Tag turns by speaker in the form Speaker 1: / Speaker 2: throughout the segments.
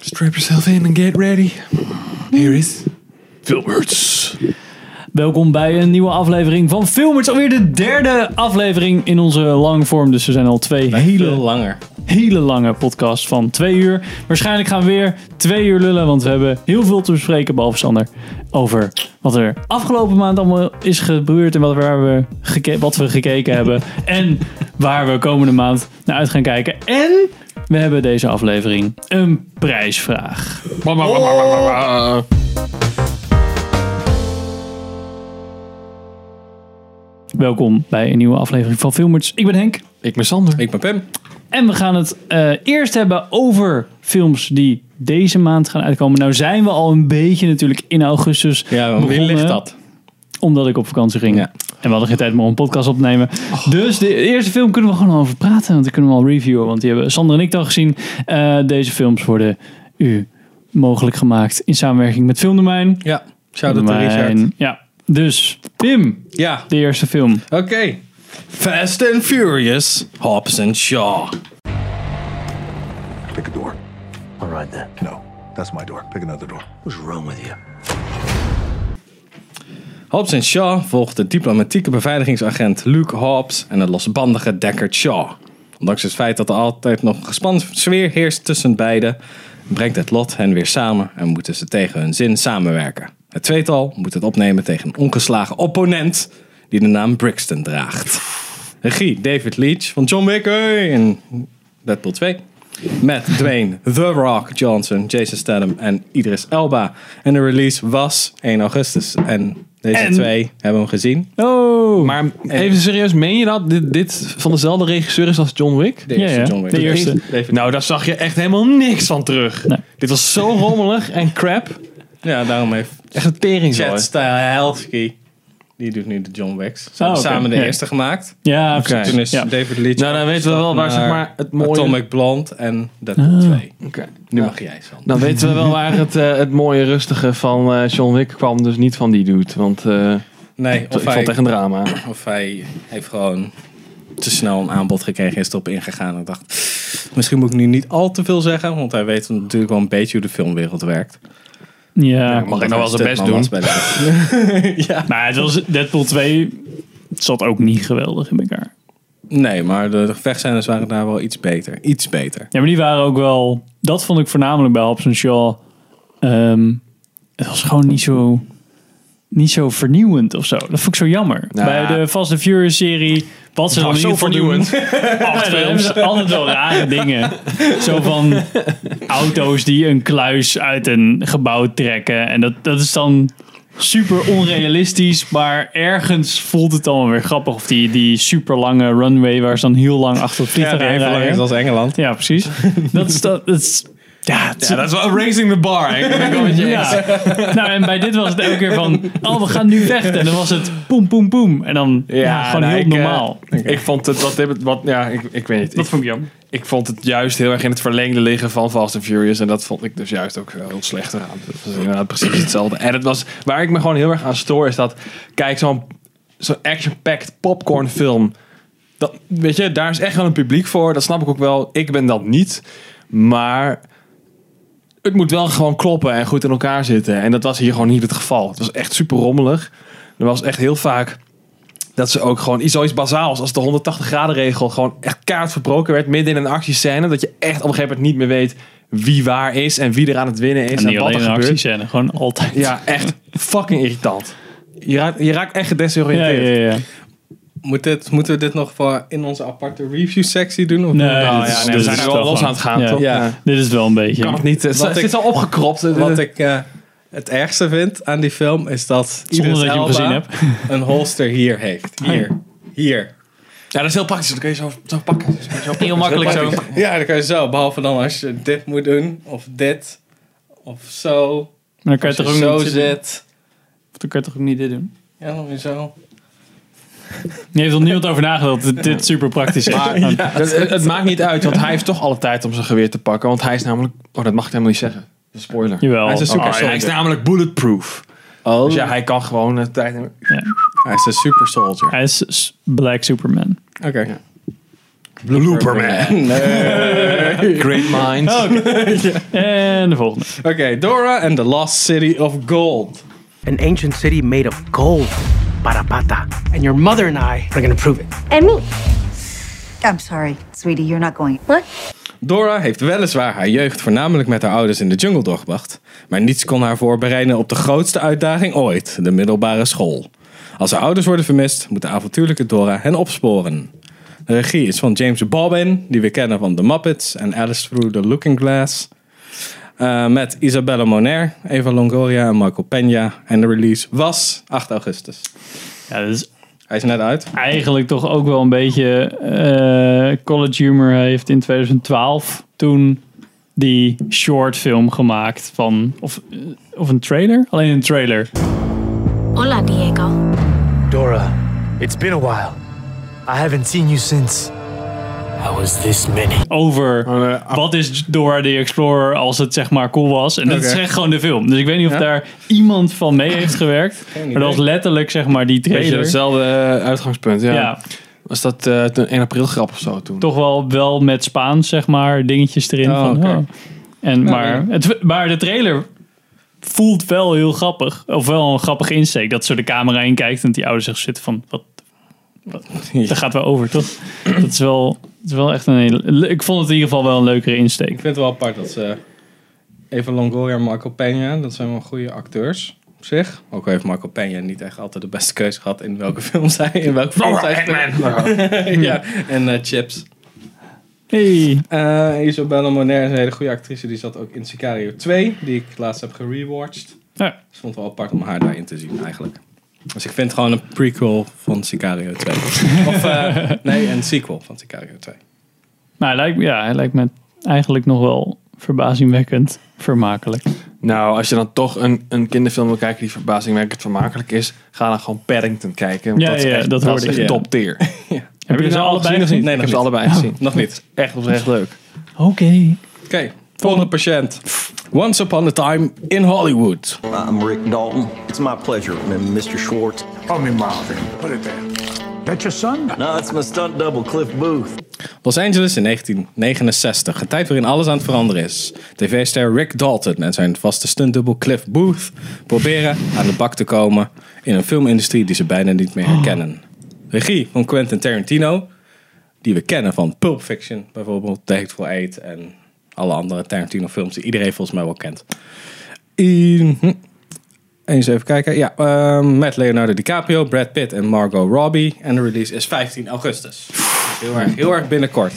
Speaker 1: Strap yourself in and get ready. Here is Filberts.
Speaker 2: Welkom bij een nieuwe aflevering van Filmers. Alweer de derde aflevering in onze langvorm. Dus er zijn al twee
Speaker 3: Hele langer.
Speaker 2: hele lange podcast van twee uur. Waarschijnlijk gaan we weer twee uur lullen, want we hebben heel veel te bespreken, behalve Sander, over wat er afgelopen maand allemaal is gebeurd en wat, waar we, geke- wat we gekeken hebben. En waar we komende maand naar uit gaan kijken. En we hebben deze aflevering een prijsvraag. Welkom bij een nieuwe aflevering van Filmers. Ik ben Henk.
Speaker 1: Ik ben Sander.
Speaker 3: Ik ben Pim.
Speaker 2: En we gaan het eh, eerst hebben over films die deze maand gaan uitkomen. Nou zijn we al een beetje natuurlijk in augustus
Speaker 3: Ja, wie
Speaker 2: begonnen,
Speaker 3: ligt dat?
Speaker 2: Omdat ik op vakantie ging.
Speaker 3: Ja.
Speaker 2: En we hadden geen tijd meer om een podcast op te nemen. Dus de eerste film kunnen we gewoon over praten. Want die kunnen we al reviewen. Want die hebben Sander en ik dan gezien. Eh, deze films worden u mogelijk gemaakt in samenwerking met Filmdomein.
Speaker 3: Ja, shout-out to Richard.
Speaker 2: Domein, Ja, dus Pim,
Speaker 3: Ja,
Speaker 2: de eerste film.
Speaker 3: oké. Fast and Furious, Hobbs and Shaw.
Speaker 4: Pick a door.
Speaker 5: All right then.
Speaker 4: No, that's my door. Pick another door.
Speaker 5: What's wrong with you?
Speaker 3: Hobbs and Shaw volgt de diplomatieke beveiligingsagent Luke Hobbs en de losbandige Deckard Shaw. Ondanks het feit dat er altijd nog een gespannen sfeer heerst tussen beiden, brengt het lot hen weer samen en moeten ze tegen hun zin samenwerken. Het tweetal moet het opnemen tegen een ongeslagen opponent die de naam Brixton draagt. Regie David Leitch van John Wick hey, in Deadpool 2. Met Dwayne The Rock Johnson, Jason Statham en Idris Elba. En de release was 1 augustus. En deze twee hebben we gezien.
Speaker 2: Oh,
Speaker 1: Maar even serieus, meen je dat dit, dit van dezelfde regisseur is als John Wick?
Speaker 3: De
Speaker 2: Ja,
Speaker 3: eerste
Speaker 2: ja.
Speaker 3: John Wick.
Speaker 2: De eerste.
Speaker 3: David-
Speaker 1: Nou, daar zag je echt helemaal niks van terug.
Speaker 2: Nee.
Speaker 1: Dit was zo rommelig en crap.
Speaker 3: Ja, daarom heeft
Speaker 1: Echt een tering
Speaker 3: Chad Stahelski, die doet nu de John Wicks. Ze hebben
Speaker 2: Oh, oké.
Speaker 3: samen de
Speaker 2: Ja.
Speaker 3: eerste gemaakt.
Speaker 2: ja,
Speaker 1: Oké.
Speaker 2: precies.
Speaker 3: Toen is
Speaker 2: Ja.
Speaker 3: David Leitch
Speaker 1: Nou, dan weten we wel waar zeg
Speaker 3: naar
Speaker 1: maar het mooie...
Speaker 3: Atomic Blonde en Deadpool 2.
Speaker 1: Oké.
Speaker 3: Nu
Speaker 1: Ja.
Speaker 3: mag jij, Sander.
Speaker 1: Dan weten we wel waar het, eh, het mooie rustige van eh, John Wick kwam. Dus niet van die dude. Want eh,
Speaker 3: Nee,
Speaker 1: ik
Speaker 3: of
Speaker 1: vond
Speaker 3: hij,
Speaker 1: het echt een drama.
Speaker 3: of hij heeft gewoon te snel een aanbod gekregen en is erop ingegaan. En ik dacht, misschien moet ik nu niet al te veel zeggen, want hij weet natuurlijk wel een beetje hoe de filmwereld werkt.
Speaker 2: Ja.
Speaker 1: Mag ik nou wel zijn best
Speaker 3: Stedman
Speaker 1: doen?
Speaker 3: was bij de-
Speaker 2: Maar het was Deadpool 2 zat ook niet geweldig in elkaar.
Speaker 3: Nee, maar de gevechtscènes waren daar wel iets beter. Iets beter.
Speaker 2: Ja, maar die waren ook wel... Dat vond ik voornamelijk bij Hobbs Shaw. Ehm, het was gewoon niet zo, niet zo vernieuwend of zo. Dat vond ik zo jammer. Bij de Fast and Furious serie... Wat ze dan in ieder geval doen... Ja, dan hebben ze altijd wel rare dingen. Zo van auto's die een kluis uit een gebouw trekken. En dat, dat is dan super onrealistisch. Maar ergens voelt het allemaal weer grappig. Of die, die super lange runway waar ze dan heel lang achter het
Speaker 3: Ja,
Speaker 2: vliegtuig
Speaker 3: die
Speaker 2: aan
Speaker 3: heeft wel
Speaker 2: rijden.
Speaker 3: langer als Engeland.
Speaker 2: Ja, precies. Dat is... Dat, dat is ja, het is-
Speaker 1: dat is wel raising the bar.
Speaker 2: ja. Nou, en bij dit was het elke keer van... Oh, we gaan nu vechten. En dan was het poem, poem, poem. En dan ja, gewoon
Speaker 1: nou,
Speaker 2: heel
Speaker 1: ik, eh,
Speaker 2: normaal.
Speaker 1: Ik vond het, wat, heb het- wat ja, ik, ik weet niet. Ik,
Speaker 2: dat vond ik jammer.
Speaker 1: ik vond het juist heel erg in het verlengde liggen van Fast and Furious. En dat vond ik dus juist ook heel slecht eraan. Dat was inderdaad precies hetzelfde. En het was, waar ik me gewoon heel erg aan stoor is dat, kijk, zo'n zo'n action-packed popcorn film. Dat, weet je, daar is echt wel een publiek voor. Dat snap ik ook wel. Ik ben dat niet. Maar het moet wel gewoon kloppen en goed in elkaar zitten. En dat was hier gewoon niet het geval. Het was echt super rommelig. Er was echt heel vaak dat ze ook gewoon iets- zoiets bazaals als de 180 graden regel gewoon echt kaart verbroken werd midden in een actiescène. Dat je echt op een gegeven moment niet meer weet wie waar is en wie er aan het winnen is
Speaker 2: En
Speaker 1: en,
Speaker 2: niet
Speaker 1: wat er
Speaker 2: alleen een
Speaker 1: gebeurt.
Speaker 2: actiescène. Gewoon altijd.
Speaker 1: Ja, echt fucking irritant. Je raakt, je raakt echt gedesoriënteerd.
Speaker 2: Ja, ja, ja.
Speaker 3: Moet dit, moeten we dit nog voor in onze aparte review-sectie doen? Of
Speaker 2: Nee,
Speaker 1: Nou
Speaker 2: dit
Speaker 1: ja,
Speaker 2: is-
Speaker 1: nee,
Speaker 2: dit
Speaker 1: we zijn
Speaker 2: is
Speaker 1: er wel
Speaker 2: toch
Speaker 1: los
Speaker 2: gewoon-
Speaker 1: aan het gaan,
Speaker 2: Ja.
Speaker 1: toch?
Speaker 3: Ja.
Speaker 2: Dit is wel een beetje.
Speaker 1: Kan het niet. eh, Het,
Speaker 3: Wat
Speaker 1: het
Speaker 3: ik-
Speaker 1: is al opgekropt.
Speaker 3: Wat ik eh, het ergste vind aan die film is dat
Speaker 2: Zonder
Speaker 3: Idris
Speaker 2: dat je hem
Speaker 3: Elba
Speaker 2: gezien hebt.
Speaker 3: een holster hier heeft. Hier. Hier.
Speaker 1: Ja, dat is heel praktisch. Dan kun je zo, zo pakken.
Speaker 2: Heel makkelijk zo.
Speaker 3: Ja, dan kan je zo. Behalve dan als je dit moet doen. Of dit. Of zo.
Speaker 2: Maar dan kan
Speaker 3: Als
Speaker 2: je toch
Speaker 3: je
Speaker 2: ook
Speaker 3: zo
Speaker 2: niet dit,
Speaker 3: zit.
Speaker 2: dan kan je toch ook niet dit doen?
Speaker 3: Ja, dan weer zo.
Speaker 2: Je heeft er niemand over nagedacht dat dit super praktisch is.
Speaker 1: Maar het, het- het maakt niet uit, want hij heeft toch alle tijd om zijn geweer te pakken. Want hij is namelijk... Oh, dat mag ik helemaal niet zeggen. Dat is een spoiler.
Speaker 2: Jawel.
Speaker 3: Hij is een
Speaker 1: Oh,
Speaker 3: super
Speaker 1: hij is
Speaker 3: soldier.
Speaker 1: namelijk bulletproof.
Speaker 3: Oh.
Speaker 1: Dus ja, hij kan gewoon de tijd nemen.
Speaker 3: Hij is een super soldier.
Speaker 2: Hij is s- Black Superman.
Speaker 3: Oké.
Speaker 1: Ja. Blooperman. Great minds.
Speaker 2: En de volgende.
Speaker 3: Oké, Dora and the Lost City of Gold.
Speaker 6: an ancient city made of gold, Parapata. And your mother and I are gonna prove it.
Speaker 7: And me. I'm sorry, sweetie, you're not going. What?
Speaker 3: Dora heeft weliswaar haar jeugd voornamelijk met haar ouders in de jungle doorgebracht, maar niets kon haar voorbereiden op de grootste uitdaging ooit, de middelbare school. Als haar ouders worden vermist, moet de avontuurlijke Dora hen opsporen. De regie is van James Bobbin, die we kennen van The Muppets en Alice Through the Looking Glass. Eh, met Isabella Moner, Eva Longoria en Marco Peña. En de release was 8 augustus.
Speaker 2: Ja, dat is
Speaker 3: Hij is net uit.
Speaker 2: eigenlijk toch ook wel een beetje eh, college humor heeft in 2012 toen die short film gemaakt van of, eh, of een trailer alleen een trailer
Speaker 8: Hola, Diego.
Speaker 5: Dora, it's been a while. I haven't seen you since. I was this many.
Speaker 2: over
Speaker 3: Ah.
Speaker 1: eh,
Speaker 2: wat is Dora the Explorer als het zeg maar cool was en dat is
Speaker 3: Oké.
Speaker 2: echt gewoon de film dus ik weet niet of
Speaker 3: Ja.
Speaker 2: daar iemand van mee heeft gewerkt maar dat
Speaker 3: idee.
Speaker 2: was letterlijk zeg maar die
Speaker 1: Beetje
Speaker 2: trailer
Speaker 1: hetzelfde eh, uitgangspunt. Ja.
Speaker 2: ja
Speaker 1: Was dat eh, toen 1 april grap of zo toen?
Speaker 2: toch wel, wel met Spaans, zeg maar, dingetjes erin.
Speaker 3: Oh,
Speaker 2: van,
Speaker 3: oké.
Speaker 2: oh. En,
Speaker 3: Nou,
Speaker 2: maar, het, maar de trailer voelt wel heel grappig. Of wel een grappige insteek. Dat zo de camera in kijkt en die ouders zich zitten van... Wat, wat, Daar gaat wel over, toch? Dat is wel, dat is wel echt een hele... Ik vond het in ieder geval wel een leukere insteek.
Speaker 3: Ik vind het wel apart dat ze. eh, Even Longoria en Marco Peña, dat zijn wel goede acteurs op zich. Ook al heeft Marco Peña niet echt altijd de beste keuze gehad in welke films hij in welke films hij speelt. ja, en eh, Chips.
Speaker 2: Hey.
Speaker 3: Eh, Isabella Moner is een hele goede actrice. Die zat ook in Sicario 2, die ik laatst heb gerewatcht.
Speaker 2: Ja.
Speaker 3: Dus ik vond het wel apart om haar daarin te zien eigenlijk. Dus ik vind het gewoon een prequel van Sicario 2. of eh, nee, een sequel van Sicario 2.
Speaker 2: Maar Nou, hij lijkt, ja, hij lijkt me eigenlijk nog wel verbazingwekkend vermakelijk.
Speaker 1: Nou, als je dan toch een, een kinderfilm wil kijken die verbazingwekkend vermakelijk is, ga dan gewoon Paddington kijken. want
Speaker 2: Ja,
Speaker 1: dat is
Speaker 2: ja,
Speaker 1: echt,
Speaker 2: dat hoorde
Speaker 1: is
Speaker 2: ik,
Speaker 1: echt
Speaker 2: ja.
Speaker 1: top tier.
Speaker 2: Heb je ze allebei gezien?
Speaker 1: Nee,
Speaker 3: Nee, nog
Speaker 1: ik heb
Speaker 3: niet.
Speaker 1: ze allebei gezien.
Speaker 3: Nog niet.
Speaker 1: Echt oprecht leuk.
Speaker 2: Oké.
Speaker 3: Oké, volgende patiënt. Once upon a time in Hollywood.
Speaker 9: I'm Rick Dalton. It's my pleasure, M- Mr. Schwartz.
Speaker 4: Call me Marvin. Put it there. That's your son?
Speaker 9: No, it's my stunt double, Cliff Booth.
Speaker 3: Los Angeles in 1969. Een tijd waarin alles aan het veranderen is. TV-ster Rick Dalton en zijn vaste stuntdubbel Cliff Booth proberen aan de bak te komen in een filmindustrie die ze bijna niet meer herkennen. Regie van Quentin Tarantino, die we kennen van Pulp Fiction bijvoorbeeld, The Hateful Eight en alle andere Tarantino-films die iedereen volgens mij wel kent. Mhm. Eens even kijken. Ja, ehm, met Leonardo DiCaprio, Brad Pitt en Margot Robbie. En de release is 15 augustus. Dus heel erg, heel erg binnenkort.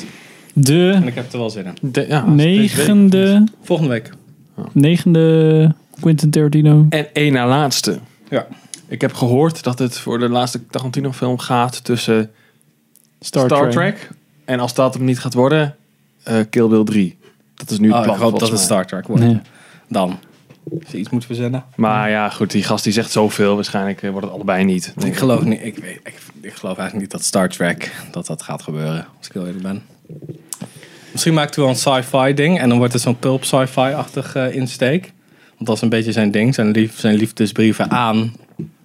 Speaker 3: En
Speaker 2: De
Speaker 3: ik heb er wel zin in.
Speaker 1: De- ja,
Speaker 2: negende...
Speaker 3: Volgende week.
Speaker 2: Negende Quentin Tarantino.
Speaker 1: En één na laatste.
Speaker 3: Ja.
Speaker 1: Ik heb gehoord dat het voor de laatste Tarantino film gaat tussen
Speaker 2: Star, Trek.
Speaker 1: en als dat hem niet gaat worden, eh Kill Bill 3. Dat is nu het
Speaker 3: Oh, ik
Speaker 1: plan.
Speaker 3: hoop dat het
Speaker 1: volgens mij.
Speaker 3: Star Trek wordt.
Speaker 2: Nee.
Speaker 3: Dan. Als je iets moet verzinnen.
Speaker 1: Maar ja, goed, die gast die zegt zoveel. Waarschijnlijk eh, wordt het allebei niet.
Speaker 3: Ik geloof, niet, ik, weet, ik, ik geloof eigenlijk niet dat Star Trek dat dat gaat gebeuren. Als ik heel eerlijk ben. Misschien maakt hij wel een sci-fi ding. En dan wordt het zo'n pulp sci-fi-achtig eh, insteek. Want dat is een beetje zijn ding. Zijn, lief, zijn liefdesbrieven aan.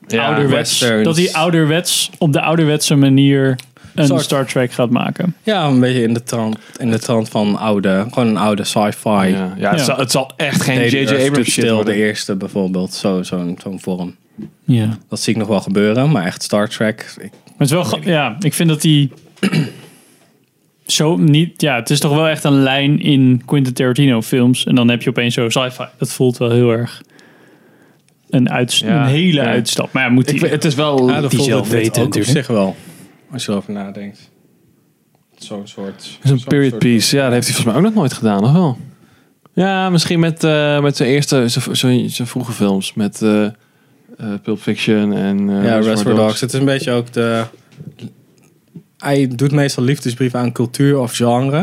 Speaker 1: Ja,
Speaker 2: Ouderwets.
Speaker 3: westerns.
Speaker 2: Dat hij ouderwets op de ouderwetse manier een
Speaker 3: Soort.
Speaker 2: Star Trek gaat maken.
Speaker 3: Ja, een beetje in de trant, in de trant van oude. Gewoon een oude sci-fi.
Speaker 1: Ja, ja, het,
Speaker 2: Ja.
Speaker 1: Zal, het zal echt geen
Speaker 3: Nee, de Earth
Speaker 1: J.J.
Speaker 3: Stood
Speaker 1: Abrams shit
Speaker 3: Still, de
Speaker 1: worden.
Speaker 3: eerste bijvoorbeeld. Zo, zo'n, zo'n vorm.
Speaker 2: Ja. Maar
Speaker 3: Dat zie ik nog wel gebeuren, maar echt Star Trek. Ik,
Speaker 2: het is wel... gra- Ja, ik vind dat hij... Zo niet... Ja, het is toch wel echt een lijn in Quentin Tarantino films. En dan heb je opeens zo sci-fi. Dat voelt wel heel erg... Een, uitst-
Speaker 1: Ja,
Speaker 2: een hele
Speaker 1: ja.
Speaker 2: uitstap. Maar ja, moet
Speaker 1: Ik,
Speaker 2: hij...
Speaker 1: vind- het is wel
Speaker 3: dat
Speaker 2: die
Speaker 3: voelt
Speaker 2: zelf
Speaker 3: het dit
Speaker 2: weten
Speaker 3: ook op
Speaker 2: natuurlijk.
Speaker 3: zich wel. Als je erover nadenkt. Zo'n soort...
Speaker 1: Het is een period piece. Ja, dat heeft hij volgens mij ook nog nooit gedaan, of wel? Ja, misschien met, eh, met zijn eerste, zijn, zijn, zijn vroege films. Met eh eh, Pulp Fiction en... eh,
Speaker 3: Ja, Rest
Speaker 1: Reservoir
Speaker 3: for Dogs. Het is een beetje ook de... Hij doet meestal liefdesbrieven aan cultuur of genre.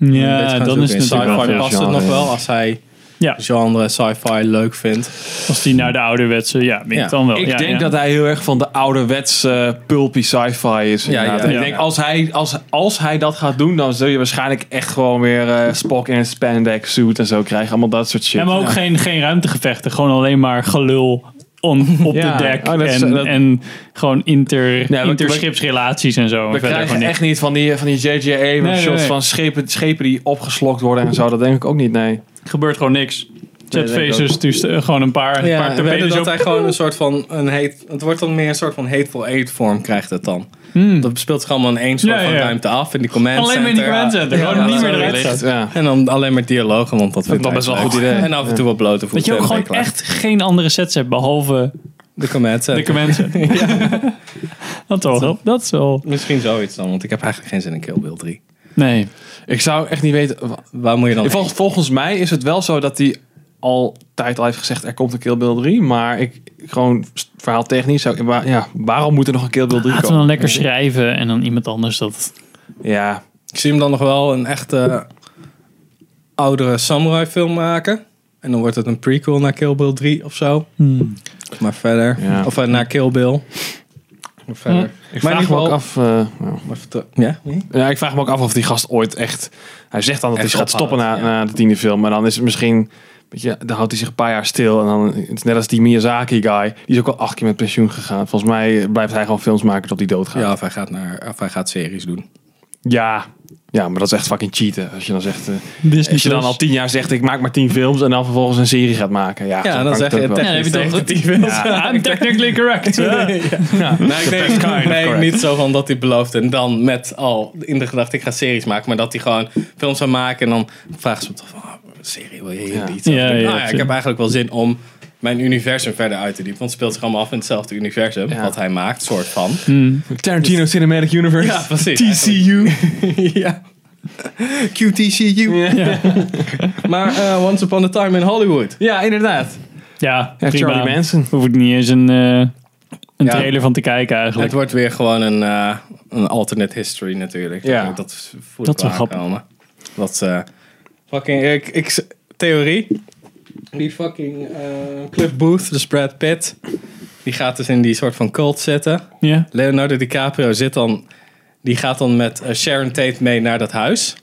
Speaker 3: Een beetje
Speaker 2: ja,
Speaker 3: gaan
Speaker 2: dan
Speaker 3: zoeken
Speaker 2: is
Speaker 3: in
Speaker 1: dus
Speaker 2: het natuurlijk wel...
Speaker 3: sci-fi
Speaker 2: ja.
Speaker 1: wel
Speaker 3: past het
Speaker 1: genre,
Speaker 3: nog
Speaker 1: ja.
Speaker 3: wel als hij
Speaker 2: Ja,
Speaker 3: genre sci-fi leuk vindt.
Speaker 2: als die naar de ouderwetse... Ja, ik
Speaker 3: Ja.
Speaker 2: dan wel.
Speaker 1: Ik
Speaker 2: ja,
Speaker 1: denk
Speaker 2: ja.
Speaker 1: dat hij heel erg van de ouderwetse eh, pulpy sci-fi is.
Speaker 3: Ja,
Speaker 1: Ja,
Speaker 3: ja.
Speaker 1: Ik
Speaker 2: Ja.
Speaker 1: denk als hij, als, als hij dat gaat doen, dan zul je waarschijnlijk echt gewoon weer eh, Spock in een spandex suit en zo krijgen. Allemaal dat soort shit.
Speaker 2: Ja, maar ook Geen, geen ruimtegevechten. Gewoon alleen maar gelul on, op
Speaker 1: Ja,
Speaker 2: de dek.
Speaker 1: oh, dat is-
Speaker 2: en,
Speaker 1: dat-
Speaker 2: en gewoon inter,
Speaker 1: we-
Speaker 2: interschipsrelaties en zo. en
Speaker 1: We
Speaker 2: verder
Speaker 1: krijgen
Speaker 2: gewoon
Speaker 1: echt niet van die, van die J.J. Abrams
Speaker 2: Nee, nee,
Speaker 1: shots
Speaker 2: nee.
Speaker 1: van schepen, schepen die opgeslokt worden en zo. Dat denk ik ook niet, nee.
Speaker 2: niks. gebeurt gewoon niks.
Speaker 1: denk ik
Speaker 2: Jetfacers, dus eh, gewoon een paar, een paar
Speaker 3: Ja,
Speaker 2: torpedo's
Speaker 3: wedden dat
Speaker 2: op.
Speaker 3: hij gewoon een soort van een heet. Het wordt dan meer een soort van hateful eight vorm krijgt het dan. Dat speelt zich allemaal in één soort
Speaker 2: Hmm. Ja,
Speaker 3: van
Speaker 2: ja.
Speaker 3: ruimte af in die command
Speaker 2: Alleen maar in
Speaker 3: center.
Speaker 2: die command center,
Speaker 3: Ja,
Speaker 2: gewoon
Speaker 3: ja,
Speaker 2: niet meer
Speaker 3: ja.
Speaker 2: eruit
Speaker 1: Wellicht,
Speaker 2: staat.
Speaker 1: Ja.
Speaker 3: En dan alleen maar dialogen, want dat vindt
Speaker 1: Dat is
Speaker 3: hij
Speaker 1: wel
Speaker 3: leuk.
Speaker 1: een goed idee.
Speaker 3: En af en toe wat blote voeten.
Speaker 2: Dat je ook
Speaker 3: en
Speaker 2: gewoon
Speaker 3: ben klaar.
Speaker 2: echt geen andere sets hebt behalve
Speaker 3: de eh, command
Speaker 2: de
Speaker 3: center.
Speaker 2: commenten. Dat is wel. Dat is wel.
Speaker 3: Misschien zoiets dan, want ik heb eigenlijk geen zin in Kill Bill 3.
Speaker 2: Nee.
Speaker 1: Ik zou echt niet weten... wa-
Speaker 3: Waar moet je dan
Speaker 1: Vol- volgens mij is het wel zo dat hij altijd al heeft gezegd... er komt een Kill Bill 3, maar ik gewoon st- verhaaltechnisch zou... ik- wa- Ja, waarom moet er nog een Kill Bill 3
Speaker 2: Laten we
Speaker 1: komen?
Speaker 2: dan lekker schrijven en dan iemand anders dat.
Speaker 1: Ja,
Speaker 3: Ik zie hem dan nog wel een echte eh, oudere samurai film maken. En dan wordt het een prequel naar Kill Bill 3 of zo.
Speaker 2: Hmm.
Speaker 3: Maar verder.
Speaker 1: Ja.
Speaker 3: Of eh, naar Kill Bill. Maar verder.
Speaker 1: ik
Speaker 3: Maar in
Speaker 1: vraag me
Speaker 3: ieder
Speaker 1: ook
Speaker 3: geval-
Speaker 1: af... eh, ja.
Speaker 3: Maar vertel- Ja?
Speaker 1: Ja, ik vraag me ook af of die gast ooit echt. Hij zegt dan dat
Speaker 3: Echt
Speaker 1: hij gaat
Speaker 3: ophoudt,
Speaker 1: stoppen na,
Speaker 3: ja.
Speaker 1: na de tiende film. Maar dan is het misschien. Weet je, dan houdt hij zich een paar jaar stil. En dan, het is net als die Miyazaki guy. Die is ook al acht keer met pensioen gegaan. Volgens mij blijft hij gewoon films maken tot hij doodgaat.
Speaker 3: Ja,
Speaker 1: Ja.
Speaker 3: of hij gaat, naar, of hij gaat series doen.
Speaker 1: ja. maar dat is echt fucking cheaten. Als je dan zegt. eh,
Speaker 2: Disney
Speaker 1: als je dan
Speaker 2: Plus.
Speaker 1: al tien jaar zegt, ik maak maar tien films. En dan vervolgens een serie gaat maken. Ja,
Speaker 3: Ja,
Speaker 1: zo
Speaker 3: dan
Speaker 1: kan
Speaker 3: zeg
Speaker 1: het
Speaker 3: je
Speaker 1: ook wel.
Speaker 2: Ja, dat heb je toch
Speaker 3: technisch
Speaker 2: goed.
Speaker 3: tegen die film.
Speaker 2: I'm technically correct.
Speaker 1: Ja.
Speaker 3: Nee, ik denk,
Speaker 1: kind of
Speaker 3: nee,
Speaker 1: correct.
Speaker 3: niet zo van dat hij belooft en dan met al in de gedachte ik ga series maken, maar dat hij gewoon films zou maken en dan vragen ze hem toch van, oh, serie wil je hier
Speaker 1: Ja.
Speaker 3: niet? Of
Speaker 2: Ja,
Speaker 3: denk, nou
Speaker 2: ja,
Speaker 3: ja, ik
Speaker 2: tuurlijk.
Speaker 3: heb eigenlijk wel zin om mijn universum verder uit te diepen, want het speelt zich allemaal af in hetzelfde universum
Speaker 1: Ja.
Speaker 3: wat hij maakt, soort van.
Speaker 2: Hmm.
Speaker 1: Tarantino Cinematic Universe.
Speaker 3: Ja, precies.
Speaker 1: TCU.
Speaker 3: ja. QTCU. maar eh, Once Upon a Time in Hollywood.
Speaker 1: Ja, inderdaad.
Speaker 2: Ja,
Speaker 1: Ja,
Speaker 2: prima.
Speaker 1: Charlie Manson.
Speaker 2: Hoef ik niet eens een, eh, een
Speaker 3: Ja.
Speaker 2: trailer van te kijken
Speaker 3: Het
Speaker 2: eigenlijk.
Speaker 3: wordt weer gewoon een, eh, een alternate history natuurlijk.
Speaker 1: Ja.
Speaker 3: Dat voelt
Speaker 2: Dat is wel
Speaker 3: wel
Speaker 2: grappig.
Speaker 3: aankomen. Dat eh, fucking ik, ik theorie. Die fucking eh, Cliff Booth, dus Brad Pitt, die gaat dus in die soort van cult zitten.
Speaker 2: Ja.
Speaker 3: Leonardo DiCaprio zit dan, die gaat dan met eh, Sharon Tate mee naar dat huis.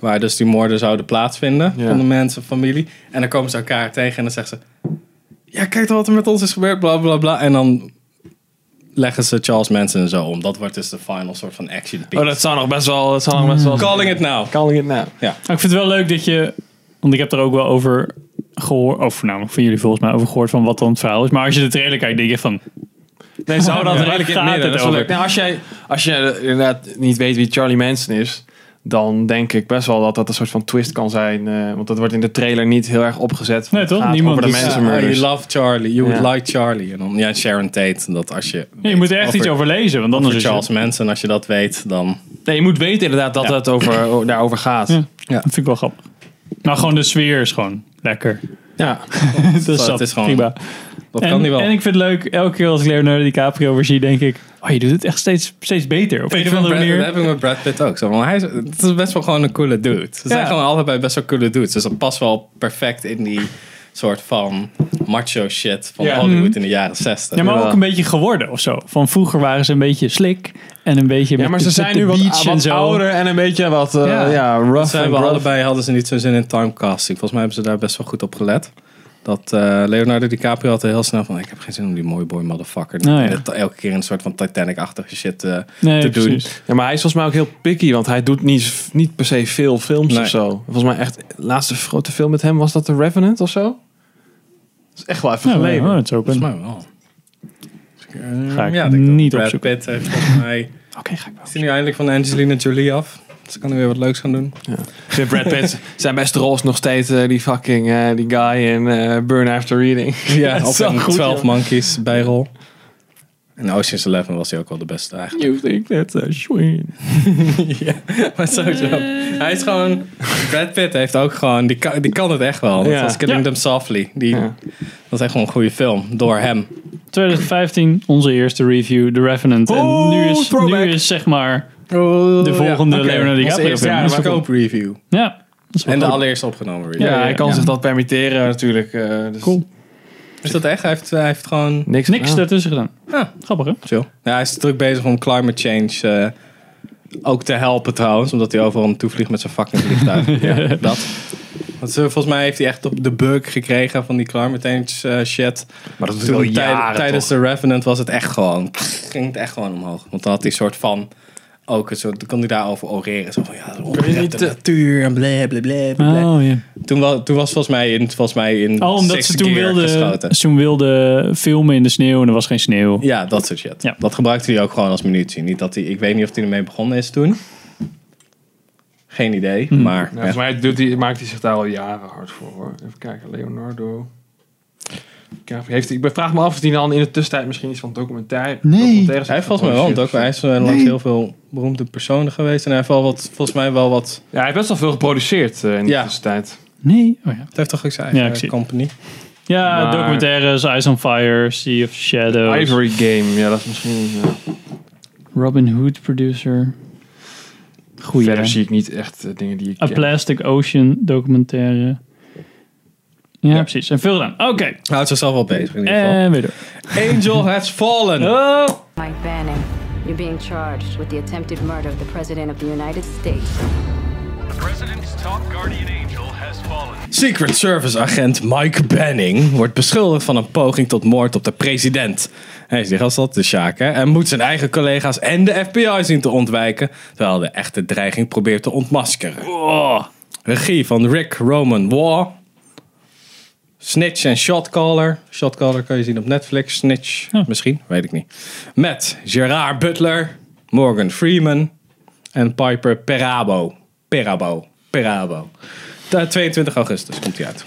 Speaker 3: Waar dus die moorden zouden plaatsvinden
Speaker 1: Ja.
Speaker 3: van de mensen, familie. En dan komen ze elkaar tegen en dan zeggen ze... Ja, kijk dan wat er met ons is gebeurd, bla bla bla. En dan leggen ze Charles Manson en zo om. Dat wordt dus de final soort van action piece.
Speaker 1: Oh, dat zou nog best wel. Dat zou nog best wel.
Speaker 3: Calling it now.
Speaker 1: Calling it now.
Speaker 2: Maar ik vind het wel leuk dat je... Want ik heb er ook wel over gehoord... Of voornamelijk van jullie volgens mij over gehoord... van wat dan het verhaal is. Maar als je de trailer kijkt, denk je van...
Speaker 1: Nee, zou dat
Speaker 2: Ja.
Speaker 1: redelijk in het
Speaker 2: Gaat
Speaker 1: midden.
Speaker 2: het
Speaker 1: Dat is wel
Speaker 2: over?
Speaker 1: leuk. Nou, als jij, als jij eh, inderdaad niet weet wie Charlie Manson is, dan denk ik best wel dat dat een soort van twist kan zijn. eh, want dat wordt in de trailer niet heel erg opgezet.
Speaker 2: Nee,
Speaker 1: Het
Speaker 2: toch?
Speaker 1: gaat
Speaker 2: Niemand
Speaker 1: Over de
Speaker 2: is-
Speaker 1: Manson
Speaker 3: Ja, oh, you
Speaker 1: murders.
Speaker 3: love Charlie, you would
Speaker 1: Ja.
Speaker 3: like Charlie. En dan, ja, Sharon Tate, dat als je...
Speaker 2: Nee, je moet er echt iets over lezen. Want anders
Speaker 3: Over
Speaker 2: is het...
Speaker 3: Charles Manson, als je dat weet, dan...
Speaker 1: nee, je moet weten inderdaad dat
Speaker 2: Ja.
Speaker 1: het over, o- daarover gaat. Ja.
Speaker 2: Dat vind ik wel grappig. Maar gewoon de sfeer is gewoon lekker. Dus
Speaker 3: het
Speaker 2: dat
Speaker 3: is
Speaker 2: is
Speaker 3: gewoon-
Speaker 2: gewoon... Prima.
Speaker 3: Dat
Speaker 2: En,
Speaker 3: kan die wel.
Speaker 2: en ik vind het leuk, elke keer als ik Leonardo DiCaprio weer zie, denk ik... Oh, je doet het echt steeds, steeds beter. Op een
Speaker 3: Ik
Speaker 2: of
Speaker 3: vind
Speaker 2: andere
Speaker 3: Brad-
Speaker 2: manier.
Speaker 3: Dat heb ik met Brad Pitt ook. Zo. Want hij is, het is best wel gewoon een coole dude. Ze zijn
Speaker 2: Ja.
Speaker 3: gewoon allebei best wel coole dudes. Dus dat past wel perfect in die soort van macho shit van
Speaker 1: Ja.
Speaker 3: Hollywood in de jaren 60.
Speaker 2: Ja, maar ook
Speaker 1: Ja.
Speaker 2: een beetje geworden of zo. Van vroeger waren ze een beetje slik en een beetje. met
Speaker 1: maar
Speaker 2: de-
Speaker 1: ze
Speaker 2: met
Speaker 1: zijn
Speaker 2: de
Speaker 1: nu wat,
Speaker 2: beach en
Speaker 1: wat
Speaker 2: zo.
Speaker 1: ouder en een beetje wat eh,
Speaker 2: Ja.
Speaker 1: ja. rough.
Speaker 3: Ze hebben
Speaker 1: and rough.
Speaker 3: allebei hadden ze niet zo'n zin in timecasting. Volgens mij hebben ze daar best wel goed op gelet. Dat eh, Leonardo DiCaprio had er heel snel van... ik heb geen zin om die mooi boy motherfucker...
Speaker 2: Nou ja.
Speaker 3: dat elke keer een soort van Titanic-achtige shit eh,
Speaker 2: Nee,
Speaker 3: te doen.
Speaker 2: precies.
Speaker 1: Ja, maar hij is volgens mij ook heel picky, want hij doet niet, niet per se veel films
Speaker 3: Nee.
Speaker 1: of zo. Volgens mij echt, de laatste grote film met hem was dat The Revenant of zo? Dat is echt wel even
Speaker 2: Ja,
Speaker 1: geleden.
Speaker 2: oh, het is ook een-
Speaker 3: Volgens mij wel. Eh,
Speaker 2: Ga ik
Speaker 3: ik denk dat
Speaker 2: niet
Speaker 3: Brad
Speaker 2: opzoeken.
Speaker 3: Pitt heeft volgens mij...
Speaker 1: Oké, ga ik wel.
Speaker 3: Is hij nu eindelijk van Angelina Jolie af? Ze kan er weer wat leuks gaan doen.
Speaker 1: Ik vind Brad Pitt zijn beste rol is nog steeds eh, die fucking eh, die guy in eh, Burn After Reading.
Speaker 3: Ja, op
Speaker 1: zo
Speaker 3: een
Speaker 1: goed,
Speaker 3: 12
Speaker 1: joh.
Speaker 3: Monkeys bijrol. En Ocean's Eleven was hij ook wel de beste eigenlijk.
Speaker 1: You think that's a swing.
Speaker 3: Maar sowieso. Hij is gewoon... Brad Pitt heeft ook gewoon... Die kan, die kan het echt wel. Dat
Speaker 1: Ja.
Speaker 3: was Killing
Speaker 2: Ja.
Speaker 3: Them Softly. Die,
Speaker 1: Ja.
Speaker 3: Dat is echt gewoon een goede film. Door hem.
Speaker 2: 2015, onze eerste review, The Revenant. en
Speaker 1: Oh,
Speaker 2: nu is, nu
Speaker 1: throwback.
Speaker 2: is zeg maar.
Speaker 1: Oh,
Speaker 3: De
Speaker 2: volgende Leonardo DiCaprio
Speaker 3: Onze eerste
Speaker 2: film.
Speaker 3: ja,
Speaker 2: Dat is wel
Speaker 3: scope review.
Speaker 2: Ja, dat is wel
Speaker 3: En de
Speaker 2: goed.
Speaker 3: allereerste opgenomen review.
Speaker 1: Ja, hij kan
Speaker 2: ja.
Speaker 1: zich dat permitteren natuurlijk. eh, dus
Speaker 2: Cool.
Speaker 3: Is dat echt? Hij heeft, hij heeft gewoon...
Speaker 1: Niks.
Speaker 2: Niks
Speaker 1: gedaan.
Speaker 2: daartussen gedaan.
Speaker 3: Ja.
Speaker 2: Grappig hè?
Speaker 3: Chill. Ja, hij is druk bezig om climate change eh, ook te helpen trouwens. Omdat hij overal naartoe vliegt met zijn fucking vliegtuig. ja, dat. Want ze- volgens mij heeft hij echt op de bug gekregen van die Climate Change eh, shit.
Speaker 10: Maar dat is
Speaker 3: Toen
Speaker 10: al
Speaker 3: tij-
Speaker 10: jaren,
Speaker 3: tijdens
Speaker 10: toch?
Speaker 3: de Revenant was het echt gewoon, ging het echt gewoon omhoog. Want dan had hij een soort van, ook een soort, dan kon hij daarover oreren. Zo van, ja, de onrechte natuur en bla bla bla bla, bla.
Speaker 2: Oh, ja.
Speaker 3: Toen, was, toen was volgens mij in, volgens mij in
Speaker 2: oh omdat
Speaker 3: sixth
Speaker 2: ze toen
Speaker 3: gear
Speaker 2: wilden
Speaker 3: geschoten.
Speaker 2: ze toen wilden filmen in de sneeuw en er was geen sneeuw.
Speaker 3: Ja, dat soort shit.
Speaker 2: Ja.
Speaker 3: Dat gebruikte hij ook gewoon als munitie. Niet dat hij, ik weet niet of hij ermee begonnen is toen. Geen idee,
Speaker 2: Hmm.
Speaker 3: maar... ja.
Speaker 1: volgens mij doet hij, maakt hij zich daar al jaren hard voor. Hoor. Even kijken, Leonardo. Kijk, Heeft, hij- ik vraag me af of hij dan in de tussentijd misschien iets van documentaire.
Speaker 2: Nee.
Speaker 1: documentaires
Speaker 3: Hij heeft volgens mij wel, want ook, hij is eh, langs heel veel beroemde personen geweest. En hij heeft wel wat, volgens mij wel wat...
Speaker 1: Ja, hij heeft best wel veel geproduceerd eh, in de
Speaker 3: Ja.
Speaker 1: tussentijd.
Speaker 2: Nee. Oh, ja.
Speaker 3: Het heeft toch ook zijn
Speaker 2: Ja,
Speaker 3: eigen
Speaker 2: ik zie.
Speaker 3: company.
Speaker 2: Ja,
Speaker 1: Maar-
Speaker 2: documentaires, Eyes on Fire, Sea of Shadows,
Speaker 1: Ivory Game, ja, dat is misschien. eh, ja.
Speaker 2: Robin Hood producer. Goeie.
Speaker 1: verder
Speaker 2: hè?
Speaker 1: zie ik niet echt eh, dingen die ik.
Speaker 2: A
Speaker 1: ken.
Speaker 2: Plastic Ocean documentaire. Ja,
Speaker 3: Ja.
Speaker 2: precies. En veel dan. Oké.
Speaker 3: Houdt zichzelf wel bezig in ieder geval.
Speaker 2: En weer door.
Speaker 3: Angel has fallen!
Speaker 2: Eh. Oh.
Speaker 8: Mike Bannon, you're being charged with the attempted murder of the President of the United States.
Speaker 3: Secret Service agent Mike Banning wordt beschuldigd van een poging tot moord op de president. Hij is die gast altijd de Sjaak, hè? En moet zijn eigen collega's en de FBI zien te ontwijken, terwijl hij de echte dreiging probeert te ontmaskeren. Regie van Rick Roman War. Snitch en Shotcaller. Shotcaller kan je zien op Netflix. Snitch misschien, weet ik niet. Met Gerard Butler, Morgan Freeman en Piper Perabo. Perabo. Perabo. Da- 22 augustus komt hij uit.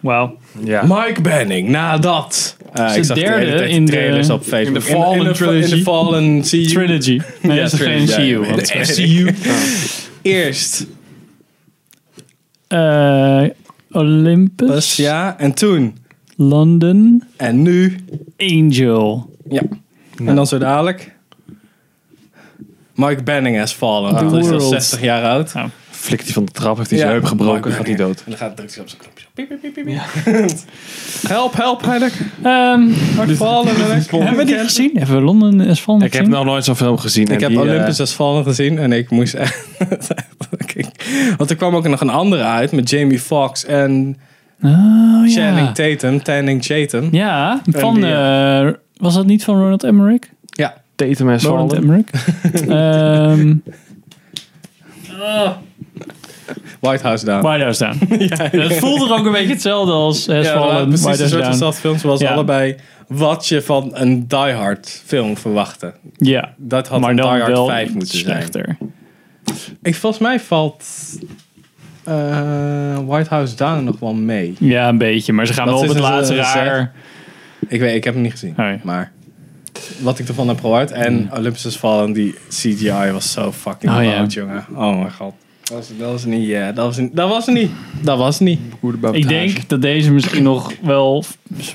Speaker 2: Wauw.
Speaker 1: Ja.
Speaker 3: Mike Banning, nadat. eh ik zag de hele
Speaker 2: derde
Speaker 3: tijd
Speaker 2: in de-
Speaker 3: trailers op Facebook.
Speaker 1: in de Fallen
Speaker 3: in, de,
Speaker 1: trilogy.
Speaker 3: In de Fallen CU.
Speaker 2: Trilogy. Nee, dat is
Speaker 3: trilogy,
Speaker 2: geen
Speaker 3: ja,
Speaker 2: CU.
Speaker 3: ja,
Speaker 2: want-
Speaker 3: de FCU. Eerst
Speaker 2: Eh, Olympus.
Speaker 3: dus ja, en toen.
Speaker 2: London.
Speaker 3: En nu.
Speaker 2: Angel.
Speaker 3: Ja. En dan zo dadelijk. Mike Banning has fallen.
Speaker 2: The
Speaker 3: Dat is al
Speaker 2: world.
Speaker 3: 60 jaar oud.
Speaker 2: Ja.
Speaker 1: Flikt hij van de trap, heeft hij zijn
Speaker 3: Ja.
Speaker 1: heup
Speaker 3: Mike
Speaker 1: gebroken, gaat hij
Speaker 3: Banning.
Speaker 1: dood.
Speaker 3: En dan gaat drukt hij op zijn knopje. Piep, piep, piep, piep, piep. help, help, Heinrich.
Speaker 2: Ehm,
Speaker 3: Hard fallen, Heinrich.
Speaker 2: hebben we die gezien? Hebben we Londen is van
Speaker 1: Ik heb nog nooit zo'n film gezien. eh,
Speaker 3: Ik heb
Speaker 2: eh,
Speaker 3: Olympus als vallen gezien en ik moest echt. Want er kwam ook nog een andere uit met Jamie Foxx en
Speaker 2: Oh, ja.
Speaker 3: Channing Tatum. Channing Tatum. Ja.
Speaker 2: Ja, van...
Speaker 3: die,
Speaker 2: eh, was dat niet van Ronald Emmerich?
Speaker 1: Tatum
Speaker 2: Ronald
Speaker 1: en Swallow.
Speaker 2: Emmerich? Ehm
Speaker 3: White House Down.
Speaker 2: White House Down. Het voelde er ook een beetje hetzelfde als Has
Speaker 3: ja,
Speaker 2: Fallen,
Speaker 3: maar precies
Speaker 2: White
Speaker 3: een soort
Speaker 2: House Down.
Speaker 3: dezelfde films zoals
Speaker 2: Ja.
Speaker 3: allebei wat je van een Die Hard film verwachtte.
Speaker 2: Ja,
Speaker 3: Dat had
Speaker 2: maar
Speaker 3: een Die
Speaker 2: dan
Speaker 3: Hard
Speaker 2: wel
Speaker 3: 5 moeten zijn.
Speaker 2: slechter.
Speaker 3: Ik, volgens mij valt eh, White House Down nog wel mee.
Speaker 2: Ja, een beetje. Maar ze gaan
Speaker 3: Dat
Speaker 2: wel op
Speaker 3: is
Speaker 2: het
Speaker 3: dus,
Speaker 2: laatste
Speaker 3: eh,
Speaker 2: raar.
Speaker 3: Ik weet, ik heb hem niet gezien.
Speaker 2: Nee.
Speaker 3: Maar wat ik ervan heb gehoord. En Olympus is Fallen, die CGI was zo fucking
Speaker 2: Mm. Oh,
Speaker 3: oud,
Speaker 2: ja.
Speaker 3: jongen. Oh mijn god. Dat was, dat was niet, ja. dat was niet, dat was niet. Dat was niet.
Speaker 2: Ik denk dat deze misschien nog wel v-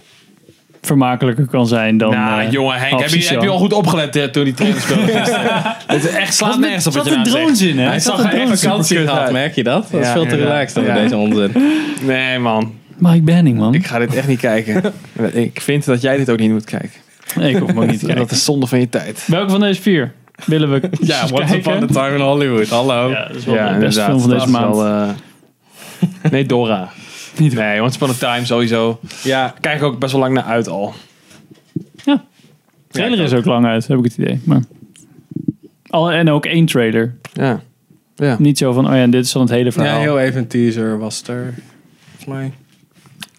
Speaker 2: vermakelijker kan zijn dan...
Speaker 1: Nou,
Speaker 2: eh,
Speaker 1: jongen Henk, heb je,
Speaker 2: Abscission.
Speaker 1: heb je al goed opgelet eh, toen die trainer speelde gisteren? Het is echt slaat nergens op wat je
Speaker 2: zat
Speaker 1: nou
Speaker 2: een
Speaker 1: zegt.
Speaker 2: drones in, hè?
Speaker 1: Hij
Speaker 2: Zat
Speaker 1: zag
Speaker 2: een
Speaker 1: er echt
Speaker 2: drones in.
Speaker 1: vakantie
Speaker 3: Superkut,
Speaker 1: gehad.
Speaker 3: merk je dat? Dat is
Speaker 1: Ja,
Speaker 3: veel te
Speaker 1: inderdaad.
Speaker 3: relaxed over
Speaker 1: Ja.
Speaker 3: deze onzin.
Speaker 1: Nee man,
Speaker 2: Mike Banning, man.
Speaker 1: ik ga dit echt niet kijken. ik vind dat jij dit ook niet moet kijken.
Speaker 2: Nee, ik hoef hem ook niet te kijken.
Speaker 1: Dat is zonde van je tijd.
Speaker 2: Welke van deze vier willen we
Speaker 3: Ja,
Speaker 2: eens
Speaker 3: Once
Speaker 2: kijken?
Speaker 3: Upon a Time in Hollywood, hallo.
Speaker 2: Ja, dat is wel de beste film van
Speaker 1: dat
Speaker 2: deze
Speaker 1: is
Speaker 2: maand.
Speaker 1: wel, eh, nee, Dora. Nee, Once Upon a Time sowieso.
Speaker 3: Ja,
Speaker 1: Kijk ik ook best wel lang naar uit al.
Speaker 2: De trailer is ook lang uit, heb ik het idee. Maar... Al, en ook één trailer.
Speaker 1: Ja.
Speaker 2: Niet zo van, oh ja, dit is dan het hele verhaal.
Speaker 3: ja, heel even een teaser was er. Volgens mij een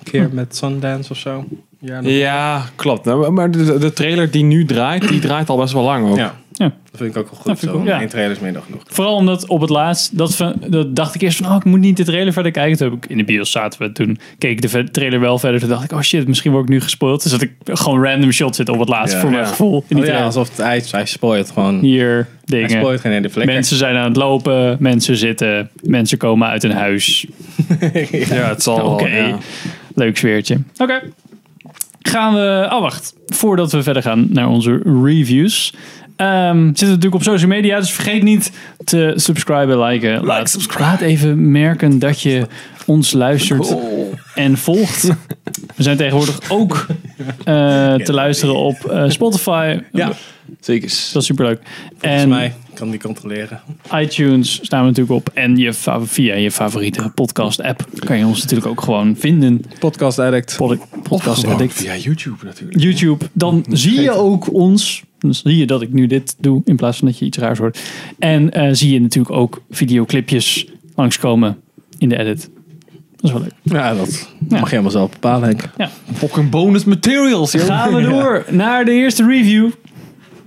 Speaker 2: Hm.
Speaker 3: keer met Sundance of zo. Ja, dat,
Speaker 1: Ja, klopt. Nou, maar de, de trailer die nu draait, die draait al best wel lang ook.
Speaker 3: ja.
Speaker 2: Ja.
Speaker 3: dat vind ik ook wel
Speaker 2: Dat
Speaker 3: goed.
Speaker 2: vind ik
Speaker 3: Zo.
Speaker 2: ook, ja. Oh,
Speaker 3: Eén trailer is meer dan genoeg.
Speaker 2: Vooral omdat op het laatst, dat, van- dat dacht ik eerst van, oh, ik moet niet de trailer verder kijken. Toen heb ik in de bios zaten we toen, keek ik de ve- trailer wel verder. Toen dacht ik, oh shit, misschien word ik nu gespoild. Dus dat ik gewoon random shots zit op het laatst
Speaker 3: Ja.
Speaker 2: voor mijn
Speaker 3: Ja.
Speaker 2: gevoel. In die
Speaker 3: Oh ja,
Speaker 2: trailer.
Speaker 3: alsof het, hij, hij spoilt gewoon.
Speaker 2: Hier
Speaker 3: Hij
Speaker 2: dingen.
Speaker 3: spoilt geen hele vlek.
Speaker 2: Mensen zijn aan het lopen, mensen zitten, mensen komen uit hun huis.
Speaker 1: Ja, het zal
Speaker 2: Oké,
Speaker 1: wel, ja.
Speaker 2: leuk sfeertje. Oké. Gaan we... Oh, wacht. Voordat we verder gaan naar onze reviews. Ehm, zitten we natuurlijk op social media, dus vergeet niet te subscriben, liken. laat, laat even merken dat je ons luistert en volgt. We zijn tegenwoordig ook eh, te luisteren op eh, Spotify.
Speaker 3: Ja.
Speaker 1: Zeker.
Speaker 2: Dat is superleuk.
Speaker 3: Volgens mij kan die controleren.
Speaker 2: iTunes staan we natuurlijk op. En je fa- via je favoriete podcast app kan je ons natuurlijk ook gewoon vinden.
Speaker 3: Podcast Addict.
Speaker 2: Pod- podcast Addict.
Speaker 1: Via YouTube natuurlijk.
Speaker 2: YouTube. Dan zie je ook ons. Dan zie je dat ik nu dit doe in plaats van dat je iets raars hoort. En eh, zie je natuurlijk ook videoclipjes langskomen in de edit. Dat is wel leuk.
Speaker 3: ja, dat mag je helemaal zelf bepalen, Henk.
Speaker 1: Fucking bonus materials, joh.
Speaker 2: Gaan we door naar de eerste review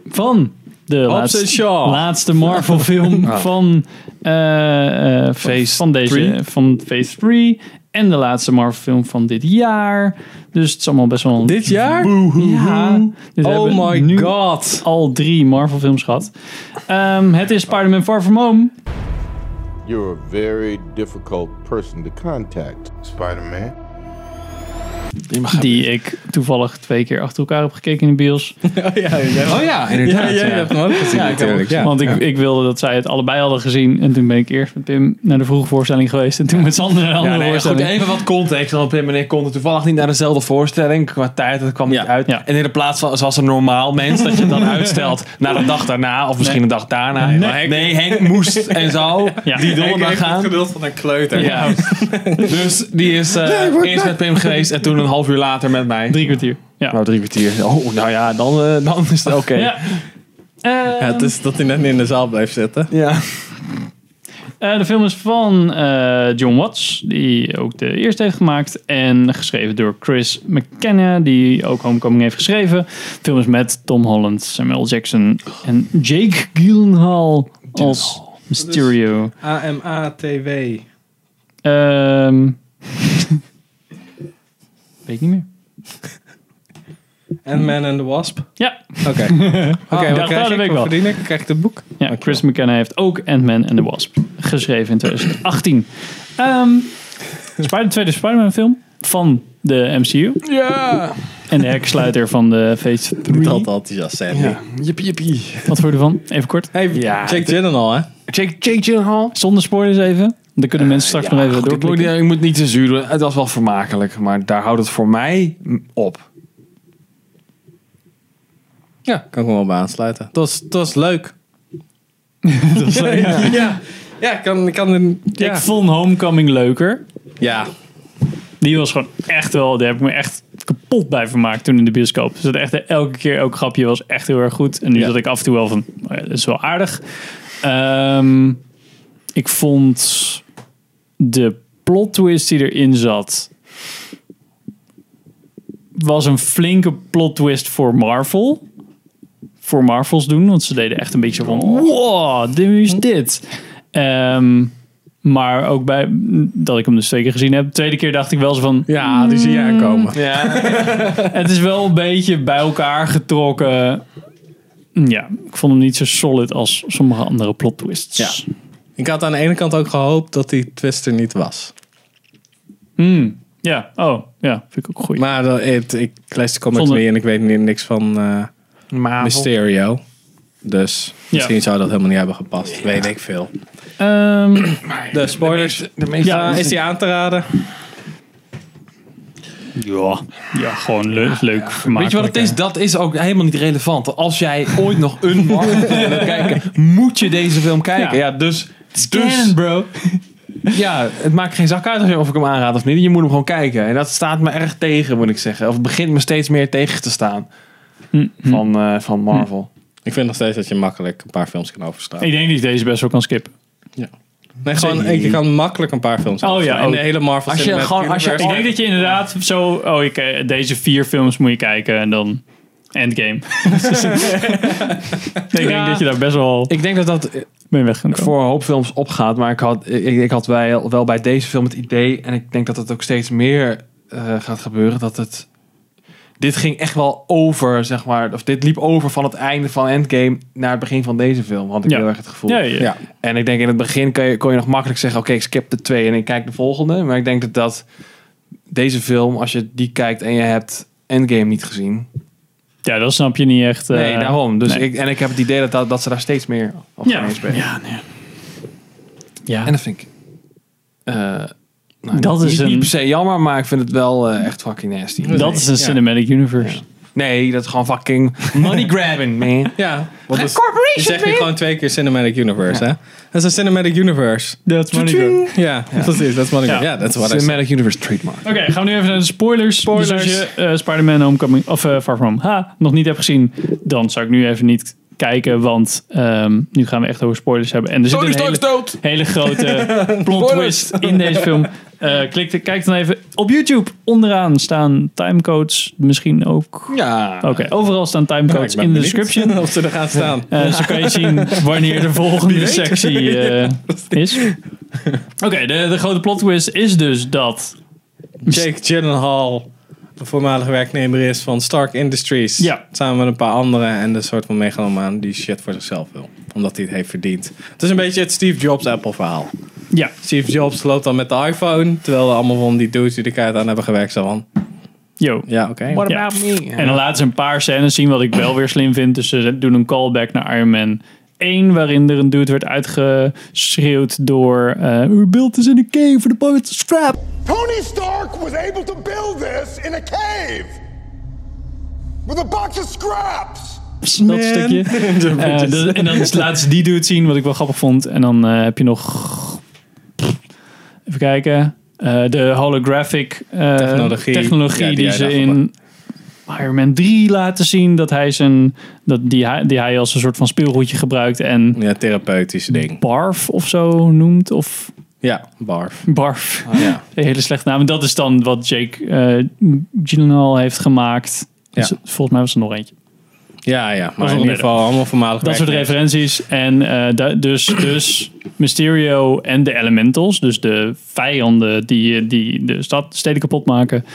Speaker 2: van de laatste,
Speaker 3: Shaw.
Speaker 2: laatste Marvel film van, eh, eh, van,
Speaker 1: Phase
Speaker 2: van deze
Speaker 1: three.
Speaker 2: van Phase 3 en de laatste Marvel film van dit jaar. Dus het is allemaal best wel een
Speaker 3: Dit jaar?
Speaker 2: ja. Dit Dus hebben
Speaker 3: Oh my
Speaker 2: nu
Speaker 3: god.
Speaker 2: Al drie Marvel films gehad. Ehm, het is Spider-Man Far From Home.
Speaker 10: You're a very difficult person to contact. Spider Man.
Speaker 2: Die ik toevallig twee keer achter elkaar heb gekeken in de bios.
Speaker 3: Oh ja,
Speaker 1: Oh ja, inderdaad.
Speaker 3: jij
Speaker 1: ja.
Speaker 3: hebt hem ook gezien natuurlijk. Ja.
Speaker 2: Want ik, ik wilde dat zij het allebei hadden gezien. En toen ben ik eerst met Pim naar de vroege voorstelling geweest. En toen met Sander naar de andere
Speaker 1: Ja, nee, goed,
Speaker 2: voorstelling.
Speaker 1: even wat context. Want Pim en ik konden toevallig niet naar dezelfde voorstelling. Qua tijd, dat kwam
Speaker 3: Ja,
Speaker 1: niet uit.
Speaker 2: ja.
Speaker 1: En in de plaats van, zoals een normaal mens, dat je het dan uitstelt naar de dag daarna. Of misschien een dag daarna. Nee, Henk, moest en zo.
Speaker 2: Ja.
Speaker 1: Die
Speaker 2: Henk
Speaker 1: donderdag gaan.
Speaker 3: geduld van een kleuter.
Speaker 1: Ja. dus die is eh, eerst met Pim geweest en toen een half uur later met mij.
Speaker 2: Drie kwartier. Ja.
Speaker 1: Nou, drie kwartier. Oh, nou ja, dan, eh, dan is het oké.
Speaker 2: ja. Eh,
Speaker 3: het is dat hij net niet in de zaal blijft zitten.
Speaker 1: Ja.
Speaker 2: eh, de film is van eh, John Watts, die ook de eerste heeft gemaakt. En geschreven door Chris McKenna, die ook Homecoming heeft geschreven. De film is met Tom Holland, Samuel L. Jackson en Jake Gyllenhaal als Mysterio.
Speaker 3: A-M-A-T-W.
Speaker 2: Ehm weet ik niet meer.
Speaker 3: En Man and the Wasp.
Speaker 2: Ja,
Speaker 3: Oké. Oké,
Speaker 2: ja,
Speaker 3: wat
Speaker 2: dat
Speaker 3: krijg
Speaker 2: weet ik
Speaker 3: ik?
Speaker 2: wel.
Speaker 3: Wat verdien ik? Krijg ik het boek?
Speaker 2: ja Chris McKenna heeft ook Ant-Man and the Wasp geschreven in 2018. Ehm Spider, tweede Spider-Man film van de MCU. Ja! En de heksluiter van de Phase 3.
Speaker 3: Niet altijd enthousiast, Sandy.
Speaker 1: Jippie, jippie.
Speaker 2: Wat vond je ervan? Even kort.
Speaker 3: Hey,
Speaker 1: Ja,
Speaker 3: Jake Gyllenhaal, hè?
Speaker 1: Jake, Jake Gyllenhaal.
Speaker 2: Zonder spoilers even. Dan kunnen mensen straks nog even
Speaker 1: Goed, ik, moet,
Speaker 2: doorklikken.
Speaker 1: ik moet niet te zuur doen. Het was wel vermakelijk, maar daar houdt het voor mij op.
Speaker 3: Ja, kan ik me wel bij aansluiten. Het was, het was leuk. Ja, ja. ja kan, kan een, ja.
Speaker 2: Ik vond Homecoming leuker.
Speaker 3: ja,
Speaker 2: Die was gewoon echt wel, daar heb ik me echt kapot bij vermaakt toen in de bioscoop. Dus dat echt elke keer, elk grapje was echt heel erg goed. En nu
Speaker 3: Ja.
Speaker 2: zat ik af en toe wel van, oh ja, dat is wel aardig. Ehm, ik vond de plot twist die erin zat, was een flinke plot twist voor Marvel. Voor Marvels doen, want ze deden echt een beetje van,
Speaker 3: Oh.
Speaker 2: wow, dit is dit. Ehm, maar ook bij dat ik hem dus twee keer gezien heb. De tweede keer dacht ik wel zo van,
Speaker 3: ja, die zie je aankomen.
Speaker 1: Ja.
Speaker 2: het is wel een beetje bij elkaar getrokken. Ja, ik vond hem niet zo solid als sommige andere plot twists.
Speaker 3: Ja. Ik had aan de ene kant ook gehoopt dat die twist er niet was.
Speaker 2: Ja, oh, ja, vind ik ook goed.
Speaker 3: Maar dat- het, ik lees de comics
Speaker 2: Zonder-
Speaker 3: niet en ik weet ni- niks van eh, Mysterio. Dus misschien zou dat helemaal niet hebben gepast. Weet ik veel.
Speaker 2: Ehm,
Speaker 3: De spoilers.
Speaker 1: De meeste
Speaker 2: Ja,
Speaker 3: is die aan te raden?
Speaker 2: ja, ja, gewoon leuk, leuk
Speaker 1: Weet je wat het is? Dat is ook helemaal niet relevant. Als jij ooit nog een Marvel film wil kijken, moet je deze film kijken.
Speaker 2: Ja.
Speaker 1: Ja, dus...
Speaker 2: Dus,
Speaker 1: Dus,
Speaker 2: bro.
Speaker 1: ja, het maakt geen zak uit of je- of ik hem aanraad of niet. Je moet hem gewoon kijken. En dat staat me erg tegen, moet ik zeggen. Of het begint me steeds meer tegen te staan. Van, eh, van Marvel.
Speaker 3: Ik vind nog steeds dat je makkelijk een paar films kan overstaan.
Speaker 2: Ik denk dat ik deze best wel kan skippen.
Speaker 3: Nee, gewoon, ik- je kan makkelijk een paar films
Speaker 2: Oh ja,
Speaker 3: overslaan.
Speaker 2: ook.
Speaker 3: En de hele Marvel
Speaker 1: Als je
Speaker 3: Cinematic
Speaker 1: gewoon- als je-
Speaker 2: Ik
Speaker 3: Universe-
Speaker 2: denk dat je inderdaad zo... Oh, ik, eh, deze vier films moet je kijken en dan Endgame. ik denk dat je daar best wel
Speaker 1: Ik denk dat dat
Speaker 2: mee weg kan komen.
Speaker 1: voor een hoop films opgaat. Maar ik had, ik, ik had wel, wel bij deze film het idee. En ik denk dat het ook steeds meer eh, gaat gebeuren. Dat het. Dit ging echt wel over, zeg maar. Of dit liep over van het einde van Endgame naar het begin van deze film. Had ik
Speaker 2: Ja.
Speaker 1: heel erg het gevoel.
Speaker 2: Ja, ja.
Speaker 3: Ja.
Speaker 1: En ik denk in het begin kon je, kon je nog makkelijk zeggen: Oké, ik skip de twee en ik kijk de volgende. Maar ik denk dat, dat deze film, als je die kijkt en je hebt Endgame niet gezien.
Speaker 2: ja, dat snap je niet echt. eh,
Speaker 1: nee, daarom. Dus
Speaker 2: nee.
Speaker 1: Ik, en ik heb het idee dat, dat, dat ze daar steeds meer op gaan
Speaker 2: Ja,
Speaker 1: inspelen.
Speaker 2: ja, nee. ja.
Speaker 1: En dat vind ik. eh, nou,
Speaker 2: Dat
Speaker 1: niet-
Speaker 2: is
Speaker 1: niet
Speaker 2: een-
Speaker 1: per se jammer, maar ik vind het wel eh, echt fucking nasty.
Speaker 2: dat is een cinematic universe.
Speaker 1: Nee, dat is gewoon fucking money grabbing, man.
Speaker 3: Ja, want dat
Speaker 1: Corporation,
Speaker 3: zeg je
Speaker 1: man.
Speaker 3: gewoon twee keer Cinematic Universe, hè? Dat is een Cinematic Universe.
Speaker 2: Dat money grab.
Speaker 3: Ja, precies. Dat is wat ik Ja, dat is wat ik
Speaker 1: Cinematic Universe trademark.
Speaker 2: Oké, gaan we nu even naar de spoilers.
Speaker 3: Spoilers.
Speaker 2: Dus als je eh, Spider-Man Homecoming of eh, Far From Home ha, nog niet hebt gezien, dan zou ik nu even niet kijken, want ehm, nu gaan we echt over spoilers hebben. En er zit een hele,
Speaker 1: dood!
Speaker 2: hele grote plot twist in deze film. Eh, klik, kijk dan even op YouTube. Onderaan staan timecodes, misschien ook.
Speaker 1: Ja.
Speaker 2: Oké, overal staan timecodes in de description.
Speaker 3: Of ze er gaat staan.
Speaker 2: Eh, zo kan je zien wanneer de volgende sectie eh, is. Oké, de, de grote plot twist is dus dat...
Speaker 3: Jake Gyllenhaal, de voormalige werknemer is van Stark Industries.
Speaker 2: Ja.
Speaker 3: Samen met een paar anderen en de soort van megalomaan die shit voor zichzelf wil. Omdat hij het heeft verdiend. Het is een beetje het Steve Jobs Apple verhaal.
Speaker 2: Ja,
Speaker 3: Steve Jobs loopt dan met de iPhone, terwijl er allemaal van die dudes die de kaart aan hebben gewerkt zijn van.
Speaker 2: yo.
Speaker 3: Ja, oké.
Speaker 2: Ja. En dan laten ze een paar scènes zien wat ik wel weer slim vind. Dus ze doen een callback naar Iron Man 1, waarin er een dude werd uitgeschreeuwd door... eh Uw beeld is in een cave voor de pocket scrap.
Speaker 4: Tony Stark was able to build this in a cave with a box of scraps.
Speaker 2: Dat stukje. Eh, dat- en dan is- laten ze die dude zien, wat ik wel grappig vond. En dan eh, heb je nog... Even kijken. Eh, de holographic eh,
Speaker 3: Technologie.
Speaker 2: technologie
Speaker 3: Ja, die
Speaker 2: die,
Speaker 3: jij
Speaker 2: ze
Speaker 3: daarvan
Speaker 2: in Iron Man 3 laten zien. Dat hij zijn, dat die, hij- die hij als een soort van speelgoedje gebruikt. En
Speaker 3: Ja, therapeutisch ding.
Speaker 2: barf of zo noemt. Of
Speaker 3: Ja, barf.
Speaker 2: barf.
Speaker 3: Ja.
Speaker 2: Een hele slechte naam. En dat is dan wat Jake eh Gyllenhaal heeft gemaakt. Dus
Speaker 3: Ja.
Speaker 2: volgens mij was er nog eentje.
Speaker 3: Ja, ja. Maar
Speaker 2: is
Speaker 3: in
Speaker 2: wel
Speaker 3: ieder geval allemaal voormalig
Speaker 2: Dat soort referenties. En eh, da- dus, dus Mysterio en de Elementals, dus de vijanden die, eh, die de stad, steden kapot maken,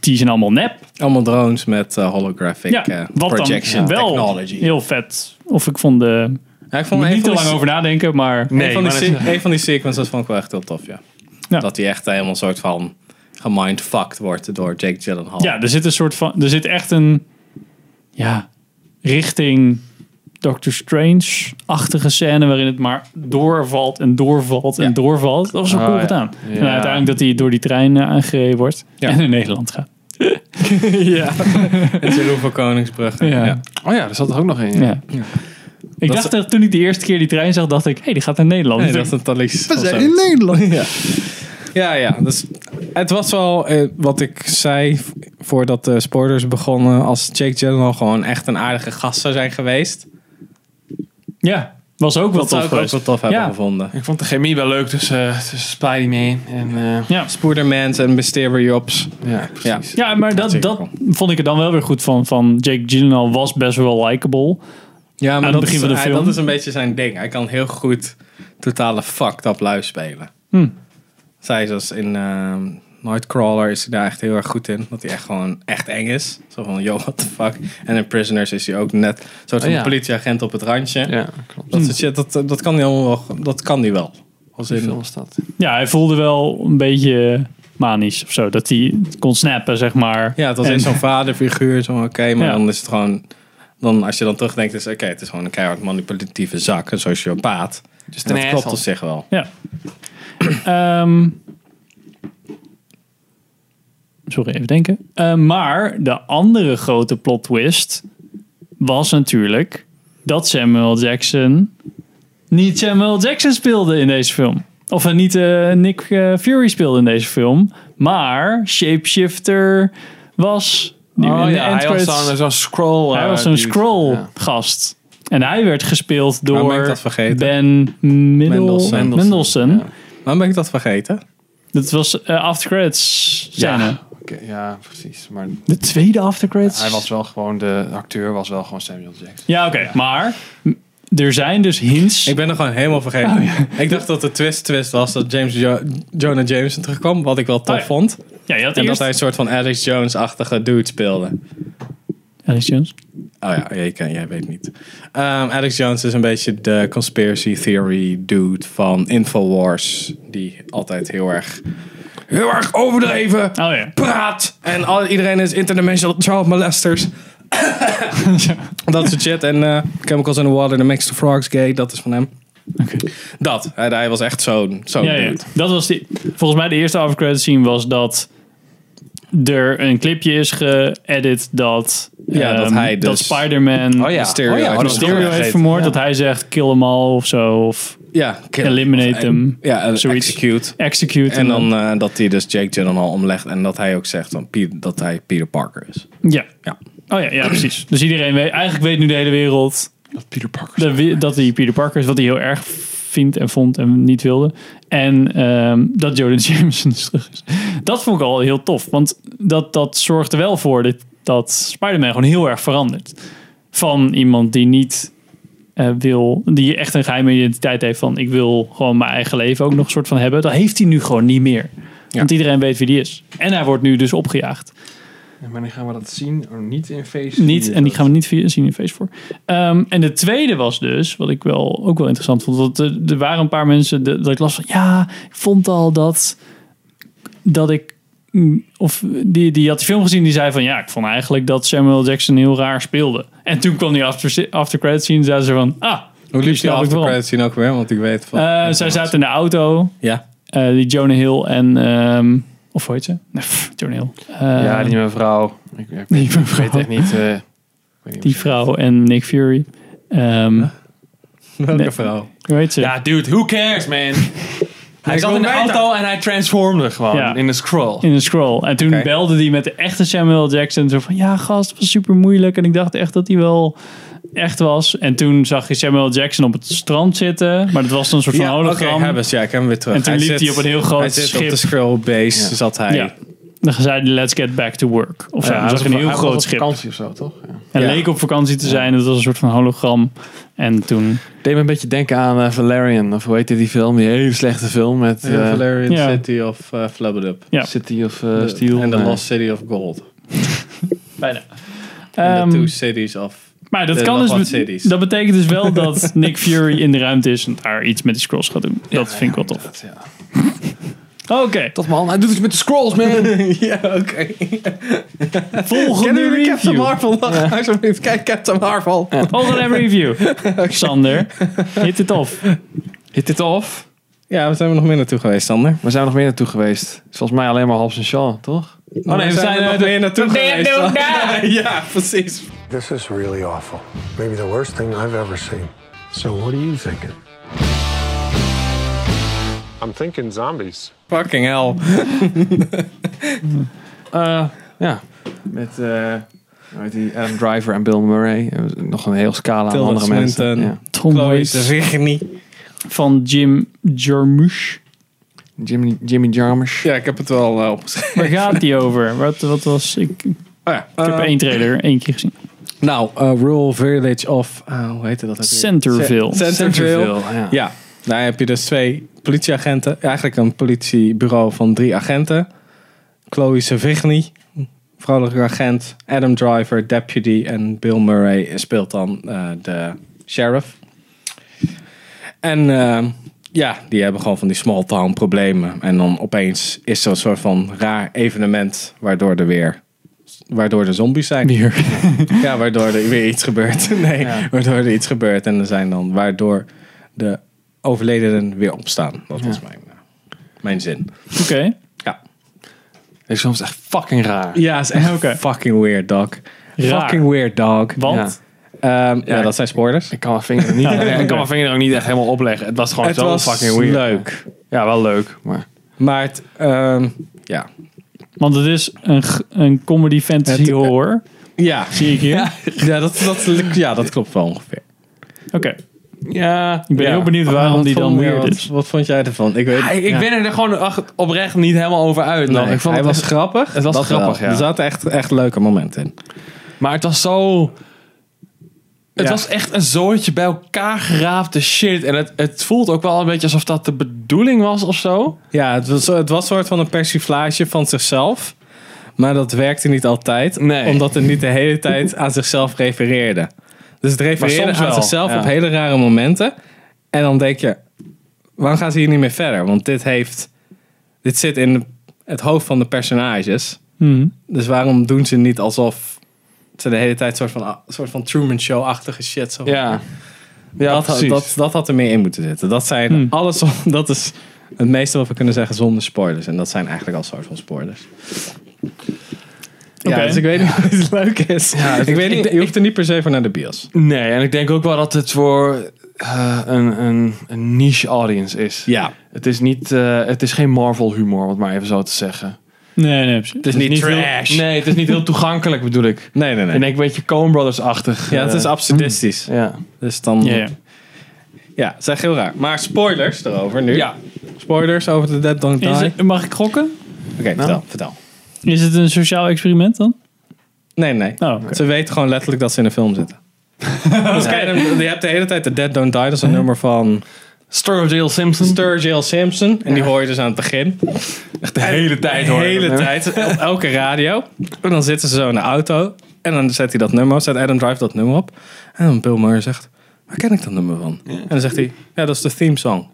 Speaker 2: die zijn allemaal nep.
Speaker 3: Allemaal drones met eh, holographic
Speaker 2: Ja,
Speaker 3: eh,
Speaker 2: wat dan
Speaker 3: projection
Speaker 2: wel
Speaker 3: technology.
Speaker 2: heel vet. Of ik vond de...
Speaker 3: Ja, ik vond
Speaker 2: moet
Speaker 3: een
Speaker 2: niet te
Speaker 3: van
Speaker 2: lang
Speaker 3: die-
Speaker 2: over nadenken, maar...
Speaker 3: Een
Speaker 1: Nee,
Speaker 3: van,
Speaker 1: maar
Speaker 3: die
Speaker 1: dat
Speaker 3: se-
Speaker 1: is-
Speaker 3: een van die sequences vond ik wel echt heel tof, ja.
Speaker 2: Ja.
Speaker 3: Dat hij echt helemaal soort van gemindfucked wordt door Jake Gyllenhaal.
Speaker 2: Ja, er zit een soort van... Er zit echt een... Ja, richting Doctor Strange-achtige scène... waarin het maar doorvalt en doorvalt en
Speaker 3: Ja.
Speaker 2: doorvalt. Dat was wel
Speaker 1: Ah,
Speaker 2: cool
Speaker 1: ja.
Speaker 2: gedaan. En
Speaker 1: Ja.
Speaker 2: uiteindelijk dat hij door die trein eh, aangereden wordt... en naar Nederland gaat.
Speaker 3: En Jeroen van Koningsbrug.
Speaker 2: Ja.
Speaker 3: Ja.
Speaker 1: Oh ja, er zat er ook nog in.
Speaker 2: Ja. Ik dacht dat toen ik de eerste keer die trein zag, dacht ik, hé, hey, die gaat naar Nederland.
Speaker 3: Nee,
Speaker 2: Dus
Speaker 3: dat is
Speaker 2: ik-
Speaker 3: een Thalys. of zo.
Speaker 1: in Nederland. Ja.
Speaker 3: Ja, ja. Dus het was wel eh, wat ik zei v- voordat de spoilers begonnen. Als Jake Gyllenhaal gewoon echt een aardige gast zou zijn geweest.
Speaker 2: ja, was ook wel
Speaker 3: Dat zou
Speaker 2: tof
Speaker 3: ik ook
Speaker 2: geweest.
Speaker 3: wel tof hebben
Speaker 2: Ja.
Speaker 3: gevonden.
Speaker 1: Ik vond de chemie wel leuk tussen, eh, tussen Spider-Man en... eh,
Speaker 2: Ja.
Speaker 3: Spoedermans en Mysteriops.
Speaker 1: ja,
Speaker 3: Ja.
Speaker 1: precies.
Speaker 2: ja, maar dat,
Speaker 3: zeker
Speaker 2: dat vond ik er dan wel weer goed van. van Jake Gyllenhaal was best wel
Speaker 3: Ja,
Speaker 2: likable. Aan
Speaker 3: maar
Speaker 2: het
Speaker 3: Ah, dat,
Speaker 2: begin
Speaker 3: is,
Speaker 2: van de
Speaker 3: hij-
Speaker 2: film.
Speaker 3: dat is een beetje zijn ding. Hij kan heel goed totale fucked up lui spelen. Zij is als in ehm, Nightcrawler is hij daar echt heel erg goed in. Dat hij echt gewoon echt eng is. Zo van, yo, what the fuck. En in Prisoners is hij ook net een soort van
Speaker 1: ja.
Speaker 3: politieagent op het randje.
Speaker 1: Ja, klopt.
Speaker 2: Hmm.
Speaker 3: Dat, soort shit, dat, dat kan hij allemaal wel. Dat kan hij wel. Als
Speaker 1: Die
Speaker 3: in-
Speaker 1: film is dat.
Speaker 2: Ja, hij voelde wel een beetje manisch of zo. Dat hij kon snappen, zeg maar.
Speaker 3: ja, het was
Speaker 2: En-
Speaker 3: echt zo'n vaderfiguur. Zo, oké, maar
Speaker 2: Ja.
Speaker 3: dan is het gewoon... Dan, als je dan terugdenkt, is oké, het is gewoon een keihard manipulatieve zak. Een sociopaat. Dus dat
Speaker 1: een
Speaker 3: klopt
Speaker 1: asshole.
Speaker 3: op zich wel.
Speaker 2: Ja. Ehm, sorry, even denken. Eh, maar de andere grote plot twist was natuurlijk dat Samuel Jackson niet Samuel Jackson speelde in deze film. Of eh, niet eh, Nick eh, Fury speelde in deze film. Maar Shapeshifter was... die in
Speaker 1: Oh
Speaker 2: de
Speaker 1: ja,
Speaker 2: end
Speaker 1: hij was
Speaker 2: credits-
Speaker 1: zo'n zo'n scroll.
Speaker 2: hij
Speaker 1: eh,
Speaker 2: was zo'n
Speaker 1: dude.
Speaker 2: scroll
Speaker 1: Ja.
Speaker 2: gast. En hij werd gespeeld
Speaker 3: Waarom ben ik
Speaker 2: door
Speaker 3: dat vergeten?
Speaker 2: Ben
Speaker 3: Mendelsohn.
Speaker 2: Mendelsohn. Mendelsohn.
Speaker 3: Waarom ben ik dat vergeten?
Speaker 2: Dat was eh, after credits scène.
Speaker 1: Ja. Oké, ja, precies. Maar
Speaker 2: De tweede after credits?
Speaker 1: hij was wel gewoon, de acteur was wel gewoon Samuel Jackson.
Speaker 2: Ja, oké. Maar m- er zijn dus hints.
Speaker 3: Ik ben er gewoon helemaal vergeten.
Speaker 2: Oh,
Speaker 3: Ik dacht dat de twist twist was dat James Jo- Jonah Jameson terugkwam, wat ik wel tof
Speaker 2: Oh ja.
Speaker 3: vond.
Speaker 2: ja, je had
Speaker 3: En dat
Speaker 2: eerst...
Speaker 3: hij een soort van Alex Jones-achtige dude speelde.
Speaker 2: Alex Jones.
Speaker 3: Oh ja, jij, kan, jij weet niet. Ehm, Alex Jones is een beetje de conspiracy theory dude van Infowars. Die altijd heel erg, heel erg overdreven
Speaker 2: Oh ja.
Speaker 3: praat. En al, iedereen is interdimensional child molesters. dat soort shit. En eh, Chemicals in the Water, The Mixed Frogs Gay, dat is van hem. Dat, hij, hij was echt zo'n zo'n
Speaker 2: Ja, ja.
Speaker 3: dude.
Speaker 2: Dat was die... Volgens mij de eerste after credits scene was dat er een clipje is geëdit dat,
Speaker 3: Ja, dat
Speaker 2: ehm,
Speaker 3: hij
Speaker 2: dat
Speaker 3: dus-
Speaker 2: Spider-Man
Speaker 1: Oh ja.
Speaker 3: Mysterio
Speaker 1: oh ja,
Speaker 3: uit Mysterio
Speaker 1: oh, dat is
Speaker 2: Mysterio
Speaker 1: waar.
Speaker 2: heeft
Speaker 3: vergeten.
Speaker 2: vermoord.
Speaker 1: Ja.
Speaker 2: Dat hij zegt, kill them all of zo. Of
Speaker 3: Ja, kill.
Speaker 2: eliminate them.
Speaker 3: Ja, eh,
Speaker 2: Zoiets.
Speaker 3: execute.
Speaker 2: execute.
Speaker 3: En dan eh, dat hij dus Jake Gyllenhaal omlegt en dat hij ook zegt dan, Piet- dat hij Peter Parker is.
Speaker 2: Ja.
Speaker 3: Ja.
Speaker 2: Oh ja, ja, precies. Dus iedereen weet, eigenlijk weet nu de hele wereld
Speaker 1: Dat Peter Parker.
Speaker 2: de wi- dat hij Peter Parker is, wat hij heel erg vindt en vond en niet wilde. En ehm, dat Jordan Jameson dus terug is. Dat vond ik al heel tof, want dat, dat zorgt er wel voor dat, dat Spider-Man gewoon heel erg verandert. Van iemand die niet eh, wil, die echt een geheime identiteit heeft van ik wil gewoon mijn eigen leven ook nog een soort van hebben. Dat heeft hij nu gewoon niet meer. Want iedereen weet wie die is. En hij wordt nu dus opgejaagd.
Speaker 1: Maar dan gaan we dat zien. Oh, niet in feest.
Speaker 2: Niet, en die gaan we niet via, zien in Facebook. Ehm, en de tweede was dus, wat ik wel, ook wel interessant vond, dat er, er waren een paar mensen de- dat ik las van, ja, ik vond al dat, dat ik, mm, of die, die had de film gezien, die zei van, ja, ik vond eigenlijk dat Samuel Jackson heel raar speelde. En toen kwam die after, after credits scene, zeiden ze van, ah,
Speaker 3: Hoe liep die
Speaker 2: snap ik
Speaker 3: after
Speaker 2: waarom.
Speaker 3: credits zien ook weer? Want ik weet van...
Speaker 2: Eh, zij zaten in de auto,
Speaker 3: ja.
Speaker 2: eh, die Jonah Hill en, ehm, of hoe heet ze? Nee, pff, Jonah Hill. Eh,
Speaker 1: Ja, die mevrouw. Ik, ik,
Speaker 2: die
Speaker 1: ik
Speaker 2: mevrouw.
Speaker 1: weet echt niet. eh, ik weet niet
Speaker 2: die vrouw en Nick Fury. Ehm,
Speaker 3: Welke
Speaker 2: Nee.
Speaker 3: vrouw?
Speaker 2: Hoe heet ze?
Speaker 1: Ja, dude, who cares, man? hij zat
Speaker 3: wil
Speaker 1: in de
Speaker 3: mij
Speaker 1: auto en hij transformde gewoon
Speaker 2: Ja.
Speaker 1: in een scroll.
Speaker 2: in een scroll. En toen
Speaker 3: Oké.
Speaker 2: belde hij met de echte Samuel Jackson. Zo van, ja gast, het was super moeilijk. En ik dacht echt dat hij wel echt was. En toen zag je Samuel Jackson op het strand zitten. Maar dat was dan een soort van
Speaker 3: Ja, oké,
Speaker 2: hologram.
Speaker 3: hebben ze. Ja, ik heb hem weer terug.
Speaker 2: En toen liep hij op een heel groot
Speaker 3: hij zit
Speaker 2: schip.
Speaker 3: op de Skrull base,
Speaker 1: Ja.
Speaker 3: zat hij.
Speaker 2: ja. Dan zei hij, let's get back to work. Of zo.
Speaker 1: Ja,
Speaker 2: dan zag je een heel
Speaker 1: hij was op
Speaker 2: groot schip.
Speaker 1: vakantie of zo, toch? Ja.
Speaker 2: En
Speaker 3: Ja.
Speaker 2: leek op vakantie te zijn. Het was een soort van hologram. En toen...
Speaker 1: Deed me een beetje denken aan eh, Valerian. Of hoe heette die film? Die hele slechte film met eh,
Speaker 3: Ja, Valerian
Speaker 2: Ja.
Speaker 3: City of uh, Flabbed Up.
Speaker 2: Ja,
Speaker 1: City of eh, Steel.
Speaker 3: En The
Speaker 1: Nee.
Speaker 3: Lost City of Gold.
Speaker 2: bijna.
Speaker 3: En the
Speaker 2: Ehm,
Speaker 3: Two Cities of...
Speaker 2: Maar dat,
Speaker 3: Er
Speaker 2: kan
Speaker 3: nog wat
Speaker 2: dus, be-
Speaker 3: series.
Speaker 2: dat betekent dus wel dat Nick Fury in de ruimte is en daar iets met de scrolls gaat doen. dat vind ik wel tof.
Speaker 1: Dat, ja.
Speaker 2: Oké,
Speaker 1: Tot man, hij doet iets met de scrolls, man.
Speaker 3: ja, oké.
Speaker 2: volgende review.
Speaker 3: Marvel? Ja. Alsjeblieft, kijk Captain Marvel.
Speaker 2: Volgende review. Sander, hit het off.
Speaker 1: Hit dit off.
Speaker 3: Ja, we zijn er nog meer naartoe geweest, Sander.
Speaker 1: We zijn nog meer naartoe geweest. Is Volgens mij alleen maar Hobbs en Shaw, toch?
Speaker 3: Oh nee, we zijn
Speaker 1: eh,
Speaker 3: er nog meer naartoe geweest. Sander. Ja, precies.
Speaker 4: This is really awful. Maybe the worst thing I've ever seen. So, what are you thinking? I'm thinking zombies.
Speaker 3: Fucking hell.
Speaker 1: Eh, ja. Met eh, hoe heet die Adam Driver en Bill Murray. En Nog een heel scala aan
Speaker 3: Tilda
Speaker 1: andere mensen.
Speaker 3: Swinton.
Speaker 1: Ja.
Speaker 2: Tom
Speaker 3: Chloe
Speaker 2: Waits
Speaker 3: Sevigny.
Speaker 2: van Jim Jarmusch.
Speaker 1: Jimmy, Jimmy Jarmusch.
Speaker 3: Ja, ik heb het wel eh, opgeschreven.
Speaker 2: Waar gaat die over? Wat, wat was... Ik, ik
Speaker 3: Oh ja,
Speaker 2: heb
Speaker 3: eh,
Speaker 2: één trailer één keer gezien.
Speaker 3: Nou, eh, Rural Village of... eh, hoe heette dat? ook weer?
Speaker 2: Centerville.
Speaker 3: Cent- Centerville.
Speaker 1: Ja.
Speaker 3: Ja, daar heb je dus twee politieagenten. Eigenlijk een politiebureau van drie agenten. Chloe Sevigny, vrouwelijke agent. Adam Driver, deputy. En Bill Murray speelt dan eh, de sheriff. En eh, ja, die hebben gewoon van die small town problemen. En dan opeens is er een soort van raar evenement... waardoor er weer... Waardoor er zombies zijn. Ja, waardoor er weer iets gebeurt. Nee, waardoor er iets gebeurt. En er zijn dan, waardoor de overledenen weer opstaan. Dat was mijn, eh, mijn zin.
Speaker 2: Oké.
Speaker 3: Ja.
Speaker 1: Ik soms echt fucking raar.
Speaker 3: Ja, is echt fucking weird, dog.
Speaker 2: Raar.
Speaker 3: Fucking weird, dog.
Speaker 2: Want?
Speaker 3: Ehm, ja, dat zijn spoilers.
Speaker 1: Ik kan mijn vinger, niet, ik kan mijn vinger ook niet echt helemaal opleggen. Het was gewoon
Speaker 3: Het
Speaker 1: zo
Speaker 3: was
Speaker 1: fucking weird.
Speaker 3: leuk.
Speaker 1: Ja, wel leuk. Maar
Speaker 3: Maar het, ehm, ja.
Speaker 2: Want het is een, g- een comedy fantasy
Speaker 3: Het-
Speaker 2: horror.
Speaker 3: Ja,
Speaker 2: Zie ik hier.
Speaker 3: ja, dat, dat, ja, dat klopt wel ongeveer.
Speaker 2: Oké.
Speaker 1: ja,
Speaker 2: Ik ben heel benieuwd waarom
Speaker 3: Wat
Speaker 2: die dan
Speaker 3: vond- ja,
Speaker 2: weird
Speaker 3: wat-
Speaker 2: is.
Speaker 3: Wat vond jij ervan? Ik weet
Speaker 1: ik
Speaker 3: ja.
Speaker 1: ben er gewoon ach- oprecht niet helemaal over uit. nog.
Speaker 3: Nee,
Speaker 1: ik vond
Speaker 3: hij
Speaker 1: het
Speaker 3: was
Speaker 1: echt-
Speaker 3: grappig.
Speaker 1: het was
Speaker 3: dat
Speaker 1: grappig,
Speaker 3: wel.
Speaker 1: ja.
Speaker 3: Er zaten echt, echt leuke momenten in.
Speaker 1: Maar het was zo. Het
Speaker 3: Ja.
Speaker 1: was echt een zootje bij elkaar geraapte shit. En het, het voelt ook wel een beetje alsof dat de bedoeling was of zo.
Speaker 3: Ja, het was, het was een soort van een persiflage van zichzelf. Maar dat werkte niet altijd.
Speaker 1: Nee.
Speaker 3: Omdat het niet de hele tijd aan zichzelf refereerde. Dus het
Speaker 1: Maar
Speaker 3: refereerde
Speaker 1: soms
Speaker 3: aan
Speaker 1: wel,
Speaker 3: zichzelf
Speaker 1: ja.
Speaker 3: op hele rare momenten. En dan denk je, waarom gaan ze hier niet meer verder? Want dit heeft... Dit zit in het hoofd van de personages. Dus waarom doen ze niet alsof ze de hele tijd een soort van, soort van Truman Show-achtige shit... Zo
Speaker 1: Ja.
Speaker 3: dat,
Speaker 1: Ja,
Speaker 3: had-
Speaker 1: precies.
Speaker 3: dat, dat had er meer in moeten zitten. Dat zijn alles. Dat is het meeste wat we kunnen zeggen zonder spoilers. En dat zijn eigenlijk al soort van spoilers. Ja, dus ik weet niet of het leuk is. ik weet niet, je hoeft er niet per se voor naar de bios.
Speaker 1: Nee, en ik denk ook wel dat het voor eh, een, een, een niche audience is.
Speaker 3: Ja.
Speaker 1: Het is, niet, eh, het is geen Marvel humor, om het maar even zo te zeggen.
Speaker 2: Nee, nee, precies.
Speaker 3: Het is niet, trash.
Speaker 1: Heel, nee, het is niet heel toegankelijk, bedoel ik.
Speaker 3: nee, nee. nee.
Speaker 1: Ik denk een beetje Coen Brothers-achtig.
Speaker 3: ja, het
Speaker 1: eh,
Speaker 3: is absurdistisch.
Speaker 1: ja.
Speaker 3: Dus dan...
Speaker 2: Ja, ja.
Speaker 3: Ja, het is echt heel raar. Maar spoilers erover nu.
Speaker 1: Ja.
Speaker 3: Spoilers over The Dead Don't Die.
Speaker 2: Is
Speaker 3: Oké,
Speaker 2: het- mag ik gokken?
Speaker 3: vertel, vertel.
Speaker 2: Is het een sociaal experiment dan?
Speaker 3: Nee, nee.
Speaker 2: Oh, oké.
Speaker 3: Ze weten gewoon letterlijk dat ze in een film zitten. Dus Adam- je hebt de hele tijd The Dead Don't Die. Dat is een nummer van
Speaker 1: Sturgill Simpson.
Speaker 3: Sturgill Simpson. En die hoor je dus aan het begin.
Speaker 1: Echt de hele tijd
Speaker 3: De
Speaker 1: hoor.
Speaker 3: hele tijd. Op elke radio. En dan zitten ze zo in de auto. En dan zet hij dat nummer op. Zet Adam Drive dat nummer op. En dan Bill Murray zegt... Waar ken ik dat nummer van? En dan zegt hij... Ja, dat is de theme song.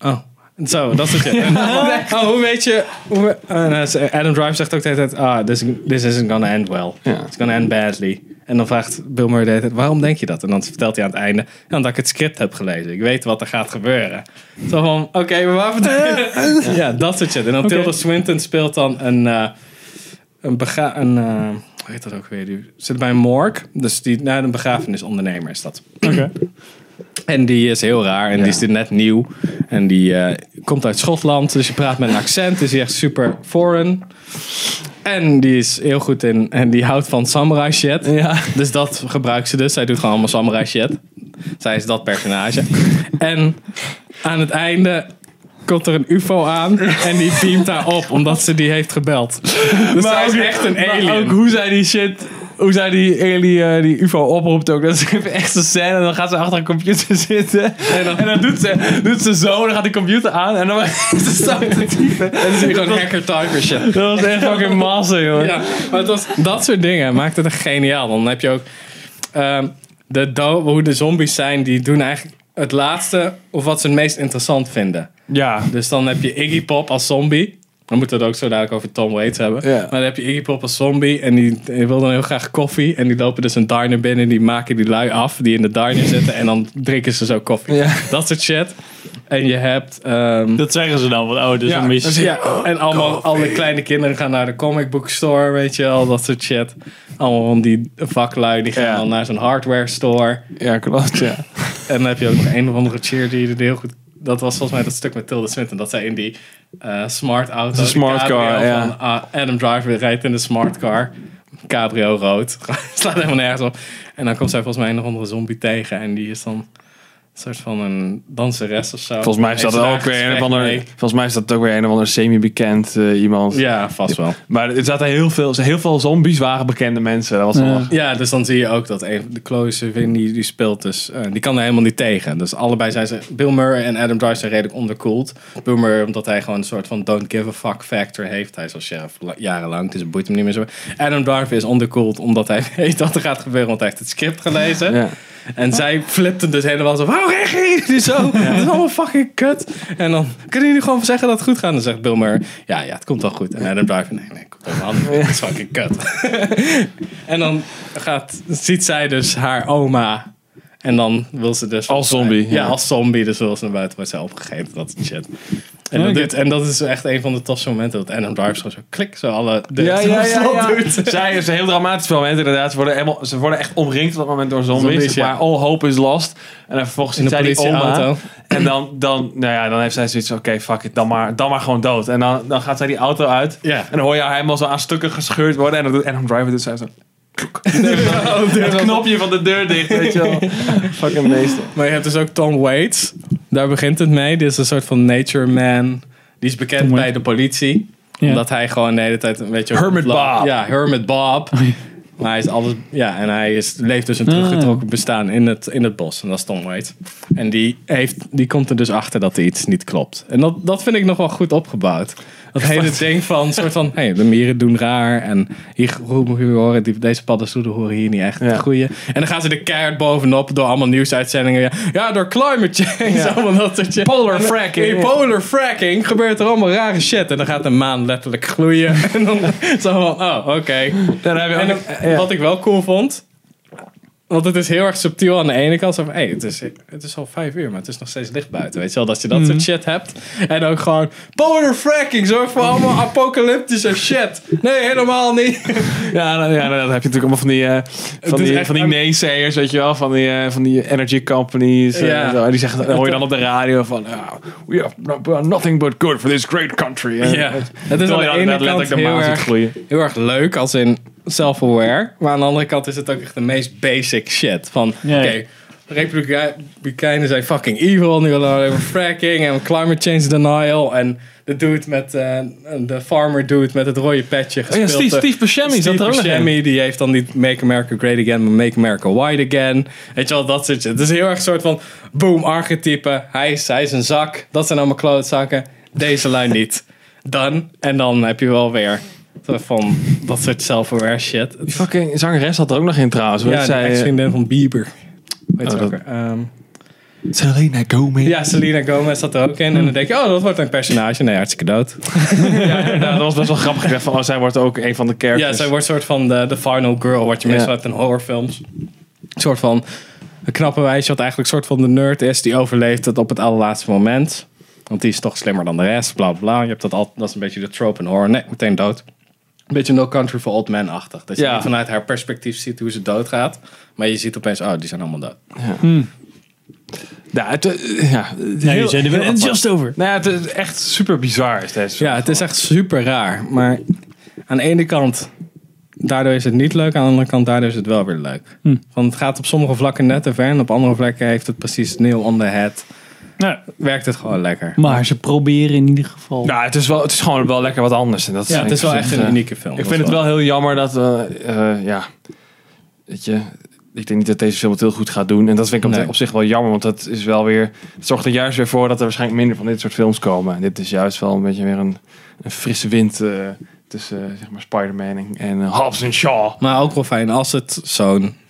Speaker 3: Oh. En Zo, dat soort dingen. Oh, hoe weet je... Hoe, en, eh, ze- Adam Drive zegt ook de hele tijd... Ah, this, this isn't gonna end well. It's gonna end badly. En dan vraagt Bill Murray de hele tijd... Waarom denk je dat? En dan vertelt hij aan het einde... Ja, omdat ik het script heb gelezen. Ik weet wat er gaat gebeuren. Zo van... Oké, maar waar vertel je? Ja, dat soort shit. En dan Tilda Swinton speelt dan een... eh, een bega... Een, eh, hoe heet dat ook weer? Die zit bij een morgue. Dus die... Nou, een begrafenisondernemer is dat. En die is heel raar en die is dit net nieuw. En die eh, komt uit Schotland, dus je praat met een accent. Dus die is echt super foreign. En die is heel goed in... En die houdt van samurai shit. Dus dat gebruikt ze dus. Zij doet gewoon allemaal samurai shit. Zij is dat personage. En aan het einde komt er een ufo aan. En die beamt haar op, omdat ze die heeft gebeld. Dus zij is echt een alien.
Speaker 1: Maar ook hoe zij die shit... Hoe zij die alien, eh, die ufo oproept ook. Dat is echt zo'n scène. En dan gaat ze achter een computer zitten. En dan, doet, ze, doet ze zo. Dan gaat die computer aan. En dan ze zo te typen.
Speaker 3: En ze is gewoon hacker typer shit.
Speaker 1: Dat was echt fucking massa, joh.
Speaker 3: Ja, maar het was, dat soort dingen maakt het echt geniaal. Dan heb je ook ehm, de do- hoe de zombies zijn, die doen eigenlijk het laatste of wat ze het meest interessant vinden.
Speaker 1: Ja.
Speaker 3: Dus dan heb je Iggy Pop als zombie. Dan moeten we het ook zo dadelijk over Tom Waits hebben.
Speaker 1: Ja.
Speaker 3: Maar dan heb je Iggy Pop als zombie en die, die wil dan heel graag koffie. En die lopen dus een diner binnen, die maken die lui af die in de diner zitten. En dan drinken ze zo koffie.
Speaker 1: Ja.
Speaker 3: Dat soort shit. En je hebt... ehm,
Speaker 2: Dat zeggen ze dan, want oh, dus
Speaker 3: ja,
Speaker 2: een
Speaker 3: dus
Speaker 2: beetje...
Speaker 3: ja,
Speaker 1: Oh,
Speaker 3: en allemaal alle kleine kinderen gaan naar de comic book store, weet je wel, dat soort shit. Allemaal van die vaklui, die gaan
Speaker 1: Ja.
Speaker 3: dan naar zo'n hardware store.
Speaker 1: Ja, klopt, ja.
Speaker 3: En dan heb je ook nog een of andere cheerleader die heel goed... Dat was volgens mij dat stuk met Tilda Swinton, dat zij in die eh, smart auto...
Speaker 1: Zo'n
Speaker 3: die
Speaker 1: smart car,
Speaker 3: cabrio
Speaker 1: ja.
Speaker 3: Van, ah, Adam Driver rijdt in de smart car. Cabrio rood. Slaat helemaal nergens op. En dan komt zij volgens mij een of andere zombie tegen en die is dan... Een soort van een danseres of zo.
Speaker 1: Volgens mij is dat
Speaker 3: Heeft ze daar
Speaker 1: ook weer een of
Speaker 3: gesprek
Speaker 1: ander...
Speaker 3: mee.
Speaker 1: Volgens mij is dat ook weer een of ander semi-bekend eh, iemand.
Speaker 3: Ja, vast wel.
Speaker 1: Maar er zaten heel veel... Heel veel zombies waren bekende mensen. Dat was wel... lachen.
Speaker 3: Ja, dus dan zie je ook dat een, de close Vin die, die speelt dus, eh, die kan er helemaal niet tegen. Dus allebei zijn ze, Bill Murray en Adam Driver zijn redelijk onderkoeld. Bill Murray omdat hij gewoon een soort van don't give a fuck factor heeft. Hij is al sheriff la- jarenlang, dus het boeit hem niet meer zo. Adam Driver is onderkoeld omdat hij weet dat er gaat gebeuren, want hij heeft het script gelezen.
Speaker 1: Ja.
Speaker 3: En zij flipten dus helemaal zo. Waarom reageer je nu zo? Dat is allemaal fucking kut. En dan kunnen jullie gewoon zeggen dat het goed gaat. En dan zegt Bill Murray, ja, ja, het komt wel goed. En Adam Driver, nee, nee, het komt helemaal niet. goed. Het is fucking kut. En dan gaat, ziet zij dus haar oma. En dan wil ze dus...
Speaker 1: Als zombie,
Speaker 3: Ja,
Speaker 1: ja.
Speaker 3: als zombie. Dus wil ze naar buiten worden zij opgegeten. Dat soort shit. En,
Speaker 1: Oh
Speaker 2: Oké.
Speaker 3: dat doet, en dat is echt een van de tofste momenten. Dat Adam Driver gewoon zo klik, zo alle... deuren
Speaker 1: Ja, ja,
Speaker 3: op
Speaker 1: ja,
Speaker 3: slot
Speaker 1: ja.
Speaker 3: doet.
Speaker 1: Zij is een heel dramatisch moment inderdaad. Ze worden, helemaal- ze worden echt omringd op dat moment door zombies.
Speaker 3: Zombies, ja.
Speaker 1: Maar all hope is lost. En dan vervolgens
Speaker 3: In
Speaker 1: ziet
Speaker 3: de
Speaker 1: zij die
Speaker 3: politieauto.
Speaker 1: oma. En dan, dan, nou ja, dan heeft zij zoiets van, oké, fuck it, dan maar, dan maar gewoon dood. En dan, dan gaat zij die auto uit.
Speaker 3: Ja.
Speaker 1: En dan hoor je haar helemaal zo aan stukken gescheurd worden. En dan doet Adam Driver dus zij zo... Het knopje van de deur dicht, weet je wel. Fucking meester.
Speaker 3: Maar je hebt dus ook Tom Waits. Daar begint het mee. Dit is een soort van nature man. Die is bekend bij de politie.
Speaker 2: Ja.
Speaker 3: Omdat hij gewoon de hele tijd een beetje...
Speaker 1: Hermit Bob.
Speaker 3: Ja, Hermit Bob. Maar hij is alles... Ja, en hij is, leeft dus een
Speaker 1: Ah.
Speaker 3: teruggetrokken bestaan in het, in het bos. En dat is Tom Waits. En die, heeft, die komt er dus achter dat er iets niet klopt. En dat, dat vind ik nog wel goed opgebouwd. Dat hele ding van, soort van, hey, de mieren doen raar. En hier hoe- hoe horen, die, deze paddenstoelen horen hier niet echt te
Speaker 1: Ja.
Speaker 3: groeien. En dan gaan ze de keihard bovenop door allemaal nieuwsuitzendingen. Ja, ja door climate change. Allemaal dat soort shit.
Speaker 1: Polar
Speaker 3: En dan-
Speaker 1: fracking.
Speaker 3: in polar fracking gebeurt er allemaal rare shit. En dan gaat de maan letterlijk gloeien. en dan zo van, oh, oké.
Speaker 1: Dan heb je
Speaker 3: En
Speaker 1: ook-
Speaker 3: dan- wat ik wel cool vond. Want het is heel erg subtiel aan de ene kant. Zo van, hey, het, is, het is al vijf uur, maar het is nog steeds licht buiten. Weet je wel, dat je dat
Speaker 2: Mhm.
Speaker 3: soort shit hebt. En ook gewoon, power and fracking, zorg voor allemaal apocalyptische shit. Nee, helemaal niet.
Speaker 1: Ja, nou, ja, nou, dan heb je natuurlijk allemaal van die, eh, van
Speaker 3: is
Speaker 1: die,
Speaker 3: echt-
Speaker 1: van die naysayers, weet je wel, van die, eh, van die energy companies. eh,
Speaker 3: Ja.
Speaker 1: en zo. En die zeggen, dan hoor je dan op de radio van, "Ah, we have no- nothing but good for this great country. Eh,
Speaker 3: Ja. Het is
Speaker 1: terwijl
Speaker 3: aan
Speaker 1: je
Speaker 3: de
Speaker 1: dan
Speaker 3: ene
Speaker 1: inderdaad
Speaker 3: kant
Speaker 1: letterlijk de
Speaker 3: heel
Speaker 1: maat ziet
Speaker 3: erg,
Speaker 1: groeien.
Speaker 3: heel erg leuk, als in self-aware. Maar aan de andere kant is het ook echt de meest basic shit. Van,
Speaker 2: Ja.
Speaker 3: oké, Republikeinen zijn fucking evil. Nu willen we over fracking en climate change denial. En de dude met, eh, de farmer dude met het rode petje
Speaker 1: Oh ja,
Speaker 3: gespeeld.
Speaker 1: Steve,
Speaker 3: eh,
Speaker 1: Steve Buscemi zat er ook nog
Speaker 3: Steve
Speaker 1: in.
Speaker 3: Buscemi, die heeft dan niet Make America Great Again, maar Make America Wide Again. Weet je wel, dat soort shit. Het is heel erg een soort van boom, archetype. Hij is, hij is een zak. Dat zijn allemaal klootzakken. Deze lijn niet. Dan. En dan heb je wel weer zo van dat soort self-aware shit.
Speaker 1: Die fucking zangeres had er ook nog in trouwens.
Speaker 3: Ja,
Speaker 1: Ja,
Speaker 3: de
Speaker 1: zij, eh,
Speaker 3: ex-vriendin van Bieber. Weet je
Speaker 1: Oh,
Speaker 3: ook
Speaker 1: dat-
Speaker 3: weer. Ehm,
Speaker 1: Selena Gomez.
Speaker 3: ja, Selena Gomez zat er ook in. En dan denk je, oh, dat wordt een personage. Nee, hartstikke dood.
Speaker 1: Nou, dat was best wel grappig. Ik dacht van, oh, zij wordt ook een van de characters.
Speaker 3: Ja, zij wordt soort van de, de final girl, wat je
Speaker 1: Ja.
Speaker 3: meestal hebt in horrorfilms. Een soort van een knappe wijsje, wat eigenlijk soort van de nerd is, die overleeft het op het allerlaatste moment. Want die is toch slimmer dan de rest, bla bla. Je hebt dat al, dat is een beetje de trope in horror. Nee, meteen dood. Een beetje No Country for Old Men-achtig. Dat je
Speaker 1: Ja.
Speaker 3: niet vanuit haar perspectief ziet hoe ze doodgaat. Maar je ziet opeens, oh, die zijn allemaal dood.
Speaker 1: Ja, het, eh, ja,
Speaker 2: Nee,
Speaker 1: heel-
Speaker 2: je zei er
Speaker 1: heel
Speaker 2: wel
Speaker 1: apart.
Speaker 2: just over.
Speaker 1: Nou ja, het is echt super bizar is deze.
Speaker 3: Ja, het is echt super raar. Maar aan de ene kant, daardoor is het niet leuk. Aan de andere kant, daardoor is het wel weer leuk.
Speaker 1: Hm.
Speaker 3: Want het gaat op sommige vlakken net te ver. En op andere vlakken heeft het precies nail on the head.
Speaker 2: Nou,
Speaker 3: Werkt het gewoon
Speaker 1: Hm.
Speaker 3: lekker.
Speaker 2: maar ze proberen in ieder geval.
Speaker 1: Nou, het is, wel, het is gewoon wel lekker wat anders. En dat
Speaker 3: Ja, het is wel
Speaker 1: ik
Speaker 3: echt
Speaker 1: vind,
Speaker 3: een
Speaker 1: eh,
Speaker 3: unieke film.
Speaker 1: Ik vind het wel heel jammer dat, eh, eh, ja, weet je, ik denk niet dat deze film het heel goed gaat doen. En dat vind ik op-
Speaker 3: Nee.
Speaker 1: op zich wel jammer, want dat is wel weer, het zorgt er juist weer voor dat er waarschijnlijk minder van dit soort films komen. En dit is juist wel een beetje weer een, een frisse wind eh, tussen, eh, zeg maar, Spider-Man en, en eh, Hobbs en Shaw.
Speaker 3: Maar ook wel fijn als het zo'n...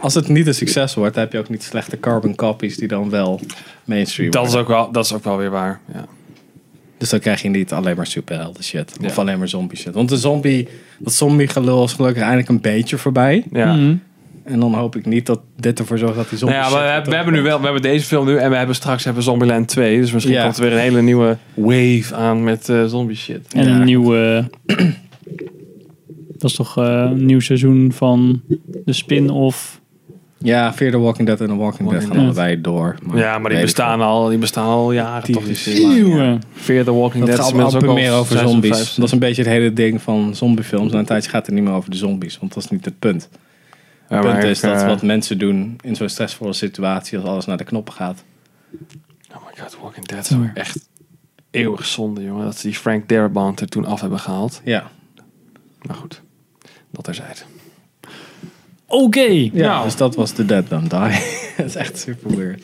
Speaker 3: Als het niet een succes wordt, dan heb je ook niet slechte carbon copies die dan wel mainstream
Speaker 1: Dat is
Speaker 3: worden.
Speaker 1: ook wel, dat is ook wel weer waar, ja.
Speaker 3: Dus dan krijg je niet alleen maar superhelden shit. Of
Speaker 1: Ja.
Speaker 3: alleen maar zombie shit. Want de zombie, dat zombie gelul is gelukkig eindelijk een beetje voorbij.
Speaker 1: ja.
Speaker 2: Mhm.
Speaker 3: En dan hoop ik niet dat dit ervoor zorgt dat die zombie
Speaker 1: Nou ja, maar
Speaker 3: shit
Speaker 1: we,
Speaker 3: eh,
Speaker 1: hebben- we hebben nu wel, we hebben deze film nu en we hebben straks hebben we Zombieland 2. Dus misschien
Speaker 3: Ja.
Speaker 1: komt er weer een hele nieuwe wave aan met eh, zombie shit.
Speaker 2: En
Speaker 3: Ja.
Speaker 2: een nieuw. eh, dat is toch eh, een nieuw seizoen van de spin-off.
Speaker 3: Ja, Fear the Walking Dead en The Walking, Dead gaan
Speaker 2: Dead.
Speaker 3: allebei door.
Speaker 1: Ja, maar die bestaan al, die bestaan al jaren. Toch, die serie.
Speaker 2: Eeuw.
Speaker 1: Fear the Walking
Speaker 3: Dat
Speaker 1: Dead
Speaker 3: gaat
Speaker 1: is inmiddels
Speaker 3: amper
Speaker 1: ook al
Speaker 3: meer over
Speaker 1: seizoen
Speaker 3: zombies.
Speaker 1: vijf.
Speaker 3: dat is een beetje het hele ding van zombiefilms. Na een tijdje gaat het niet meer over de zombies, want dat is niet het punt.
Speaker 1: Ja,
Speaker 3: Het
Speaker 1: maar
Speaker 3: punt
Speaker 1: ik,
Speaker 3: is dat
Speaker 1: eh,
Speaker 3: wat mensen doen in zo'n stressvolle situatie als alles naar de knoppen gaat.
Speaker 1: Oh my god, Walking Dead is ook echt eeuwig zonde, jongen. Dat ze die Frank Darabont er toen af hebben gehaald.
Speaker 3: Ja,
Speaker 1: Maar goed, dat terzijde.
Speaker 2: Oké.
Speaker 3: ja dus dat was The Dead Don't Die. dat is echt super weird.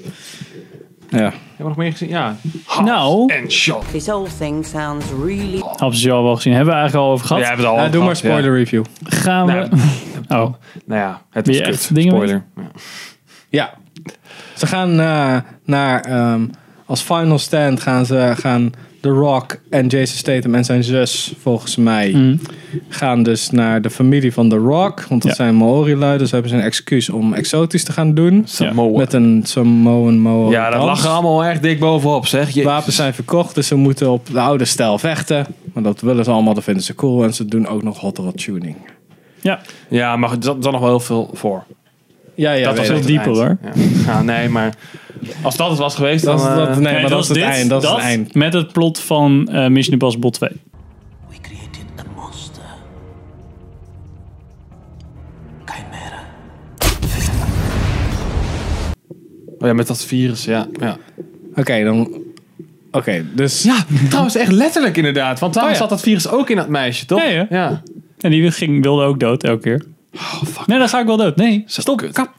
Speaker 3: Ja.
Speaker 1: Hebben we nog meer gezien? Ja.
Speaker 2: Nou,
Speaker 1: En shot.
Speaker 7: This whole thing sounds really.
Speaker 2: hebben ze jou al wel gezien. Hebben we eigenlijk al over gehad.
Speaker 1: Jij hebt het al
Speaker 3: Nou, doe maar
Speaker 1: gehad, ja.
Speaker 3: spoiler review.
Speaker 2: Gaan we. oh,
Speaker 1: Nou ja, het
Speaker 2: Wil
Speaker 1: is
Speaker 2: je
Speaker 1: kut.
Speaker 2: echt dingen
Speaker 1: Spoiler. Ja.
Speaker 3: Ja. Ze gaan eh, naar, ehm, als final stand gaan ze, gaan The Rock en Jason Statham en zijn zus, volgens mij,
Speaker 1: Mhm.
Speaker 3: gaan dus naar de familie van The Rock. Want dat
Speaker 2: Ja.
Speaker 3: zijn Maori-lui, dus hebben ze een excuus om exotisch te gaan doen.
Speaker 1: Samoa.
Speaker 3: Met een Samoan Moa.
Speaker 1: Ja, dat lag er allemaal echt dik bovenop, zeg. Je,
Speaker 3: Wapens zijn verkocht, dus ze moeten op de oude stijl vechten. Maar dat willen ze allemaal, dat vinden ze cool. En ze doen ook nog hot rod tuning.
Speaker 2: ja.
Speaker 1: Ja, maar er zat, er zat nog wel heel veel voor.
Speaker 3: Ja, ja,
Speaker 1: Dat
Speaker 3: weet
Speaker 1: was
Speaker 3: ik.
Speaker 1: heel
Speaker 2: Veel dieper hoor.
Speaker 1: Ja. nee, maar als dat het was geweest,
Speaker 3: Dat,
Speaker 1: dan...
Speaker 3: is- dat, nee,
Speaker 1: eh,
Speaker 3: maar dat is het
Speaker 2: dit,
Speaker 3: eind. Dat is het eind.
Speaker 2: Met het plot van eh, Mission Impossible 2.
Speaker 6: We created a monster. Chimera.
Speaker 1: oh ja, met dat virus, ja. ja.
Speaker 3: Oké, dan... Oké, dus...
Speaker 1: Ja, trouwens echt letterlijk inderdaad. Want trouwens
Speaker 3: Oh ja.
Speaker 1: zat dat virus ook in dat meisje, toch?
Speaker 2: Nee, hè?
Speaker 1: Ja.
Speaker 2: En die ging, wilde ook dood elke keer.
Speaker 3: Oh,
Speaker 2: Nee, dan ga ik wel dood. Nee, stop.
Speaker 1: kut.
Speaker 2: Kap.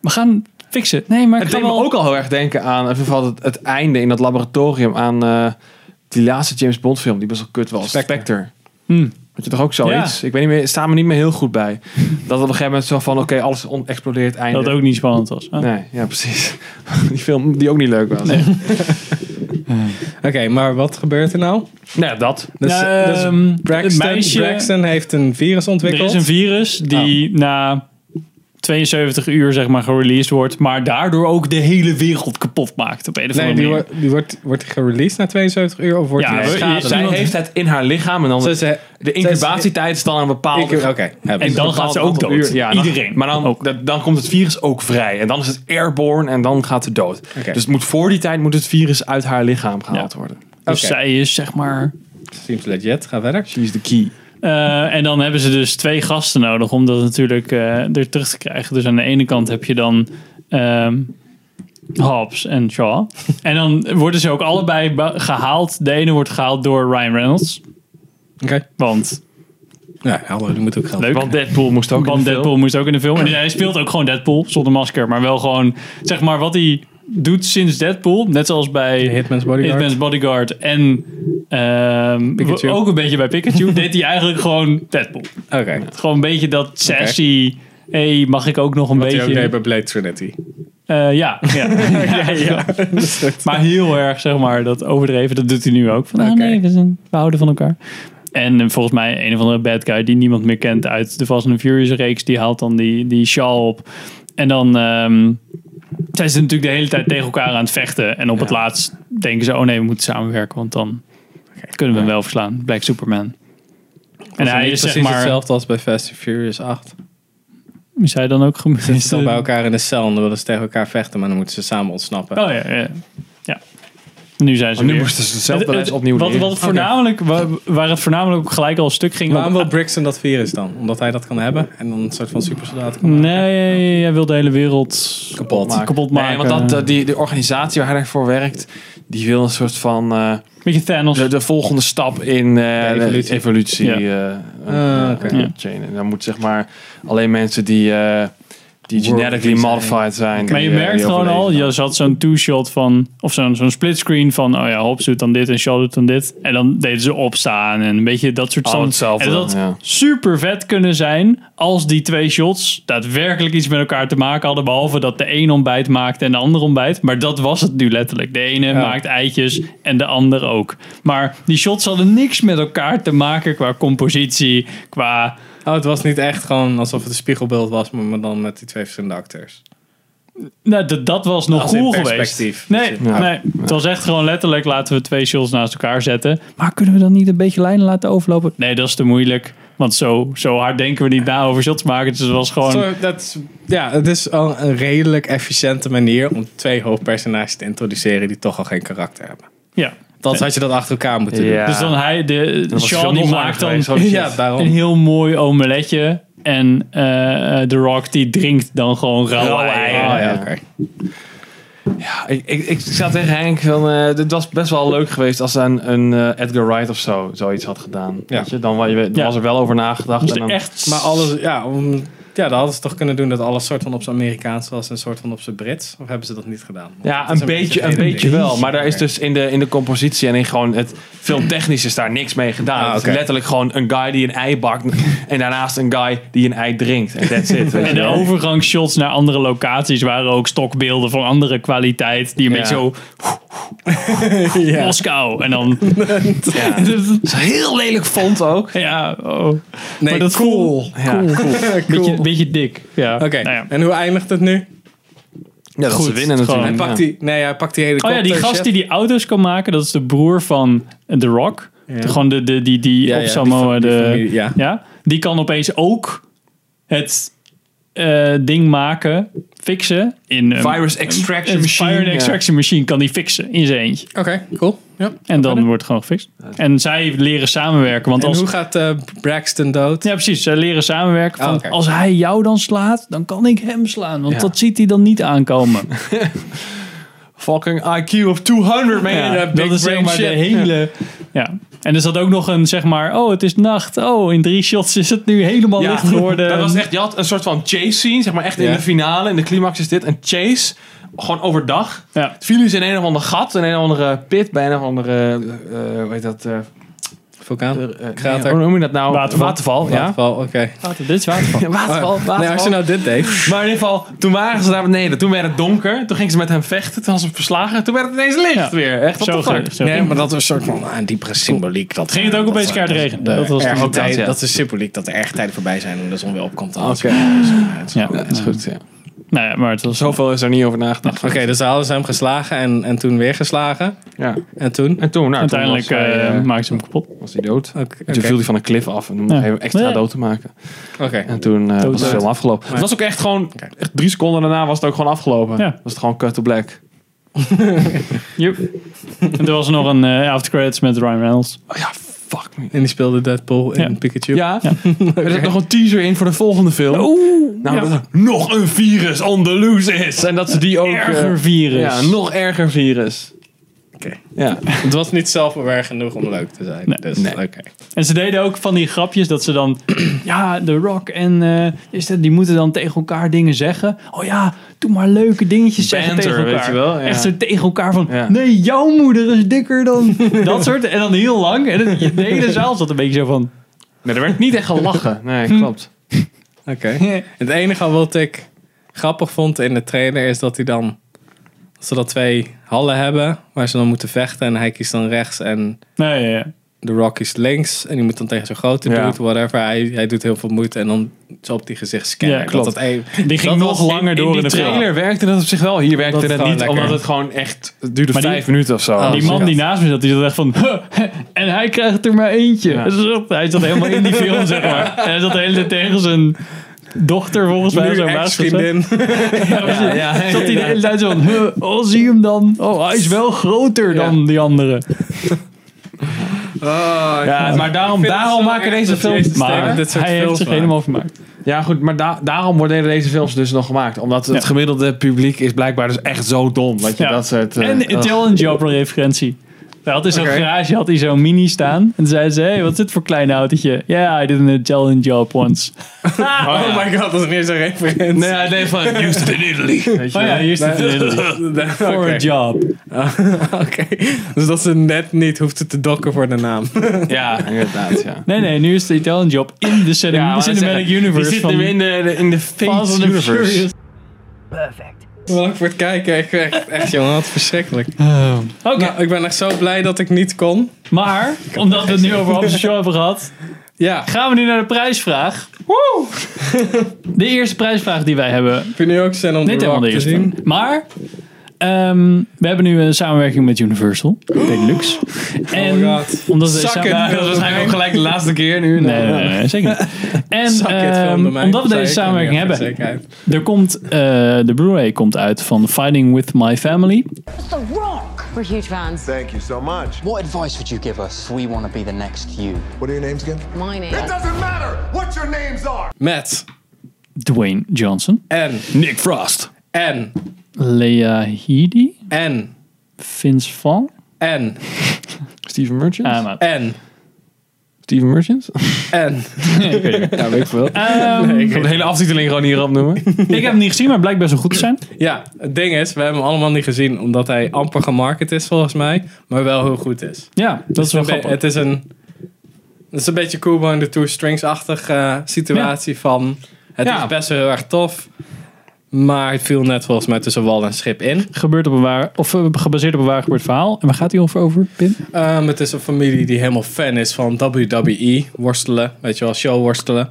Speaker 2: We gaan fixen. Nee, maar ik
Speaker 1: Het
Speaker 2: ga
Speaker 1: deed me
Speaker 2: wel...
Speaker 1: ook al heel erg denken aan, in ieder geval het, het einde in dat laboratorium aan eh, die laatste James Bond film, die best wel kut was.
Speaker 3: Spectre.
Speaker 1: Spectre. Had je toch ook zoiets?
Speaker 2: Ja.
Speaker 1: Ik weet niet meer, staan me niet meer heel goed bij. Dat op een gegeven moment zo van, oké, alles on- explodeert, einde.
Speaker 2: Dat ook niet spannend was. Ah.
Speaker 1: Nee, ja precies. Die film die ook niet leuk was.
Speaker 3: Oké, maar wat gebeurt er nou?
Speaker 1: Nee, dat.
Speaker 3: Dus,
Speaker 2: Ja, ehm,
Speaker 3: dus Braxton,
Speaker 2: het meisje-
Speaker 3: Braxton heeft een virus
Speaker 2: Er
Speaker 3: ontwikkeld.
Speaker 2: is een virus die na 72 uur zeg maar gereleased wordt, maar daardoor ook de hele wereld kapot maakt op een of
Speaker 3: Nee,
Speaker 2: andere
Speaker 3: die,
Speaker 2: manier.
Speaker 3: wordt- die wordt, wordt die gereleased na 72 uur of wordt
Speaker 2: Ja,
Speaker 3: die
Speaker 2: we-
Speaker 3: schade-
Speaker 2: je-
Speaker 1: Zij
Speaker 2: iemand-
Speaker 1: heeft het in haar lichaam en dan
Speaker 3: Ze- ze-
Speaker 1: de incubatietijd is dan een bepaald.
Speaker 3: Incu- oké, hebben
Speaker 1: en
Speaker 3: ze.
Speaker 1: dan
Speaker 2: Dan
Speaker 1: gaat ze ook dood. Ja, dan- Maar dan, dat- dan komt het virus ook vrij. En dan is het airborne en dan gaat ze dood.
Speaker 3: Oké.
Speaker 1: Dus het moet voor die tijd moet het virus uit haar lichaam gehaald worden.
Speaker 2: Dus
Speaker 3: Oké.
Speaker 2: zij is zeg maar
Speaker 3: Seems legit. Ga verder.
Speaker 1: She's the key.
Speaker 2: Eh, en dan hebben ze dus twee gasten nodig om dat natuurlijk eh, er terug te krijgen. Dus aan de ene kant heb je dan ehm, Hobbs en Shaw. en dan worden ze ook allebei ba- gehaald. De ene wordt gehaald door Ryan Reynolds.
Speaker 3: Oké.
Speaker 2: Want,
Speaker 3: Ja, hallo, die moet ook geld.
Speaker 2: Leuk.
Speaker 1: Want Deadpool moest ook in
Speaker 2: want
Speaker 1: de film.
Speaker 2: Deadpool moest ook in de film. En hij speelt ook gewoon Deadpool zonder masker. Maar wel gewoon, zeg maar, wat hij doet sinds Deadpool. Net zoals bij
Speaker 3: Hitman's Bodyguard.
Speaker 2: Hitman's Bodyguard en ehm,
Speaker 3: Pikachu.
Speaker 2: ook een beetje bij Pikachu. deed hij eigenlijk gewoon Deadpool.
Speaker 3: Oké.
Speaker 2: Gewoon een beetje dat sassy. Hé, hey, mag ik ook nog een
Speaker 3: Wat hij ook
Speaker 2: beetje?
Speaker 3: deed bij Blade Trinity.
Speaker 2: Eh, ja, ja. ja, ja. Maar heel erg, zeg maar, dat overdreven, dat doet hij nu ook. Van, ah,
Speaker 3: Oké.
Speaker 2: nee, we, zijn, we houden van elkaar. En eh, volgens mij een of andere bad guy die niemand meer kent uit de Fast and Furious reeks, die haalt dan die, die shawl op. En dan ehm, zijn ze natuurlijk de hele tijd tegen elkaar aan het vechten. En op het laatst denken ze, oh nee, we moeten samenwerken, want dan kunnen we hem wel verslaan. Black Superman. En hij is zeg
Speaker 3: precies
Speaker 2: maar,
Speaker 3: hetzelfde als bij Fast and Furious 8.
Speaker 2: is hij dan ook gemist?
Speaker 3: Ze staan bij elkaar in de cel en dan willen ze tegen elkaar vechten, maar dan moeten ze samen ontsnappen.
Speaker 2: Oh ja, ja. ja. Nu zijn ze
Speaker 1: Nu
Speaker 2: weer.
Speaker 1: moesten ze hetzelfde
Speaker 2: Het-
Speaker 1: lijst
Speaker 2: het-
Speaker 1: opnieuw
Speaker 2: Wat,
Speaker 1: leren.
Speaker 2: wat voornamelijk, wa- waar, het voornamelijk ook gelijk al stuk ging.
Speaker 3: Waarom
Speaker 2: op-
Speaker 3: wil Brixton dat virus dan? Omdat hij dat kan hebben en dan een soort van supersoldaat kan
Speaker 2: Nee, jij wil de hele wereld
Speaker 3: kapot.
Speaker 1: maken.
Speaker 2: kapot
Speaker 1: Nee,
Speaker 2: maken.
Speaker 1: want dat, eh, die, die organisatie waar hij voor werkt, die wil een soort van eh,
Speaker 2: Beetje Thanos.
Speaker 1: de, de volgende stap in eh, de
Speaker 3: evolutie.
Speaker 1: evolutie,
Speaker 2: Ja.
Speaker 1: eh,
Speaker 3: Ah,
Speaker 1: eh,
Speaker 3: oké.
Speaker 1: eh, chain. En dan moet zeg maar alleen mensen die, eh, die
Speaker 3: World
Speaker 1: genetically
Speaker 3: design.
Speaker 1: modified zijn.
Speaker 2: maar je
Speaker 1: die, eh,
Speaker 2: merkt
Speaker 1: die
Speaker 2: gewoon al,
Speaker 1: overleven.
Speaker 2: je zat zo'n two-shot van, of zo'n zo'n splitscreen van, oh ja, Hobbs doet dan dit en Shaw doet dan dit. En dan deden ze opstaan en een beetje dat soort
Speaker 1: Al
Speaker 2: stand-
Speaker 1: Oh, hetzelfde,
Speaker 2: En dat
Speaker 1: ja.
Speaker 2: super vet kunnen zijn als die twee shots daadwerkelijk iets met elkaar te maken hadden. Behalve dat de een ontbijt maakt en de ander ontbijt. Maar dat was het nu letterlijk. De ene maakt eitjes en de ander ook. Maar die shots hadden niks met elkaar te maken qua compositie, qua...
Speaker 3: Oh, het was niet echt gewoon alsof het een spiegelbeeld was, maar dan met die twee verschillende acteurs.
Speaker 2: Nou, dat, dat was nog
Speaker 3: Als in
Speaker 2: cool
Speaker 3: perspectief.
Speaker 2: geweest. Nee,
Speaker 1: Ja.
Speaker 2: nee, het was echt gewoon letterlijk laten we twee shots naast elkaar zetten. Maar kunnen we dan niet een beetje lijnen laten overlopen? Nee, dat is te moeilijk. Want zo, zo hard denken we niet na over shots maken. Dus het was gewoon...
Speaker 3: Zo, dat is, ja, het is al een redelijk efficiënte manier om twee hoofdpersonages te introduceren die toch al geen karakter hebben.
Speaker 2: Ja.
Speaker 3: Dat had je dat achter elkaar moeten doen.
Speaker 1: Ja.
Speaker 2: Dus dan hij, de,
Speaker 1: was het
Speaker 2: Sean
Speaker 1: nog
Speaker 2: die
Speaker 1: langer
Speaker 2: maakt dan
Speaker 1: geweest, holy shit.
Speaker 3: Ja, daarom.
Speaker 2: een heel mooi omeletje. En eh, eh, The Rock die drinkt dan gewoon rauwe
Speaker 1: Rauwe
Speaker 2: eieren.
Speaker 3: Oh,
Speaker 1: eieren.
Speaker 3: ja, oké.
Speaker 1: Ja. Ja, ik, ik, ik zat tegen Henk van, eh dit was best wel leuk geweest als een, een eh, Edgar Wright of zo zoiets had gedaan.
Speaker 3: Ja.
Speaker 1: Weet je? Dan, wa- je weet- dan
Speaker 2: Ja.
Speaker 1: was er wel over nagedacht.
Speaker 2: Dus
Speaker 1: en dan,
Speaker 2: echt...
Speaker 3: Maar alles, ja, om, ja, dan hadden ze toch kunnen doen dat alles soort van op zijn Amerikaans was en soort van op zijn Brits. Of hebben ze dat niet gedaan? Want
Speaker 1: Ja,
Speaker 3: dat is
Speaker 1: een beetje, een
Speaker 3: het hele
Speaker 1: beetje
Speaker 3: ding.
Speaker 1: wel. Maar daar is dus in de, in de compositie en in gewoon het filmtechnisch is daar niks mee gedaan.
Speaker 3: Ah,
Speaker 1: Het is
Speaker 3: oké.
Speaker 1: letterlijk gewoon een guy die een ei bakt en daarnaast een guy die een ei drinkt. En that's it. weet je
Speaker 2: En de
Speaker 1: wel.
Speaker 2: overgangsshots naar andere locaties waren ook stokbeelden van andere kwaliteit. Die een
Speaker 1: Ja.
Speaker 2: beetje zo... Moskou. En dan...
Speaker 1: Ja. Het is een heel lelijk font ook.
Speaker 2: ja, oh.
Speaker 3: Nee,
Speaker 2: Maar dat is
Speaker 3: cool.
Speaker 1: Ja,
Speaker 2: Beetje, beetje dik. Ja.
Speaker 3: Oké,
Speaker 2: Nou ja.
Speaker 3: en hoe eindigt het nu?
Speaker 1: ja dat
Speaker 2: Goed,
Speaker 1: ze winnen
Speaker 2: gewoon.
Speaker 1: natuurlijk.
Speaker 3: Hij pakt die, nee, hij pakt die
Speaker 2: Oh
Speaker 3: helikopter.
Speaker 2: ja, die gast die die auto's kan maken, dat is de broer van eh, The Rock. De- gewoon de, de, die, die
Speaker 3: Ja,
Speaker 2: op
Speaker 3: ja,
Speaker 2: Samoa,
Speaker 3: die
Speaker 2: de,
Speaker 3: fam- die familie, ja.
Speaker 2: die kan opeens ook het eh, ding maken, fixen. In een,
Speaker 1: Virus extraction
Speaker 2: een
Speaker 1: machine,
Speaker 2: Virus
Speaker 1: ja.
Speaker 2: extraction machine kan die fixen in zijn eentje.
Speaker 3: Oké, cool. Ja.
Speaker 2: En dan wordt het gewoon gefixt. En zij leren samenwerken. Want
Speaker 3: En
Speaker 2: als,
Speaker 3: hoe gaat eh, Braxton dood?
Speaker 2: ja, precies. Zij leren samenwerken. Van,
Speaker 3: Ah, oké.
Speaker 2: Als hij jou dan slaat, dan kan ik hem slaan. Want
Speaker 1: Ja.
Speaker 2: dat ziet hij dan niet aankomen.
Speaker 1: Fucking IQ of 200, man.
Speaker 2: Ja,
Speaker 1: That big
Speaker 2: dat is zeg
Speaker 1: brain
Speaker 2: maar de
Speaker 1: shit.
Speaker 2: hele... Ja. En er zat ook nog een, zeg maar... Oh, het is nacht. Oh, in drie shots is het nu helemaal
Speaker 1: Ja,
Speaker 2: licht geworden.
Speaker 1: Dat was echt, je had een soort van chase scene, zeg maar echt
Speaker 3: Ja.
Speaker 1: in de finale, in de climax is dit. Een chase, gewoon overdag.
Speaker 2: Ja.
Speaker 1: Het viel dus in een of ander gat, in een of andere pit, bij een of andere, eh, eh, hoe heet dat, eh,
Speaker 3: vulkaan,
Speaker 1: Ja,
Speaker 3: krater.
Speaker 1: hoe noem je dat nou?
Speaker 2: Waterval.
Speaker 1: ja.
Speaker 3: Waterval, oké.
Speaker 2: Water, dit is waterval.
Speaker 1: Waterval, waterval.
Speaker 3: Nee, als je nou dit deed.
Speaker 1: Maar in ieder geval, toen waren ze daar beneden. Toen werd het donker. Toen gingen ze met hem vechten. Toen was ze verslagen. Toen werd het ineens licht
Speaker 2: Ja.
Speaker 1: weer. Echt, wat
Speaker 2: Zo
Speaker 1: de fuck?
Speaker 2: ging- zo
Speaker 3: Nee,
Speaker 2: ging-
Speaker 3: maar dat is een soort van ah, een diepere symboliek. Dat,
Speaker 2: Ging het ook
Speaker 3: dat,
Speaker 2: opeens keihard
Speaker 3: eh,
Speaker 2: regenen?
Speaker 3: de
Speaker 2: Dat was
Speaker 3: erge
Speaker 2: toen ook
Speaker 3: tijden-
Speaker 1: dat, ja.
Speaker 3: Dat is symboliek dat de erge tijden voorbij zijn en de zon weer opkomt. Oké,
Speaker 2: Ja.
Speaker 1: Ja, is goed. Ja.
Speaker 2: Nou ja, maar het was
Speaker 1: Zoveel is er niet over nagedacht.
Speaker 3: Oké, dus daar hadden ze hem geslagen en, en toen weer geslagen.
Speaker 1: Ja.
Speaker 3: En toen?
Speaker 1: En toen, nou,
Speaker 2: uiteindelijk
Speaker 1: toen was, hij,
Speaker 2: eh,
Speaker 1: eh,
Speaker 2: maakte ze hem kapot.
Speaker 1: was hij dood.
Speaker 3: Oké,
Speaker 1: En toen
Speaker 3: oké.
Speaker 1: viel hij van een cliff af en om
Speaker 2: Ja.
Speaker 1: even extra
Speaker 2: Nee.
Speaker 1: dood te maken.
Speaker 3: Oké.
Speaker 1: En toen eh, was de
Speaker 2: dood.
Speaker 1: film afgelopen. Het was ook echt gewoon, echt drie seconden daarna was het ook gewoon afgelopen.
Speaker 2: Ja.
Speaker 1: Was het gewoon cut to black.
Speaker 2: En er was nog een eh after credits met Ryan Reynolds.
Speaker 1: Oh ja, fuck me.
Speaker 3: En die speelde Deadpool in
Speaker 2: Ja.
Speaker 3: Pikachu.
Speaker 1: Ja, er zit nog een teaser in voor de volgende film. nou,
Speaker 2: ja.
Speaker 1: dat er nog een virus on the loose is. En dat ze die ook... eh,
Speaker 2: Erger virus.
Speaker 1: Ja, een nog erger virus.
Speaker 3: Oké.
Speaker 1: Ja.
Speaker 3: Het was niet zelfbeware genoeg om leuk te zijn.
Speaker 2: Nee.
Speaker 3: Dus,
Speaker 1: Nee.
Speaker 3: oké.
Speaker 2: En ze deden ook van die grapjes dat ze dan, ja, The Rock en eh, is dat, die moeten dan tegen elkaar dingen zeggen. Oh ja, doe maar leuke dingetjes zeggen
Speaker 1: Banter,
Speaker 2: tegen elkaar.
Speaker 1: weet je wel, ja.
Speaker 2: Echt zo tegen elkaar van,
Speaker 1: Ja.
Speaker 2: nee, jouw moeder is dikker dan dat soort. En dan heel lang. En dan- de hele zaal zat een beetje zo van,
Speaker 1: Nee, er werd niet echt gelachen. Nee, klopt.
Speaker 3: Oké. Het enige wat ik grappig vond in de trailer is dat hij dan... Dat ze dat twee hallen hebben waar ze dan moeten vechten. En hij kiest dan rechts en
Speaker 2: nee, ja, ja.
Speaker 3: de Rock is links. En die moet dan tegen zo'n grote
Speaker 1: Ja.
Speaker 3: dude, whatever. Hij, hij doet heel veel moeite en dan zo op die gezichtscanner.
Speaker 2: Ja,
Speaker 3: Dat
Speaker 2: klopt.
Speaker 3: Dat een-
Speaker 2: Die ging
Speaker 3: dat
Speaker 2: nog
Speaker 3: was-
Speaker 2: langer
Speaker 3: in- in
Speaker 2: door
Speaker 3: die
Speaker 2: in de film.
Speaker 1: Trailer werkte dat op zich wel. Hier werkte
Speaker 3: Dat
Speaker 1: dat,
Speaker 3: is
Speaker 1: niet,
Speaker 3: gewoon lekker. Oh,
Speaker 1: omdat het gewoon echt... Het duurde
Speaker 2: Maar die-
Speaker 1: vijf minuten of zo.
Speaker 2: die
Speaker 1: Dus
Speaker 2: man
Speaker 1: ja.
Speaker 2: die naast me zat, die zat echt van, en hij krijgt er maar eentje.
Speaker 1: Ja.
Speaker 2: Dat is echt- Hij zat helemaal in die film, zeg maar. En hij zat de hele tijd tegen zijn dochter, volgens mij.
Speaker 3: Nu
Speaker 2: zo naast zich zat.
Speaker 3: ex-vriendin.
Speaker 2: Ja, ja, Zat hij de hele tijd zo van, "Huh, oh, zie hem dan. Oh, hij is wel groter dan die andere.
Speaker 1: Ja, maar daarom, daarom maken deze films...
Speaker 2: Maar
Speaker 3: dit soort
Speaker 2: hij heeft
Speaker 3: films
Speaker 2: zich
Speaker 3: maken.
Speaker 2: helemaal vermaakt.
Speaker 1: Ja, goed, maar da- daarom worden deze films dus nog gemaakt. Omdat het
Speaker 2: Ja.
Speaker 1: gemiddelde publiek is blijkbaar dus echt zo dom. Dat je
Speaker 2: Ja.
Speaker 1: dat soort... eh,
Speaker 2: en
Speaker 1: ugh.
Speaker 2: Intelligent Job referentie. Hij had in zo'n garage had hij zo'n mini staan. En toen zei ze, hey, wat is dit voor klein autootje? Ja, yeah, I did an intelligent job once.
Speaker 3: Oh my god, dat is meer zo'n referentie.
Speaker 1: Nee, hij deed van... Used in Italy. Weet je
Speaker 2: Oh ja,
Speaker 1: wel.
Speaker 2: hier is het
Speaker 3: Oké,
Speaker 2: for a job.
Speaker 3: oké. dus dat ze net niet hoefde te dokken voor de naam.
Speaker 1: ja, inderdaad, ja.
Speaker 2: Nee, nee, nu is de intelligent job in de cinem-
Speaker 1: Ja,
Speaker 2: cinematic universe
Speaker 1: Die zit
Speaker 2: van
Speaker 1: nu in de, in de
Speaker 2: Fast and
Speaker 1: Fate
Speaker 2: the
Speaker 1: universe.
Speaker 2: Furious.
Speaker 7: Perfect.
Speaker 3: Bedankt voor het kijken. Ik ben echt, echt jongen, wat verschrikkelijk.
Speaker 2: Oké,
Speaker 3: Nou, ik ben echt zo blij dat ik niet kon.
Speaker 2: maar omdat we het nu over Hobbs Show hebben gehad,
Speaker 3: Ja,
Speaker 2: Gaan we nu naar de prijsvraag. Woe! de eerste prijsvraag die wij hebben.
Speaker 3: ik vind nu ook zin om
Speaker 2: Niet
Speaker 3: de
Speaker 2: helemaal
Speaker 3: rock
Speaker 2: de
Speaker 3: te
Speaker 2: eerste.
Speaker 3: zien.
Speaker 2: Maar ehm, we hebben nu een samenwerking met Universal. Benelux. En
Speaker 3: Oh my God.
Speaker 2: omdat we
Speaker 3: Zak
Speaker 2: samen-
Speaker 3: het,
Speaker 2: Ja,
Speaker 3: Willemijn.
Speaker 2: dat is waarschijnlijk
Speaker 1: Ook gelijk de laatste keer nu.
Speaker 2: ook- Nee, nee, nee, nee, zeker niet. En
Speaker 3: Zak het,
Speaker 2: ehm,
Speaker 3: film bij mij.
Speaker 2: omdat we
Speaker 3: Zei
Speaker 2: deze
Speaker 3: ik,
Speaker 2: samenwerking
Speaker 3: ja, voor
Speaker 2: hebben,
Speaker 3: zekerheid.
Speaker 2: er komt, eh, de Blu-ray komt uit van Fighting With My Family.
Speaker 8: We're huge fans.
Speaker 4: Thank you so much.
Speaker 11: What advice would you give us? We want to be the next you.
Speaker 4: What are your names again?
Speaker 8: Mine is.
Speaker 4: It doesn't matter what your names are.
Speaker 3: Met
Speaker 2: Dwayne Johnson.
Speaker 3: en
Speaker 1: Nick Frost.
Speaker 3: en
Speaker 2: Lea Headey.
Speaker 3: en
Speaker 2: Vince Vaughn.
Speaker 3: en
Speaker 1: Steven Merchant?
Speaker 2: Ah, maat.
Speaker 3: en
Speaker 1: Steven Merchant?
Speaker 3: en.
Speaker 1: ja, weet ik veel. ik kan de hele aftiteling gewoon hierop noemen.
Speaker 2: Ehm, Ik heb hem niet gezien, maar blijkt best wel goed te zijn.
Speaker 3: Ja, het ding is, we hebben hem allemaal niet gezien omdat hij amper gemarket is volgens mij, maar wel heel goed is.
Speaker 2: Ja, dat is wel
Speaker 3: Een be-
Speaker 2: grappig.
Speaker 3: Dus Het is een, het is een beetje Kubo en de Two Strings-achtige eh, situatie van... Het
Speaker 1: Ja.
Speaker 3: is best wel heel erg tof, maar het viel net volgens mij tussen wal en schip in.
Speaker 2: gebeurt op een waar, of eh, gebaseerd op een waar gebeurd verhaal. En waar gaat die over, over Pim?
Speaker 3: Ehm, het is een familie die helemaal fan is van WWE, worstelen, weet je wel, show worstelen.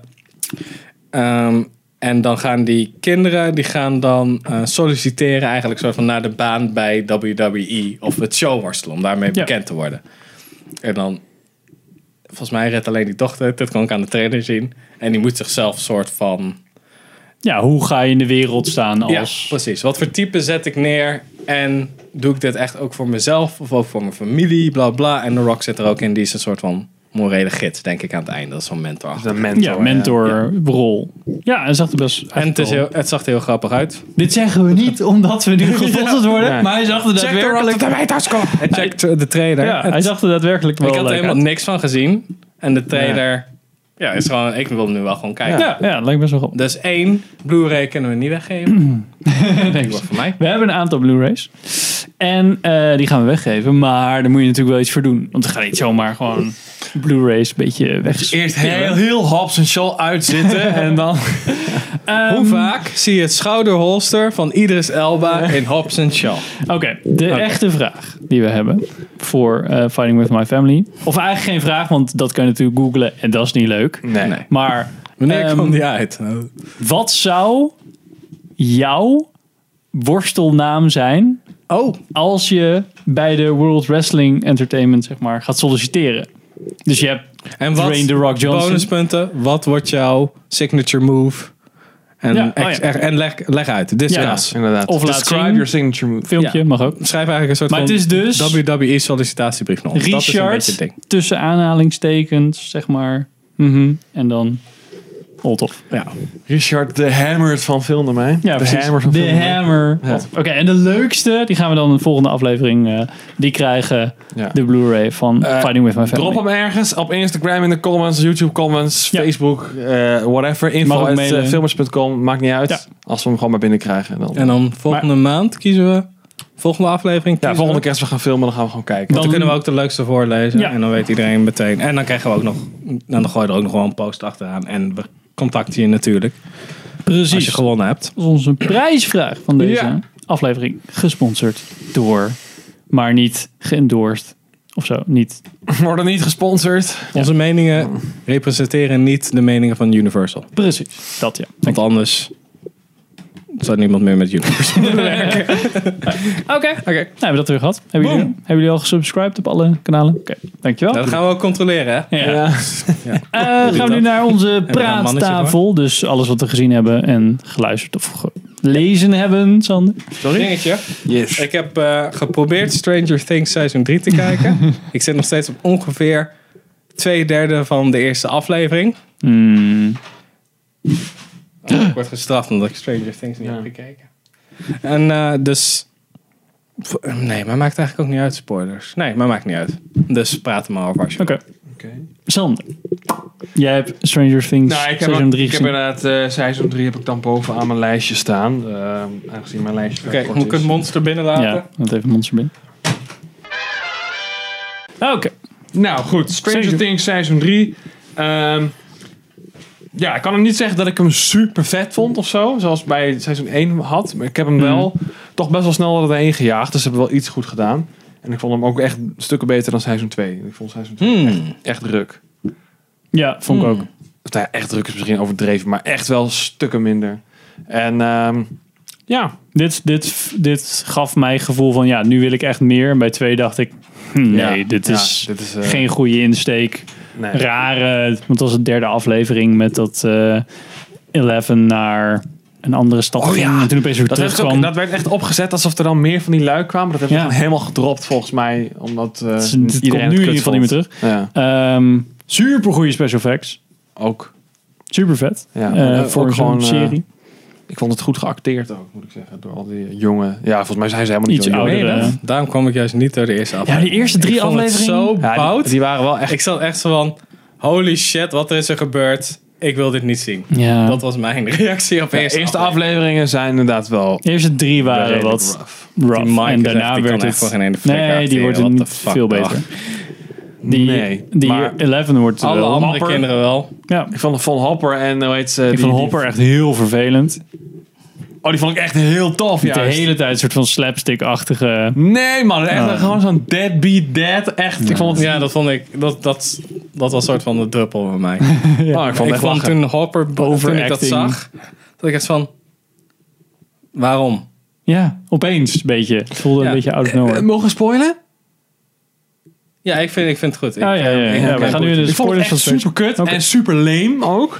Speaker 3: Ehm, en dan gaan die kinderen, die gaan dan eh, solliciteren eigenlijk soort van naar de baan bij WWE of het show worstelen, om daarmee
Speaker 2: Ja.
Speaker 3: bekend te worden. En dan, volgens mij redt alleen die dochter, dat kan ik aan de trainer zien. En die moet zichzelf soort van...
Speaker 2: Ja, hoe ga je in de wereld staan als...
Speaker 3: Ja, precies. Wat voor type zet ik neer? En doe ik dit echt ook voor mezelf of ook voor mijn familie? Bla bla. En The Rock zit er ook in. Die is een soort van morele gids, denk ik, aan het einde. Dat is zo'n mentor.
Speaker 1: De mentor.
Speaker 2: Ja, mentorrol. Ja. en zag er best...
Speaker 3: En het, is heel, het zag er heel grappig uit.
Speaker 2: Dit zeggen we niet omdat we nu gesponsord worden, maar hij zag er daadwerkelijk...
Speaker 3: En check de trailer.
Speaker 2: Ja, hij
Speaker 3: ik
Speaker 2: zag er daadwerkelijk wel
Speaker 3: had er
Speaker 2: leuk
Speaker 3: helemaal
Speaker 2: uit.
Speaker 3: niks van gezien. En de trailer... Ja, is gewoon... Ik wil hem nu wel gewoon kijken.
Speaker 2: Ja, ja, dat lijkt best wel goed.
Speaker 3: Dus één, Blu-ray kunnen we niet weggeven. nee, dat voor mij.
Speaker 2: We hebben een aantal Blu-rays. En eh, die gaan we weggeven, maar daar moet je natuurlijk wel iets voor doen. Want we gaan niet zomaar gewoon... Blu-rays een beetje weg.
Speaker 1: Eerst heel, heel Hobbs en Shaw uitzitten en dan...
Speaker 3: Hoe vaak zie je het schouderholster van Idris Elba in Hobbs and Shaw?
Speaker 2: Oké, de echte vraag die we hebben voor eh, Fighting With My Family. Of eigenlijk geen vraag, want dat kan je natuurlijk googlen en dat is niet leuk.
Speaker 3: Nee. Nee.
Speaker 2: Maar...
Speaker 3: Wanneer
Speaker 2: ehm,
Speaker 3: kwam die uit?
Speaker 2: Wat zou jouw worstelnaam zijn?
Speaker 3: Oh.
Speaker 2: Als je bij de World Wrestling Entertainment zeg maar, gaat solliciteren. Dus je hebt
Speaker 3: En wat,
Speaker 2: Dwayne The Rock Johnson.
Speaker 3: bonuspunten, wat wordt jouw signature move? En,
Speaker 2: Ja, oh
Speaker 3: ex-
Speaker 2: ja.
Speaker 3: en leg, leg uit, discuss.
Speaker 1: Ja, inderdaad.
Speaker 2: Of laat
Speaker 1: Describe
Speaker 2: zien.
Speaker 1: your signature move.
Speaker 2: Filmpje, mag ook.
Speaker 3: Schrijf eigenlijk een soort
Speaker 2: Maar
Speaker 3: van
Speaker 2: het is dus-
Speaker 3: WWE sollicitatiebrief nog. dat is een beetje het
Speaker 2: Richard,
Speaker 3: ding.
Speaker 2: tussen aanhalingstekens, zeg maar. Mhm. En dan Olthoff.
Speaker 3: Ja.
Speaker 1: Richard de Hammer van filmde mij.
Speaker 2: Ja,
Speaker 1: de
Speaker 2: precies.
Speaker 1: Hammer van
Speaker 2: De
Speaker 1: Film de Mij.
Speaker 2: Hammer.
Speaker 1: Ja.
Speaker 2: Oké, en de leukste, die gaan we dan in de volgende aflevering, eh, die krijgen
Speaker 1: Ja.
Speaker 2: de Blu-ray van
Speaker 1: Eh,
Speaker 2: Fighting With My Family.
Speaker 1: Drop hem ergens op Instagram in de comments, YouTube comments, Facebook, eh, whatever.
Speaker 2: Mag
Speaker 1: Info
Speaker 2: ook
Speaker 1: at,
Speaker 2: mailen.
Speaker 1: eh, filmers.com, maakt niet uit.
Speaker 2: Ja.
Speaker 1: Als we hem gewoon maar binnenkrijgen. Dan,
Speaker 3: En dan volgende maand kiezen we, volgende aflevering
Speaker 1: ja,
Speaker 3: kiezen
Speaker 1: volgende
Speaker 3: we.
Speaker 1: keer als we gaan filmen, dan gaan we gewoon kijken.
Speaker 3: Dan, kunnen we ook de leukste voorlezen
Speaker 2: Ja.
Speaker 3: en dan weet iedereen meteen. En dan krijgen we ook nog, dan gooien we er ook nog wel een post achteraan. En we contacten je natuurlijk als je
Speaker 2: Precies.
Speaker 3: gewonnen hebt.
Speaker 2: Dat is onze prijsvraag van deze
Speaker 1: Ja.
Speaker 2: aflevering. Gesponsord door, maar niet geëndorsed of zo. Niet.
Speaker 1: worden niet gesponsord.
Speaker 3: Onze meningen representeren niet de meningen van Universal.
Speaker 2: Precies, dat ja.
Speaker 3: Want anders zou niemand meer met Universal.
Speaker 2: Oké, nou, hebben we dat weer gehad. Hebben jullie, hebben jullie al gesubscribed op alle kanalen? Oké, dankjewel.
Speaker 3: dat gaan we ook controleren, hè?
Speaker 2: Ja. Eh, gaan we nu naar onze
Speaker 3: we daar een mannetje
Speaker 2: praattafel. Dus alles wat we gezien hebben en geluisterd of gelezen hebben, Sander.
Speaker 3: Sorry? Dingetje.
Speaker 1: Yes.
Speaker 3: Ik heb eh, geprobeerd Stranger Things seizoen 3 te kijken. ik zit nog steeds op ongeveer twee derde van de eerste aflevering. Oh, ik word gestraft omdat ik Stranger Things niet heb gekeken. En eh, dus... v- Nee, maar maakt eigenlijk ook niet uit, spoilers. Nee, maar maakt niet uit. Dus praat er maar over als je
Speaker 2: Oké. Sander, jij hebt Stranger Things
Speaker 1: Nou, ik heb,
Speaker 2: seizoen
Speaker 1: ook-
Speaker 2: 3
Speaker 1: ik heb
Speaker 2: gezien.
Speaker 1: inderdaad eh seizoen 3 heb ik dan bovenaan mijn lijstje staan. Ehm, aangezien mijn lijstje
Speaker 3: Oké,
Speaker 1: vrij
Speaker 3: moet
Speaker 1: kort
Speaker 3: ik het
Speaker 1: is.
Speaker 3: monster binnenlaten?
Speaker 2: Ja, dat even monster binnen. Oké.
Speaker 1: Nou goed, Stranger
Speaker 2: Seizoen-
Speaker 1: Things seizoen 3. Ehm, ja, ik kan hem niet zeggen dat ik hem super vet vond of zo. Zoals bij seizoen 1 had. Maar ik heb
Speaker 2: Hmm.
Speaker 1: hem wel toch best wel snel erheen gejaagd. Dus ze hebben wel iets goed gedaan. En ik vond hem ook echt stukken beter dan seizoen 2. Ik vond seizoen 2
Speaker 3: Hmm.
Speaker 1: echt druk.
Speaker 2: Ja, vond ik ook.
Speaker 1: Of nou ja, echt druk is misschien overdreven. Maar echt wel stukken minder. En ehm, ja,
Speaker 2: Dit, dit, dit gaf mij het gevoel van, ja, nu wil ik echt meer. En bij twee dacht ik, hm, nee,
Speaker 1: Ja,
Speaker 2: dit
Speaker 1: ja,
Speaker 2: is,
Speaker 1: dit is, eh,
Speaker 2: geen goede insteek.
Speaker 1: nee.
Speaker 2: Rare, want het was de derde aflevering met dat eh Eleven naar een andere stad
Speaker 1: Oh
Speaker 2: ging.
Speaker 1: ja,
Speaker 2: En toen opeens weer
Speaker 1: Dat, heeft
Speaker 2: terugkwam.
Speaker 1: ook, dat werd echt opgedropt alsof er dan meer van die lui kwamen. Dat hebben we
Speaker 2: Dus Ja.
Speaker 1: gewoon helemaal gedropt volgens mij. Omdat eh
Speaker 2: is- dit komt nu in ieder geval niet meer terug.
Speaker 1: Ja,
Speaker 2: super goede special effects.
Speaker 1: ook.
Speaker 2: Super vet.
Speaker 1: Ja,
Speaker 2: Eh,
Speaker 1: maar ook
Speaker 2: voor
Speaker 1: gewoon,
Speaker 2: zo'n
Speaker 1: eh,
Speaker 2: serie.
Speaker 1: Ik vond het goed geacteerd ook, moet ik zeggen. Door al die jonge... Ja, volgens mij zijn ze helemaal niet
Speaker 2: Iets
Speaker 1: zo jong.
Speaker 2: ouder.
Speaker 3: Nee,
Speaker 2: Eh,
Speaker 3: dat- daarom kwam ik juist niet door de eerste aflevering.
Speaker 2: die eerste drie
Speaker 3: ik vond het
Speaker 2: afleveringen-
Speaker 3: zo
Speaker 1: Ja, die-
Speaker 3: bout.
Speaker 1: die, waren wel echt...
Speaker 3: Ik zat echt zo van, holy shit, wat is er gebeurd? Ik wil dit niet zien.
Speaker 2: Ja.
Speaker 3: Dat was mijn reactie op
Speaker 1: De
Speaker 3: eerste,
Speaker 1: eerste afleveringen zijn inderdaad wel...
Speaker 2: De eerste drie waren
Speaker 1: redelijk
Speaker 2: wat
Speaker 1: rough.
Speaker 2: rough.
Speaker 3: Die Mike
Speaker 2: en
Speaker 3: is
Speaker 2: daarna
Speaker 3: echt- die
Speaker 2: werd
Speaker 3: kan
Speaker 2: het...
Speaker 3: echt voor geen ene flikker
Speaker 2: nee, die
Speaker 3: acteren.
Speaker 2: wordt
Speaker 3: What
Speaker 2: niet
Speaker 3: the fuck,
Speaker 2: veel
Speaker 3: dag.
Speaker 2: beter. Die,
Speaker 1: nee,
Speaker 2: die
Speaker 1: maar
Speaker 2: Eleven wordt
Speaker 3: Alle
Speaker 2: wel
Speaker 3: andere
Speaker 2: mapper.
Speaker 3: kinderen wel.
Speaker 2: Ja.
Speaker 1: ik vond Von Hopper en hoe heet ze?
Speaker 2: Ik
Speaker 1: die-
Speaker 2: vond
Speaker 1: die-
Speaker 2: Hopper echt heel vervelend.
Speaker 1: Oh, die vond ik echt heel tof,
Speaker 2: De
Speaker 1: juist.
Speaker 2: hele tijd een soort van slapstick-achtige...
Speaker 1: Nee, man. Echt gewoon zo'n deadbeat dad. Echt. Ik vond het...
Speaker 3: Ja, dat vond ik, dat, dat, dat was soort van de druppel bij mij.
Speaker 1: Oh, ik vond het
Speaker 3: ik
Speaker 1: echt
Speaker 3: vond
Speaker 1: lachen.
Speaker 3: toen Hopper, toen ik dat
Speaker 2: Overacting.
Speaker 3: zag, dat ik echt van, waarom?
Speaker 2: Ja, opeens een beetje. Het voelde
Speaker 3: Ja.
Speaker 2: een beetje out of nowhere.
Speaker 1: Eh, Mogen we spoilen?
Speaker 3: Ja, ik vind, ik vind het goed. Ik,
Speaker 1: eh,
Speaker 2: Ah, ja, ja, ja.
Speaker 3: ik-
Speaker 2: Ja,
Speaker 3: ik-
Speaker 2: we gaan nu de
Speaker 1: Ik vond het
Speaker 2: spoilers van
Speaker 1: echt
Speaker 2: Stranger
Speaker 1: super kut
Speaker 2: Oké.
Speaker 1: en super lame ook.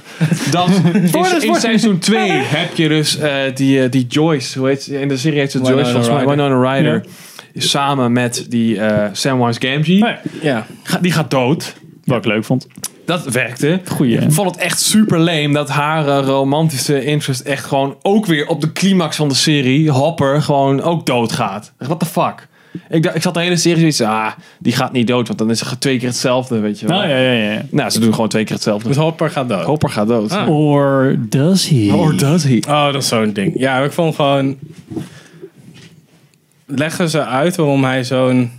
Speaker 1: Dan in, in seizoen 2 heb je dus eh, die, eh, die Joyce. Hoe heet ze? In de serie heet ze
Speaker 3: Winona
Speaker 1: Joyce volgens mij.
Speaker 3: Ryder.
Speaker 1: Winona Ryder. Is Samen met die eh, Samwise Gamgee.
Speaker 2: Nee,
Speaker 3: ja.
Speaker 1: Ga- Die gaat dood.
Speaker 2: Wat ik leuk vond.
Speaker 1: Dat werkte.
Speaker 2: Goeie, hè?
Speaker 1: Ik vond het echt super lame dat haar eh, romantische interest echt gewoon ook weer op de climax van de serie, Hopper, gewoon ook doodgaat. Echt, What the fuck? Ik, dacht- ik zat de hele serie zoiets, ah, die gaat niet dood, want dan is het twee keer hetzelfde, weet je wel.
Speaker 2: Nou ja, ja, ja.
Speaker 1: Nou, ze doen gewoon twee keer hetzelfde.
Speaker 3: Dus Hopper gaat dood.
Speaker 1: Hopper gaat dood.
Speaker 2: Or does he?
Speaker 1: does he?
Speaker 3: Oh, dat is zo'n ding. Ja, ik vond gewoon. Leggen ze uit waarom hij zo'n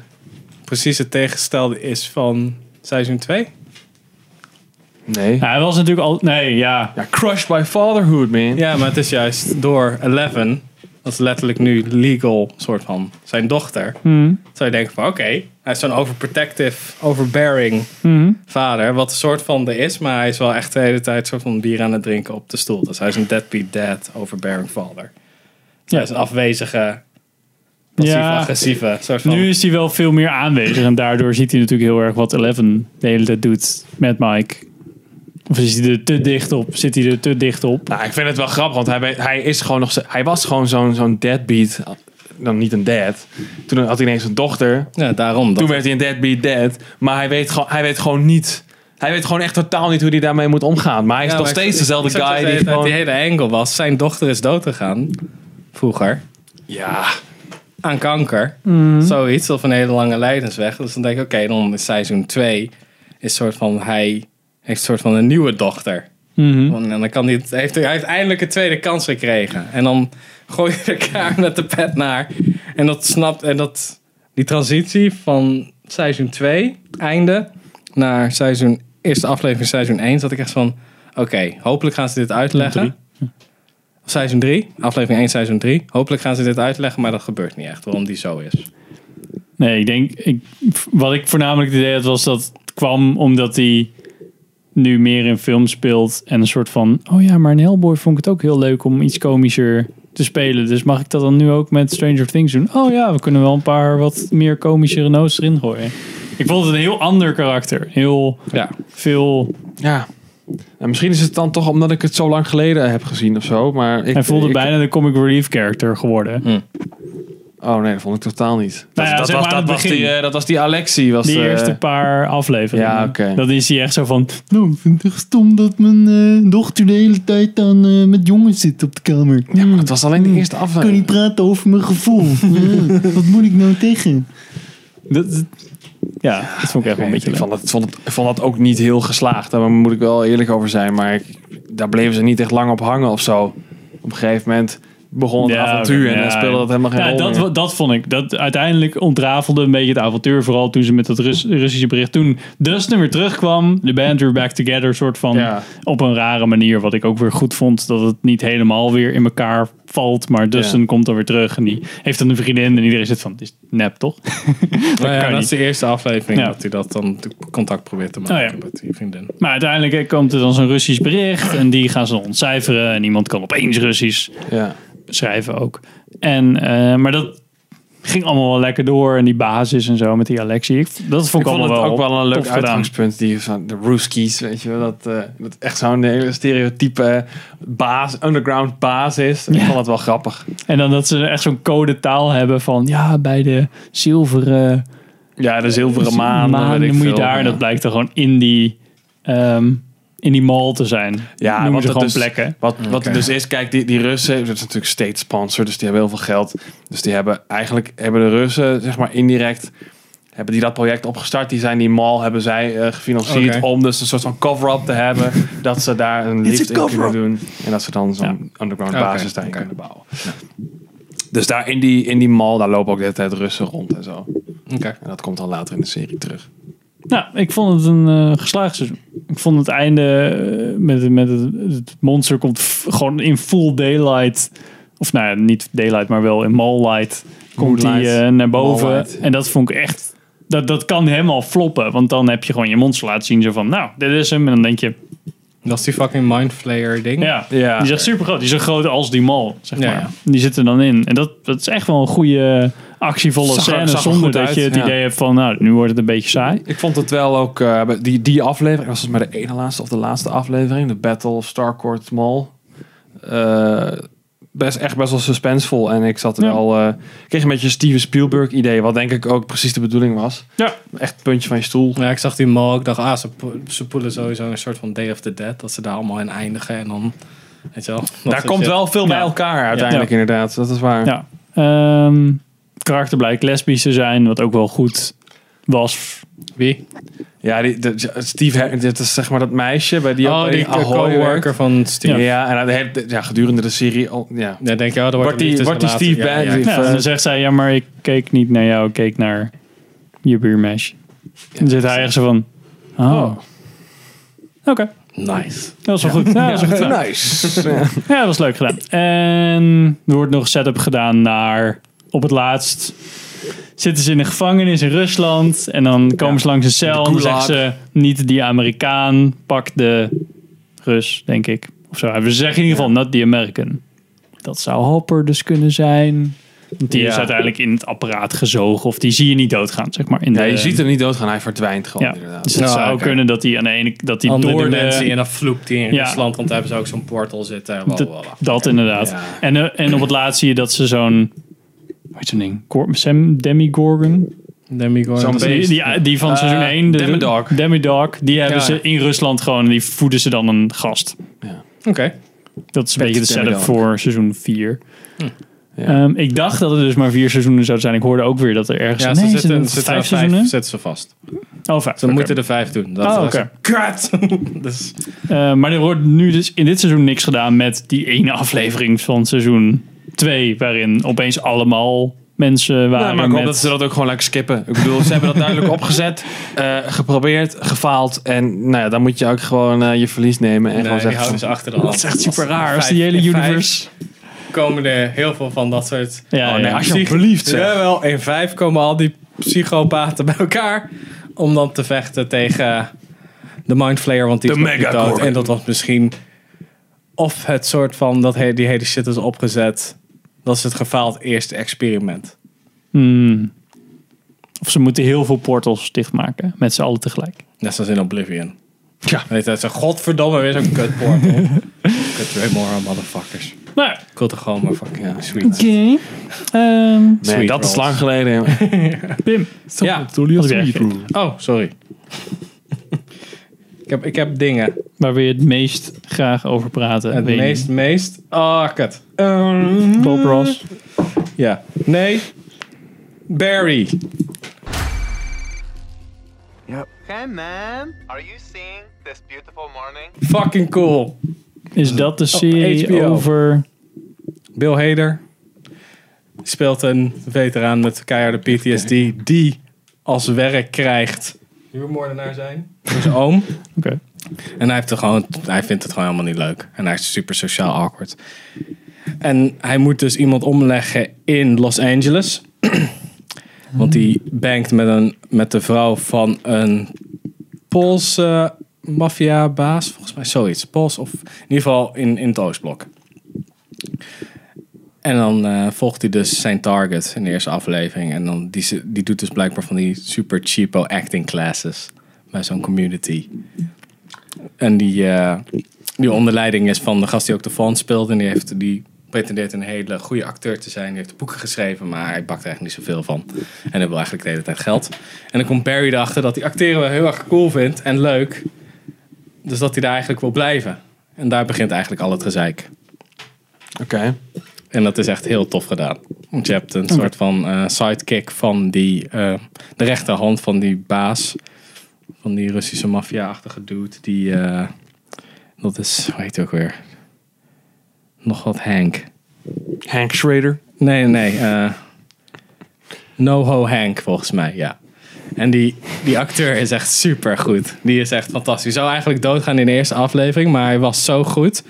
Speaker 3: precieze tegenstelde is van seizoen 2?
Speaker 1: Nee.
Speaker 2: Nou, hij was natuurlijk al... Nee, ja.
Speaker 1: Ja, crushed by fatherhood, man.
Speaker 3: Ja, maar het is juist door Eleven, dat is letterlijk nu legal soort van, zijn dochter. Zou je denken van oké, hij is zo'n overprotective, overbearing vader. Wat een soort van er is, maar hij is wel echt de hele tijd soort van bier aan het drinken op de stoel. Dus hij is een deadbeat dad, overbearing vader. Hij is een afwezige, passief-agressieve soort van.
Speaker 2: Nu is hij wel veel meer aanwezig en daardoor ziet hij natuurlijk heel erg wat Eleven de hele tijd doet met Mike. Of is hij er te dicht op? Zit hij er te dicht op?
Speaker 1: Nou, ik vind het wel grappig, want hij, weet- hij, is gewoon nog, z- hij was gewoon zo'n zo'n deadbeat. Dan niet een dad. Toen had hij ineens een dochter.
Speaker 3: Ja, daarom.
Speaker 1: Toen werd hij een deadbeat dad. Maar hij weet, gewoon- hij weet gewoon niet... Hij weet gewoon echt totaal niet hoe hij daarmee moet omgaan. Maar hij is
Speaker 3: Ja,
Speaker 1: nog
Speaker 3: maar ik-
Speaker 1: steeds
Speaker 3: ik-
Speaker 1: dezelfde
Speaker 3: ik zag dus
Speaker 1: guy
Speaker 3: de hele
Speaker 1: die
Speaker 3: tijd
Speaker 1: gewoon...
Speaker 3: Die hele angle was, zijn dochter is dood gegaan, vroeger.
Speaker 1: Ja.
Speaker 3: aan kanker.
Speaker 1: Mm.
Speaker 3: Zoiets, of een hele lange lijdensweg. Dus dan denk ik, oké, dan is seizoen 2 is soort van, hij heeft soort van een nieuwe dochter.
Speaker 2: Mhm.
Speaker 3: Want- En dan kan hij, het- heeft hij heeft eindelijk een tweede kans gekregen. En dan gooi je elkaar met de pet naar. En dat snapt, en dat, die transitie van seizoen 2, einde, naar seizoen, eerste aflevering seizoen 1, zat ik echt van, oké, hopelijk gaan ze dit uitleggen. Seizoen 3, aflevering 1, seizoen 3. Hopelijk gaan ze dit uitleggen, maar dat gebeurt niet echt, waarom die zo is.
Speaker 2: Nee, ik denk... Ik, wat ik voornamelijk het idee had was dat het kwam omdat hij nu meer in film speelt en een soort van... Oh ja, maar in Hellboy vond ik het ook heel leuk om iets komischer te spelen. Dus mag ik dat dan nu ook met Stranger Things doen? Oh ja, we kunnen wel een paar wat meer komische notes erin gooien. Ik vond het een heel ander karakter. Heel veel...
Speaker 1: Ja. En misschien is het dan toch omdat ik het zo lang geleden heb gezien of zo. Maar ik,
Speaker 2: Hij voelde
Speaker 1: ik- Mm.
Speaker 2: bijna de comic relief character geworden.
Speaker 1: Oh nee, dat vond ik totaal niet.
Speaker 2: Nou ja,
Speaker 1: dat,
Speaker 2: zeg
Speaker 1: was,
Speaker 2: maar aan
Speaker 1: dat,
Speaker 2: het
Speaker 1: was
Speaker 2: begin.
Speaker 1: die, eh, dat was die Alexi. Was
Speaker 2: Die
Speaker 1: de-
Speaker 2: eerste paar afleveringen.
Speaker 1: eh, Ja, oké.
Speaker 2: Dat is hij echt zo van...
Speaker 12: Nou, ik vind het echt stom dat mijn eh, dochter de hele tijd dan eh, met jongens zit op de kamer. Ja,
Speaker 2: Hmm.
Speaker 12: maar
Speaker 1: het was alleen de eerste
Speaker 12: Ik kan
Speaker 1: aflevering.
Speaker 12: niet praten over mijn gevoel. Ja, wat moet ik nou tegen?
Speaker 2: Dat, ja, dat vond ik echt wel een beetje
Speaker 1: Ik vond dat, ik vond het- ik vond dat ook niet heel geslaagd. Daar moet ik wel eerlijk over zijn. Maar ik- daar bleven ze niet echt lang op hangen of zo. Op een gegeven moment begon het
Speaker 2: Ja,
Speaker 1: avontuur.
Speaker 2: oké,
Speaker 1: en dan
Speaker 2: ja,
Speaker 1: speelde dat helemaal geen
Speaker 2: ja,
Speaker 1: rol
Speaker 2: dat,
Speaker 1: meer.
Speaker 2: wa- dat vond ik. Dat, uiteindelijk ontrafelde een beetje het avontuur. Vooral toen ze met dat Rus- Russische bericht... Toen Dustin weer terugkwam. De band weer back together. soort van op een rare manier. Wat ik ook weer goed vond. Dat het niet helemaal weer in elkaar valt. Maar Dustin
Speaker 3: Ja.
Speaker 2: komt dan weer terug. En die heeft dan een vriendin. En iedereen zit van... Het is nep, toch? dat
Speaker 3: Nou ja,
Speaker 2: kan
Speaker 3: dat is
Speaker 2: niet.
Speaker 3: de eerste aflevering
Speaker 2: Ja.
Speaker 3: dat hij dat dan t- contact probeert te maken
Speaker 2: Oh ja.
Speaker 3: met die vriendin.
Speaker 2: Maar uiteindelijk eh, komt er dan zo'n Russisch bericht. En die gaan ze dan ontcijferen. En iemand kan opeens Russisch schrijven ook. En, eh, maar dat ging allemaal wel lekker door. En die basis en zo met die Alexi. Ik, dat vond ik, allemaal
Speaker 1: het ook
Speaker 2: wel
Speaker 1: wel een leuk
Speaker 2: tof gedaan.
Speaker 1: uitgangspunt. Die van de Rooskies, weet je wel. Dat, eh, dat echt zo'n hele stereotype baas, underground baas is. Ik vond het wel grappig.
Speaker 2: En dan dat ze echt zo'n code taal hebben van... Ja, bij de zilveren...
Speaker 1: Ja, de zilveren maan.
Speaker 2: maan,
Speaker 1: weet ik
Speaker 2: dan moet je
Speaker 1: veel.
Speaker 2: daar... En dat blijkt er gewoon in die... ehm, in die mall te zijn.
Speaker 1: Ja,
Speaker 2: Noemen
Speaker 1: wat
Speaker 2: ze
Speaker 1: het
Speaker 2: gewoon
Speaker 1: dus,
Speaker 2: plekken.
Speaker 1: Wat, wat het
Speaker 2: Oké.
Speaker 1: dus is, kijk, die, die Russen, dat is natuurlijk state sponsor, dus die hebben heel veel geld. Dus die hebben eigenlijk, hebben de Russen, zeg maar indirect, hebben die dat project opgestart. Die zijn die mall, hebben zij eh, gefinancierd
Speaker 3: Oké.
Speaker 1: om dus een soort van cover-up te hebben. dat ze daar een
Speaker 3: It's a
Speaker 1: lift in kunnen
Speaker 3: cover-up.
Speaker 1: doen. En dat ze dan zo'n underground
Speaker 3: Oké,
Speaker 1: basis daarin kunnen bouwen. Dus daar in die, in die mall, daar lopen ook de hele tijd Russen rond en zo. En dat komt dan later in de serie terug.
Speaker 2: Nou, ik vond het een eh, geslaagd seizoen. Ik vond het einde eh, met, met het, het monster komt f- gewoon in full daylight. Of nou ja, niet daylight, maar wel in mall light. Komt hij
Speaker 1: Moonlight.
Speaker 2: eh, naar boven.
Speaker 1: Mall light.
Speaker 2: En dat vond ik echt... Dat, dat kan helemaal floppen. Want dan heb je gewoon je monster laten zien. Zo van, nou, dit is hem. En dan denk je...
Speaker 3: Dat is die fucking mindflayer ding.
Speaker 2: Ja, die is echt super groot. Die is zo groot als die mall, zeg
Speaker 3: Ja,
Speaker 2: maar.
Speaker 3: ja.
Speaker 2: Die zit er dan in. En dat, dat is echt wel een goede eh, actievolle
Speaker 1: Zag er-
Speaker 2: scène.
Speaker 1: zag er
Speaker 2: zonder
Speaker 1: goed
Speaker 2: dat
Speaker 1: uit,
Speaker 2: je het
Speaker 1: ja.
Speaker 2: idee hebt van, nou, nu wordt het een beetje saai.
Speaker 1: Ik vond het wel ook, eh, bij die, die aflevering, was volgens mij de ene laatste of de laatste aflevering, de Battle of Starcourt Mall. Eh, best, echt best wel suspensevol en ik zat er
Speaker 2: Ja.
Speaker 1: wel, eh, ik kreeg een beetje een Steven Spielberg idee, wat denk ik ook precies de bedoeling was.
Speaker 2: Ja.
Speaker 1: Echt het puntje van je stoel.
Speaker 3: Ja, ik zag die mal. Ik dacht, ah, ze, po- ze poelen sowieso een soort van Day of the Dead. Dat ze daar allemaal in eindigen. En dan, weet je wel. dat
Speaker 1: Daar
Speaker 3: soort
Speaker 1: komt
Speaker 3: shit.
Speaker 1: wel veel bij
Speaker 3: Ja.
Speaker 1: elkaar
Speaker 3: Ja.
Speaker 1: uiteindelijk inderdaad, dat is waar.
Speaker 2: Ja. Ehm, het karakter blijkt lesbisch te zijn, wat ook wel goed was.
Speaker 3: Wie?
Speaker 1: Ja, die, de- Steve, Har- dit is zeg maar dat meisje bij die
Speaker 3: Oh,
Speaker 1: bij
Speaker 3: die
Speaker 1: Ahoy
Speaker 3: coworker
Speaker 1: werkt.
Speaker 3: van Steve.
Speaker 1: Ja, en hij heeft- ja, gedurende de serie, al, ja.
Speaker 3: Ja, denk je, oh, er wordt
Speaker 1: wordt
Speaker 3: een
Speaker 1: die, wordt die
Speaker 3: liefdesrelatie.
Speaker 1: Steve
Speaker 3: Ja, ja,
Speaker 1: Bannon-
Speaker 2: Ja,
Speaker 1: eh,
Speaker 2: en dan zegt zij, ja, maar ik keek niet naar jou, ik keek naar Oh. je buurmeisje. En dan zit hij echt zo van, oh. Oké.
Speaker 3: Nice.
Speaker 2: Dat was wel goed. Ja, dat was wel goed gedaan.
Speaker 3: Nice.
Speaker 2: Ja. dat was leuk gedaan. En er wordt nog een setup gedaan naar op het laatst. Zitten ze in een gevangenis in Rusland en dan komen ze langs een cel en dan
Speaker 3: gulag.
Speaker 2: zeggen ze niet die Amerikaan, pak de Rus, denk ik. Of zo. We zeggen in ieder geval not the American. Dat zou Hopper dus kunnen zijn. Want die
Speaker 1: Ja.
Speaker 2: is uiteindelijk in het apparaat gezogen of die zie je niet doodgaan, zeg maar. In
Speaker 1: Nee,
Speaker 2: de-
Speaker 1: je ziet hem niet doodgaan. Hij verdwijnt gewoon
Speaker 2: ja.
Speaker 1: inderdaad.
Speaker 2: Dus het zou kunnen dat hij aan de ene dat hij
Speaker 3: Andere
Speaker 2: door de-
Speaker 3: dimensie en dan vloekt die in
Speaker 2: Ja.
Speaker 3: Rusland, want daar hebben ze ook zo'n portal zitten. Wow,
Speaker 2: Dat, dat inderdaad. En, eh, en op het laatst zie je dat ze zo'n. Hoe heet zo'n ding? Cor- Sam Demigorgon?
Speaker 3: Demigorgon.
Speaker 2: Zo'n beest. Die, die, die van
Speaker 1: Eh,
Speaker 2: seizoen 1. De,
Speaker 1: Demidog.
Speaker 2: Demidog. Die hebben
Speaker 1: Ja.
Speaker 2: ze in Rusland gewoon. Die voeden ze dan een gast.
Speaker 3: Oké.
Speaker 2: Dat is een beetje de setup
Speaker 1: Demidog.
Speaker 2: voor seizoen 4. Ehm, ik dacht dat het dus maar vier seizoenen zou zijn. Ik hoorde ook weer dat er ergens...
Speaker 3: Ja, ze
Speaker 2: nee,
Speaker 3: zitten,
Speaker 2: zijn het
Speaker 3: zitten
Speaker 2: vijf
Speaker 3: aan
Speaker 2: seizoenen?
Speaker 3: zitten ze vast.
Speaker 2: Oh, vijf.
Speaker 3: Ze moeten er vijf doen. Dat
Speaker 2: Oh,
Speaker 3: was
Speaker 2: oké.
Speaker 3: Kut! dus,
Speaker 2: Eh, maar er wordt nu dus in dit seizoen niks gedaan met die ene aflevering van seizoen 2, waarin opeens allemaal mensen waren.
Speaker 1: Nou, maar ik hoop
Speaker 2: met...
Speaker 1: dat ze dat ook gewoon lekker skippen. Ik bedoel, ze hebben dat duidelijk opgezet, eh, geprobeerd, gefaald. En nou ja, dan moet je ook gewoon eh, je verlies nemen. En
Speaker 3: nee,
Speaker 1: gewoon
Speaker 3: die
Speaker 1: zeggen,
Speaker 3: houden ze
Speaker 1: van-
Speaker 3: achter de hand.
Speaker 1: Dat is echt super
Speaker 2: raar. Als
Speaker 3: Vijf
Speaker 2: die hele
Speaker 3: in vijf
Speaker 2: universe.
Speaker 3: komen er heel veel van dat soort...
Speaker 2: Ja,
Speaker 1: Oh, nee,
Speaker 2: ja.
Speaker 1: alsjeblieft, zeg.
Speaker 3: Jawel, in vijf komen al die psychopaten bij elkaar om dan te vechten tegen de Mindflayer, want die is
Speaker 1: De
Speaker 3: nog niet
Speaker 1: Megagorgon.
Speaker 3: dood. En dat was misschien... Of het soort van dat he- die hele shit is opgezet. Dat is het gefaald eerste experiment.
Speaker 2: Hmm. Of ze moeten heel veel portals dichtmaken, met z'n allen tegelijk.
Speaker 3: Net zoals in Oblivion. Ja. Weet je, zo, godverdomme, weer zo'n kutportal. Kut Remora, motherfuckers.
Speaker 2: Nou ja.
Speaker 3: Ik wil toch gewoon maar fucking sweet.
Speaker 2: Oké.
Speaker 1: Nee,
Speaker 3: Sweet
Speaker 1: dat is
Speaker 3: rolls.
Speaker 1: lang geleden. joh.
Speaker 2: Pim.
Speaker 3: Ja.
Speaker 2: Wat heb jij gegeten?
Speaker 3: Oh, sorry. ik, heb, ik heb dingen.
Speaker 2: Waar wil je het meest graag over praten?
Speaker 3: Het
Speaker 2: Weet je
Speaker 3: meest,
Speaker 2: niet.
Speaker 3: meest. Ah, kut. Ehm,
Speaker 2: Bob Ross.
Speaker 3: Ja. Nee. Barry.
Speaker 13: Hey man, are you seeing this beautiful morning?
Speaker 3: Fucking cool.
Speaker 2: Is dat de serie
Speaker 3: HBO.
Speaker 2: over...
Speaker 3: Bill Hader speelt een veteraan met keiharde PTSD die als werk krijgt huurmoordenaar zijn. door zijn oom.
Speaker 2: Oké.
Speaker 3: En hij, heeft er gewoon, hij vindt het gewoon helemaal niet leuk. En hij is super sociaal awkward. En hij moet dus iemand omleggen in Los Angeles. Want die bankt met, een, met de vrouw van een Poolse maffia-baas. Volgens mij zoiets. Pools of in ieder geval in, in het Oostblok. En dan eh, volgt hij dus zijn target in de eerste aflevering. En dan die, ze- die doet dus blijkbaar van die super cheapo acting classes bij zo'n community. En die, eh, die onder leiding is van de gast die ook de Fawn speelt. En die, heeft, die pretendeert een hele goede acteur te zijn. Die heeft boeken geschreven, maar hij bakt er eigenlijk niet zoveel van. En hij wil eigenlijk de hele tijd geld. En dan komt Barry erachter dat hij acteren wel heel erg cool vindt en leuk. Dus dat hij daar eigenlijk wil blijven. En daar begint eigenlijk al het gezeik.
Speaker 1: Oké.
Speaker 3: En dat is echt heel tof gedaan. Want je hebt een soort van eh, sidekick van die, eh, de rechterhand van die baas. Van die Russische maffia-achtige dude. Die, eh, dat is, hoe heet hij ook weer? Nog wat Hank.
Speaker 1: Hank Schrader.
Speaker 3: Nee, nee. eh Noho Hank, volgens mij, ja. En die, die acteur is echt super goed. Die is echt fantastisch. Hij zou eigenlijk doodgaan in de eerste aflevering, maar hij was zo goed.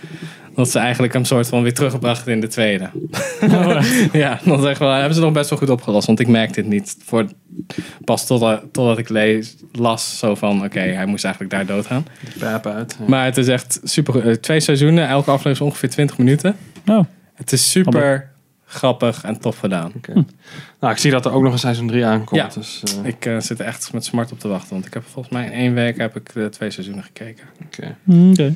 Speaker 3: Dat ze eigenlijk hem soort van weer teruggebracht in de tweede. ja, dat is echt wel, hebben ze nog best wel goed opgelost. Want ik merkte het niet. Voor, pas totdat, totdat ik lees, las zo van... Oké, hij moest eigenlijk daar doodgaan.
Speaker 1: Paap uit.
Speaker 3: Maar het is echt super. eh, Twee seizoenen, elke aflevering is ongeveer 20 minuten.
Speaker 2: Oh.
Speaker 3: Het is super grappig en tof gedaan.
Speaker 1: Nou, ik zie dat er ook nog een seizoen 3 aankomt.
Speaker 3: Ja.
Speaker 1: Dus, eh,
Speaker 3: Ik eh, zit er echt met smart op te wachten. Want ik heb volgens mij in één week heb ik de twee seizoenen gekeken.
Speaker 1: oké.
Speaker 2: Oké.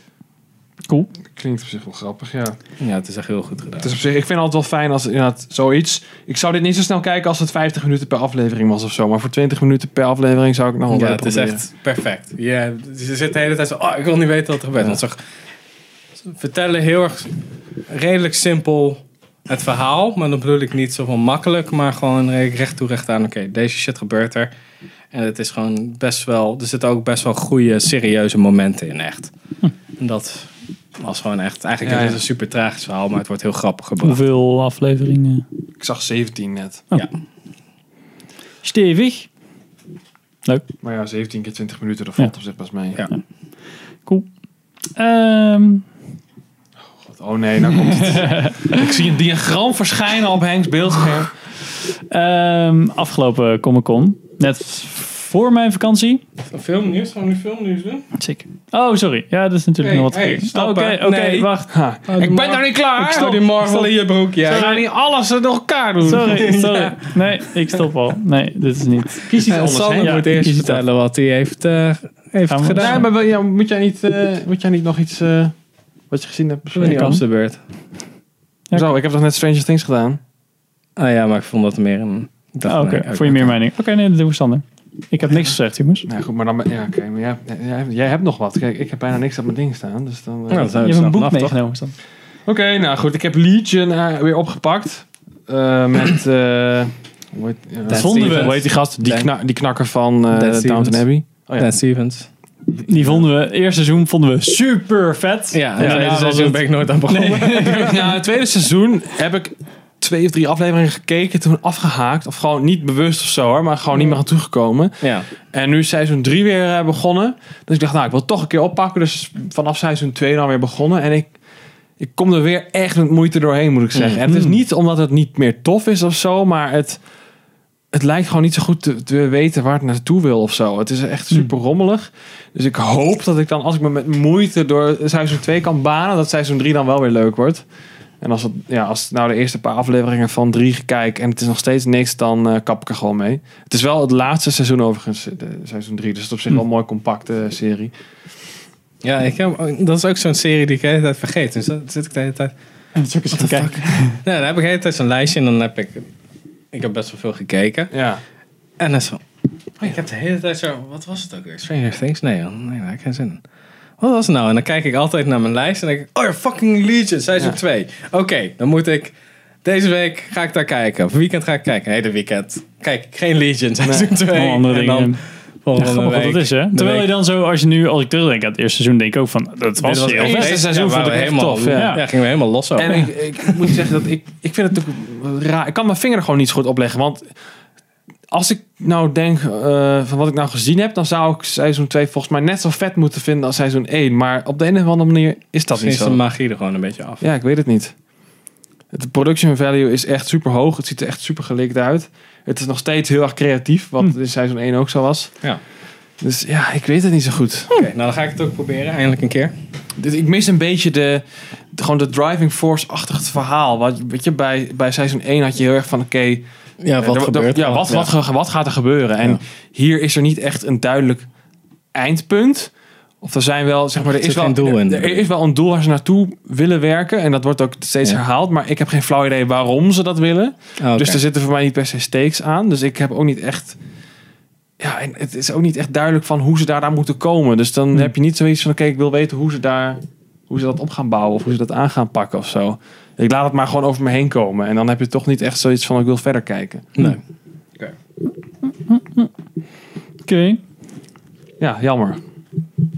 Speaker 2: Cool.
Speaker 1: eh, Klinkt op zich wel grappig, ja.
Speaker 3: Ja, het is echt heel goed gedaan.
Speaker 1: Het is op zich, ik vind het altijd wel fijn als inderdaad zoiets... Ik zou dit niet zo snel kijken als het 50 minuten per aflevering was of zo. Maar voor 20 minuten per aflevering zou ik nog wel
Speaker 3: ja,
Speaker 1: willen
Speaker 3: het is
Speaker 1: proberen.
Speaker 3: echt perfect. Ja, ze zitten de hele tijd zo... Oh, ik wil niet weten wat er gebeurt. Want ze ze vertellen heel erg redelijk simpel het verhaal. Maar dan bedoel ik niet zo van makkelijk. Maar gewoon re- recht toe recht aan. Oké, deze shit gebeurt er. En het is gewoon best wel... Er zitten ook best wel goede, serieuze momenten in echt. En dat was gewoon echt... Eigenlijk
Speaker 1: Ja,
Speaker 3: is
Speaker 1: ja.
Speaker 3: het een super tragisch verhaal. Maar het wordt heel grappig gebracht.
Speaker 2: Hoeveel afleveringen?
Speaker 1: Ik zag 17 net.
Speaker 2: Ja. Stevig. Leuk.
Speaker 1: Maar ja, 17 keer 20 minuten, dat valt op zich best mee.
Speaker 3: Ja.
Speaker 2: Cool. Ehm,
Speaker 1: Oh nee, nou komt het. ik zie een diagram verschijnen op Henks beeldscherm.
Speaker 2: ehm, afgelopen Comic Con. Net voor mijn vakantie.
Speaker 3: Filmnieuws, gaan we nu filmnieuws doen?
Speaker 2: Zeker. Oh, sorry. Ja, dat is natuurlijk
Speaker 3: Hey,
Speaker 2: nog wat.
Speaker 3: hey,
Speaker 2: verkeerd.
Speaker 3: stappen.
Speaker 2: Oké, oké,
Speaker 3: Nee.
Speaker 2: wacht.
Speaker 3: Ik ben daar niet klaar. Ik stop die Marvel in je broek, ja.
Speaker 1: Ze gaan niet alles door elkaar doen.
Speaker 2: Sorry, sorry.
Speaker 1: Ja.
Speaker 2: Nee, ik stop al. Nee, dit is niet.
Speaker 1: Kies iets anders,
Speaker 3: Sander
Speaker 1: hè? Ja,
Speaker 3: moet
Speaker 1: kies
Speaker 3: eerst
Speaker 1: iets
Speaker 3: vertellen wat hij heeft, eh, heeft
Speaker 2: Gaan we-
Speaker 3: gedaan.
Speaker 1: Nee, maar wel- ja, moet, jij niet, eh, moet jij niet nog iets eh, wat je gezien hebt
Speaker 3: Nee,
Speaker 1: bespreken?
Speaker 3: op zijn beurt.
Speaker 1: Zo, ik heb toch net Stranger Things gedaan?
Speaker 3: Ah ja, maar ik vond dat meer een... ik dacht,
Speaker 2: Oh, Oké,
Speaker 3: nee,
Speaker 2: voor je meer mening. Oké, nee, dat doen we Sander. Ik heb niks gezegd, jongens.
Speaker 1: Nou goed, maar dan... Ja, oké. maar jij, jij, jij hebt nog wat. Kijk, ik heb bijna niks op mijn ding staan. Dus dan, eh,
Speaker 2: Nou, dan zijn we Je hebt er een snel boek vanaf, toch? meegenomen, Sander.
Speaker 1: Oké, nou goed. Ik heb Legion eh, weer opgepakt. Eh, met... eh hoe heet, eh,
Speaker 3: Dan
Speaker 1: vonden we.
Speaker 3: Stevens.
Speaker 1: Hoe heet die gast? Die,
Speaker 3: Dan-
Speaker 1: kna- die knakker van
Speaker 3: Dan
Speaker 1: eh, Downton
Speaker 3: Stevens.
Speaker 1: Abbey.
Speaker 3: Dan Stevens.
Speaker 2: Die vonden we, eerste seizoen vonden we super vet.
Speaker 3: Ja,
Speaker 1: Ja,
Speaker 3: ja,
Speaker 1: nou,
Speaker 3: daar
Speaker 1: was het-
Speaker 3: ben ik nooit aan begonnen.
Speaker 1: Nee. Na het tweede seizoen heb ik twee of drie afleveringen gekeken, toen afgehaakt. Of gewoon niet bewust of zo hoor, maar gewoon niet meer aan toegekomen.
Speaker 3: Ja.
Speaker 1: En nu is seizoen 3 weer eh, begonnen. Dus ik dacht, nou, ik wil toch een keer oppakken. Dus vanaf seizoen 2 dan weer begonnen. En ik, ik kom er weer echt met moeite doorheen, moet ik zeggen. En het is niet omdat het niet meer tof is of zo, maar het, het lijkt gewoon niet zo goed te, te weten waar het naartoe wil of zo. Het is echt super rommelig. Dus ik hoop dat ik dan, als ik me met moeite door seizoen 2 kan banen, dat seizoen 3 dan wel weer leuk wordt. En als, het, ja, als ik nou de eerste paar afleveringen van 3 kijk en het is nog steeds niks, dan eh, kap ik er gewoon mee. Het is wel het laatste seizoen overigens, eh, de, seizoen 3. Dus het is op
Speaker 3: Hm.
Speaker 1: zich wel een mooi compacte serie.
Speaker 3: Ja, ik heb, dat is ook zo'n serie die ik de hele tijd vergeet. Dus dan zit ik de hele tijd...
Speaker 2: En dat is ook eens gaan kijken.
Speaker 3: Ja, dan heb ik de hele tijd zo'n lijstje en dan heb ik... Ik heb best wel veel gekeken.
Speaker 1: Ja.
Speaker 3: En dan zo... Oh, ik heb de hele tijd zo... Wat was het ook weer? Stranger Things? Nee, joh. nee daar heb ik geen zin in. Wat was het nou? En dan kijk ik altijd naar mijn lijst en denk ik... Oh ja, fucking Legion, seizoen 2. Oké, dan moet ik... Deze week ga ik daar kijken. Of weekend ga ik kijken. Nee, de weekend. Kijk, ik geen Legion, seizoen 2.
Speaker 2: Allemaal andere
Speaker 3: en
Speaker 2: dingen.
Speaker 3: dan
Speaker 2: Ja,
Speaker 3: volgende
Speaker 2: grappig
Speaker 3: week.
Speaker 2: wat dat is, hè?
Speaker 3: de
Speaker 2: Terwijl je
Speaker 3: week-
Speaker 2: dan zo, als je nu, als ik terugdenk aan het eerste seizoen, denk ik ook van, dat was,
Speaker 3: Dit
Speaker 2: heel
Speaker 3: het
Speaker 2: vet.
Speaker 3: eerste seizoen
Speaker 2: Ja,
Speaker 3: vond ik
Speaker 2: waren
Speaker 3: helemaal,
Speaker 2: helemaal-
Speaker 3: tof. Ja. Ja, gingen we helemaal los over.
Speaker 1: En ik, ik moet zeggen dat ik, ik vind het ook raar. Ik kan mijn vinger er gewoon niet zo goed op leggen. Want als ik nou denk eh, van wat ik nou gezien heb, dan zou ik seizoen 2 volgens mij net zo vet moeten vinden als seizoen 1. Maar op de een of andere manier is dat
Speaker 3: Misschien
Speaker 1: niet
Speaker 3: is
Speaker 1: zo.
Speaker 3: de magie er gewoon een beetje af.
Speaker 1: Ja, ik weet het niet. De production value is echt super hoog. Het ziet er echt super gelikt uit. Het is nog steeds heel erg creatief, wat in seizoen 1 ook zo was.
Speaker 3: Hm. Ja.
Speaker 1: Dus ja, ik weet het niet zo goed.
Speaker 3: Oké, nou dan ga ik het ook proberen, eindelijk een keer.
Speaker 1: Dit- Ik mis een beetje de, de- gewoon de driving force-achtig het verhaal. Wat, weet je, bij, bij seizoen 1 had je heel erg van, oké...
Speaker 3: Ja,
Speaker 1: eh,
Speaker 3: wat
Speaker 1: er- er-
Speaker 3: gebeurt er?
Speaker 1: ja, wat, wat, ge- wat gaat er gebeuren? En hier is er niet echt een duidelijk eindpunt. Of er zijn wel, zeg maar,
Speaker 3: Er
Speaker 1: er is
Speaker 3: zit
Speaker 1: wel,
Speaker 3: geen doel in.
Speaker 1: er is wel een doel waar ze naartoe willen werken. En dat wordt ook steeds
Speaker 3: Ja.
Speaker 1: herhaald. Maar ik heb geen flauw idee waarom ze dat willen.
Speaker 3: Ah, oké.
Speaker 1: Dus er zitten voor mij niet per se stakes aan. Dus ik heb ook niet echt. Ja, en het is ook niet echt duidelijk van hoe ze daar aan moeten komen. Dus dan heb je niet zoiets van: oké, ik wil weten hoe ze daar. hoe ze dat op gaan bouwen. of hoe ze dat aan gaan pakken of zo. Ik laat het maar gewoon over me heen komen. En dan heb je toch niet echt zoiets van: ik wil verder kijken.
Speaker 3: Nee.
Speaker 2: Oké.
Speaker 1: Ja, jammer.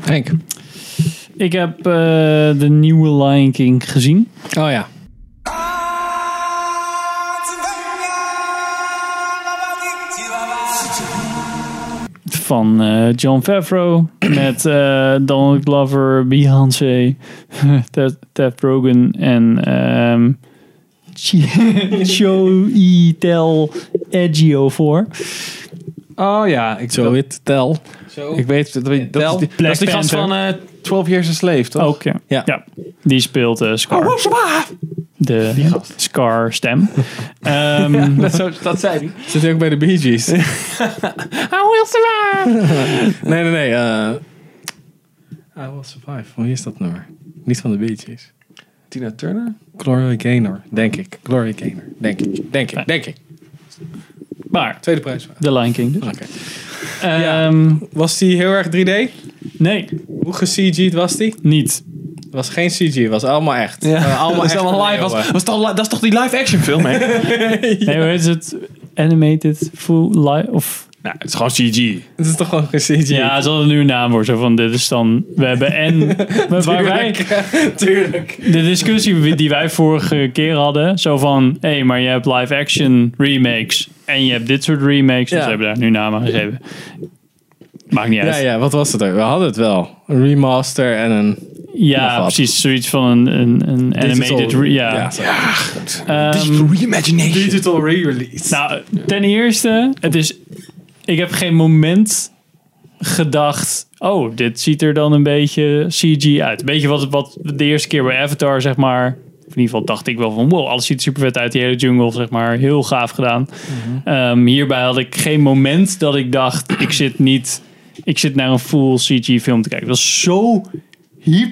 Speaker 3: Henk.
Speaker 2: Ik heb eh, de nieuwe Lion King gezien.
Speaker 3: Oh ja.
Speaker 2: Van eh, John Favreau met eh, Donald Glover, Beyoncé, Ted, Ted Rogen en ehm Joey Tel Edgio voor.
Speaker 1: Oh ja, ik
Speaker 3: Zo it tel.
Speaker 1: Ik weet dat, dat, dat, is die- dat
Speaker 2: Black
Speaker 1: is die gast
Speaker 2: Panther.
Speaker 1: van eh 12 Years a Slave, toch?
Speaker 2: Ook ja. Ja. Die speelt eh, Scar. de Scar stem. Ehm,
Speaker 1: dat, zo, dat zei hij.
Speaker 3: Zit hij ook bij de Bee Gees?
Speaker 1: I will survive!
Speaker 3: nee, nee, nee. eh, I Will Survive. Hoe is dat nummer? Niet van de Bee Gees.
Speaker 1: Tina Turner?
Speaker 3: Gloria Gaynor, denk ik. Gloria Gaynor, denk ik. Denk ik, denk ik.
Speaker 2: Maar,
Speaker 3: Tweede prijs.
Speaker 2: The Lion King dus.
Speaker 3: Ehm, was die heel erg 3D?
Speaker 2: Nee.
Speaker 3: Hoe ge-CG'd was die?
Speaker 2: Niet.
Speaker 3: was geen CG, was allemaal echt.
Speaker 1: Ja.
Speaker 3: Eh, allemaal
Speaker 1: Dat is
Speaker 3: echt
Speaker 1: allemaal live.
Speaker 3: leeuwen.
Speaker 1: Was, was toch, li- dat is toch die live action film, hè?
Speaker 2: Nee, hoe heet het? Animated full live of...
Speaker 1: nou, het is gewoon CG.
Speaker 3: Het is toch gewoon geen CG?
Speaker 2: Ja, ze hadden nu een naam voor. Zo van, dit is dan... We hebben en... maar waar wij...
Speaker 3: Tuurlijk.
Speaker 2: De discussie die wij vorige keer hadden. Zo van, hé, maar je hebt live action remakes. En je hebt dit soort remakes. Dus
Speaker 3: Ja.
Speaker 2: ze hebben daar nu namen aan gegeven. Maakt niet
Speaker 3: Ja,
Speaker 2: uit.
Speaker 3: ja, wat was het ook? We hadden het wel. Een remaster en een...
Speaker 2: Ja,
Speaker 3: Nog wat.
Speaker 2: precies. Zoiets van een, een, een
Speaker 3: Digital-
Speaker 2: animated... re- ja,
Speaker 3: Ja, zo.
Speaker 2: Ehm,
Speaker 3: Digital
Speaker 1: reimagination.
Speaker 3: Digital re-release.
Speaker 2: Nou, ten eerste, het is... Ik heb geen moment gedacht... Oh, dit ziet er dan een beetje CG uit. Een beetje wat, wat de eerste keer bij Avatar, zeg maar... Of in ieder geval dacht ik wel van... Wow, alles ziet er super vet uit. Die hele jungle, zeg maar. Heel gaaf gedaan. Ehm, hierbij had ik geen moment dat ik dacht... Ik zit niet... Ik zit naar een full CG film te kijken. Dat is zo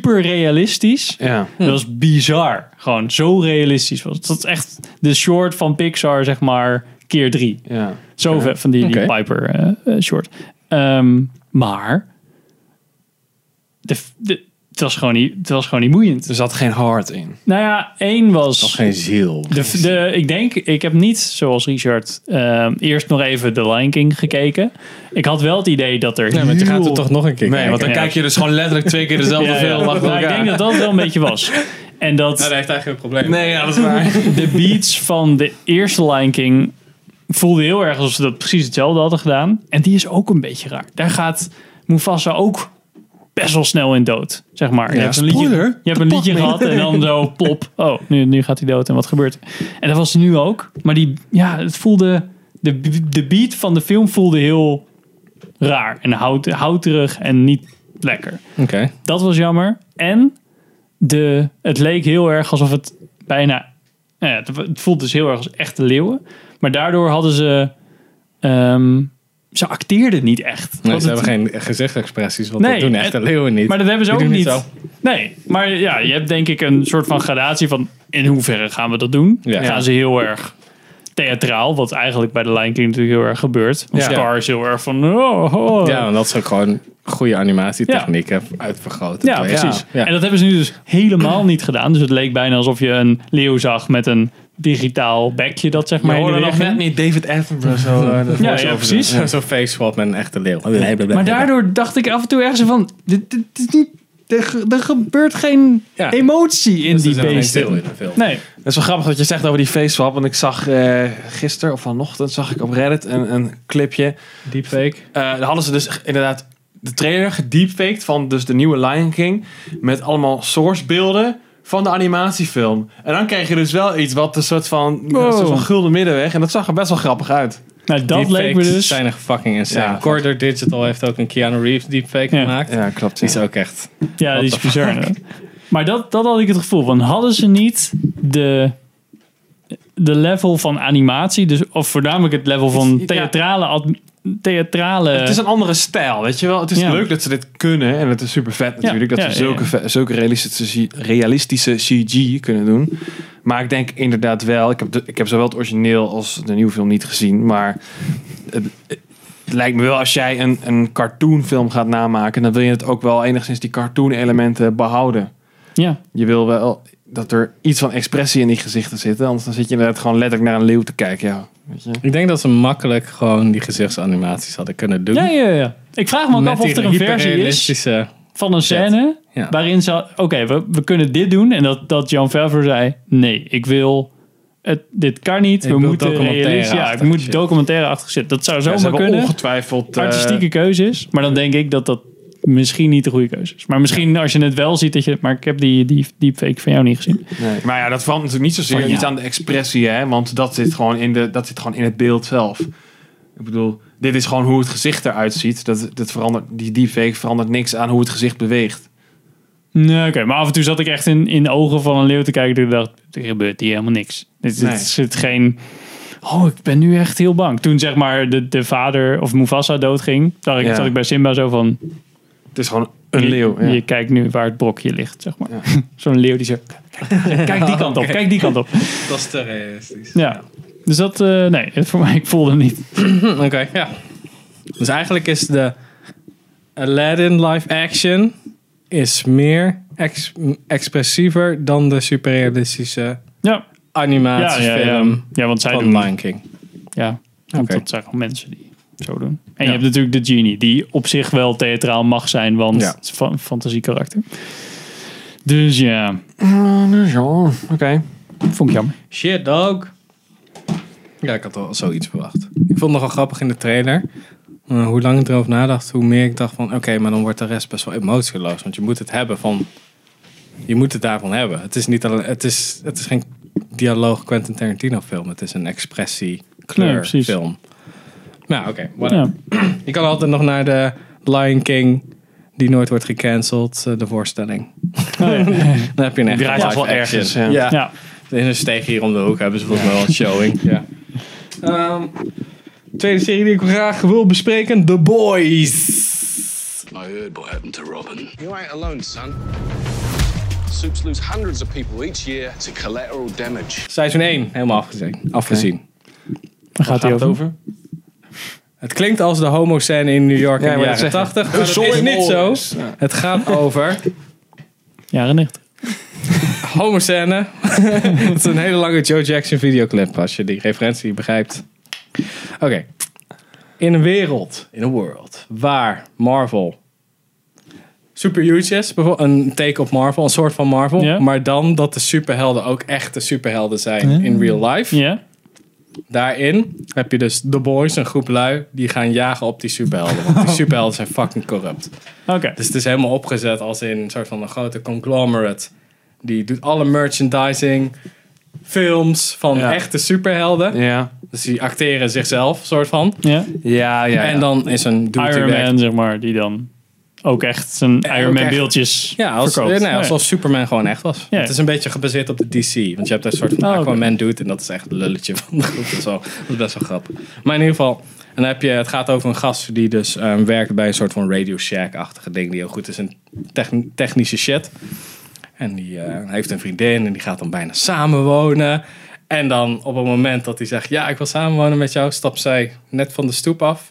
Speaker 2: hyperrealistisch.
Speaker 1: Ja.
Speaker 2: Dat was bizar. Gewoon zo realistisch was. het. Dat is echt de short van Pixar, zeg maar, keer drie.
Speaker 1: Ja.
Speaker 2: Zo ver van die, die
Speaker 1: Oké.
Speaker 2: Piper eh, eh, short. Ehm, maar de, de, het, was gewoon niet, het was gewoon niet moeiend.
Speaker 1: Er zat geen hart in.
Speaker 2: Nou ja, één was...
Speaker 1: was geen ziel.
Speaker 2: De, de, ik denk, ik heb niet, zoals Richard, ehm, eerst nog even The Lion King gekeken. Ik had wel het idee dat er
Speaker 3: Nee, want je
Speaker 2: heel-
Speaker 3: gaat er toch nog een keer
Speaker 1: Nee, want dan
Speaker 2: Ja.
Speaker 1: kijk je dus gewoon letterlijk twee keer dezelfde
Speaker 2: Ja, ja.
Speaker 1: film achter
Speaker 2: Maar ik
Speaker 1: elkaar.
Speaker 2: denk dat Nou, dat wel een beetje was. En
Speaker 3: dat
Speaker 2: dat...
Speaker 3: heeft eigenlijk geen probleem.
Speaker 1: Nee, ja, dat is waar.
Speaker 2: De beats van de eerste Lion King voelde heel erg alsof ze dat precies hetzelfde hadden gedaan. En die is ook een beetje raar. Daar gaat Mufasa ook best wel snel in dood, zeg maar.
Speaker 1: Ja,
Speaker 2: een liedje,
Speaker 1: spoiler.
Speaker 2: je hebt een
Speaker 1: Pak
Speaker 2: liedje
Speaker 1: me.
Speaker 2: gehad en dan zo plop. Oh, nu, nu gaat hij dood en wat gebeurt er? En dat was nu ook. Maar die, ja, het voelde... De, de beat van de film voelde heel raar en hout, houterig en niet lekker.
Speaker 3: Oké.
Speaker 2: Dat was jammer. En de, het leek heel erg alsof het bijna... Nou ja, het, het voelt dus heel erg als echte leeuwen. Maar daardoor hadden ze... ehm, ze acteerden niet echt.
Speaker 3: Nee,
Speaker 2: Want
Speaker 3: ze
Speaker 2: het-
Speaker 3: hebben geen gezichtsexpressies, want dat doen echt de
Speaker 2: het-
Speaker 3: leeuwen niet.
Speaker 2: Maar dat hebben ze
Speaker 3: Die
Speaker 2: ook
Speaker 3: doen
Speaker 2: niet.
Speaker 3: zo.
Speaker 2: nee, maar ja, je hebt denk ik een soort van gradatie van in hoeverre gaan we dat doen?
Speaker 3: Ja.
Speaker 2: Gaan ze heel erg theatraal, wat eigenlijk bij de Lion King natuurlijk heel erg gebeurt. Want
Speaker 3: Ja.
Speaker 2: Scar is heel erg van... Oh, oh.
Speaker 3: Ja, want dat is ook gewoon goede animatietechnieken uitvergroten.
Speaker 2: Ja, precies. En dat hebben ze nu dus helemaal niet gedaan. Dus het leek bijna alsof je een leeuw zag met een digitaal bekje dat zeg maar
Speaker 1: Maar
Speaker 2: in
Speaker 1: hoorde
Speaker 2: de
Speaker 1: nog
Speaker 2: weg
Speaker 1: net
Speaker 2: ging.
Speaker 1: niet David Attenborough zo. eh, de
Speaker 2: Ja,
Speaker 1: voice-over
Speaker 2: ja,
Speaker 1: doen.
Speaker 2: precies.
Speaker 1: Ja.
Speaker 3: Zo'n face swap met een echte leeuw.
Speaker 2: Maar daardoor dacht ik af en toe ergens van, dit, dit is niet, er, ge- er gebeurt geen
Speaker 3: Ja.
Speaker 2: emotie in die
Speaker 3: er geen
Speaker 2: beesten.
Speaker 3: stil in de film.
Speaker 2: Nee.
Speaker 1: Het is wel grappig dat je zegt over die faceswap. Want ik zag eh gisteren of vanochtend zag ik op Reddit een, een clipje.
Speaker 2: Deepfake.
Speaker 1: Eh daar hadden ze dus inderdaad de trailer gedeepfaked van dus de nieuwe Lion King. Met allemaal sourcebeelden van de animatiefilm. En dan kreeg je dus wel iets wat een soort van, een
Speaker 2: Wow.
Speaker 1: soort van gulden middenweg. En dat zag er best wel grappig uit.
Speaker 2: Nou,
Speaker 3: dat leek me dus. zijn echt fucking insane.
Speaker 1: Ja.
Speaker 3: Corder Digital heeft ook een Keanu Reeves deepfake gemaakt.
Speaker 1: Ja, klopt.
Speaker 3: Die is ook echt...
Speaker 2: Ja, die
Speaker 3: the
Speaker 2: is bizar.
Speaker 3: fuck?
Speaker 2: hè? Maar dat, dat had ik het gevoel van, hadden ze niet de, de level van animatie, dus, of voornamelijk het level van theatrale... ad- theatrale
Speaker 1: Het is een andere stijl, weet je wel. Het is
Speaker 2: Ja.
Speaker 1: leuk dat ze dit kunnen. En het is super vet natuurlijk.
Speaker 2: Ja,
Speaker 1: dat
Speaker 2: ja,
Speaker 1: ze zulke,
Speaker 2: ja.
Speaker 1: ve- zulke realistische, realistische CG kunnen doen. Maar ik denk inderdaad wel... Ik heb, de- ik heb zowel het origineel als de nieuwe film niet gezien. Maar het, het lijkt me wel als jij een, een cartoonfilm gaat namaken... dan wil je het ook wel enigszins die cartoon elementen behouden.
Speaker 2: Ja.
Speaker 1: Je wil wel dat er iets van expressie in die gezichten zit. Anders dan zit je inderdaad gewoon letterlijk naar een leeuw te kijken. Ja.
Speaker 3: Ik denk dat ze makkelijk gewoon die gezichtsanimaties hadden kunnen doen.
Speaker 2: Ja,
Speaker 1: Hm?
Speaker 2: ja, ja. Ik vraag me ook
Speaker 3: Met
Speaker 2: af of
Speaker 3: die
Speaker 2: er een versie is
Speaker 3: hyperrealistische-
Speaker 2: van een scène
Speaker 3: Ja.
Speaker 2: waarin ze... Oké, we, we kunnen dit doen. En dat, dat Jan Favre zei, nee, ik wil... Het, dit kan niet.
Speaker 1: Ik
Speaker 2: we
Speaker 1: wil
Speaker 2: moeten
Speaker 1: documentaire
Speaker 2: realistisch... Ja, ik
Speaker 1: achter
Speaker 2: moet
Speaker 1: shit.
Speaker 2: documentaire achter zitten. Dat zou
Speaker 1: Ja, ze
Speaker 2: zomaar
Speaker 1: hebben
Speaker 2: kunnen.
Speaker 1: ongetwijfeld... eh,
Speaker 2: Artistieke keuze is. Maar dan denk ik dat dat misschien niet de goede keuze is. Maar misschien als je het wel ziet dat je... Maar ik heb die, die deepfake van jou niet gezien.
Speaker 1: Nee. Maar ja, dat verandert natuurlijk niet zozeer
Speaker 2: Van ja.
Speaker 1: niet aan de expressie, hè? want dat zit, gewoon in de, dat zit gewoon in het beeld zelf. Ik bedoel, dit is gewoon hoe het gezicht eruit ziet. Dat, dat verandert, die deepfake verandert niks aan hoe het gezicht beweegt.
Speaker 2: Nee, oké. Maar af en toe zat ik echt in, in de ogen van een leeuw te kijken. Toen ik dacht, er gebeurt hier helemaal niks. Dit, dit
Speaker 1: Nee.
Speaker 2: zit geen... Oh, ik ben nu echt heel bang. Toen zeg maar de, de vader of Mufasa doodging, dacht ik,
Speaker 1: Ja.
Speaker 2: zat ik bij Simba zo van...
Speaker 1: Het is gewoon een leeuw. Ja.
Speaker 2: Je, je kijkt nu waar het brokje ligt, zeg maar. Zo'n leeuw die zo... Kijk, kijk die kant op,
Speaker 3: Oké.
Speaker 2: kijk die kant op.
Speaker 3: Dat is te realistisch.
Speaker 2: Ja. Dus dat, eh, nee, het voor mij, ik voelde hem niet.
Speaker 3: Hm, Oké, ja. Dus eigenlijk is de Aladdin live action is meer ex- expressiever dan de superrealistische
Speaker 2: ja.
Speaker 3: animatiefilm
Speaker 2: Ja, ja, ja. Ja, want zij
Speaker 3: van
Speaker 2: doen-
Speaker 3: Lion King.
Speaker 2: Ja, want
Speaker 3: Oké.
Speaker 2: dat zijn gewoon mensen die zo doen. En je hebt natuurlijk de genie, die op zich wel theatraal mag zijn, want
Speaker 1: Ja.
Speaker 2: het is fa- fantasiekarakter. Dus ja,
Speaker 3: Eh, dus
Speaker 1: Oké.
Speaker 2: vond ik jammer.
Speaker 3: Shit, dog. Ja, ik had al zoiets verwacht. Ik vond het nogal grappig in de trailer. Eh, hoe lang ik erover nadacht, hoe meer ik dacht van... Oké, maar dan wordt de rest best wel emotieloos. Want je moet het hebben van Je moet het daarvan hebben. Het is, niet alleen, het is, het is geen dialoog Quentin Tarantino film. Het is een expressie
Speaker 2: Nee,
Speaker 3: kleur
Speaker 2: precies.
Speaker 3: film. Nou, oké. whatever. Je kan altijd nog naar de Lion King, die nooit wordt gecanceld, eh, de voorstelling.
Speaker 2: Oh,
Speaker 3: Dan heb je een
Speaker 1: Die
Speaker 3: echt
Speaker 1: draait altijd wel ergens, ja. Ja.
Speaker 3: In een steeg hier om de hoek hebben ze volgens mij wel een showing. ja. Ehm, tweede serie die ik graag wil bespreken, The Boys.
Speaker 14: I heard what happened to Robin. You ain't alone, son. Soups lose hundreds of people each year to collateral damage.
Speaker 3: Seizoen 1, helemaal afgezien. afgezien.
Speaker 2: Waar gaat hij over?
Speaker 3: Het klinkt als de homo-scène in New York
Speaker 1: Ja,
Speaker 3: in de
Speaker 1: maar dat
Speaker 3: jaren
Speaker 1: zeg ik.
Speaker 3: 80, maar dat
Speaker 1: Sorry,
Speaker 3: is niet zo.
Speaker 1: boys. Ja.
Speaker 3: Het gaat over
Speaker 2: Jaren 90.
Speaker 3: homo-scène. Het is een hele lange Joe Jackson videoclip, als je die referentie begrijpt. Oké. In een wereld, in een world, waar Marvel super huge is. Bijvoorbeeld een take op Marvel, een soort van Marvel.
Speaker 2: Ja.
Speaker 3: Maar dan dat de superhelden ook echte superhelden zijn in real life. Daarin heb je dus The Boys, een groep lui, die gaan jagen op die superhelden. Want die superhelden zijn fucking corrupt.
Speaker 2: Oké.
Speaker 3: Dus het is helemaal opgezet als in een soort van een grote conglomerate. Die doet alle merchandising, films van echte superhelden. Dus die acteren zichzelf, soort van.
Speaker 2: Ja.
Speaker 1: Ja, ja.
Speaker 3: En dan is een dude die
Speaker 2: Iron
Speaker 3: werkt-
Speaker 2: Man, zeg maar, die dan ook echt zijn Iron
Speaker 3: Eh, ook
Speaker 2: Man
Speaker 3: echt-
Speaker 2: beeldjes
Speaker 3: Ja, als,
Speaker 2: verkoopt.
Speaker 3: ja, nou ja, alsof Superman gewoon echt was.
Speaker 2: Ja.
Speaker 3: Het is een beetje gebaseerd op de DC. Want je hebt daar een soort van
Speaker 2: Oh, oké.
Speaker 3: Aquaman dude. En dat is echt het lulletje van de groep. Dat is, wel, dat is best wel grappig. Maar in ieder geval. En dan heb je, het gaat over een gast die dus ehm, werkt bij een soort van Radio Shack-achtige ding. Die heel goed is in techn- technische shit. En die eh, heeft een vriendin en die gaat dan bijna samenwonen. En dan op het moment dat hij zegt, ja, ik wil samenwonen met jou, stapt zij net van de stoep af.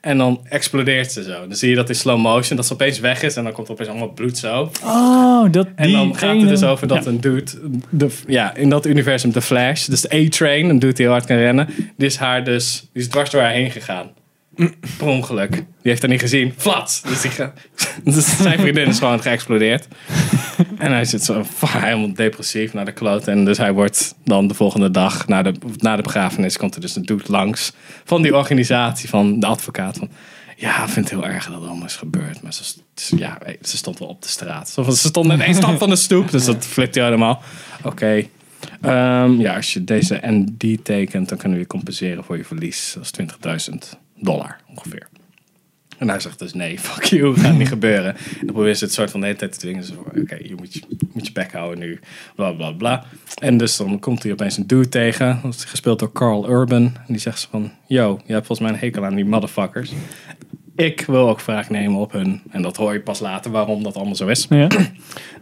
Speaker 3: En dan explodeert ze zo. Dan zie je dat in slow motion, dat ze opeens weg is. En dan komt er opeens allemaal bloed zo.
Speaker 2: Oh, dat
Speaker 3: En
Speaker 2: die
Speaker 3: dan gaat
Speaker 2: ene-
Speaker 3: het dus over dat
Speaker 2: Ja.
Speaker 3: een dude, de, ja, in dat universum, de Flash, dus de A-Train, een dude die heel hard kan rennen, die is, haar dus, die is dwars door haar heen gegaan. Per ongeluk. Die heeft haar niet gezien. Flats! Dus, die gaat- dus zijn vriendin is gewoon geëxplodeerd. En hij zit zo fuck, helemaal depressief naar de kloot. En dus hij wordt dan de volgende dag, na de, na de begrafenis, komt er dus een dude langs van die organisatie, van de advocaat. Van, ja, ik vind het heel erg dat het allemaal is gebeurd. Maar ze, ze- ja, ze stond wel op de straat. Zo van, Ze stond in één stap van de stoep, dus dat flipt hij helemaal. Oké. Ehm, ja, als je deze en die tekent, dan kunnen we je compenseren voor je verlies. Dat is 20.000 dollar ongeveer. En hij zegt dus nee, fuck you, gaat niet gebeuren. En dan probeert ze het soort van de hele tijd te dwingen. Ze van, Oké, je moet je, moet je bek houden nu, bla bla bla. En dus dan komt hij opeens een dude tegen, dat is gespeeld door Carl Urban. En die zegt ze van, yo, je hebt volgens mij een hekel aan die motherfuckers. Ik wil ook wraak nemen op hun. En dat hoor je pas later waarom dat allemaal zo is. Dus dan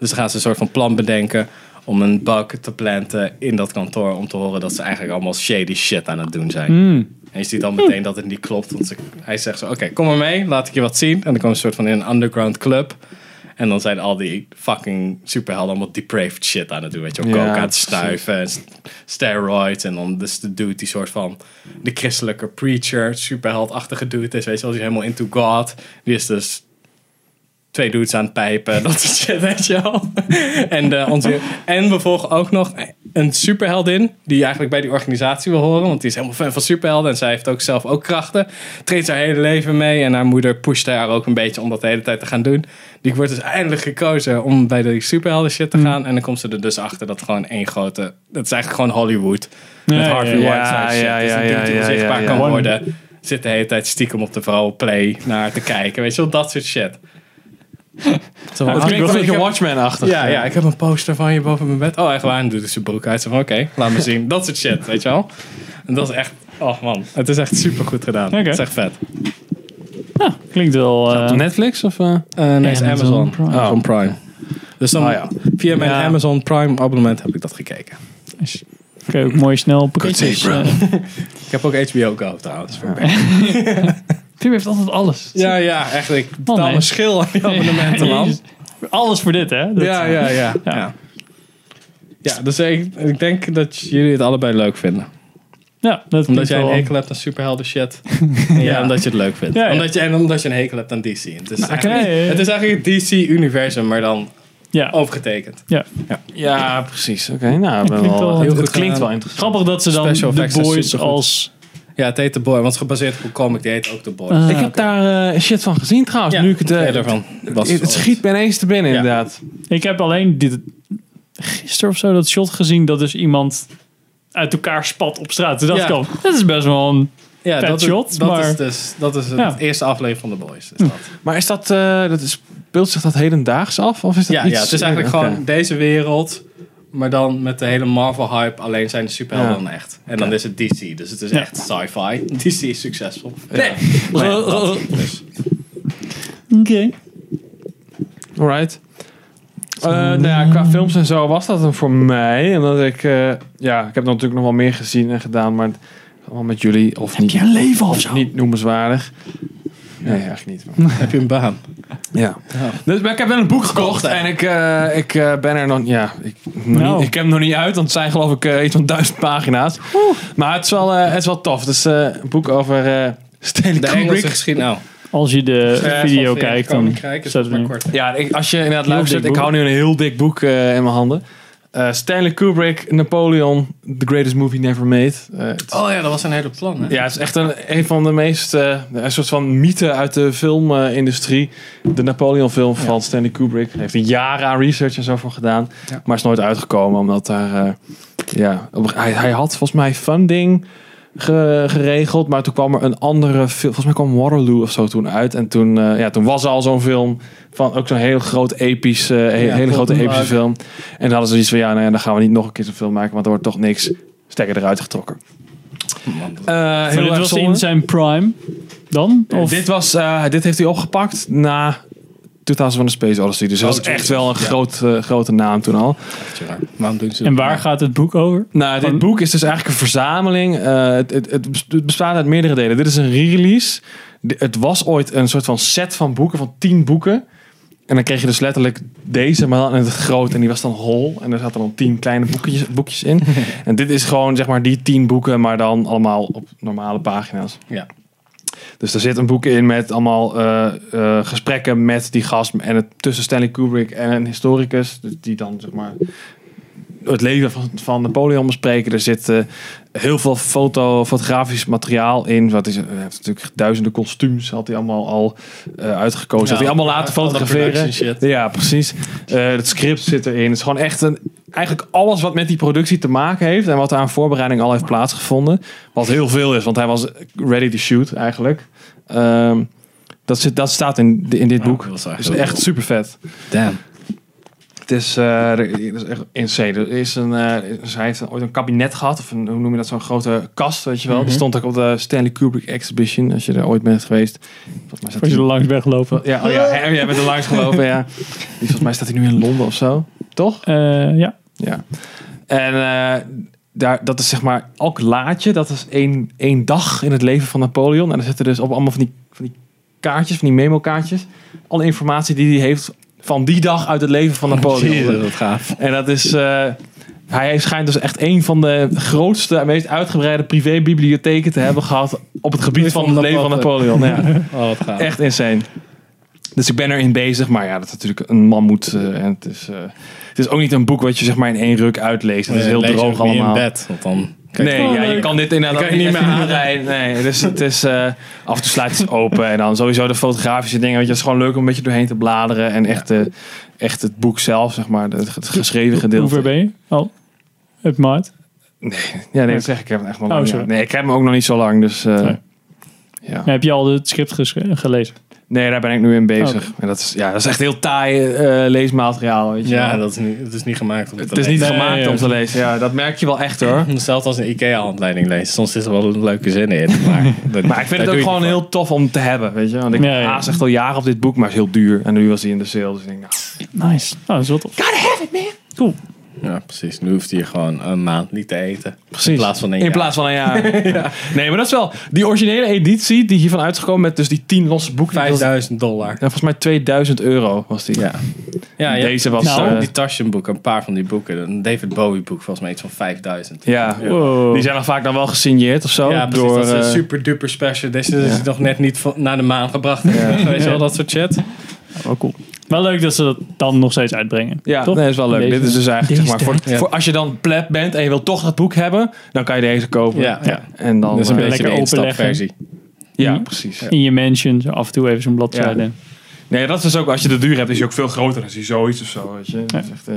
Speaker 3: gaan ze een soort van plan bedenken om een bug te planten in dat kantoor. Om te horen dat ze eigenlijk allemaal shady shit aan het doen zijn.
Speaker 2: Mm.
Speaker 1: Hmm.
Speaker 3: En je ziet dan meteen dat het niet klopt. Want ze- hij zegt zo, oké, kom maar mee, laat ik je wat zien. En dan komen ze soort van in een underground club. En dan zijn al die fucking superhelden allemaal depraved shit aan het doen. Weet je, wel.
Speaker 1: Ja,
Speaker 3: coke aan het
Speaker 1: precies.
Speaker 3: stuiven, en st- steroids. En dan dus de dude die soort van de christelijke preacher, superheldachtige dude is. Weet je wel, die is helemaal into God. Die is dus twee dudes aan het pijpen. Dat soort shit, weet je wel. En, eh, onze, en we volgen ook nog een superheldin. Die eigenlijk bij die organisatie wil horen. Want die is helemaal fan van superhelden. En zij heeft ook zelf ook krachten. Treedt haar hele leven mee. En haar moeder pusht haar ook een beetje om dat de hele tijd te gaan doen. Die wordt dus eindelijk gekozen om bij de superhelden shit
Speaker 1: Hmm.
Speaker 3: te gaan. En dan komt ze er dus achter dat gewoon één grote... Dat is eigenlijk gewoon Hollywood. met
Speaker 1: Ja,
Speaker 3: Harvey
Speaker 1: ja,
Speaker 3: Weinstein shit.
Speaker 1: ja,
Speaker 3: dus
Speaker 1: ja,
Speaker 3: een dude die
Speaker 1: ja, ja,
Speaker 3: onzichtbaar
Speaker 1: ja,
Speaker 3: kan
Speaker 1: ja.
Speaker 3: worden. Zit de hele tijd stiekem op de play naar te kijken. Weet je wel, dat soort shit. Zo van,
Speaker 1: Het klinkt een
Speaker 3: ik
Speaker 1: beetje
Speaker 3: heb-
Speaker 1: Watchmen-achtig.
Speaker 3: Ja, ja, ik heb een poster van je boven mijn bed. Oh, echt waar? En doet hij zijn broek uit. Zo van, oké, laat me zien. Dat soort shit, weet je wel? En dat is echt... Oh man, het is echt super goed gedaan.
Speaker 2: Oké.
Speaker 3: Het is echt vet.
Speaker 2: Klinkt wel... eh,
Speaker 1: Netflix of... eh?
Speaker 3: nee, het is Amazon.
Speaker 2: Prime.
Speaker 3: Amazon Prime. Dus dan
Speaker 2: Ah, ja.
Speaker 3: via mijn
Speaker 2: Ja.
Speaker 3: Amazon Prime abonnement heb ik dat gekeken.
Speaker 2: Oké, ook mooi snel pakketjes.
Speaker 3: Good day,
Speaker 2: eh.
Speaker 3: bro. ik heb ook HBO Go trouwens. voor mij.
Speaker 2: Tim heeft altijd alles.
Speaker 3: ja, ja, echt. Ik betaal
Speaker 2: nee.
Speaker 3: mijn schil aan die abonnementen,
Speaker 2: Ja,
Speaker 3: man.
Speaker 2: jezus. Alles voor dit, hè? Dat-
Speaker 3: Ja, ja, ja. ja. Ja, dus ik, ik denk dat jullie het allebei leuk vinden.
Speaker 2: Ja, dat
Speaker 3: Omdat
Speaker 2: klinkt
Speaker 3: jij een
Speaker 2: wel-
Speaker 3: hekel hebt aan superhelden shit. ja. omdat je het leuk vindt.
Speaker 2: Ja, ja.
Speaker 3: Omdat je, en omdat je een hekel hebt aan DC. Het is,
Speaker 2: Nou,
Speaker 3: eigenlijk,
Speaker 2: oké.
Speaker 3: het is eigenlijk het DC-universum, maar dan
Speaker 2: Ja.
Speaker 3: Oh. overgetekend.
Speaker 2: Ja.
Speaker 1: Ja, precies. Oké, nou,
Speaker 2: Het
Speaker 1: ben
Speaker 2: klinkt
Speaker 1: wel,
Speaker 2: wel-
Speaker 1: het,
Speaker 2: Heel goed
Speaker 1: klinkt wel
Speaker 2: gedaan.
Speaker 1: interessant.
Speaker 2: Grappig dat ze dan
Speaker 1: Special
Speaker 2: The
Speaker 1: effects zijn
Speaker 2: Boys
Speaker 1: supergoed.
Speaker 2: als
Speaker 3: Ja, het heet The Boy, want het is gebaseerd op een comic, die heet ook The Boy.
Speaker 1: ik heb daar eh, shit van gezien trouwens. nu ik het, eh,
Speaker 3: daarvan. Was
Speaker 1: het, het
Speaker 3: ooit.
Speaker 1: schiet me ineens te binnen inderdaad.
Speaker 2: Ik heb alleen dit, gisteren of zo dat shot gezien dat dus iemand uit elkaar spat op straat. Toen dacht
Speaker 3: Ja.
Speaker 2: ik al, dat is best wel een
Speaker 3: Ja,
Speaker 2: vet
Speaker 3: dat, is-
Speaker 2: shot.
Speaker 3: dat
Speaker 2: maar
Speaker 3: is dus dat is het
Speaker 2: Ja.
Speaker 3: eerste aflevering van The Boys. Is
Speaker 1: Hm.
Speaker 3: dat.
Speaker 1: Maar is dat, eh, dat is, speelt zich dat hedendaags af? Of is dat
Speaker 3: Ja,
Speaker 1: iets
Speaker 3: ja, het is eigenlijk
Speaker 1: Oké.
Speaker 3: gewoon deze wereld, maar dan met de hele Marvel-hype. Alleen zijn de superhelden
Speaker 1: Ja.
Speaker 3: dan echt. En dan
Speaker 1: Oké.
Speaker 3: is het DC, dus het is
Speaker 1: Ja.
Speaker 3: echt sci-fi. DC is succesvol.
Speaker 1: Nee.
Speaker 3: Maar ja, dat, dus.
Speaker 2: Oké.
Speaker 1: Alright. Eh, nou ja, qua films en zo was dat hem voor mij. Omdat ik, eh, ja, ik heb natuurlijk nog wel meer gezien en gedaan, maar het- allemaal met jullie of niet.
Speaker 2: je een leven of zo?
Speaker 1: Niet noemenswaardig. Nee, eigenlijk niet.
Speaker 3: Heb je een baan?
Speaker 1: Ja. Dus, maar ik heb wel een boek gekocht en ik, eh, ik eh, ben er nog, ja, ik, nog
Speaker 2: Nou.
Speaker 1: niet, ik heb hem nog niet uit, want het zijn geloof ik eh, iets van duizend pagina's. Maar het is wel, eh, het is wel tof. Het is eh, een boek over eh Stanley
Speaker 3: De
Speaker 1: Kubrick.
Speaker 3: Engelse geschiedenis. Nou,
Speaker 2: als je de
Speaker 3: Ja,
Speaker 2: video
Speaker 3: van
Speaker 2: kijkt, dan
Speaker 3: Koninkrijk dus is
Speaker 2: staat het
Speaker 3: maar
Speaker 2: niet.
Speaker 3: kort.
Speaker 1: Ja, ik- als je inderdaad
Speaker 2: Heel
Speaker 1: luistert,
Speaker 2: dik
Speaker 1: ik
Speaker 2: boek.
Speaker 1: hou nu een heel dik boek eh, in mijn handen. Eh, Stanley Kubrick, Napoleon, The Greatest Movie Never Made. Eh, het is-
Speaker 3: Oh ja, dat was een hele plan. Hè?
Speaker 1: ja, het is echt een, een van de meest, eh, een soort van mythe uit de filmindustrie. de Napoleon film van Stanley Kubrick. Hij heeft er jaren aan research en zo voor gedaan. Maar is nooit uitgekomen, omdat daar, eh, ja, op- hij, hij had volgens mij funding ge- geregeld. Maar toen kwam er een andere film, volgens mij kwam Waterloo of zo toen uit. En toen, eh, ja, toen was er al zo'n film van ook zo'n heel groot episch, eh, he-
Speaker 3: Ja,
Speaker 1: hele grote
Speaker 3: Golden
Speaker 1: epische
Speaker 3: Globe.
Speaker 1: film. En dan hadden ze iets van, ja, nou ja, dan gaan we niet nog een keer zo'n film maken, want er wordt toch niks. Stekker eruit getrokken. Eh,
Speaker 2: Maar
Speaker 1: heel
Speaker 2: dit
Speaker 1: erg
Speaker 2: was
Speaker 1: zonde.
Speaker 2: in zijn prime dan? Of?
Speaker 1: Dit, was, eh, dit heeft hij opgepakt na 2000 van de Space Odyssey. Dus hij
Speaker 2: Oh,
Speaker 1: was
Speaker 2: Jesus.
Speaker 1: echt wel een
Speaker 2: Ja.
Speaker 1: groot, eh, grote naam toen al.
Speaker 3: Waarom doen ze
Speaker 2: en waar gaat het boek over?
Speaker 1: Nou, dit boek is dus eigenlijk een verzameling. Eh, het, het, het bes- het bestaat uit meerdere delen. Dit is een re-release. D- Het was ooit een soort van set van boeken, van tien boeken. En dan kreeg je dus letterlijk deze, maar dan in het groot. En die was dan hol. En er zaten dan tien kleine boekjes, boekjes in. en dit is gewoon, zeg maar, die tien boeken, maar dan allemaal op normale pagina's.
Speaker 3: Ja.
Speaker 1: Dus er zit een boek in met allemaal eh, eh, gesprekken met die gast. En het, tussen Stanley Kubrick en een historicus. dus Die dan zeg maar het leven van, van Napoleon bespreken. Er zit eh, heel veel foto, fotografisch materiaal in. Wat is, eh, hij heeft natuurlijk duizenden kostuums had hij allemaal al eh, uitgekozen.
Speaker 3: Ja,
Speaker 1: had hij allemaal
Speaker 3: ja,
Speaker 1: laten
Speaker 3: alle
Speaker 1: fotograferen.
Speaker 3: production shit.
Speaker 1: Ja, precies. Eh, het script zit erin. Het is gewoon echt een, eigenlijk alles wat met die productie te maken heeft. En wat er aan voorbereiding al heeft plaatsgevonden. Wat heel veel is, want hij was ready to shoot eigenlijk. Ehm, dat, zit, dat staat in, in dit boek.
Speaker 3: dat is
Speaker 1: Dat
Speaker 3: eigenlijk
Speaker 1: is echt super vet.
Speaker 3: Damn.
Speaker 1: Het is, eh, er- het is echt insane. Er is een, eh, dus hij heeft ooit een kabinet gehad, of een, hoe noem je dat, zo'n grote kast, weet je wel.
Speaker 2: Mhm.
Speaker 1: Die stond ook op de Stanley Kubrick Exhibition, als je er ooit bent geweest. Volgens mij staat
Speaker 2: Als je er
Speaker 1: die-
Speaker 2: langs bent gelopen.
Speaker 1: Ja, oh ja, hè, jij bent er langs gelopen, ja. Die, volgens mij staat hij nu in Londen of zo, toch?
Speaker 2: Eh, ja.
Speaker 1: Ja. En eh, daar, dat is zeg maar, elk laadje, dat is één, één dag in het leven van Napoleon. En er zitten dus op allemaal van die, van die kaartjes, van die memo-kaartjes, alle informatie die hij heeft van die dag uit het leven van Napoleon.
Speaker 3: Jezus, wat gaaf.
Speaker 1: En dat is. eh, hij schijnt dus echt een van de grootste en meest uitgebreide privébibliotheken te hebben gehad. op het gebied van het leven van Napoleon. Ja.
Speaker 3: Oh, wat gaaf.
Speaker 1: Echt insane. Dus ik ben erin bezig, maar ja, dat is natuurlijk een mammoet. eh, en het, is, eh, het is ook niet een boek wat je zeg maar in één ruk uitleest. Het is
Speaker 3: Nee,
Speaker 1: heel
Speaker 3: lees je
Speaker 1: droog
Speaker 3: ook niet
Speaker 1: allemaal.
Speaker 3: in bed, want dan... Kijk,
Speaker 1: nee,
Speaker 3: oh,
Speaker 1: ja, je
Speaker 3: leuk.
Speaker 1: kan dit
Speaker 3: Dan
Speaker 1: inderdaad
Speaker 3: kan je niet
Speaker 1: even
Speaker 3: meer
Speaker 1: aanrijden. Nee, dus het is eh, af en toe sluit het open en dan sowieso de fotografische dingen. Want het is gewoon leuk om een beetje doorheen te bladeren en echt, eh, echt het boek zelf, zeg maar, het geschreven
Speaker 2: Hoe
Speaker 1: gedeelte.
Speaker 2: ver ben je? Al? Het maart?
Speaker 1: Ja, nee, dat zeg ik. Ik heb hem echt nog
Speaker 2: Oh,
Speaker 1: lang niet
Speaker 2: sorry.
Speaker 1: uit. Nee, ik heb hem ook nog niet zo lang. Dus eh, ja.
Speaker 2: Heb je al het script gesche- gelezen?
Speaker 1: Nee, daar ben ik nu in bezig.
Speaker 3: Oh.
Speaker 2: Oké.
Speaker 1: En dat is, ja, dat is echt heel taai eh, leesmateriaal. Weet je
Speaker 3: Ja,
Speaker 1: wel.
Speaker 3: dat is niet, het is niet gemaakt om te
Speaker 1: Het is niet
Speaker 3: lezen.
Speaker 1: gemaakt om te lezen. Ja, dat merk je wel echt hoor.
Speaker 3: Hetzelfde als een IKEA-handleiding lezen. Soms is er wel een leuke zin in. Maar,
Speaker 1: Maar ik vind het ook gewoon heel tof om te hebben, weet je. Want ik
Speaker 3: Ja, ja.
Speaker 1: haast echt al jaren op dit boek, maar het is heel duur. En nu was hij in de sale, dus ik denk, nou...
Speaker 2: Nice. Oh, dat is wel tof. Gotta
Speaker 1: have it, man!
Speaker 2: Cool.
Speaker 3: Ja, precies. Nu hoeft hij hier gewoon een maand niet te eten. In plaats van een
Speaker 1: In
Speaker 3: jaar.
Speaker 1: plaats van een jaar. Nee, maar dat is wel... Die originele editie die hiervan uitgekomen met dus die 10 losse boeken.
Speaker 3: 5000 dollar. Ja,
Speaker 1: volgens mij 2000 euro was die.
Speaker 3: Ja. Ja, je
Speaker 1: Deze
Speaker 3: hebt
Speaker 1: was... eh,
Speaker 3: die taschenboeken, een paar van die boeken. Een David Bowie boek, volgens mij iets van 5000.
Speaker 1: ja,
Speaker 3: Wow.
Speaker 1: die zijn dan vaak dan wel gesigneerd of zo.
Speaker 3: Ja, precies.
Speaker 1: door,
Speaker 3: dat is een
Speaker 1: eh,
Speaker 3: super duper special. Deze is
Speaker 1: ja.
Speaker 3: nog net niet van- naar de maan gebracht. Weet je wel, dat soort shit.
Speaker 1: Wel cool.
Speaker 2: Wel leuk dat ze dat dan nog steeds uitbrengen.
Speaker 1: Ja,
Speaker 2: toch?
Speaker 1: nee, is wel leuk.
Speaker 2: Deze-
Speaker 1: Dit is dus eigenlijk, zeg
Speaker 2: deze
Speaker 1: maar, voor,
Speaker 2: tijd.
Speaker 1: voor als je dan pleb bent en je wilt toch dat boek hebben, dan kan je deze kopen.
Speaker 2: Ja, ja.
Speaker 1: En dan
Speaker 2: Dat is een
Speaker 1: eh,
Speaker 2: beetje Lekker de instapversie.
Speaker 1: Ja, precies.
Speaker 2: In je mansion, zo af en toe even zo'n bladzijde.
Speaker 1: Ja. Nee, dat is ook, als je de duur hebt, is hij ook veel groter dan je zoiets of zo. Weet je. Dat is echt, eh,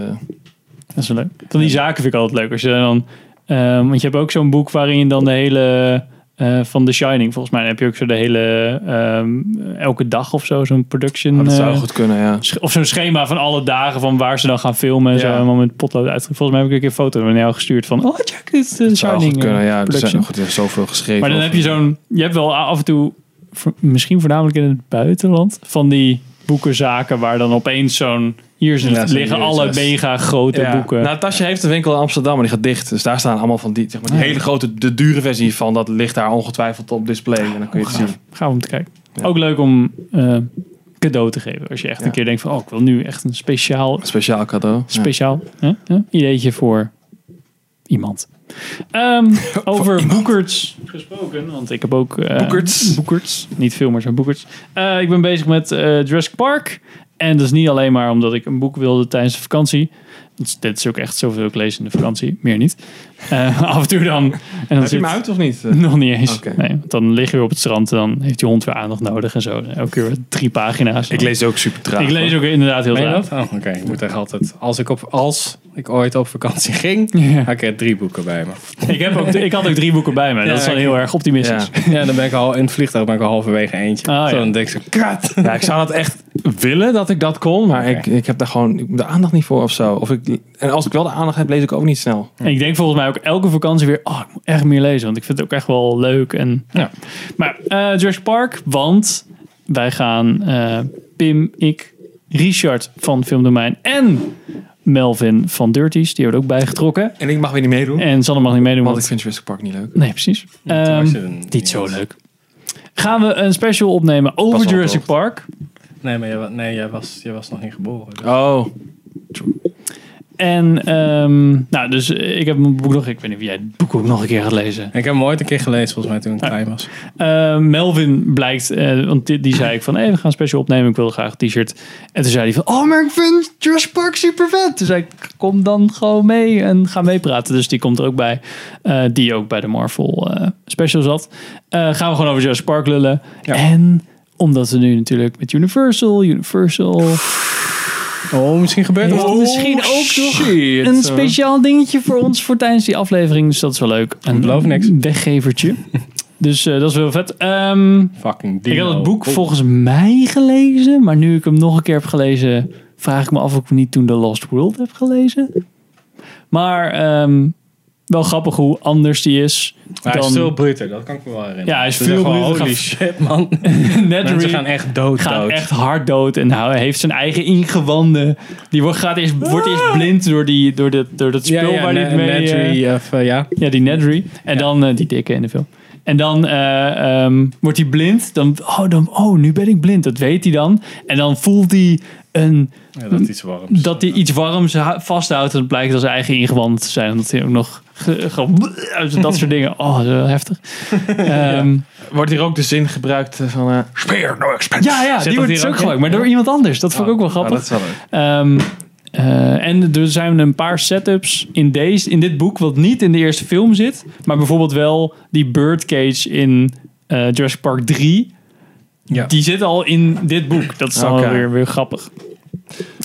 Speaker 2: Dat is wel leuk. Dan die zaken vind ik altijd leuk. Als je dan, ehm, want je hebt ook zo'n boek waarin je dan de hele... eh, van The Shining, volgens mij Dan heb je ook zo de hele... ehm, elke dag of zo, zo'n production...
Speaker 1: maar Oh, dat zou
Speaker 2: eh,
Speaker 1: goed kunnen, ja.
Speaker 2: sch- Of zo'n schema van alle dagen van waar ze dan gaan filmen. En
Speaker 1: Ja.
Speaker 2: zo helemaal met potlood uitgeschreven. Volgens mij heb ik een keer een foto naar jou gestuurd van... Oh, check, dit is de
Speaker 1: Zou goed
Speaker 2: Shining eh,
Speaker 1: kunnen, ja. Er zijn
Speaker 2: production.
Speaker 1: nog er is zoveel geschreven.
Speaker 2: Maar dan heb
Speaker 1: over.
Speaker 2: je zo'n... Je hebt wel af en toe, voor- misschien voornamelijk in het buitenland... van die boekenzaken waar dan opeens zo'n... Hier zijn-
Speaker 1: Ja, zo'n
Speaker 2: liggen
Speaker 1: hier
Speaker 2: alle
Speaker 1: is-
Speaker 2: mega grote
Speaker 1: Ja.
Speaker 2: boeken.
Speaker 1: Nou, Tasje heeft een winkel in Amsterdam, maar die gaat dicht. Dus daar staan allemaal van die, zeg maar, die
Speaker 2: Ah, ja.
Speaker 1: hele grote, de dure versie van. Dat ligt daar ongetwijfeld op display. En dan kun je het
Speaker 2: gaaf.
Speaker 1: zien.
Speaker 2: Gaaf om te kijken. Ook leuk om eh, cadeau te geven. Als je echt een keer denkt van... Oh, ik wil nu echt een speciaal...
Speaker 1: Speciaal cadeau.
Speaker 2: Speciaal hè, hè, ideetje voor iemand. Ehm, over boekerts gesproken, want ik heb ook... eh,
Speaker 1: Boekerts.
Speaker 2: Boekerts. Niet filmers, maar boekerts. Eh, ik ben bezig met eh Jurassic Park. En dat is niet alleen maar omdat ik een boek wilde tijdens de vakantie. Dat is- Dit is ook echt zoveel ik lees in de vakantie. Meer niet. Eh, af en toe dan... En dan
Speaker 1: Heb je hem uit of niet?
Speaker 2: Nog niet eens.
Speaker 1: Oké.
Speaker 2: Nee, want dan liggen we op het strand en dan heeft die hond weer aandacht nodig en zo. Elke keer weer drie pagina's.
Speaker 1: Ik lees ook super traag.
Speaker 2: Ik lees ook inderdaad heel
Speaker 3: Meen je
Speaker 2: traag.
Speaker 3: dat? Oh, oké. Ik moet echt altijd... Als ik, op, als ik ooit op vakantie ging, had ik er drie boeken bij me.
Speaker 2: Ik, heb ook, ik had ook drie boeken bij me.
Speaker 3: Ja,
Speaker 2: dat is wel
Speaker 3: ik-
Speaker 2: heel erg optimistisch.
Speaker 3: Ja. Ja, dan ben ik al in het vliegtuig ben ik al halverwege eentje.
Speaker 2: Ah,
Speaker 3: Zo,
Speaker 2: ja.
Speaker 3: Dan denk ik zo, krat.
Speaker 1: Ja, ik zou dat echt willen dat ik dat kon, maar ik, ik heb daar gewoon ik heb de aandacht niet voor of zo. Of ik, en als ik wel de aandacht heb, lees ik ook niet snel.
Speaker 2: En ik denk volgens mij ook elke vakantie weer, oh, ik moet echt meer lezen. Want ik vind het ook echt wel leuk. En, ja. Maar eh Jurassic Park, want wij gaan eh, Pim, ik, Richard van Filmdomein en Melvin van Dirties, die wordt ook bijgetrokken.
Speaker 1: En ik mag weer niet meedoen.
Speaker 2: En Sanne mag niet meedoen.
Speaker 1: Want ik vind Jurassic Park niet leuk.
Speaker 2: Nee, precies. Ehm, niet zo leuk. Gaan we een special opnemen
Speaker 3: Pas
Speaker 2: over
Speaker 3: op,
Speaker 2: Jurassic
Speaker 3: hoor.
Speaker 2: Park.
Speaker 3: Nee, maar jij, wa- nee, jij, was, jij was nog niet geboren.
Speaker 1: Oh.
Speaker 2: En, ehm, nou, dus eh, ik heb mijn boek nog, ik weet niet of jij het boek ook nog een keer gaat lezen.
Speaker 3: Ik heb hem ooit een keer gelezen, volgens mij, toen ik klein was.
Speaker 2: Eh, Melvin blijkt, eh, want die, die zei ik van, hey, we gaan een special opnemen, ik wil graag een t-shirt. En toen zei hij van, oh, maar ik vind Jurassic Park super vet. Toen zei ik, kom dan gewoon mee en ga meepraten. Dus die komt er ook bij, eh, die ook bij de Marvel eh, special zat. Eh, gaan we gewoon over Jurassic Park lullen. En omdat we nu natuurlijk met Universal, Universal...
Speaker 3: Oh, misschien gebeurt
Speaker 2: er Misschien ook nog een speciaal dingetje voor ons voor tijdens die aflevering. Dus dat is wel leuk. Een
Speaker 3: beloof niks.
Speaker 2: weggevertje. dus eh, dat is wel vet. Ehm,
Speaker 3: Fucking
Speaker 2: ik
Speaker 3: dino.
Speaker 2: had het boek
Speaker 3: Oh.
Speaker 2: volgens mij gelezen, maar nu ik hem nog een keer heb gelezen, vraag ik me af of ik niet toen The Lost World heb gelezen. Maar ehm, wel grappig hoe anders die is.
Speaker 3: Maar hij
Speaker 2: dan-
Speaker 3: is veel bruter, dat kan ik me wel herinneren.
Speaker 2: Ja, hij is
Speaker 3: Ze zeggen
Speaker 2: veel
Speaker 3: gewoon,
Speaker 2: bruter.
Speaker 3: Holy shit, man.
Speaker 2: Nedry
Speaker 3: Mensen gaan echt dood,
Speaker 2: Gaat
Speaker 3: dood.
Speaker 2: echt hard dood. En hij heeft zijn eigen ingewanden. Die wordt, gaat eerst, wordt eerst blind door, die, door, dat door dat spul
Speaker 3: Ah! Ja, ja,
Speaker 2: waar hij
Speaker 3: Ne-
Speaker 2: het mee...
Speaker 3: Nedry,
Speaker 2: eh,
Speaker 3: of, eh, ja.
Speaker 2: ja, die Nedry. En dan eh, die dikke in de film. En dan eh, ehm, wordt hij blind. Dan, oh, dan, oh, nu ben ik blind. Dat weet hij dan. En dan voelt hij een...
Speaker 3: dat is iets warm.
Speaker 2: Dat hij iets warms ha- vasthoudt. En het blijkt als zijn eigen ingewanden te zijn. Omdat hij ook nog... ge- ge- dat soort dingen. Oh, dat is wel heftig. Ehm,
Speaker 1: Wordt hier ook de zin gebruikt eh, van... eh Speer no expense.
Speaker 2: Ja, ja
Speaker 1: Zit
Speaker 2: die
Speaker 1: dat
Speaker 2: wordt
Speaker 1: hier
Speaker 2: dus ook
Speaker 1: in? Oh,
Speaker 2: gebruikt. Maar door iemand anders. Dat vond ik ook wel grappig.
Speaker 1: dat is wel leuk.
Speaker 2: Ehm, eh, en er zijn een paar setups in, deze, in dit boek wat niet in de eerste film zit. Maar bijvoorbeeld wel die birdcage in eh, Jurassic Park 3. Die zit al in dit boek. Dat is dan
Speaker 1: Oké.
Speaker 2: weer, weer grappig.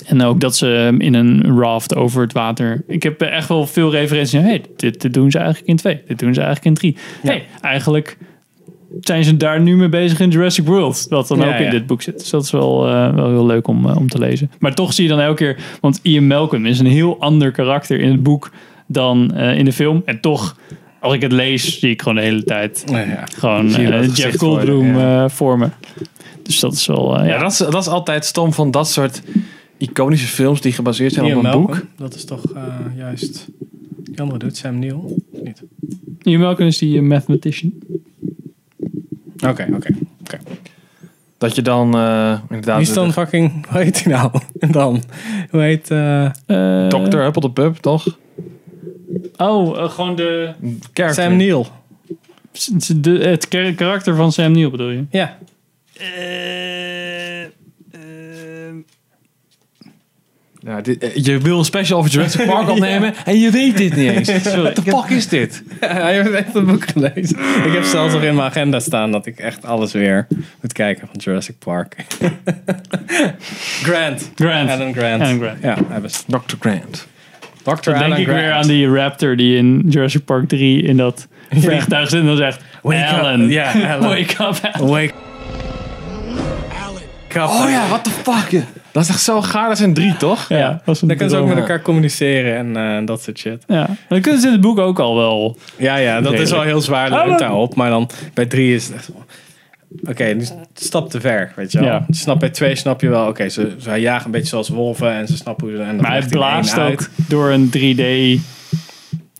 Speaker 2: En ook dat ze in een raft over het water. Ik heb echt wel veel referenties. naar, Hey, dit, dit doen ze eigenlijk in twee. Dit doen ze eigenlijk in drie. Hey, eigenlijk zijn ze daar nu mee bezig in Jurassic World. Wat dan
Speaker 3: Ja,
Speaker 2: ook in
Speaker 3: ja.
Speaker 2: dit boek zit. Dus dat is wel, eh, wel heel leuk om, eh, om te lezen. Maar toch zie je dan elke keer... Want Ian Malcolm is een heel ander karakter in het boek dan eh, in de film. En toch, als ik het lees, zie ik gewoon de hele tijd... Gewoon
Speaker 1: Zie je
Speaker 2: eh,
Speaker 1: dat gezicht
Speaker 2: Jeff
Speaker 1: voor je,
Speaker 2: Goldblum
Speaker 1: ja.
Speaker 2: eh, voor me. Dus dat is wel... eh,
Speaker 1: Ja, dat is, dat is altijd stom van dat soort iconische films die gebaseerd zijn
Speaker 3: Ian
Speaker 1: op een
Speaker 3: Malcolm,
Speaker 1: boek.
Speaker 3: Dat is toch eh, juist... Die andere doet Sam Neill? Of Niet.
Speaker 2: Ian Malcolm is die eh, mathematician.
Speaker 3: Oké, oké. oké.
Speaker 1: Dat je dan eh, inderdaad...
Speaker 3: Die is dan fucking... Hoe heet hij nou? En dan... Hoe heet... eh
Speaker 1: Dr. Huppel de Pub, toch?
Speaker 2: Oh, eh, gewoon de...
Speaker 1: Character.
Speaker 3: Sam Neill.
Speaker 2: s- de- het kar- karakter van Sam Neill bedoel je?
Speaker 3: Ja.
Speaker 1: Ja, dit- eh, je wil een special over Jurassic Park opnemen en je weet dit niet eens.
Speaker 3: Sorry.
Speaker 1: What the fuck is dit?
Speaker 3: Hij heeft echt een boek gelezen. Ik heb zelfs nog in mijn agenda staan dat ik echt alles weer moet kijken van Jurassic Park. Grant.
Speaker 2: Grant.
Speaker 3: Alan Grant.
Speaker 2: Alan Grant.
Speaker 3: Ja, hij was
Speaker 1: Dr. Grant.
Speaker 3: Dr.
Speaker 2: Dan
Speaker 3: Alan
Speaker 2: denk ik
Speaker 3: Grant.
Speaker 2: weer aan die raptor die in Jurassic Park 3 in dat vliegtuig zit en dan zegt...
Speaker 3: Wake up.
Speaker 2: Alan.
Speaker 3: Ja, Alan.
Speaker 2: Wake up, Alan.
Speaker 3: Wake
Speaker 1: Oh ja, what the fuck? Dat is echt zo gaar. Dat zijn drie, toch?
Speaker 2: Ja, was een
Speaker 3: Dan kunnen ze ook
Speaker 2: droom.
Speaker 3: met elkaar communiceren en eh, dat soort shit.
Speaker 2: Ja, dat kunnen ze in het boek ook al wel.
Speaker 3: Ja, ja, dat is
Speaker 2: Redelijk.
Speaker 3: wel heel zwaar
Speaker 2: Ah,
Speaker 3: leunt
Speaker 2: maar-
Speaker 3: daarop. Maar dan bij drie is het echt wel- Oké, nu is het een stap te ver, weet je wel.
Speaker 2: Ja.
Speaker 3: Snap bij twee snap je wel. Oké, ze, ze jagen een beetje zoals wolven en ze snappen hoe ze... En dan
Speaker 2: Maar hij
Speaker 3: legt die één
Speaker 2: blaast
Speaker 3: uit.
Speaker 2: ook door een 3D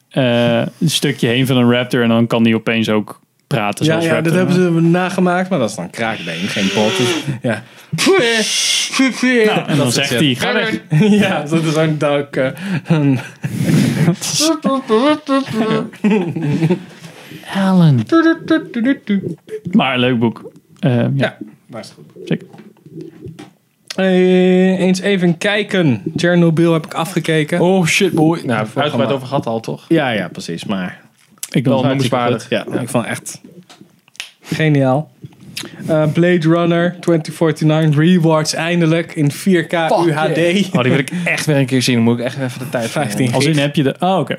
Speaker 2: eh, een stukje heen van een raptor en dan kan die opeens ook praten
Speaker 3: Ja,
Speaker 2: zoals
Speaker 3: ja
Speaker 2: raptor.
Speaker 3: dat hebben ze nagemaakt, maar dat is dan kraakbeen, geen pot. Dus, ja.
Speaker 2: Nou, en dan zegt hij, ga weg.
Speaker 3: Ja, dat is ook duik. eh.
Speaker 2: Alan. Maar een leuk boek. Eh, ja.
Speaker 3: Maar is goed.
Speaker 2: Zeker.
Speaker 3: Eh, eens even kijken. Chernobyl heb ik afgekeken.
Speaker 1: Oh shit, boy. Nou,
Speaker 3: programma.
Speaker 1: uitgebreid over gehad al, toch?
Speaker 3: Ja, ja, precies. Maar
Speaker 2: ik
Speaker 1: wel
Speaker 3: vond het
Speaker 1: noemenswaardig.
Speaker 3: hartstikke goed. Ja, ik vond het echt geniaal. Eh, Blade Runner 2049 Rewards eindelijk in 4K UHD.
Speaker 1: Oh, die wil ik echt weer een keer zien. Dan moet ik echt even de tijd voor
Speaker 3: 15
Speaker 1: nemen.
Speaker 2: Als in heb je de... Oh, oké.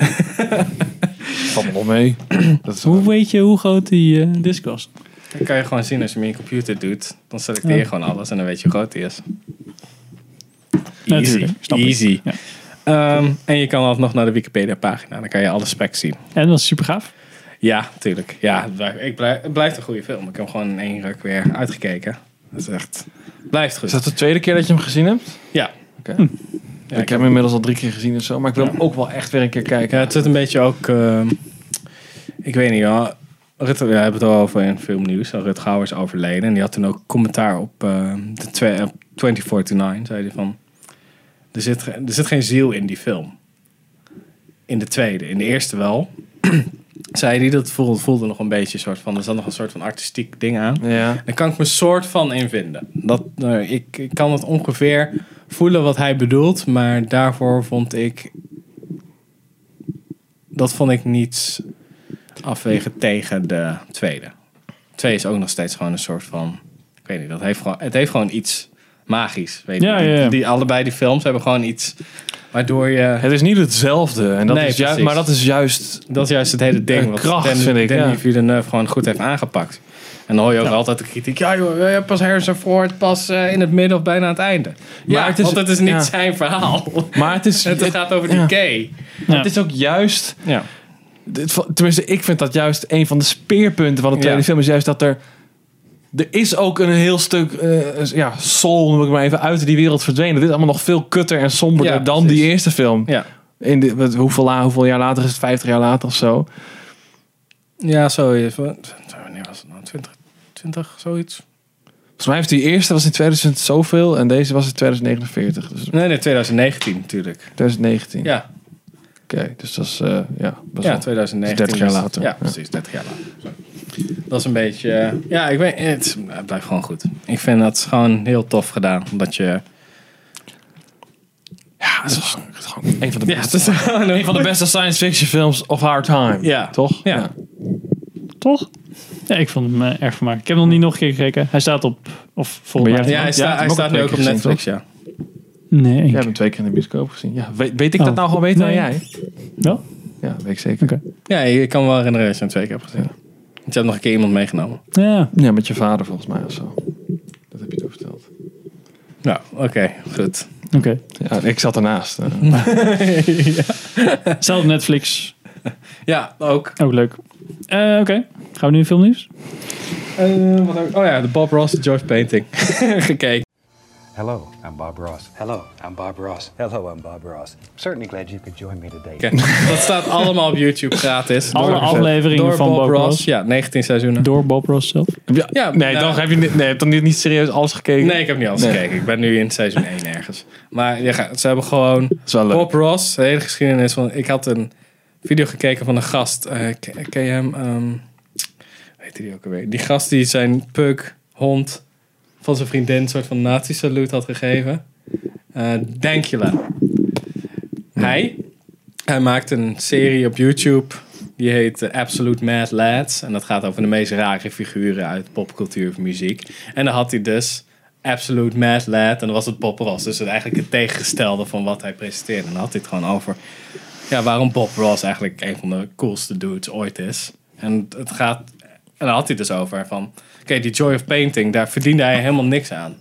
Speaker 1: Valt me nog mee. Dat is
Speaker 2: hoe weet je hoe groot die eh, disc was?
Speaker 3: Dan kan je gewoon zien als je hem in je computer doet. Dan selecteer je
Speaker 2: Ja.
Speaker 3: gewoon alles en dan weet je hoe groot die is.
Speaker 2: Natuurlijk, snap ik.
Speaker 3: Easy. Ehm, en je kan altijd nog naar de Wikipedia pagina. Dan kan je alle specs zien.
Speaker 2: En was super gaaf.
Speaker 3: Ja, tuurlijk. Ja, het blijft, ik blijf, het blijft een goede film. Ik heb hem gewoon in één ruk weer uitgekeken. Dat is echt... Blijft goed.
Speaker 1: Is dat de tweede keer dat je hem gezien hebt?
Speaker 3: Ja.
Speaker 1: Oké. ik, heb hem inmiddels al drie keer gezien of zo, maar ik wil hem ook wel echt weer een keer kijken.
Speaker 3: Ja, het zit een beetje ook... ehm, ik weet niet, ja. Rutger, we hebben het al over in filmnieuws. Rut Gauwer is overleden. En die had toen ook commentaar op ehm, de twe- op 2049. Zei hij van... Er zit, ge- er zit geen ziel in die film. In de tweede. In de eerste wel. zei hij dat voelde, voelde nog een beetje soort van... Er zat nog een soort van artistiek ding aan.
Speaker 1: Ja.
Speaker 3: Daar kan ik me soort van in vinden. Dat, eh, ik, ik kan het ongeveer voelen wat hij bedoelt, maar daarvoor vond ik. Dat vond ik niets afwegen tegen de tweede. Twee is ook nog steeds gewoon een soort van. Ik weet niet, dat heeft gewoon, het heeft gewoon iets magisch. Weet je?
Speaker 2: Ja,
Speaker 3: Die-
Speaker 2: ja, ja.
Speaker 3: Die, allebei die films hebben gewoon iets waardoor je.
Speaker 1: Het is niet hetzelfde. En dat
Speaker 3: Nee,
Speaker 1: is juist,
Speaker 3: precies.
Speaker 1: maar dat is juist...
Speaker 3: Dat is juist het hele ding.
Speaker 1: Een
Speaker 3: Wat
Speaker 1: kracht,
Speaker 3: Danny,
Speaker 1: vind ik,
Speaker 3: Danny
Speaker 1: ja.
Speaker 3: Villeneuve gewoon goed heeft aangepakt. En dan hoor je ook altijd de kritiek. Ja joh, eh, pas Harrison Ford, pas eh, in het midden of bijna aan het einde. Ja,
Speaker 1: Maar het is-
Speaker 3: want het is niet
Speaker 1: ja.
Speaker 3: zijn verhaal.
Speaker 1: Maar het is...
Speaker 3: Het, gaat over die
Speaker 1: ja.
Speaker 3: gay.
Speaker 1: Maar Het is ook juist...
Speaker 3: Ja.
Speaker 1: dit va- Tenminste, ik vind dat juist een van de speerpunten van de tweede
Speaker 3: Ja.
Speaker 1: film. Is juist dat er... Er is ook een heel stuk eh, ja, soul, noem ik maar even, uit die wereld verdwenen. Dit is allemaal nog veel kutter en somberder
Speaker 3: Ja,
Speaker 1: dan die eerste film.
Speaker 3: Ja.
Speaker 1: In de, wat- hoeveel, la- hoeveel jaar later is het? 50 jaar later of zo.
Speaker 3: Ja, zo. eh, van- Wanneer was het nou? 20, 20 zoiets?
Speaker 1: Volgens mij heeft die eerste was in 2000 zoveel en deze was in 2049. Dus
Speaker 3: Nee, nee, 2019 natuurlijk.
Speaker 1: 2019.
Speaker 3: Ja,
Speaker 1: Oké, dus dat is eh, ja, best
Speaker 3: ja
Speaker 1: wel-
Speaker 3: 2019.
Speaker 1: dat is 30 jaar
Speaker 3: dus-
Speaker 1: later.
Speaker 3: Ja, precies, 30 jaar later. Dat is een beetje. eh, ja, ik weet, het, het blijft gewoon goed. Ik vind dat gewoon heel tof gedaan. Omdat je.
Speaker 1: Ja, het is gewoon- het is gewoon een van de
Speaker 3: Ja,
Speaker 1: beste,
Speaker 3: het is gewoon
Speaker 1: een van de beste science fiction films of our time.
Speaker 3: Ja.
Speaker 1: Toch?
Speaker 3: Ja.
Speaker 2: Toch? Ja, ik vond hem eh, erg vermaakt. Ik heb hem nog niet nog een keer gekeken. Hij staat op... Of volgens
Speaker 1: Maar
Speaker 2: mij...
Speaker 1: jij hebt hem- jij hebt hem
Speaker 3: staat nu
Speaker 1: twee
Speaker 3: ook
Speaker 1: keer
Speaker 3: op
Speaker 1: gezien,
Speaker 3: Netflix,
Speaker 1: toch?
Speaker 3: ja.
Speaker 2: Nee, één
Speaker 1: Jij hebt
Speaker 2: keer.
Speaker 1: hem twee keer in de bioscoop gezien. Ja, weet, weet ik dat
Speaker 2: Oh.
Speaker 1: nou gewoon beter
Speaker 2: Nee.
Speaker 1: dan jij?
Speaker 2: Wel?
Speaker 1: Ja, weet ik zeker.
Speaker 3: Ja, ik kan me wel herinneren dat je hem twee keer hebt gezien. Want je hebt nog een keer iemand meegenomen.
Speaker 2: Ja.
Speaker 1: Ja, met je vader volgens mij of zo. Dat heb je toen verteld.
Speaker 3: Nou, oké, goed.
Speaker 2: Oké.
Speaker 1: Ja, ik zat ernaast. eh.
Speaker 2: Zelf Netflix.
Speaker 3: Ja, ook.
Speaker 2: Ook leuk. Eh, Oké. Gaan we nu in filmnieuws?
Speaker 3: Eh, wat heb ik- Oh ja, de Bob Ross, de George Painting. Gekeken.
Speaker 15: Hello, I'm Bob Ross. Hello, I'm Bob Ross. Hello, I'm Bob Ross. Certainly glad you could join me today.
Speaker 3: Oké, Dat staat allemaal op YouTube gratis.
Speaker 2: Alle
Speaker 3: Door-
Speaker 2: afleveringen
Speaker 3: door
Speaker 2: van Bob Ross.
Speaker 3: Ja, 19 seizoenen.
Speaker 2: Door Bob Ross zelf?
Speaker 1: Ja,
Speaker 3: Ja,
Speaker 1: nee,
Speaker 3: nou-
Speaker 1: dan heb je niet, nee, heb je dan niet, niet serieus alles gekeken.
Speaker 3: Nee, ik heb niet alles
Speaker 1: Nee.
Speaker 3: gekeken. Ik ben nu in seizoen 1 ergens. Maar je gaat- ze hebben gewoon Bob Ross, de hele geschiedenis. Van, ik had een video gekeken van een gast. Eh, ken, ken je hem? weet je ehm, die ook alweer? Die gast die zijn puk, hond van zijn vriendin een soort van nazi-saluut had gegeven. Eh Dankjewel. Hij, hij maakt een serie op YouTube. Die heet eh, Absolute Mad Lads. En dat gaat over de meest rare figuren uit popcultuur of muziek. En dan had hij dus Absolute Mad Lad. En dat was het Bob Ross. Dus het eigenlijk het tegengestelde van wat hij presenteerde. En dan had hij het gewoon over ja, waarom Bob Ross eigenlijk een van de coolste dudes ooit is. En het gaat... En daar had hij het dus over van... Oké, die Joy of Painting, daar verdiende hij helemaal niks aan.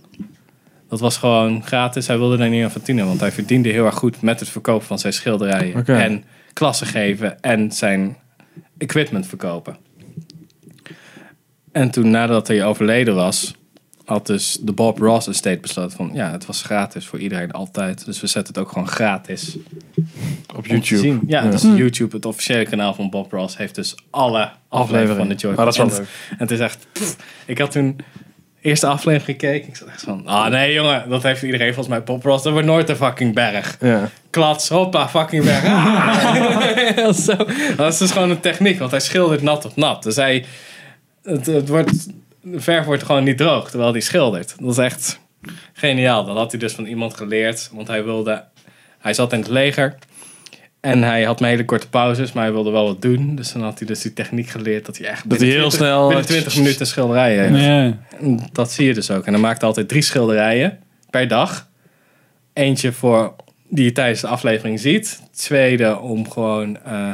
Speaker 3: Dat was gewoon gratis. Hij wilde daar niet aan verdienen, want hij verdiende heel erg goed met het verkopen van zijn schilderijen.
Speaker 1: Oké.
Speaker 3: En klassen geven en zijn equipment verkopen. En toen, nadat hij overleden was, had dus de Bob Ross Estate besloten van... Ja, het was gratis voor iedereen altijd. Dus we zetten het ook gewoon gratis. Op
Speaker 1: YouTube.
Speaker 3: Ja,
Speaker 1: Ja.
Speaker 3: dus
Speaker 1: Hm.
Speaker 3: YouTube, het officiële kanaal van Bob Ross, heeft dus alle afleveringen
Speaker 1: Afleveringen.
Speaker 3: van de Joy.
Speaker 1: Ah, dat is wel
Speaker 3: en, en het is echt... pff, ik had toen eerste aflevering gekeken. Ik zat echt van... Ah nee jongen, dat heeft iedereen volgens mij. Bob Ross, dat wordt nooit een fucking berg.
Speaker 1: Ja.
Speaker 3: Klats, hoppa, fucking weg. Ah! Zo. Dat is dus gewoon een techniek, want hij schildert nat op nat. Dus hij, het, het wordt, de verf wordt gewoon niet droog terwijl hij schildert. Dat is echt geniaal. Dat had hij dus van iemand geleerd, want hij wilde, hij zat in het leger. En hij had maar hele korte pauzes, maar hij wilde wel wat doen. Dus dan had hij dus die techniek geleerd dat hij echt
Speaker 1: Dat
Speaker 3: binnen
Speaker 1: hij heel
Speaker 3: 20
Speaker 1: snel-
Speaker 3: binnen 20 minuten schilderijen heeft. En Dat zie je dus ook. En hij maakte altijd drie schilderijen per dag. Eentje voor die je tijdens de aflevering ziet. Tweede om gewoon eh,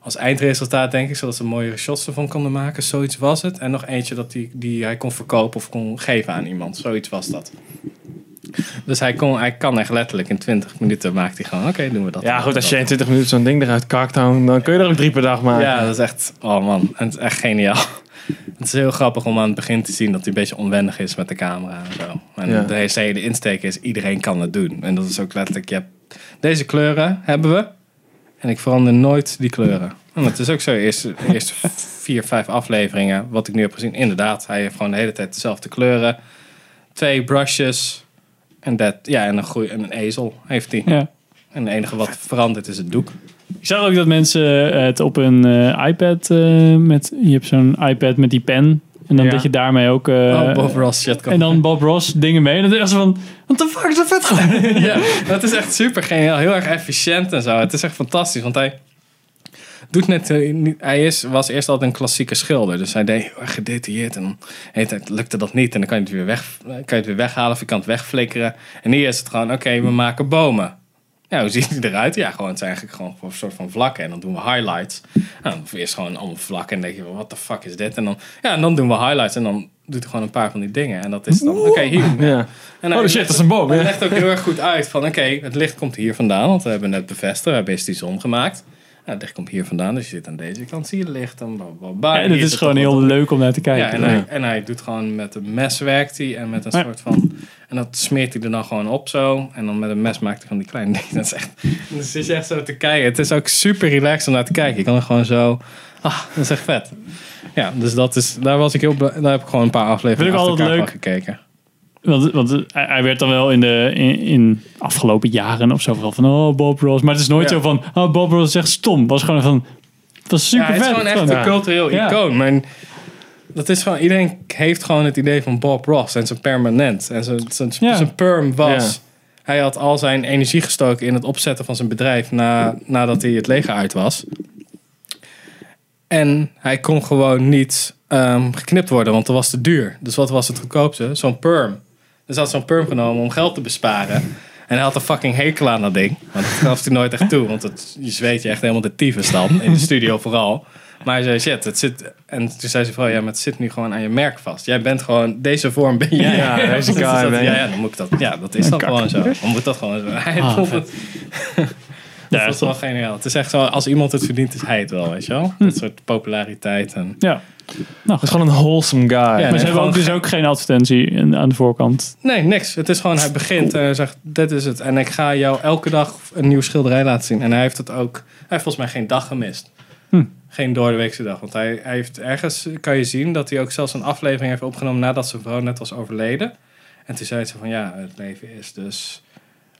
Speaker 3: als eindresultaat, denk ik, zodat ze mooiere shots ervan konden maken. Zoiets was het. En nog eentje dat die, die hij kon verkopen of kon geven aan iemand. Zoiets was dat. Dus hij, kon, hij kan echt letterlijk in 20 minuten maakt hij gewoon, oké, doen we dat.
Speaker 1: Ja,
Speaker 3: dan,
Speaker 1: goed,
Speaker 3: dat,
Speaker 1: als je
Speaker 3: dat.
Speaker 1: in 20 minuten zo'n ding eruit kakt, dan, dan kun je er ook drie per dag maken.
Speaker 3: Ja, dat is echt, oh man, het is echt geniaal. Het is heel grappig om aan het begin te zien dat hij een beetje onwennig is met de camera en zo. En
Speaker 1: Ja.
Speaker 3: de hele- hele insteek is, iedereen kan het doen. En dat is ook letterlijk, je hebt, deze kleuren hebben we. En ik verander nooit die kleuren. En dat is ook zo, eerst, eerst vier, vijf afleveringen, wat ik nu heb gezien. Inderdaad, hij heeft gewoon de hele tijd dezelfde kleuren. Twee brushes. En, dat, ja, en, een, goeie, en een ezel heeft hij.
Speaker 2: Ja.
Speaker 3: En het enige wat verandert is het doek.
Speaker 2: Ik zag ook dat mensen het op een eh, iPad eh, met. Je hebt zo'n iPad met die pen. En dan
Speaker 3: Ja.
Speaker 2: dat je daarmee ook. eh,
Speaker 3: Oh, Bob Ross shit kan
Speaker 2: En dan Bob Ross dingen mee. En dan dacht ze van. What the fuck is dat vet gedaan?
Speaker 3: ja, dat is echt super geniaal. Heel erg efficiënt en zo. Het is echt fantastisch, want hij doet net... eh, niet- Hij is, was eerst altijd een klassieke schilder. Dus hij deed heel erg gedetailleerd. En dan de hele tijd lukte dat niet. En dan kan je het weer, weg, kan je het weer weghalen of je kan het wegflikkeren. En hier is het gewoon, oké, we maken bomen. Ja, hoe ziet die eruit? Ja, gewoon, het zijn eigenlijk gewoon een soort van vlakken. En dan doen we highlights. Nou, dan eerst gewoon allemaal vlakken. En dan denk je, wat de fuck is dit? En dan, ja, en dan doen we highlights. En dan doet hij gewoon een paar van die dingen. En dat is dan, oké, hier.
Speaker 1: Ja.
Speaker 3: En
Speaker 1: Oh,
Speaker 3: hij
Speaker 1: shit,
Speaker 3: legt-
Speaker 1: dat is een boom,
Speaker 3: Hij
Speaker 1: ja.
Speaker 3: legt ook heel erg goed uit van, oké, het licht komt hier vandaan. Want we hebben net bevestigd, we hebben eerst die zon gemaakt. Nou, het licht komt hier vandaan, dus je zit aan deze kant, zie je licht. En, bla, bla, bla.
Speaker 2: En
Speaker 3: Hier
Speaker 2: het is
Speaker 3: zit
Speaker 2: gewoon
Speaker 3: nog wat
Speaker 2: heel leuk om naar te kijken.
Speaker 3: ja, en, Hij, en hij doet gewoon met een mes werkt hij en met een
Speaker 2: Ja.
Speaker 3: soort van. En dat smeert hij er dan gewoon op zo. En dan met een mes maakt hij van die kleine dingen. Dat is echt. Dus het is echt zo te kijken. Het is ook super relaxed om naar te kijken. Je kan er gewoon zo. Ah, dat is echt vet. Ja, dus dat is, daar was ik heel blij- Daar heb ik gewoon een paar afleveringen
Speaker 2: Vind
Speaker 3: achter
Speaker 2: ik altijd
Speaker 3: elkaar van
Speaker 2: leuk.
Speaker 3: gekeken.
Speaker 2: Want, want hij hij werd dan wel in de in, in afgelopen jaren of zo wel van oh Bob Ross, maar het is nooit
Speaker 3: Ja.
Speaker 2: zo van oh Bob Ross is echt stom. Was gewoon van het was super
Speaker 3: ja, het is
Speaker 2: vet.
Speaker 3: gewoon echt een cultureel
Speaker 2: Ja.
Speaker 3: icoon. Maar dat is gewoon, iedereen heeft gewoon het idee van Bob Ross en zijn permanent. En zijn, zijn, zijn perm was. Hij had al zijn energie gestoken in het opzetten van zijn bedrijf na, nadat hij het leger uit was. En hij kon gewoon niet ehm, geknipt worden, want dat was te duur. Dus wat was het goedkoopste? Zo'n perm. Dus hij had zo'n perm genomen om geld te besparen. En hij had een fucking hekel aan dat ding. Want dat gaf hij nooit echt toe. Want het, je zweet je echt helemaal de tyfus dan. In de studio vooral. Maar hij zei, shit, het zit... En toen zei ze van, ja, maar het zit nu gewoon aan je merk vast. Jij bent gewoon... Deze vorm ben jij.
Speaker 1: Ja, deze
Speaker 3: Dus
Speaker 1: guy
Speaker 3: dat-
Speaker 1: ben je.
Speaker 3: ja, ja, dan moet ik dat... Ja, dat is
Speaker 1: Een
Speaker 3: dan
Speaker 1: kak.
Speaker 3: gewoon zo. Dan moet dat gewoon zo. Hij
Speaker 1: Ah,
Speaker 3: vond
Speaker 1: vet.
Speaker 3: het... dat is wel geniaal. Het is echt zo, als iemand het verdient, is hij het wel, weet je wel?
Speaker 1: Hm.
Speaker 3: Dat soort populariteit en...
Speaker 2: Ja.
Speaker 1: Het is gewoon een wholesome guy.
Speaker 2: maar ze hebben ook dus ook geen advertentie in- aan de voorkant.
Speaker 3: Nee, niks. Het is gewoon, hij begint en hij zegt, dit is het. En ik ga jou elke dag een nieuw schilderij laten zien. En hij heeft het ook, hij heeft volgens mij geen dag gemist.
Speaker 2: Hm.
Speaker 3: Geen doordeweekse dag. Want hij, hij heeft ergens, kan je zien, dat hij ook zelfs een aflevering heeft opgenomen nadat zijn vrouw net was overleden. En toen zei ze van, ja, het leven is dus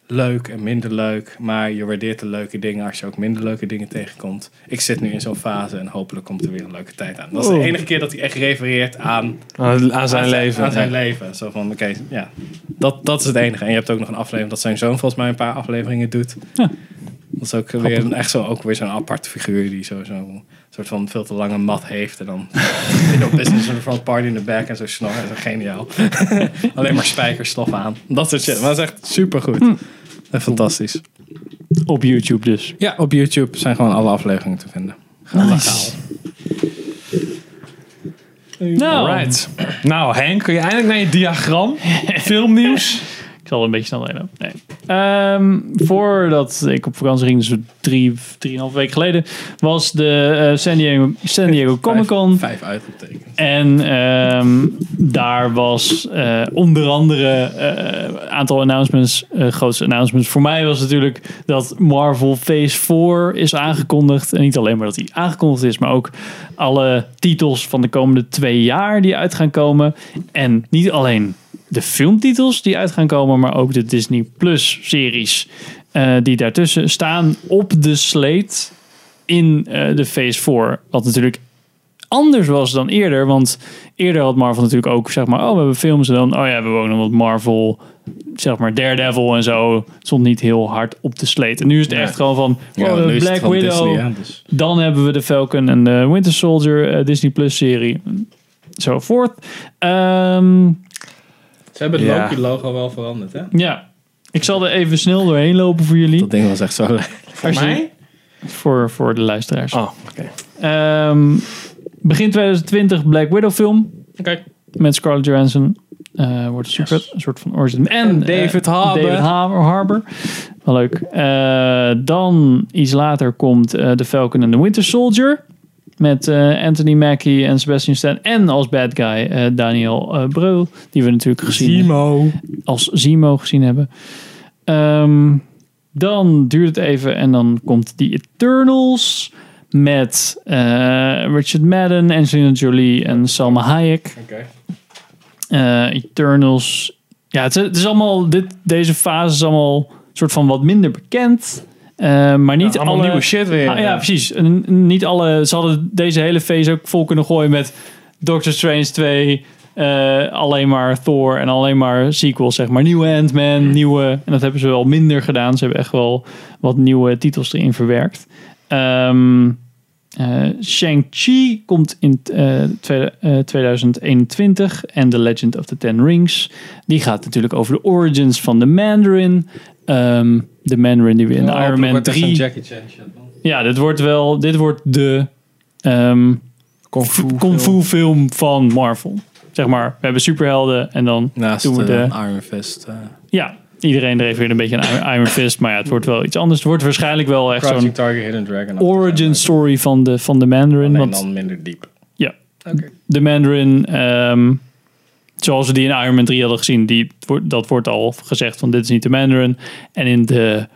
Speaker 3: leuk en minder leuk. Maar je waardeert de leuke dingen als je ook minder leuke dingen tegenkomt. Ik zit nu in zo'n fase en hopelijk komt er weer een leuke tijd aan. Dat is de
Speaker 1: Oh.
Speaker 3: enige keer dat hij echt refereert aan...
Speaker 1: Aan- aan zijn leven.
Speaker 3: Aan zijn
Speaker 1: Ja.
Speaker 3: leven. Zo van, oké, ja. Dat, dat is het enige. En je hebt ook nog een aflevering dat zijn zoon volgens mij een paar afleveringen doet. Dat is ook weer een, echt zo, ook weer zo'n aparte figuur die zo- zo'n soort van veel te lange mat heeft. En dan in op business in the front, party in the back en zo snor. Dat is geniaal. Alleen maar spijkerstof aan. Dat soort shit. Maar dat is echt supergoed. En Fantastisch.
Speaker 2: Op YouTube dus.
Speaker 3: Ja, op YouTube zijn gewoon alle afleveringen te vinden.
Speaker 2: Nice. Nou.
Speaker 1: Alright. Nou, Henk, kun je eindelijk naar je diagram? Filmnieuws?
Speaker 2: Ik zal er een beetje snel heen. lopen. Nee. Ehm, voordat ik op vakantie ging, dus drie, drieënhalf weken geleden, was de eh, San Diego, San Diego Comic Con.
Speaker 3: Vijf, vijf uitgetekend.
Speaker 2: En ehm, daar was eh, onder andere een aantal announcements, eh, grootste announcements. Voor mij was natuurlijk dat Marvel Phase 4 is aangekondigd. En niet alleen maar dat die aangekondigd is, maar ook alle titels van de komende twee jaar die uit gaan komen. En niet alleen de filmtitels die uit gaan komen, maar ook de Disney Plus series eh, die daartussen staan op de slate in eh, de Phase 4. Wat natuurlijk anders was dan eerder. Want eerder had Marvel natuurlijk ook, zeg maar, oh, we hebben films en dan, oh ja, we hebben ook nog wat Marvel, zeg maar, Daredevil en zo. Stond niet heel hard op de sleet. En nu is het echt gewoon van,
Speaker 3: Ja,
Speaker 2: oh,
Speaker 3: nu is het
Speaker 2: Black
Speaker 3: van
Speaker 2: Widow.
Speaker 3: Disney, hè, dus.
Speaker 2: Dan hebben we de Falcon en de Winter Soldier eh, Disney Plus serie. Zo voort. Ehm,
Speaker 3: Ze hebben
Speaker 2: het
Speaker 3: het
Speaker 2: Ja.
Speaker 3: Loki-logo wel veranderd, hè?
Speaker 2: ja, ik zal er even snel doorheen lopen voor jullie. Dat
Speaker 3: ding was echt zo
Speaker 2: Voor mij? Voor, voor de luisteraars. Oh, oké. begin 2020 Black Widow film.
Speaker 3: Oké.
Speaker 2: Met Scarlett Johansson. Eh, wordt een, soort- een soort van origin. En, eh,
Speaker 3: David Harbour.
Speaker 2: David Harbour. Harbour. Wel leuk. Eh, dan iets later komt eh The Falcon and the Winter Soldier. Met eh, Anthony Mackie en Sebastian Stan. En als bad guy eh, Daniel eh Breul. Die we natuurlijk gezien Als Zemo gezien hebben. Ehm, dan duurt het even en dan komt die Eternals. Met eh, Richard Madden, Angelina Jolie en Salma Hayek. Eh, Eternals. Ja, het, is- het is allemaal. Dit, deze fase is allemaal soort van wat minder bekend. Eh, maar niet
Speaker 1: allemaal
Speaker 2: alle
Speaker 1: nieuwe shit weer,
Speaker 2: Ah, ja,
Speaker 1: ja.
Speaker 2: precies. En niet alle. Ze hadden deze hele phase ook vol kunnen gooien met Doctor Strange 2. eh, alleen maar Thor en alleen maar sequels, zeg maar. Nieuwe Ant-Man, nieuwe. En dat hebben ze wel minder gedaan. Ze hebben echt wel wat nieuwe titels erin verwerkt. Ehm eh, Shang-Chi komt in eh, tweede- eh, 2021 en The Legend of the Ten Rings. Die gaat natuurlijk over de origins van de Mandarin. Ehm, de Mandarin die we in Iron Man 3...
Speaker 3: Jackie Chan shit.
Speaker 2: Ja, dit wordt wel. Dit wordt de. ehm kung fu, film. van Marvel. Zeg maar, we hebben superhelden en dan
Speaker 3: Naast
Speaker 2: doen we de.
Speaker 3: de Iron Fist. eh,
Speaker 2: ja, iedereen dreef weer een beetje aan Iron- Iron Fist. Maar ja, het wordt wel iets anders. Het wordt waarschijnlijk wel echt
Speaker 3: Crouching
Speaker 2: zo'n
Speaker 3: Target, Hidden Dragon. eh,
Speaker 2: origin story van de, van de Mandarin.
Speaker 3: Alleen
Speaker 2: want-
Speaker 3: dan minder diep.
Speaker 2: ja. De Mandarin, ehm, zoals we die in Iron Man 3 hadden gezien, die, wordt- dat wordt al gezegd van dit is niet de Mandarin. En in de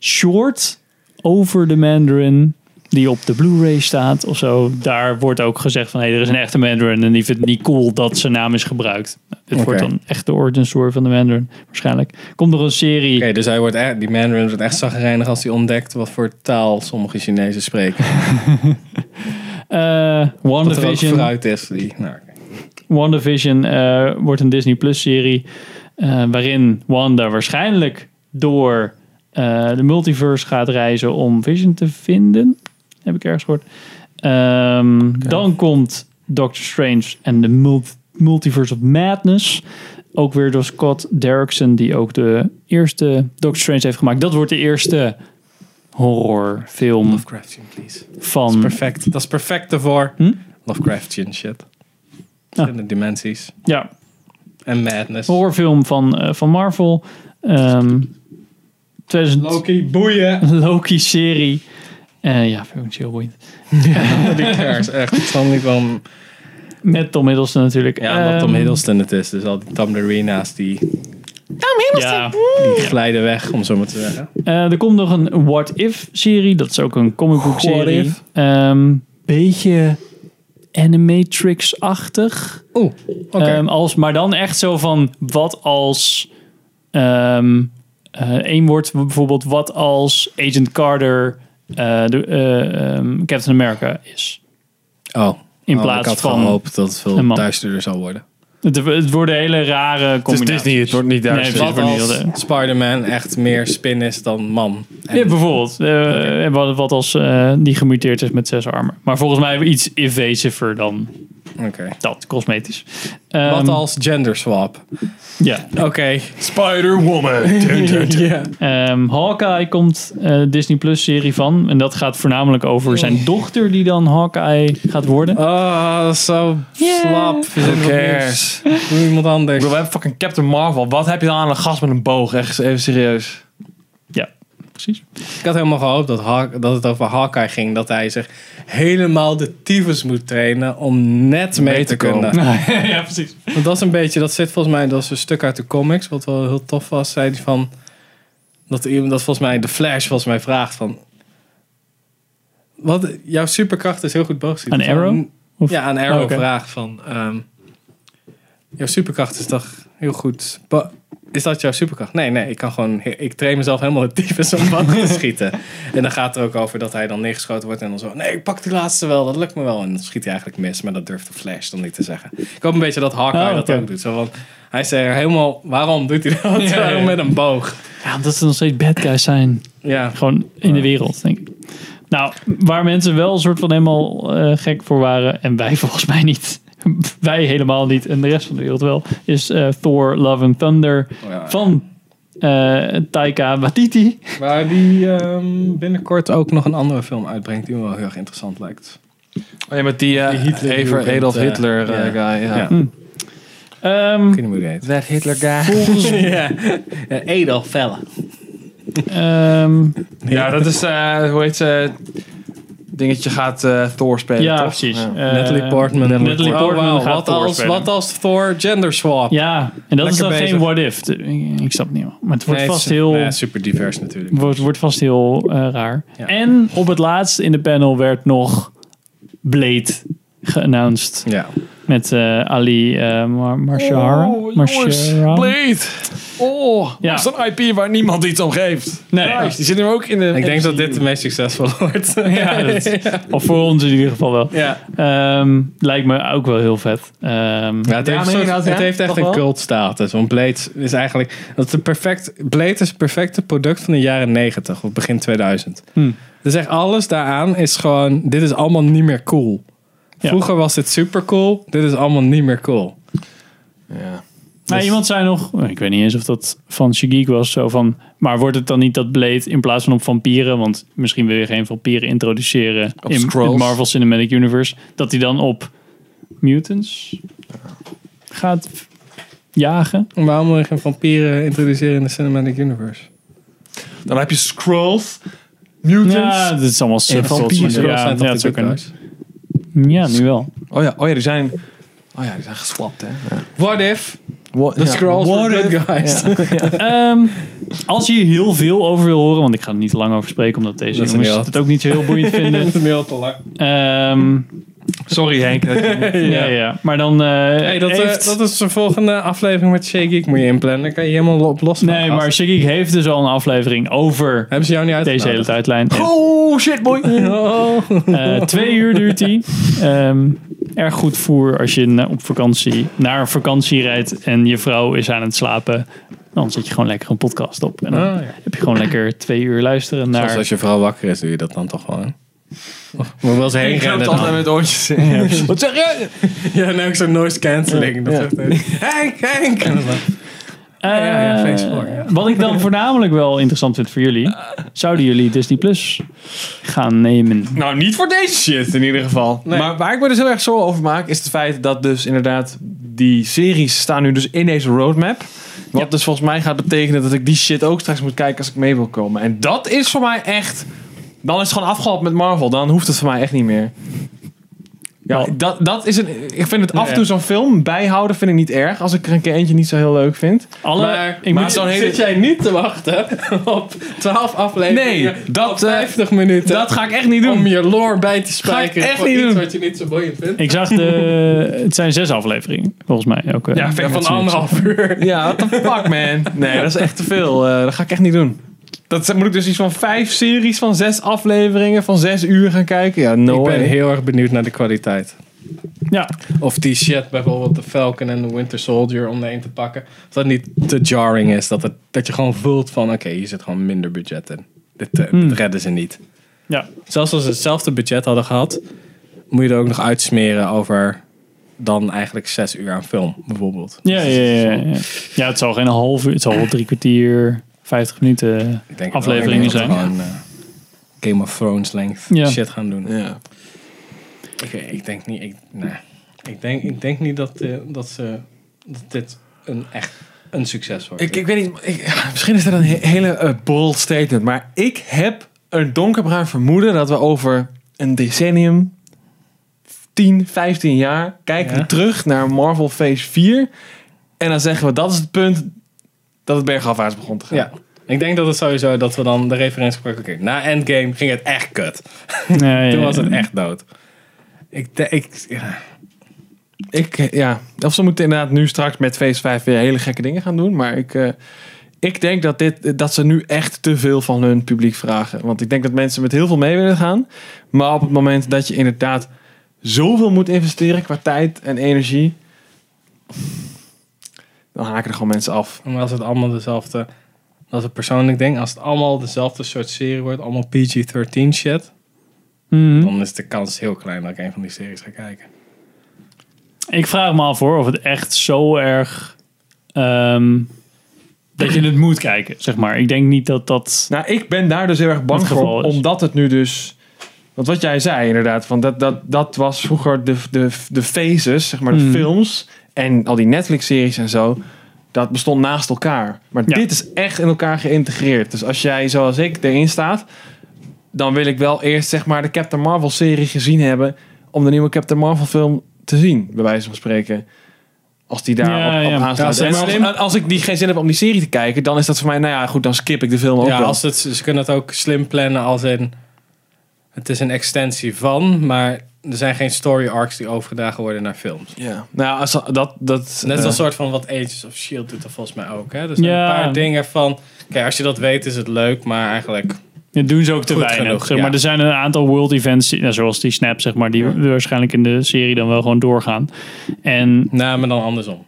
Speaker 2: short over de Mandarin, die op de Blu-ray staat of zo, daar wordt ook gezegd van hé, er is een echte Mandarin en die vindt het niet cool dat zijn naam is gebruikt. Nou, dit
Speaker 3: Oké.
Speaker 2: wordt dan echt de origin story van de Mandarin, waarschijnlijk. Komt er een serie.
Speaker 3: Oké, dus hij wordt echt, die Mandarin wordt echt zagrijnig als hij ontdekt wat voor taal sommige Chinezen spreken.
Speaker 2: eh
Speaker 3: dat er ook
Speaker 2: WandaVision.
Speaker 3: fruit is. Die, nou, oké.
Speaker 2: WandaVision eh wordt een Disney Plus serie. eh, waarin Wanda waarschijnlijk door eh, de multiverse gaat reizen om Vision te vinden. Heb ik ergens gehoord. Ehm, Dan komt Doctor Strange en de mul- Multiverse of Madness. Ook weer door Scott Derrickson, die ook de eerste Doctor Strange heeft gemaakt. Dat wordt de eerste horrorfilm
Speaker 3: Lovecraftian, please.
Speaker 2: van...
Speaker 3: Dat is perfect. Dat is perfect ervoor.
Speaker 2: Hm?
Speaker 3: Lovecraftian shit. In de dimensies.
Speaker 2: Ja.
Speaker 3: En madness.
Speaker 2: horrorfilm van, eh, van Marvel. Ehm 2000... Loki, boeien! Loki-serie. Eh, ja, vind ik heel boeiend.
Speaker 3: Die cares, echt. Ik snap niet waarom...
Speaker 2: Met Tom Hiddleston natuurlijk.
Speaker 3: Ja, omdat
Speaker 2: Ehm,
Speaker 3: Tom Hiddleston het is. Dus al die Tamderina's die,
Speaker 2: Ja.
Speaker 3: die glijden weg, om zo maar te zeggen.
Speaker 2: Eh, er komt nog een What If-serie. Dat is ook een comic book
Speaker 3: What
Speaker 2: serie.
Speaker 3: If?
Speaker 2: Ehm, beetje Animatrix-achtig.
Speaker 3: Oeh,
Speaker 2: Ehm, als, maar dan echt zo van wat als ehm eh, één woord bijvoorbeeld wat als Agent Carter eh, de, eh, ehm, Captain America is.
Speaker 3: Oh.
Speaker 2: In
Speaker 3: Oh,
Speaker 2: plaats
Speaker 3: ik had
Speaker 2: van
Speaker 3: gehoopt dat het
Speaker 2: een
Speaker 3: veel
Speaker 2: man.
Speaker 3: duisterder zou worden.
Speaker 2: Het, het worden hele rare
Speaker 1: Het is
Speaker 2: combinaties.
Speaker 1: Disney, het wordt niet
Speaker 2: Nee,
Speaker 1: Duits.
Speaker 2: het wordt
Speaker 1: Nee,
Speaker 2: niet
Speaker 1: als-
Speaker 2: heel-
Speaker 3: Spider-Man echt meer spin is dan man.
Speaker 2: Ja, bijvoorbeeld. eh, en wat, wat als eh, die gemuteerd is met zes armen. Maar volgens mij iets invasiever dan dat, cosmetisch.
Speaker 3: Wat
Speaker 2: Ehm,
Speaker 3: als gender swap?
Speaker 2: Ja.
Speaker 3: Oké.
Speaker 1: Spider-Woman.
Speaker 2: Ehm, Hawkeye komt eh, Disney Plus serie van. En dat gaat voornamelijk over zijn dochter die dan Hawkeye gaat worden.
Speaker 3: Oh, dat is zo slap.
Speaker 1: Who cares?
Speaker 3: Doe iemand anders.
Speaker 1: we hebben fucking Captain Marvel. Wat heb je dan aan een gast met een boog? Echt even serieus.
Speaker 2: Ja, precies.
Speaker 3: Ik had helemaal gehoopt dat, Hawk- dat het over Hawkeye ging. Dat hij zich helemaal de tyfus moet trainen om net mee, te,
Speaker 1: komen.
Speaker 3: kunnen.
Speaker 2: ja, precies.
Speaker 3: Want dat is een beetje, dat zit volgens mij, dat is een stuk uit de comics, wat wel heel tof was, zei hij van, dat iemand, dat volgens mij, de Flash volgens mij vraagt van, wat, jouw superkracht is heel goed boogschieten.
Speaker 2: Aan Arrow? Of-
Speaker 3: Ja, aan Arrow
Speaker 2: Oh, oké.
Speaker 3: vraagt van, ehm, jouw superkracht is toch heel goed, bo- is dat jouw superkracht? Nee, nee, ik kan gewoon, ik train mezelf helemaal het tyfus om bang te schieten. En dan gaat het er ook over dat hij dan neergeschoten wordt en dan zo, nee, ik pak die laatste wel, dat lukt me wel. En dan schiet hij eigenlijk mis, maar dat durft de Flash dan niet te zeggen. Ik hoop een beetje dat Hawkeye
Speaker 2: Oh,
Speaker 3: dat
Speaker 2: oké.
Speaker 3: ook doet. Zo, want hij zei er helemaal, waarom doet hij dat?
Speaker 2: Ja,
Speaker 3: Waarom
Speaker 2: ja.
Speaker 3: met een boog?
Speaker 2: Ja, omdat ze nog steeds bad guys zijn.
Speaker 3: Ja.
Speaker 2: Gewoon in de wereld, denk ik. Nou, waar mensen wel een soort van helemaal eh, gek voor waren. En wij volgens mij niet. wij helemaal niet. En de rest van de wereld wel. Is eh, Thor Love and Thunder van eh, Taika Waititi.
Speaker 3: Waar die ehm, binnenkort ook nog een andere film uitbrengt die me wel heel erg interessant lijkt.
Speaker 1: Oh ja, met die, eh
Speaker 3: Die Hitler-
Speaker 1: Ever-
Speaker 3: die
Speaker 1: Adolf
Speaker 3: bent, eh,
Speaker 1: Hitler eh,
Speaker 3: ja.
Speaker 1: guy. Ja.
Speaker 3: Ja.
Speaker 2: Ehm,
Speaker 3: Ik weet niet hoe die heet.
Speaker 1: That Hitler guy.
Speaker 2: Volgens-
Speaker 3: ja. Ja, Edel Felle.
Speaker 2: ehm,
Speaker 1: Ja, dat is, eh, hoe heet ze? Dingetje gaat eh, Thor spelen,
Speaker 2: Ja,
Speaker 1: toch?
Speaker 2: precies.
Speaker 1: Ja.
Speaker 2: Eh, Natalie Portman. Natalie
Speaker 3: Oh,
Speaker 2: Portman
Speaker 3: wauw,
Speaker 2: gaat
Speaker 3: wat,
Speaker 2: Thor
Speaker 3: als,
Speaker 2: spelen.
Speaker 3: wat als Thor gender swap?
Speaker 2: ja, en dat is dan
Speaker 3: Lekker
Speaker 2: geen
Speaker 3: bezig.
Speaker 2: what-if. Ik, ik snap het niet helemaal. Maar het wordt
Speaker 3: Nee,
Speaker 2: vast
Speaker 3: is-
Speaker 2: heel...
Speaker 3: ja, super divers natuurlijk.
Speaker 2: Wordt, wordt vast heel eh, raar. En op het laatst in de panel werd nog Blade geannounced.
Speaker 3: Ja.
Speaker 2: Met eh, Ali eh Mar Marshara.
Speaker 1: Oh, jongens,
Speaker 2: Marshara.
Speaker 1: Blade. Oh, dat is een IP waar niemand iets om geeft.
Speaker 2: Nee.
Speaker 1: Christ, die zit nu ook in de...
Speaker 3: Ik denk dat dit de meest succesvolle wordt.
Speaker 2: Ja, dat is- Of voor ons in ieder geval wel.
Speaker 3: Ja.
Speaker 2: Ehm, lijkt me ook wel heel vet. Ehm,
Speaker 3: Ja, het, heeft, een soort- het heeft echt een cult status. Want Blade is eigenlijk. Dat is een perfect, Blade is het perfecte product van de jaren 90 of begin 2000.
Speaker 2: Hm.
Speaker 3: Dus echt alles daaraan is gewoon. Dit is allemaal niet meer cool. Vroeger was dit super cool. Dit is allemaal niet meer cool.
Speaker 1: Ja.
Speaker 2: Maar iemand zei nog, ik weet niet eens of dat van Shigik was, zo van, maar wordt het dan niet dat Blade in plaats van op vampieren, want misschien wil je geen vampieren introduceren
Speaker 1: Op
Speaker 2: in
Speaker 1: Skrulls.
Speaker 2: het Marvel Cinematic Universe, dat hij dan op mutants gaat jagen?
Speaker 3: Waarom wil je geen vampieren introduceren in de Cinematic Universe?
Speaker 1: Dan heb je Skrulls, Mutants...
Speaker 2: Ja, dat is allemaal
Speaker 1: en
Speaker 2: subplots.
Speaker 1: vampieren.
Speaker 2: Ja, ja, dat zou kunnen. Ja, nu wel.
Speaker 1: Oh ja, oh ja, die zijn... Oh ja, die zijn geswapt, hè.
Speaker 3: What if?
Speaker 1: What,
Speaker 3: The Skrulls were good guys.
Speaker 2: Ehm, als je hier heel veel over wil horen, want ik ga er niet te lang over spreken, omdat deze
Speaker 3: Dat is
Speaker 2: jongens
Speaker 3: een heel-
Speaker 2: het ook niet zo heel boeiend vinden.
Speaker 3: Dat is een heel te lang.
Speaker 2: Ehm,
Speaker 1: Sorry Henk.
Speaker 2: ja, ja. Maar dan eh
Speaker 3: Hey, dat, eh,
Speaker 2: heeft...
Speaker 3: dat is de volgende aflevering met Shake Geek. Moet je inplannen. Dan kan je helemaal op los.
Speaker 2: Nee, maar Shiggy heeft dus al een aflevering over
Speaker 3: Hebben ze jou niet Oh.
Speaker 2: deze hele tijdlijn. En,
Speaker 1: Oh, shit, boy.
Speaker 2: eh, twee uur duurt die. Ehm, erg goed voer als je na- op vakantie naar een vakantie rijdt en je vrouw is aan het slapen. Dan zet je gewoon lekker een podcast op. En dan
Speaker 3: Ah, ja.
Speaker 2: heb je gewoon lekker twee uur luisteren naar...
Speaker 3: Zoals als je vrouw wakker is, doe je dat dan toch gewoon. Moet wel eens heen
Speaker 1: Ik
Speaker 3: rennen.
Speaker 1: het altijd met oortjes in. Wat zeg je?
Speaker 3: Ja, nou, ik zo'n noise cancelling. Dat zegt hij. Henk, Henk! En dan zo. ja, ja, thanks
Speaker 2: Eh,
Speaker 3: voor, ja.
Speaker 2: Wat ik dan voornamelijk wel interessant vind voor jullie. Zouden jullie Disney Plus gaan nemen?
Speaker 1: Nou, niet voor deze shit in ieder geval. Maar waar ik me dus heel erg zorgen over maak, is het feit dat dus inderdaad die series staan nu dus in deze roadmap. Wat dus volgens mij gaat betekenen dat ik die shit ook straks moet kijken als ik mee wil komen. En dat is voor mij echt... Dan is het gewoon afgehaald met Marvel. Dan hoeft het voor mij echt niet meer. Ja, dat, dat is een... Ik vind het af en toe zo'n film bijhouden vind ik niet erg. Als ik er een keer eentje niet zo heel leuk vind.
Speaker 2: Alle,
Speaker 1: maar
Speaker 2: ik
Speaker 1: maar
Speaker 2: moet-
Speaker 1: zo'n hele...
Speaker 3: Zit jij niet te wachten op 12 afleveringen?
Speaker 1: Nee, dat, eh,
Speaker 3: op 50 minuten.
Speaker 1: dat ga ik echt niet doen.
Speaker 3: Om je lore bij te
Speaker 1: ik
Speaker 3: spijken.
Speaker 1: echt
Speaker 3: voor
Speaker 1: niet
Speaker 3: iets
Speaker 1: doen.
Speaker 3: wat je niet zo boeiend vindt.
Speaker 2: Ik zag de. Het zijn zes afleveringen, volgens mij. Ook, eh.
Speaker 1: Ja, vind ik
Speaker 3: van
Speaker 1: dat zoiets.
Speaker 3: anderhalf uur.
Speaker 1: Ja, what the fuck, man. Nee, dat is echt te veel. Eh, dat ga ik echt niet doen. Dat z- moet ik dus iets van vijf series van zes afleveringen van zes uur gaan kijken. Ja, no
Speaker 3: ik ben
Speaker 1: way.
Speaker 3: heel erg benieuwd naar de kwaliteit.
Speaker 2: Ja.
Speaker 3: Of die shit, bijvoorbeeld de Falcon en de Winter Soldier om de een te pakken. Of dat niet te jarring is. Dat, het, dat je gewoon voelt van, oké, hier zit gewoon minder budget in. Dit, eh,
Speaker 2: Hmm.
Speaker 3: dit redden ze niet.
Speaker 2: Ja.
Speaker 3: Zelfs als ze hetzelfde budget hadden gehad, moet je er ook nog uitsmeren over dan eigenlijk zes uur aan film, bijvoorbeeld. Dus
Speaker 2: Ja, ja, ja, ja. ja, het zal geen half uur, het zal wel drie kwartier, vijftig minuten
Speaker 3: denk het wel.
Speaker 2: afleveringen
Speaker 3: Ik denk
Speaker 2: zijn.
Speaker 3: dat we gewoon, eh, Game of Thrones length
Speaker 2: Ja.
Speaker 3: shit gaan doen. Ik, ik denk niet, ik, nee. ik, denk, ik denk niet dat, eh, dat, ze, dat dit een echt een succes wordt.
Speaker 1: Ik, ik weet niet, ik- misschien is dat een he- hele eh, bold statement, maar ik heb een donkerbruin vermoeden dat we over een decennium, 10, 15 jaar, kijken we terug naar Marvel Phase 4 en dan zeggen we dat is het punt dat het bergafwaarts begon te gaan.
Speaker 3: Ja. Ik denk dat het sowieso dat we dan de referentie gebruiken. Oké, na Endgame ging het echt kut.
Speaker 2: ja,
Speaker 3: Toen
Speaker 2: ja.
Speaker 3: was het echt dood. Ik, de- ik, ja.
Speaker 1: Ik, eh, ja. Of ze moeten inderdaad nu straks met Phase 5 weer hele gekke dingen gaan doen. Maar ik, eh, ik denk dat, dit, eh, dat ze nu echt te veel van hun publiek vragen. Want ik denk dat mensen met heel veel mee willen gaan. Maar op het moment dat je inderdaad zoveel moet investeren qua tijd en energie. Dan haken er gewoon mensen af.
Speaker 3: Maar als het allemaal dezelfde... Dat is een persoonlijk ding. Als het allemaal dezelfde soort serie wordt. Allemaal PG-13 shit.
Speaker 2: Mhm.
Speaker 3: Dan is de kans heel klein dat ik een van die series ga kijken.
Speaker 2: Ik vraag me af hoor, of het echt zo erg... ehm, dat je het moet kijken, zeg maar. Ik denk niet dat dat...
Speaker 1: Nou, ik ben daar dus heel erg bang
Speaker 2: Het geval
Speaker 1: voor.
Speaker 2: is.
Speaker 1: Omdat het nu dus. Want wat jij zei inderdaad, van dat, dat, dat was vroeger de, de, de phases, zeg maar de
Speaker 3: Hmm.
Speaker 2: Mm.
Speaker 1: films. En al die Netflix-series en zo. Dat bestond naast elkaar. Maar dit is echt in elkaar geïntegreerd. Dus als jij, zoals ik, erin staat. dan wil ik wel eerst, zeg maar, de Captain Marvel-serie gezien hebben. om de nieuwe Captain Marvel-film te zien, bij wijze van spreken. Als die daar
Speaker 3: Ja,
Speaker 1: op, op
Speaker 3: ja.
Speaker 1: aansluit.
Speaker 3: Ja,
Speaker 1: En
Speaker 3: zeg maar,
Speaker 1: als, als ik die geen zin heb om die serie te kijken, dan is dat voor mij, nou ja, goed, dan skip ik de film ook
Speaker 3: ja,
Speaker 1: wel.
Speaker 3: als het, ze kunnen het ook slim plannen als in... Het is een extensie van, maar er zijn geen story arcs die overgedragen worden naar films.
Speaker 1: Ja. Nou, als, dat, dat,
Speaker 3: Net als
Speaker 1: eh,
Speaker 3: een soort van wat Agents of S.H.I.E.L.D. E doet dat volgens mij ook. Hè? Er zijn
Speaker 2: Ja.
Speaker 3: een paar dingen van... Kijk, als je dat weet is het leuk, maar eigenlijk...
Speaker 2: Dat doen ze ook te
Speaker 3: Goed
Speaker 2: weinig.
Speaker 3: genoeg,
Speaker 2: zeg
Speaker 3: ja.
Speaker 2: maar er zijn een aantal world events, die- nou, zoals die snap, zeg maar, die waarschijnlijk in de serie dan wel gewoon doorgaan. En,
Speaker 3: nou, maar dan andersom.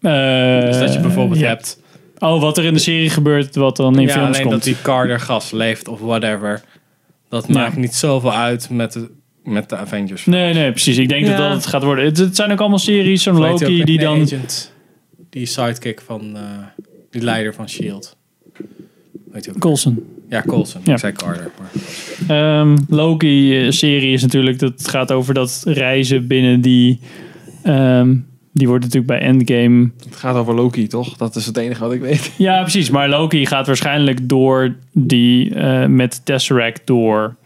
Speaker 2: dus
Speaker 3: dat
Speaker 1: Eh,
Speaker 3: je bijvoorbeeld hebt.
Speaker 2: Oh, wat er in de serie gebeurt, wat dan in
Speaker 3: ja,
Speaker 2: films
Speaker 3: alleen
Speaker 2: komt.
Speaker 3: dat die Carter gas leeft of whatever. Dat maakt niet zoveel uit met de, met de Avengers.
Speaker 2: Nee, nee, precies. Ik denk
Speaker 3: Ja.
Speaker 2: dat dat het gaat worden. Het, het zijn ook allemaal series, zo'n
Speaker 3: Of heet
Speaker 2: Loki
Speaker 3: ook
Speaker 2: die
Speaker 3: een
Speaker 2: dan...
Speaker 3: agent, die sidekick van... eh, die leider van
Speaker 1: E
Speaker 3: S.H.I.E.L.D. Weet je ook.
Speaker 2: Coulson.
Speaker 3: Ja, Coulson.
Speaker 2: Ja.
Speaker 3: Ik zei Carter. Maar.
Speaker 2: Ehm, Loki-serie is natuurlijk, dat gaat over dat reizen binnen die... ehm, die wordt natuurlijk bij Endgame...
Speaker 1: Het gaat over Loki, toch? Dat is het enige wat ik weet.
Speaker 2: Ja, precies. Maar Loki gaat waarschijnlijk door die eh, met Tesseract door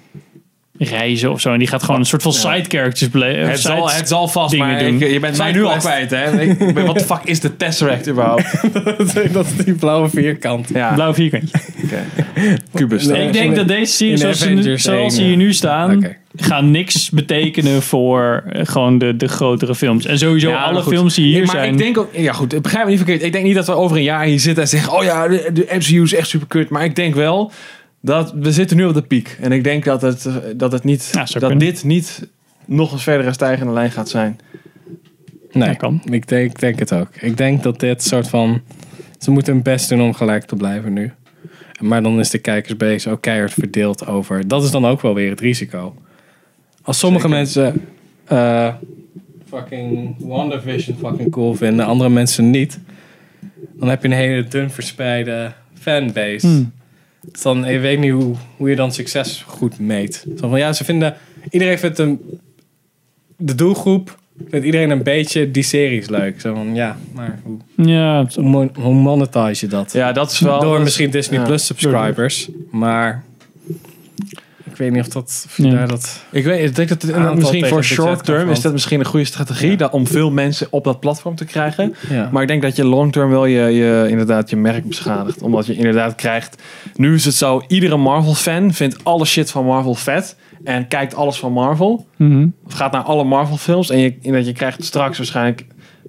Speaker 2: reizen of zo. En die gaat gewoon een soort van side characters beleven.
Speaker 1: Het zal, het zal vast, maar ik- je bent mij nu al kwijt, hè? Ik, ik ben, wat de fuck is de Tesseract überhaupt?
Speaker 3: dat is die blauwe vierkant.
Speaker 1: Ja.
Speaker 2: Blauw vierkant.
Speaker 1: Cubus.
Speaker 2: ik denk dat deze serie,
Speaker 3: In
Speaker 2: zoals ze, nu,
Speaker 3: Avengers
Speaker 2: zoals ze
Speaker 3: één,
Speaker 2: hier
Speaker 3: ja.
Speaker 2: nu
Speaker 3: Mm.
Speaker 2: staan, gaan niks betekenen voor eh, gewoon de, de grotere films. En sowieso
Speaker 1: Ja, maar
Speaker 2: alle
Speaker 1: goed.
Speaker 2: films die hier
Speaker 1: Ja, maar
Speaker 2: zijn.
Speaker 1: Ik denk ook, ja goed, begrijp me niet verkeerd. Ik denk niet dat we over een jaar hier zitten en zeggen: Oh ja, de, de MCU is echt super kut. Maar ik denk wel dat we zitten nu op de piek. En ik denk dat, het, eh, dat, het niet, dat dit niet nog eens verder een stijgende lijn gaat zijn.
Speaker 3: Nee, Ik, denk, ik denk het ook. Ik denk dat dit soort van... Ze moeten hun best doen om gelijk te blijven nu. Maar dan is de kijkersbase ook keihard verdeeld over... Dat is dan ook wel weer het risico. Als sommige mensen... eh fucking WandaVision fucking cool vinden. Andere mensen niet. Dan heb je een hele dun verspreide fanbase.
Speaker 2: Hmm.
Speaker 3: Dus dan, ik weet niet hoe, hoe je dan succes goed meet. Zo van, ja, ze vinden... Iedereen vindt een... De doelgroep vindt iedereen een beetje die series leuk. Zo van, ja, maar hoe...
Speaker 2: Ja,
Speaker 3: hoe, mon- hoe monetize je dat?
Speaker 1: Ja, dat is wel- dat
Speaker 3: Door
Speaker 1: is-
Speaker 3: misschien Disney
Speaker 1: ja.
Speaker 3: Plus subscribers. Maar... Ik weet niet of dat... of je daar dat
Speaker 1: Ik weet, ik denk dat
Speaker 3: aantal
Speaker 1: het inderdaad misschien
Speaker 3: tegen
Speaker 1: voor
Speaker 3: het budget
Speaker 1: short term
Speaker 3: kan
Speaker 1: is dat misschien een goede strategie dat, om veel mensen op dat platform te krijgen.
Speaker 3: Ja.
Speaker 1: Maar ik denk dat je long term wel je, je, inderdaad je merk beschadigt. Omdat je inderdaad krijgt. Nu is het zo: iedere Marvel-fan vindt alle shit van Marvel vet. En kijkt alles van Marvel.
Speaker 2: Mhm.
Speaker 1: Of gaat naar alle Marvel-films. En je, en dat je krijgt straks waarschijnlijk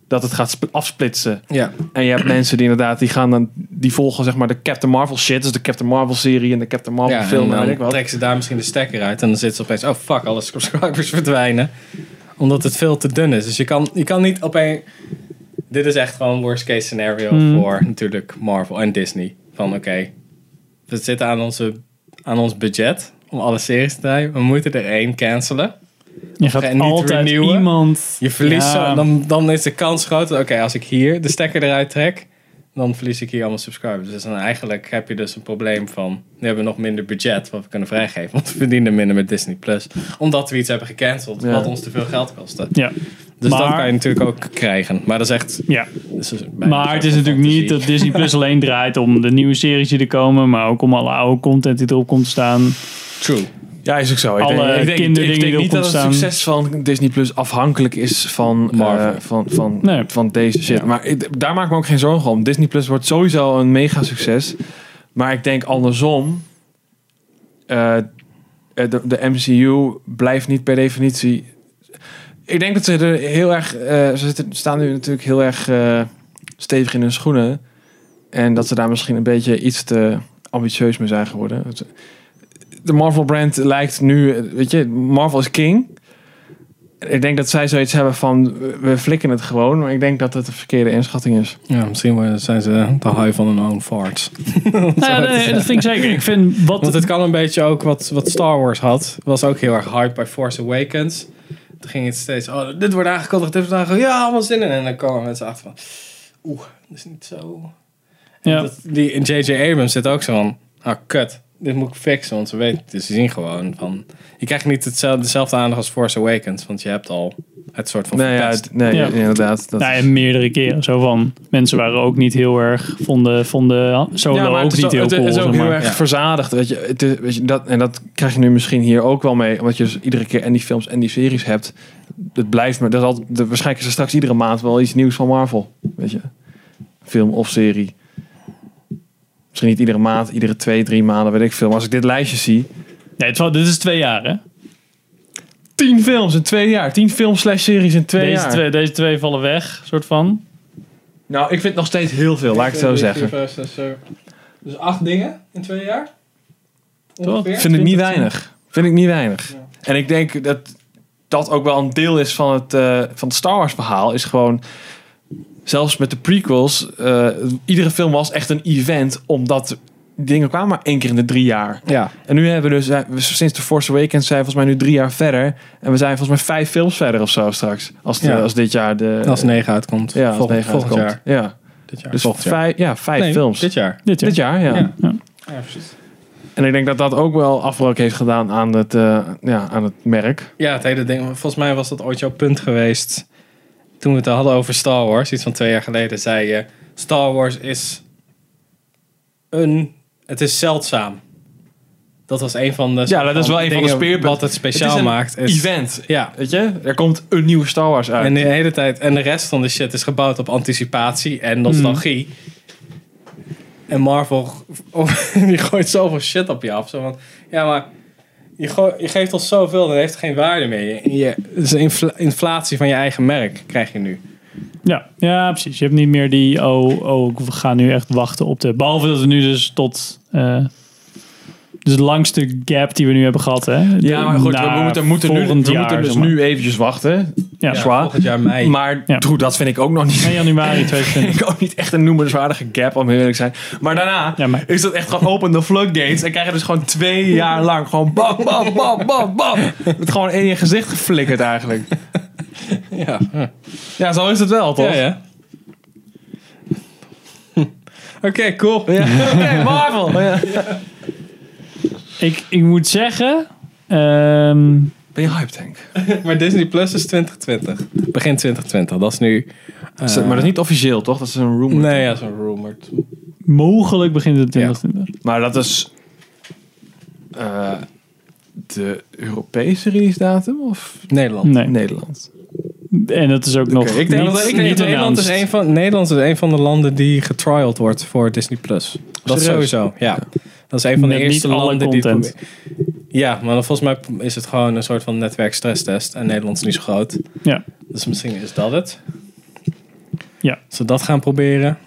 Speaker 1: dat het gaat sp- afsplitsen.
Speaker 3: Ja.
Speaker 1: En je hebt mensen die inderdaad, die gaan dan, die volgen zeg maar de Captain Marvel shit. Dus de Captain Marvel serie en de Captain Marvel
Speaker 3: Ja,
Speaker 1: film.
Speaker 3: en
Speaker 1: en
Speaker 3: dan
Speaker 1: weet ik wat.
Speaker 3: trekken ze daar misschien de stekker uit. En dan zitten ze opeens, oh fuck, alle subscribers verdwijnen. Omdat het veel te dun is. Dus je kan, je kan niet op een... Dit is echt gewoon worst case scenario
Speaker 1: Mhm.
Speaker 2: Mm.
Speaker 3: voor natuurlijk Marvel en Disney. Van oké, we zitten aan, onze, aan ons budget om alle series te draaien. We moeten er één cancelen.
Speaker 2: Je gaat
Speaker 3: niet
Speaker 2: altijd
Speaker 3: renewen.
Speaker 2: iemand...
Speaker 3: Je verliest
Speaker 2: Ja.
Speaker 3: zo, dan, dan is de kans groot. Oké, als ik hier de stekker eruit trek, dan verlies ik hier allemaal subscribers. Dus dan eigenlijk heb je dus een probleem van, nu hebben we nog minder budget wat we kunnen vrijgeven. Want we verdienen minder met Disney+. Plus. Omdat we iets hebben gecanceld
Speaker 2: Ja.
Speaker 3: wat ons te veel geld kostte.
Speaker 2: Ja.
Speaker 3: Dus dat
Speaker 2: Maar-
Speaker 3: kan je natuurlijk ook krijgen. Maar dat is echt...
Speaker 2: Ja.
Speaker 3: Dus dat is bijna
Speaker 2: Maar het is natuurlijk niet dat Disney Plus alleen draait om de nieuwe series die er komen, maar ook om alle oude content die erop komt te staan.
Speaker 3: True.
Speaker 1: Ja, is ook zo.
Speaker 2: Alle kinderdingen
Speaker 1: ik denk
Speaker 2: die erop
Speaker 1: niet dat het
Speaker 2: staan.
Speaker 1: succes van Disney Plus afhankelijk is van, eh, van, van, van deze shit. Maar ik- daar maak ik me ook geen zorgen om. Disney Plus wordt sowieso een mega succes. Maar ik denk andersom. eh, eh, de, de MCU blijft niet per definitie. Ik denk dat ze er heel erg. eh, ze zitten, staan nu natuurlijk heel erg eh, stevig in hun schoenen. En dat ze daar misschien een beetje iets te ambitieus mee zijn geworden. Het- de Marvel-brand lijkt nu, eh, weet je, Marvel is king. Ik denk dat zij zoiets hebben van, we- we flikken het gewoon. Maar ik denk dat het een verkeerde inschatting is.
Speaker 3: Ja, misschien zijn ze te high van hun own farts.
Speaker 2: Nou Ja, nee, dat vind ik zeker. Ik vind wat...
Speaker 3: Want het kan een beetje ook wat, wat Star Wars had. Was ook heel erg hype bij Force Awakens. Toen ging het steeds, oh, dit wordt aangekondigd, dit wordt aangekondigd. Ja, allemaal zin in. En dan kwamen mensen achter van, oeh, dat is niet zo. En
Speaker 2: Ja.
Speaker 3: dat- die in J.J. Abrams zit ook zo van, ah, kut. Dit moet ik fixen, want ze weten, dus ze zien gewoon van... Je krijgt niet hetzelfde, dezelfde aandacht als Force Awakens, want je hebt al het soort van
Speaker 1: Nee, ja,
Speaker 3: verpest.
Speaker 1: het- nee, Ja. inderdaad.
Speaker 2: Nou, en meerdere keren zo van. Mensen waren ook niet heel erg. Vonden, vonden solo
Speaker 1: maar het
Speaker 2: ook
Speaker 1: is
Speaker 2: niet
Speaker 1: al-
Speaker 2: heel
Speaker 1: het,
Speaker 2: cool.
Speaker 1: is
Speaker 2: zeg
Speaker 1: ook heel
Speaker 2: maar.
Speaker 1: erg verzadigd. Weet je, het is, weet je, dat, en dat krijg je nu misschien hier ook wel mee. Omdat je dus iedere keer en die films en die series hebt. Het blijft maar. Dat is altijd, de- waarschijnlijk is er straks iedere maand wel iets nieuws van Marvel. Weet je, film of serie. Misschien niet iedere maand, iedere twee, drie maanden, weet ik veel. Maar als ik dit lijstje zie.
Speaker 2: Nee, het, dit is twee jaar, hè?
Speaker 1: Tien films in twee jaar. Tien films slash series in twee
Speaker 2: deze,
Speaker 1: jaar.
Speaker 2: twee, deze twee vallen weg, soort van.
Speaker 1: Nou, ik vind het nog steeds heel veel, laat ik het zo zeggen.
Speaker 3: Dus acht dingen in twee jaar?
Speaker 1: Vind ik niet weinig. Vind ik niet weinig. En ik denk dat dat ook wel een deel is van het, eh, van het Star Wars verhaal. Is gewoon, zelfs met de prequels, eh, iedere film was echt een event. Omdat die dingen kwamen maar één keer in de drie jaar.
Speaker 3: Ja.
Speaker 1: En nu hebben we dus, eh, we- sinds The Force Awakens zijn we volgens mij nu drie jaar verder. En we zijn volgens mij vijf films verder of zo straks. Als, de-
Speaker 3: Ja.
Speaker 1: als dit jaar de...
Speaker 3: Als negen uitkomt.
Speaker 1: Ja, als
Speaker 3: Volgend-
Speaker 1: negen
Speaker 3: volgend
Speaker 1: uitkomt.
Speaker 3: jaar.
Speaker 1: Ja.
Speaker 3: Dit jaar.
Speaker 1: Dus
Speaker 3: Volgend jaar.
Speaker 1: vijf, ja, vijf
Speaker 3: Nee,
Speaker 1: films.
Speaker 3: dit jaar.
Speaker 2: Dit jaar.
Speaker 1: ja.
Speaker 3: Ja.
Speaker 2: Ja,
Speaker 1: En ik denk dat dat ook wel afbreuk heeft gedaan aan het, eh, ja, aan het merk.
Speaker 3: Ja, het hele ding. Volgens mij was dat ooit jouw punt geweest. Toen we het hadden over Star Wars, iets van twee jaar geleden, zei je: Star Wars is een. Het is zeldzaam. Dat was een van de.
Speaker 1: Ja, dat is wel een van de
Speaker 3: dingen
Speaker 1: speerpunten.
Speaker 3: Wat het speciaal
Speaker 1: Het is een
Speaker 3: maakt.
Speaker 1: event.
Speaker 3: Ja.
Speaker 1: Weet je, er komt een nieuwe Star Wars uit.
Speaker 3: En de hele tijd. En de rest van de shit is gebouwd op anticipatie
Speaker 1: Hmm.
Speaker 3: en nostalgie. En Marvel oh, die gooit zoveel shit op je af. Zo van, ja, maar je, goo- je geeft ons zoveel, dan heeft het geen waarde meer. Je, je, het is een infla- inflatie van je eigen merk krijg je nu.
Speaker 2: Ja, ja, precies. Je hebt niet meer die, oh, oh, we gaan nu echt wachten op de... Behalve dat we nu dus tot... eh, dus de langste gap die we nu hebben gehad, hè?
Speaker 1: Ja, maar goed, we
Speaker 2: Naar
Speaker 1: moeten, moeten, nu,
Speaker 2: volgend
Speaker 1: we
Speaker 2: jaar,
Speaker 1: moeten dus
Speaker 2: zeg maar.
Speaker 1: nu eventjes wachten.
Speaker 2: Ja.
Speaker 1: Zwaar.
Speaker 2: Ja, volgend jaar mei.
Speaker 1: Maar goed, dat vind ik ook nog niet.
Speaker 2: januari 2020.
Speaker 1: ik ook niet echt een noemenswaardige gap, om heel eerlijk te zijn. Maar daarna is dat echt gewoon open the floodgates. En krijg je dus gewoon twee jaar lang gewoon bam, bam, bam, bam, bam. Het gewoon in je gezicht geflikkerd eigenlijk.
Speaker 3: Ja.
Speaker 1: Ja, zo is het wel,
Speaker 3: Ja,
Speaker 1: toch?
Speaker 3: ja. Oké, cool.
Speaker 1: Oké, Marvel.
Speaker 2: Ik, ik moet zeggen... ehm,
Speaker 1: Ben je hyped, Henk?
Speaker 3: maar Disney Plus is 2020. Begin 2020, dat is nu. eh,
Speaker 1: Is dat- maar dat is niet officieel, toch? Dat is een rumor.
Speaker 3: Nee, ja, dat is een rumored.
Speaker 2: mogelijk begint het in 2020.
Speaker 1: Maar dat is eh, de Europese release datum of
Speaker 3: Nederland?
Speaker 2: Nee.
Speaker 1: Nederland.
Speaker 2: En dat is ook nog
Speaker 3: ik denk
Speaker 2: niet,
Speaker 3: dat ik
Speaker 2: niet
Speaker 3: denk dat Nederland is
Speaker 2: announced.
Speaker 3: een van Nederland is een van de landen die getrialed wordt voor Disney Plus. Dat
Speaker 2: Serieus?
Speaker 3: sowieso. Ja. Dat is een van de
Speaker 2: Met niet
Speaker 3: eerste
Speaker 2: alle
Speaker 3: landen die het
Speaker 2: content.
Speaker 3: proberen. Ja, maar dan volgens mij is het gewoon een soort van netwerkstresstest en Nederland is niet zo groot.
Speaker 2: Ja.
Speaker 3: Dus misschien is dat het.
Speaker 2: Ja.
Speaker 3: Ze dat gaan proberen.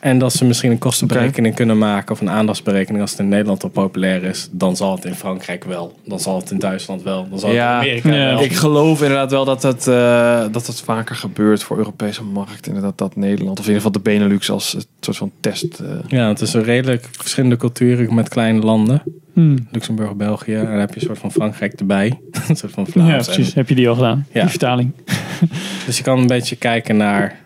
Speaker 3: En dat ze misschien een kostenberekening kunnen maken of een aandachtsberekening. Als het in Nederland al populair is, dan zal het in Frankrijk wel. Dan zal het in Duitsland wel. Dan zal het in
Speaker 1: Ja,
Speaker 3: Amerika wel.
Speaker 1: ik geloof inderdaad wel dat dat, eh, dat dat vaker gebeurt voor Europese markt. Inderdaad, dat Nederland, of in ieder geval de Benelux als een soort van test. eh,
Speaker 3: Ja, het is een redelijk verschillende culturen met kleine landen.
Speaker 2: Hm.
Speaker 3: Luxemburg, België. En dan heb je een soort van Frankrijk erbij. een soort van Vlaams.
Speaker 2: Ja, precies.
Speaker 3: En-
Speaker 2: Heb je die al gedaan?
Speaker 3: Ja.
Speaker 2: Die vertaling.
Speaker 3: dus je kan een beetje kijken naar...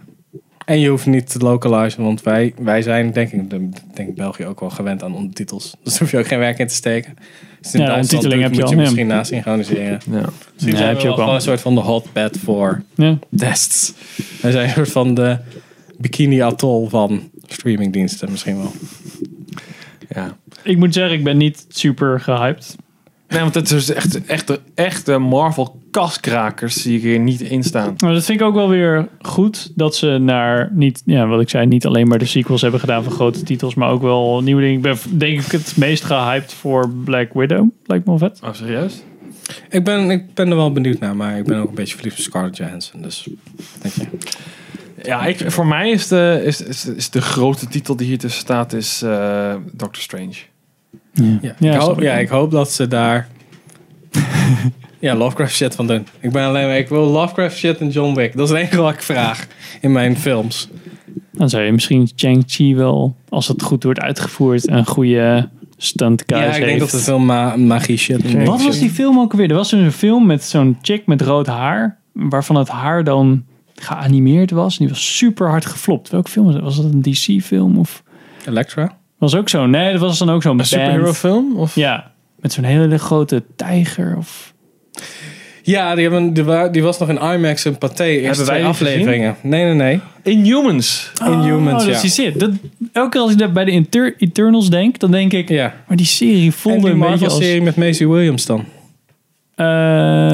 Speaker 3: En je hoeft niet te localizen, want wij, wij zijn denk ik, de- denk ik België ook wel gewend aan ondertitels. Dus daar hoef je ook geen werk in te steken. Dus in
Speaker 2: Ja,
Speaker 3: Duitsland doet,
Speaker 2: ondertiteling heb je
Speaker 3: moet
Speaker 2: al,
Speaker 3: je
Speaker 2: ja.
Speaker 3: misschien na synchroniseren.
Speaker 1: Ja.
Speaker 3: Dus
Speaker 2: Ja,
Speaker 3: heb je ook wel een soort van de hotbed voor
Speaker 2: Ja.
Speaker 3: tests. Wij zijn een soort van de bikini-atol van streamingdiensten misschien wel.
Speaker 1: Ja.
Speaker 2: Ik moet zeggen, ik ben niet super gehyped.
Speaker 1: Nee, want het is dus echt, echt, de- echte Marvel kaskrakers zie ik hier niet in staan.
Speaker 2: Maar dat vind ik ook wel weer goed dat ze naar niet, ja, wat ik zei, niet alleen maar de sequels hebben gedaan van grote titels, maar ook wel nieuwe dingen. Ik ben denk ik het meest gehyped voor Black Widow. Lijkt me wel vet.
Speaker 1: Oh, serieus?
Speaker 3: Ik ben, ik ben er wel benieuwd naar, maar ik ben ook een beetje verliefd op Scarlett Johansson. Dus, weet je.
Speaker 1: Ja, ik, voor mij is de, is, is, is de grote titel die hier tussen staat is eh, Doctor Strange.
Speaker 3: Ja,
Speaker 1: Ja,
Speaker 3: ik,
Speaker 1: snap
Speaker 3: hoop,
Speaker 1: ik.
Speaker 3: ja, ik hoop dat ze daar. ja, Lovecraft shit van doen. Ik ben alleen maar. Ik wil Lovecraft shit en John Wick. Dat is het enige wat ik vraag in mijn films.
Speaker 2: Dan zou je misschien Chang-Chi wel, als het goed wordt uitgevoerd, een goede stuntkaart
Speaker 3: ja, ik denk dat
Speaker 2: heeft.
Speaker 3: er veel ma magie shit in
Speaker 2: Wat was die film ook weer? Er was dus een film met zo'n chick met rood haar, waarvan het haar dan geanimeerd was. En die was super hard geflopt. Welke film was dat? Was dat een DC-film of?
Speaker 3: Elektra?
Speaker 2: Was ook zo. Nee, dat was dan ook zo'n band.
Speaker 1: superhero film? Of?
Speaker 2: Ja, met zo'n hele grote tijger of.
Speaker 3: Ja, die, hebben, die, wa- die was nog in IMAX en Pathé. Eerste
Speaker 2: Hebben wij
Speaker 3: twee
Speaker 2: die gezien?
Speaker 3: afleveringen. Nee, nee, nee.
Speaker 1: Inhumans.
Speaker 3: Inhumans,
Speaker 2: oh,
Speaker 3: ja.
Speaker 2: dat is die zit. Dat, elke keer als ik dat bij de Inter- Eternals denk, dan denk ik... Maar die serie
Speaker 3: En
Speaker 2: voelde
Speaker 3: die
Speaker 2: een beetje als...
Speaker 3: Marvel-serie met Maisie Williams dan.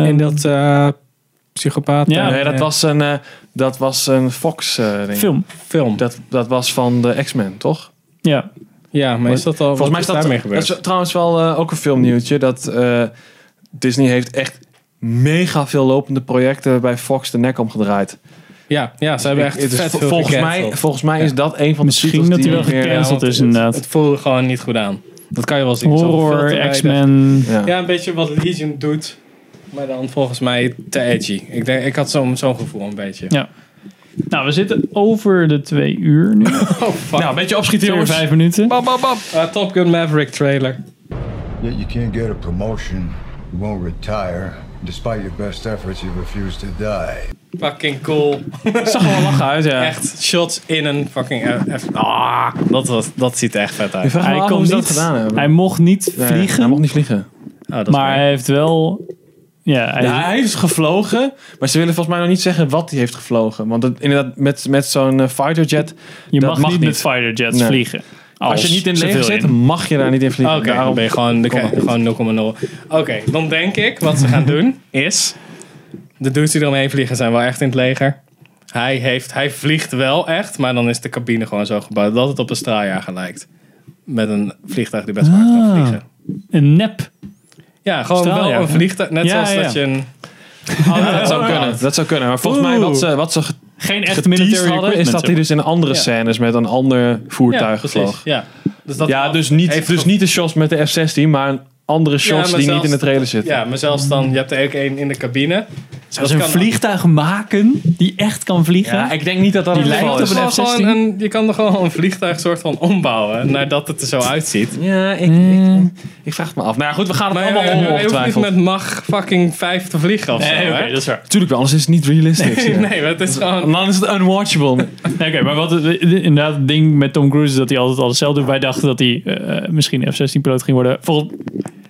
Speaker 2: en
Speaker 3: dat eh, psychopaat.
Speaker 1: Ja,
Speaker 3: eh,
Speaker 1: nee, dat, was een, eh, dat was een Fox eh, ding.
Speaker 2: Film.
Speaker 1: Film. Dat, dat was van de X-Men, toch?
Speaker 2: Ja.
Speaker 3: Ja, maar is dat al...
Speaker 1: Volgens mij is dat,
Speaker 3: daarmee
Speaker 1: dat
Speaker 3: gebeurd?
Speaker 1: is trouwens wel eh, ook een filmnieuwtje. Dat eh, Disney heeft echt mega veel lopende projecten bij Fox de nek omgedraaid.
Speaker 3: Ja, ja ze hebben echt
Speaker 1: het is
Speaker 3: vet
Speaker 1: vol-
Speaker 3: veel
Speaker 1: volgens
Speaker 3: gecanceld.
Speaker 1: mij- volgens mij is
Speaker 3: Ja.
Speaker 1: dat een van de Misschien titels dat die die wel weer- gecanceld
Speaker 3: want
Speaker 1: is,
Speaker 3: het-
Speaker 1: inderdaad.
Speaker 3: Het voelde gewoon niet goed aan. Dat kan je wel zien.
Speaker 2: Horror,
Speaker 3: Zoveel te
Speaker 2: X-Men.
Speaker 3: weinig. Ja. een beetje wat Legion doet. Maar dan volgens mij te edgy. Ik, denk, ik had zo'n zo'n gevoel een beetje.
Speaker 2: Ja. Nou, we zitten over de twee uur nu.
Speaker 1: Nou, een beetje opschieten,
Speaker 2: Vier,
Speaker 1: jongens.
Speaker 2: vijf minuten.
Speaker 1: Bam, bam, bam.
Speaker 3: Uh, Top Gun Maverick trailer.
Speaker 16: Yet you can't get a promotion, you won't retire. Despite your best efforts, you refuse to die.
Speaker 3: Fucking cool. Zag
Speaker 1: wel lachen uit, ja.
Speaker 3: Echt shots in een fucking... eh, F- ah, dat, was, dat ziet er echt vet uit.
Speaker 2: hij, kon niet, hij mocht niet
Speaker 3: Nee,
Speaker 2: vliegen.
Speaker 3: hij mocht
Speaker 1: niet vliegen.
Speaker 3: Ah,
Speaker 2: maar hij heeft wel... Ja, hij,
Speaker 1: Ja, hij heeft gevlogen, maar ze willen volgens mij nog niet zeggen wat hij heeft gevlogen. Want dat, inderdaad, met, met zo'n eh, fighter jet.
Speaker 2: Je
Speaker 1: dat
Speaker 2: mag niet met fighter jets vliegen.
Speaker 1: Als,
Speaker 2: Als
Speaker 1: je niet in het leger
Speaker 2: civilian.
Speaker 1: zit, mag je daar niet in vliegen.
Speaker 3: Oké, dan ben je gewoon,
Speaker 1: Kom maar.
Speaker 3: gewoon 0,0. Oké, dan denk ik wat ze gaan doen is... De dudes die eromheen vliegen zijn wel echt in het leger. Hij, heeft, hij vliegt wel echt, maar dan is de cabine gewoon zo gebouwd dat het op een straaljager lijkt. Met een vliegtuig die best wel hard kan
Speaker 2: Ah,
Speaker 3: vliegen.
Speaker 2: Een nep.
Speaker 3: Ja, gewoon wel
Speaker 2: Straaljager.
Speaker 3: een vliegtuig. Net
Speaker 2: Ja,
Speaker 3: zoals
Speaker 2: ja.
Speaker 3: dat je een...
Speaker 1: Ja, dat zou kunnen. Dat zou kunnen. Maar volgens mij wat ze, wat ze ge-
Speaker 2: Geen echt
Speaker 1: geteased
Speaker 2: military
Speaker 1: hadden, is
Speaker 2: equipment,
Speaker 1: dat hij dus in andere
Speaker 3: Ja.
Speaker 1: scènes met een ander
Speaker 3: Ja,
Speaker 1: voertuig
Speaker 3: precies.
Speaker 1: vloog.
Speaker 3: Ja, dus, dat
Speaker 1: ja, dus niet, dus niet de shots met de F-16, maar een andere
Speaker 3: Ja,
Speaker 1: shots
Speaker 3: maar
Speaker 1: die
Speaker 3: zelfs-
Speaker 1: niet in de trailer zitten.
Speaker 3: Ja, maar zelfs dan, je hebt er ook één in de cabine.
Speaker 2: Zou ze een vliegtuig maken die echt kan vliegen?
Speaker 3: Ja, ik
Speaker 1: denk niet dat dat
Speaker 2: die
Speaker 3: een
Speaker 2: lijkt op
Speaker 3: vliegtuig
Speaker 2: een
Speaker 3: is. Gewoon
Speaker 2: F-16.
Speaker 3: een- je kan er gewoon een vliegtuig soort van ombouwen nadat het er zo uitziet.
Speaker 1: Ja, ik, ik, ik vraag het me af. Nou ja, goed, we gaan het
Speaker 3: Maar
Speaker 1: allemaal
Speaker 3: je-
Speaker 1: horen
Speaker 3: Je hoeft niet
Speaker 1: ongetwijfeld.
Speaker 3: met mag fucking vijf te vliegen of zo.
Speaker 2: Nee, oké,
Speaker 3: hè?
Speaker 2: dat is waar.
Speaker 1: Tuurlijk wel, anders is het niet realistisch.
Speaker 3: Nee, nee, maar het is gewoon...
Speaker 1: Dan is het unwatchable.
Speaker 2: Oké, maar wat het- inderdaad het ding met Tom Cruise is dat hij altijd alles zelf doet. Wij dachten dat hij eh, misschien F-16-piloot ging worden. Vol,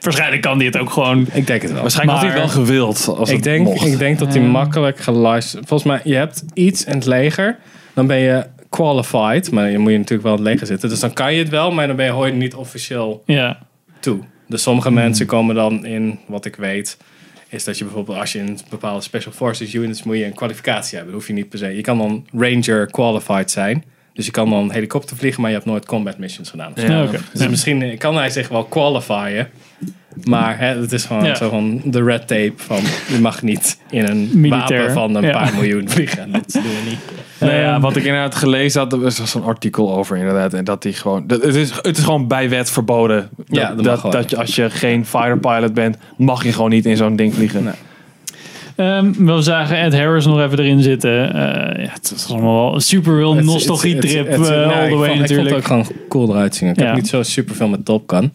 Speaker 2: waarschijnlijk kan hij het ook gewoon.
Speaker 3: Ik denk het wel.
Speaker 1: Waarschijnlijk had hij het wel gewild. Als
Speaker 3: ik,
Speaker 1: het
Speaker 3: denk,
Speaker 1: mocht.
Speaker 3: ik denk dat hij makkelijk geluisterd... Volgens mij, je hebt iets in het leger, dan ben je qualified. Maar je moet je natuurlijk wel in het leger zitten. Dus dan kan je het wel, maar dan ben je hoor je niet officieel
Speaker 2: Ja.
Speaker 3: toe. Dus sommige
Speaker 1: Hmm.
Speaker 3: mensen komen dan in, wat ik weet... Is dat je bijvoorbeeld als je in bepaalde special forces units moet je een kwalificatie hebben. Dat hoef je niet per se. Je kan dan ranger qualified zijn. Dus je kan dan
Speaker 2: Nou,
Speaker 3: helikopter vliegen, maar je hebt nooit combat missions gedaan.
Speaker 1: Ja, Ja, oké.
Speaker 3: Dus misschien kan hij zich wel qualifieren. Maar hè, het is gewoon
Speaker 2: Ja.
Speaker 3: zo van de red tape van je mag niet in een
Speaker 1: Militair.
Speaker 3: wapen van een
Speaker 1: Ja.
Speaker 3: paar miljoen vliegen. Dat doen we niet.
Speaker 1: Nou ja, wat ik inderdaad gelezen had, er was zo'n artikel over inderdaad. En dat die gewoon. Dat, het, is, het is gewoon bij wet verboden. Dat,
Speaker 3: Ja, dat mag
Speaker 1: dat, dat,
Speaker 3: gewoon.
Speaker 1: je als je geen fighter pilot bent, mag je gewoon niet in zo'n ding vliegen.
Speaker 2: Ehm, we zagen Ed Harris nog even erin zitten. Eh, ja, het was allemaal wel een super real
Speaker 3: Het-
Speaker 2: nostalgie
Speaker 3: het- het-
Speaker 2: trip
Speaker 3: het- het- nou,
Speaker 2: all
Speaker 3: ik
Speaker 2: the
Speaker 3: vond-
Speaker 2: way natuurlijk.
Speaker 3: Ik vond het ook gewoon cool eruit zien. Ik
Speaker 2: Ja.
Speaker 3: heb niet zo super veel met Top Gun.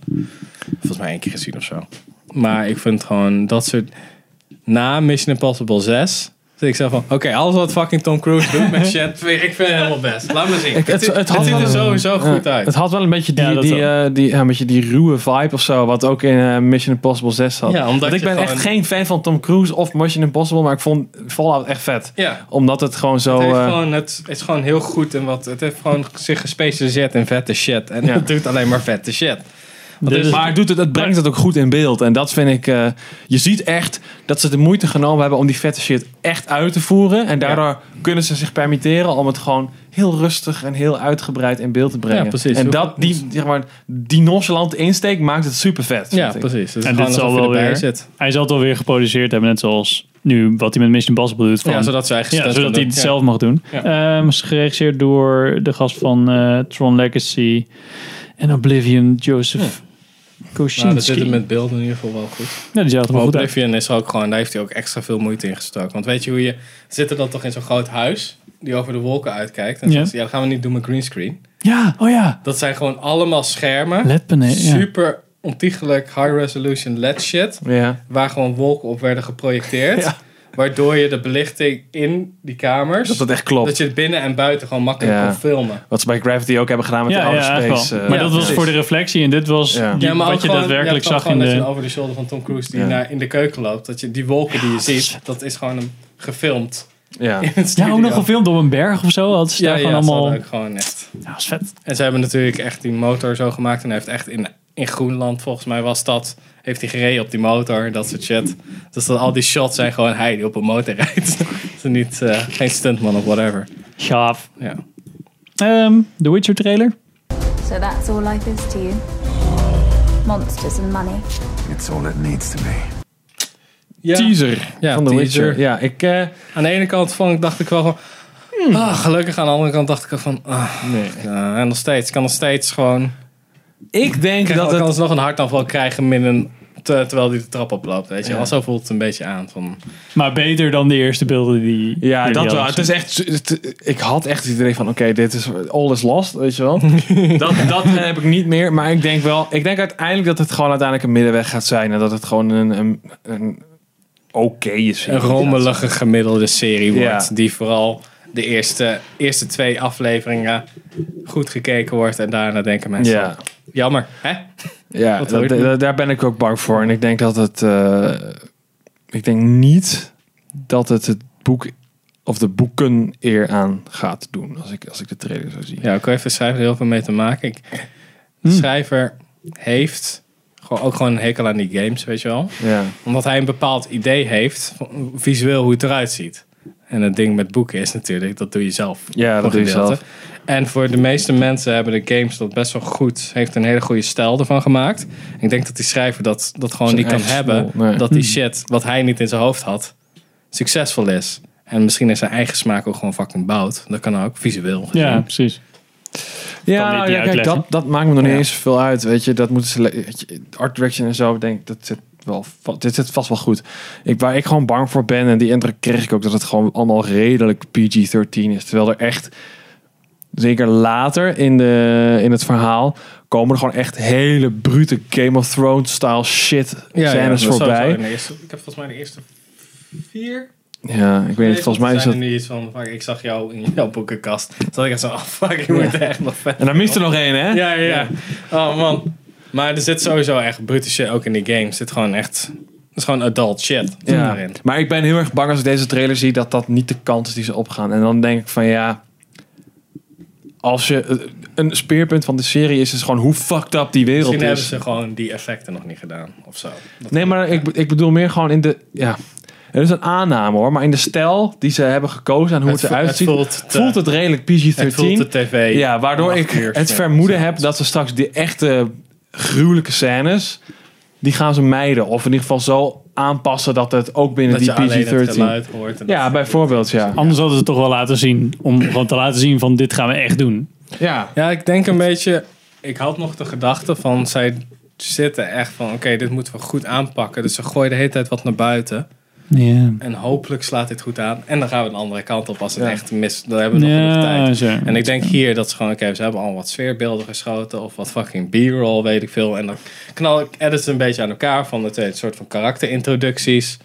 Speaker 3: Volgens mij één keer gezien of zo. Maar ik vind gewoon dat soort... Na Mission Impossible 6... zit ik zo van... Oké, alles wat fucking Tom Cruise doet met shit... Ik vind het helemaal best. Laat me zien.
Speaker 1: Ik-
Speaker 3: het, het
Speaker 1: had
Speaker 3: ziet
Speaker 1: wel-
Speaker 3: er sowieso
Speaker 1: ja,
Speaker 3: goed uit.
Speaker 1: Het had wel een beetje die,
Speaker 3: Ja, dat
Speaker 1: die,
Speaker 3: ook.
Speaker 1: eh, die, ja, een beetje die ruwe vibe of zo, wat ook in eh, Mission Impossible 6 zat.
Speaker 3: Ja, omdat
Speaker 1: Want ik
Speaker 3: je
Speaker 1: ben
Speaker 3: gewoon-
Speaker 1: echt geen fan van Tom Cruise of Mission Impossible, maar ik vond Fallout echt vet.
Speaker 3: Ja.
Speaker 1: Omdat het gewoon zo...
Speaker 3: het, heeft
Speaker 1: eh,
Speaker 3: gewoon, het, het is gewoon heel goed en wat, het heeft gewoon zich gespecialiseerd in vette shit. En
Speaker 1: Ja.
Speaker 3: het doet alleen maar vette shit.
Speaker 1: Want het is- Dus- maar het, doet het, het brengt het ook goed in beeld. En dat vind ik. eh, je ziet echt dat ze de moeite genomen hebben om die vette shit echt uit te voeren. En daardoor kunnen ze zich permitteren om het gewoon heel rustig en heel uitgebreid in beeld te brengen.
Speaker 3: Ja, precies.
Speaker 1: En
Speaker 3: Hoe-
Speaker 1: dat, die, zeg maar, die nonchalante insteek maakt het super vet.
Speaker 3: Ja, precies. Het is
Speaker 2: en
Speaker 3: gewoon
Speaker 2: dit zal
Speaker 3: alsof je
Speaker 2: wel
Speaker 3: erbij
Speaker 2: weer,
Speaker 3: zit.
Speaker 2: hij zal het wel weer geproduceerd hebben, net zoals nu wat hij met Mission Impossible doet. Van,
Speaker 3: Ja, zodat zijn eigen
Speaker 2: Ja,
Speaker 3: stunt
Speaker 2: zodat
Speaker 3: kan
Speaker 2: hij
Speaker 3: doen.
Speaker 2: het
Speaker 3: Ja.
Speaker 2: zelf mag doen.
Speaker 3: Ja.
Speaker 2: Ehm, is geregisseerd door de gast van eh, Tron Legacy en Oblivion, Joseph
Speaker 3: Nou, dat zit
Speaker 2: Kosinski.
Speaker 3: hem met beelden in ieder geval wel goed.
Speaker 2: Ja, die zagen er wel
Speaker 3: Maar
Speaker 2: goed uit.
Speaker 3: Oblivion is ook gewoon, daar heeft hij ook extra veel moeite in gestoken. Want weet je hoe je, zit er dan toch in zo'n groot huis, die over de wolken uitkijkt. En
Speaker 2: Ja.
Speaker 3: ja. ja, dat gaan we niet doen met greenscreen.
Speaker 2: Ja, oh ja.
Speaker 3: Dat zijn gewoon allemaal schermen.
Speaker 2: LED-panelen, ja.
Speaker 3: Super ontiegelijk high resolution LED shit.
Speaker 1: Ja.
Speaker 3: Waar gewoon wolken op werden geprojecteerd. Waardoor je de belichting in die kamers.
Speaker 1: Dat dat echt klopt.
Speaker 3: Dat je het binnen en buiten gewoon makkelijk
Speaker 1: Ja.
Speaker 3: kon filmen.
Speaker 1: Wat ze bij Gravity ook hebben gedaan met de outer
Speaker 2: eigenlijk
Speaker 1: space.
Speaker 2: wel.
Speaker 1: eh,
Speaker 2: maar dat was
Speaker 1: precies.
Speaker 2: voor de reflectie en dit was die,
Speaker 3: maar
Speaker 2: wat
Speaker 3: ook
Speaker 2: je
Speaker 3: gewoon-
Speaker 2: daadwerkelijk
Speaker 3: ja, gewoon
Speaker 2: zag in
Speaker 3: gewoon
Speaker 2: de...
Speaker 3: dat je over de shoulder van Tom Cruise die
Speaker 1: Ja.
Speaker 3: naar, in de keuken loopt. Dat je die wolken die je ziet, dat is gewoon hem gefilmd.
Speaker 1: Ja.
Speaker 3: in het
Speaker 2: Ja, ook nog
Speaker 3: studio.
Speaker 2: gefilmd op een berg of zo. Had ze
Speaker 3: Ja,
Speaker 2: daar
Speaker 3: ja,
Speaker 2: gewoon
Speaker 3: ze
Speaker 2: allemaal...
Speaker 3: hadden ook gewoon echt.
Speaker 2: Ja, is vet.
Speaker 3: En ze hebben natuurlijk echt die motor zo gemaakt. En hij heeft echt in, in Groenland, volgens mij was dat, heeft hij gereden op die motor. Dat soort shit. Dus dat al die shots zijn gewoon hij die op een motor rijdt. Ze niet, eh, geen stuntman of whatever.
Speaker 2: Gaaf.
Speaker 3: Ja.
Speaker 2: Ehm, de Witcher trailer.
Speaker 17: So that's all life is to you? Monsters and money.
Speaker 9: It's all it needs to be.
Speaker 1: Teaser
Speaker 3: Ja,
Speaker 1: van The
Speaker 3: teaser.
Speaker 1: Witcher. Ja, ik, eh,
Speaker 3: Aan de ene kant vond ik, dacht ik wel van...
Speaker 1: Hmm.
Speaker 3: ah, gelukkig. Aan de andere kant dacht ik wel van... ah, ja, en nog steeds. Ik kan nog steeds gewoon...
Speaker 1: Ik denk
Speaker 3: dat
Speaker 1: het-
Speaker 3: kan nog een hartaanval krijgen midden, te- terwijl hij de trap oploopt. Weet je.
Speaker 1: Ja.
Speaker 3: wel. Zo voelt het een beetje aan. Van,
Speaker 2: Maar beter dan de eerste beelden die...
Speaker 1: Ja,
Speaker 2: die
Speaker 1: dat wel.
Speaker 2: hadden
Speaker 1: Het is echt, het- ik had echt het idee van, oké, dit is all is lost, weet je wel. dat, dat eh, heb ik niet meer, maar ik denk wel, ik denk uiteindelijk dat het gewoon uiteindelijk een middenweg gaat zijn. En dat het gewoon een, een, een oké is.
Speaker 3: een rommelige gemiddelde serie wordt.
Speaker 1: Ja.
Speaker 3: Die vooral de eerste, eerste twee afleveringen goed gekeken wordt. En daarna denken mensen...
Speaker 1: Ja.
Speaker 3: Jammer, hè?
Speaker 1: Ja,
Speaker 3: Wat
Speaker 1: dat-
Speaker 3: hoor je?
Speaker 1: da- daar ben ik ook bang voor. En ik denk dat het, eh, ik denk niet dat het het boek of de boeken eer aan gaat doen, als ik, als ik de trailer zo zie.
Speaker 3: Ja, ik wil even de schrijver er heel veel mee te maken. Ik, de schrijver heeft gewoon, ook gewoon een hekel aan die games, weet je wel.
Speaker 1: Ja.
Speaker 3: Omdat hij een bepaald idee heeft, van visueel hoe het eruit ziet. En het ding met boeken is natuurlijk, dat doe je zelf.
Speaker 1: Ja, dat
Speaker 3: Voor
Speaker 1: doe je
Speaker 3: gedeelte.
Speaker 1: zelf.
Speaker 3: En voor de meeste mensen hebben de games dat best wel goed, heeft een hele goede stijl ervan gemaakt. Ik denk dat die schrijver dat, dat gewoon
Speaker 1: Zijn
Speaker 3: niet kan
Speaker 1: eigen
Speaker 3: hebben.
Speaker 1: smoel, nee.
Speaker 3: Dat die
Speaker 1: Hmm.
Speaker 3: shit, wat hij niet in zijn hoofd had, succesvol is. En misschien is zijn eigen smaak ook gewoon fucking bout. Dat kan ook, visueel
Speaker 2: ze.
Speaker 3: gezien.
Speaker 2: Ja, precies.
Speaker 1: Ja,
Speaker 2: niet
Speaker 1: nou,
Speaker 2: die
Speaker 1: ja kijk,
Speaker 2: uitleggen.
Speaker 1: dat, dat maakt me nog niet eens zoveel uit. Weet je, dat moeten ze. le- weet je, Art direction en zo, denk ik, dat zit wel. va- Dit zit vast wel goed. Ik, waar ik gewoon bang voor ben, en die indruk kreeg ik ook, dat het gewoon allemaal redelijk PG-13 is. Terwijl er echt. Zeker later in, de, in het verhaal komen er gewoon echt hele brute Game of Thrones-style shit
Speaker 3: ja,
Speaker 1: scènes
Speaker 3: dat is sowieso in
Speaker 1: voorbij.
Speaker 3: de eerste- ik heb volgens mij de eerste vier.
Speaker 1: Ja, ik weet niet, volgens mij is dat...
Speaker 3: Er nu iets van, fuck, ik zag jou in jouw boekenkast. Toen zat ik echt zo, oh fuck, ik moet er echt nog verder.
Speaker 1: En dan mist er nog één, hè?
Speaker 3: Ja, ja, ja. Oh man. Maar er zit sowieso echt brute shit ook in die game. Er zit gewoon echt, het is gewoon adult shit
Speaker 1: Ja,
Speaker 3: erin.
Speaker 1: maar ik ben heel erg bang als ik deze trailer zie dat dat niet de kant is die ze opgaan. En dan denk ik van ja, als je eh, een speerpunt van de serie is, is gewoon hoe fucked up die wereld
Speaker 3: Misschien hebben
Speaker 1: is.
Speaker 3: ze gewoon die effecten nog niet gedaan, of zo. Dat-
Speaker 1: Nee, maar ik, ik bedoel meer gewoon in de ja. Het is een aanname hoor, maar in de stijl die ze hebben gekozen en hoe het,
Speaker 3: Het vo-
Speaker 1: eruit ziet,
Speaker 3: het
Speaker 1: voelt,
Speaker 3: voelt te-
Speaker 1: het redelijk PG-13.
Speaker 3: het voelt te tv.
Speaker 1: Ja, waardoor
Speaker 3: Om
Speaker 1: ik
Speaker 3: acht uur
Speaker 1: het
Speaker 3: s
Speaker 1: vermoeden heb dat ze straks die echte gruwelijke scènes die gaan ze mijden. Of in ieder geval zo aanpassen dat het ook binnen
Speaker 3: Dat je alleen
Speaker 1: die
Speaker 3: het
Speaker 1: PG-13...
Speaker 3: geluid hoort en
Speaker 1: Ja, bijvoorbeeld, ja.
Speaker 2: Anders hadden ze het toch wel laten zien. Om gewoon te laten zien van dit gaan we echt doen.
Speaker 3: Ja. ja, ik denk een beetje. Ik had nog de gedachte van zij zitten echt van: oké, dit moeten we goed aanpakken. Dus ze gooien de hele tijd wat naar buiten.
Speaker 2: Ja.
Speaker 3: En hopelijk slaat dit goed aan. En dan gaan we de andere kant op als het echt mis. Dan hebben we nog
Speaker 2: Ja,
Speaker 3: genoeg tijd.
Speaker 2: zo.
Speaker 3: En ik denk hier dat ze gewoon, oké, ze hebben al wat sfeerbeelden geschoten. Of wat fucking b-roll, weet ik veel. En dan knal ik edits een beetje aan elkaar van het een soort van karakterintroducties.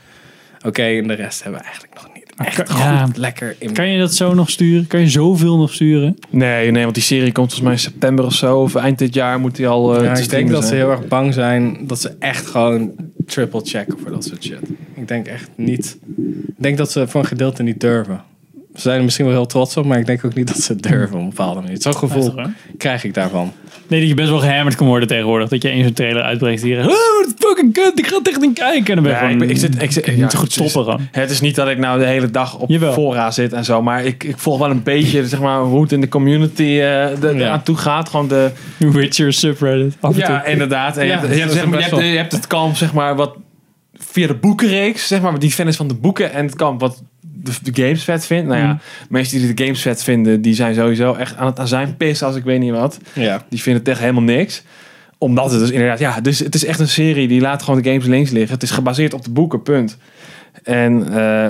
Speaker 3: Oké, en de rest hebben we eigenlijk nog niet echt goed
Speaker 2: ja.
Speaker 3: lekker in
Speaker 2: Kan je dat zo nog sturen? Kan je zoveel nog sturen?
Speaker 1: Nee, nee, want die serie komt volgens mij in september of zo. Of eind dit jaar moet die al... eh,
Speaker 3: ja,
Speaker 1: te
Speaker 3: ik denk
Speaker 1: streamen
Speaker 3: dat ze
Speaker 1: zijn.
Speaker 3: heel erg bang zijn dat ze echt gewoon triple checken voor dat soort shit. Ik denk echt niet. Ik denk dat ze voor een gedeelte niet durven. Ze zijn er misschien wel heel trots op, maar ik denk ook niet dat ze het durven op een bepaalde manier. Zo'n gevoel
Speaker 2: Heftig,
Speaker 3: krijg ik daarvan.
Speaker 2: Nee, dat je best wel gehammerd kan worden tegenwoordig. Dat je eens een trailer uitbrengt hier. Oh, dat is fucking kut. Ik ga het echt niet kijken. En dan ben je
Speaker 1: Ja,
Speaker 2: gewoon,
Speaker 1: ik ben- ik zit- ik zit-
Speaker 2: kan
Speaker 1: ja,
Speaker 2: niet goed
Speaker 1: het is-
Speaker 2: stoppen gewoon.
Speaker 1: Het is niet dat ik nou de hele dag op
Speaker 2: Jawel.
Speaker 1: fora zit en zo. Maar ik, ik volg wel een beetje zeg maar, hoe het in de community eh de, aan toe gaat. Gewoon de...
Speaker 2: Witcher subreddit. Af en
Speaker 1: Ja,
Speaker 2: toe.
Speaker 1: inderdaad. En je,
Speaker 2: Ja,
Speaker 1: hebt, je,
Speaker 2: dat
Speaker 1: hebt,
Speaker 2: is
Speaker 1: zeg maar, je,
Speaker 2: best
Speaker 1: hebt,
Speaker 2: wel.
Speaker 1: je hebt het kamp, zeg maar, wat via de boekenreeks, zeg maar, die fan is van de boeken. En het kamp wat de, de games vet vindt. Nou ja,
Speaker 2: Mm.
Speaker 1: mensen die de games vet vinden, die zijn sowieso echt aan het azijn pissen als ik weet niet wat.
Speaker 3: Ja.
Speaker 1: Die vinden het echt helemaal niks omdat het dus inderdaad, ja, dus het is echt een serie die laat gewoon de games links liggen. Het is gebaseerd op de boeken, punt. En eh,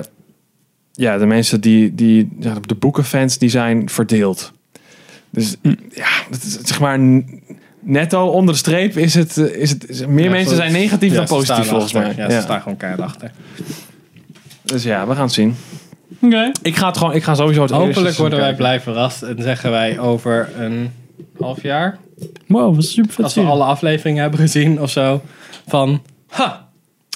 Speaker 1: ja, de mensen die, die ja, de boekenfans, die zijn verdeeld. Dus ja, dat is, zeg maar n- netto onder de streep is het, eh, is het is- meer
Speaker 3: Ja,
Speaker 1: mensen
Speaker 3: zo-
Speaker 1: zijn negatief
Speaker 3: ja,
Speaker 1: dan
Speaker 3: ze
Speaker 1: positief
Speaker 3: staan
Speaker 1: volgens mij.
Speaker 3: erachter.
Speaker 1: Ja,
Speaker 3: Ja, ze staan gewoon keihard achter.
Speaker 1: Dus ja, we gaan het zien.
Speaker 2: Oké.
Speaker 1: Ik ga het gewoon, ik ga sowieso het eerste
Speaker 3: Hopelijk
Speaker 1: seizoen
Speaker 3: worden wij
Speaker 1: kijken.
Speaker 3: blij verrast en zeggen wij over een half jaar,
Speaker 2: Wow, wat super vet.
Speaker 3: als we
Speaker 2: serie.
Speaker 3: alle afleveringen hebben gezien of zo, van ha,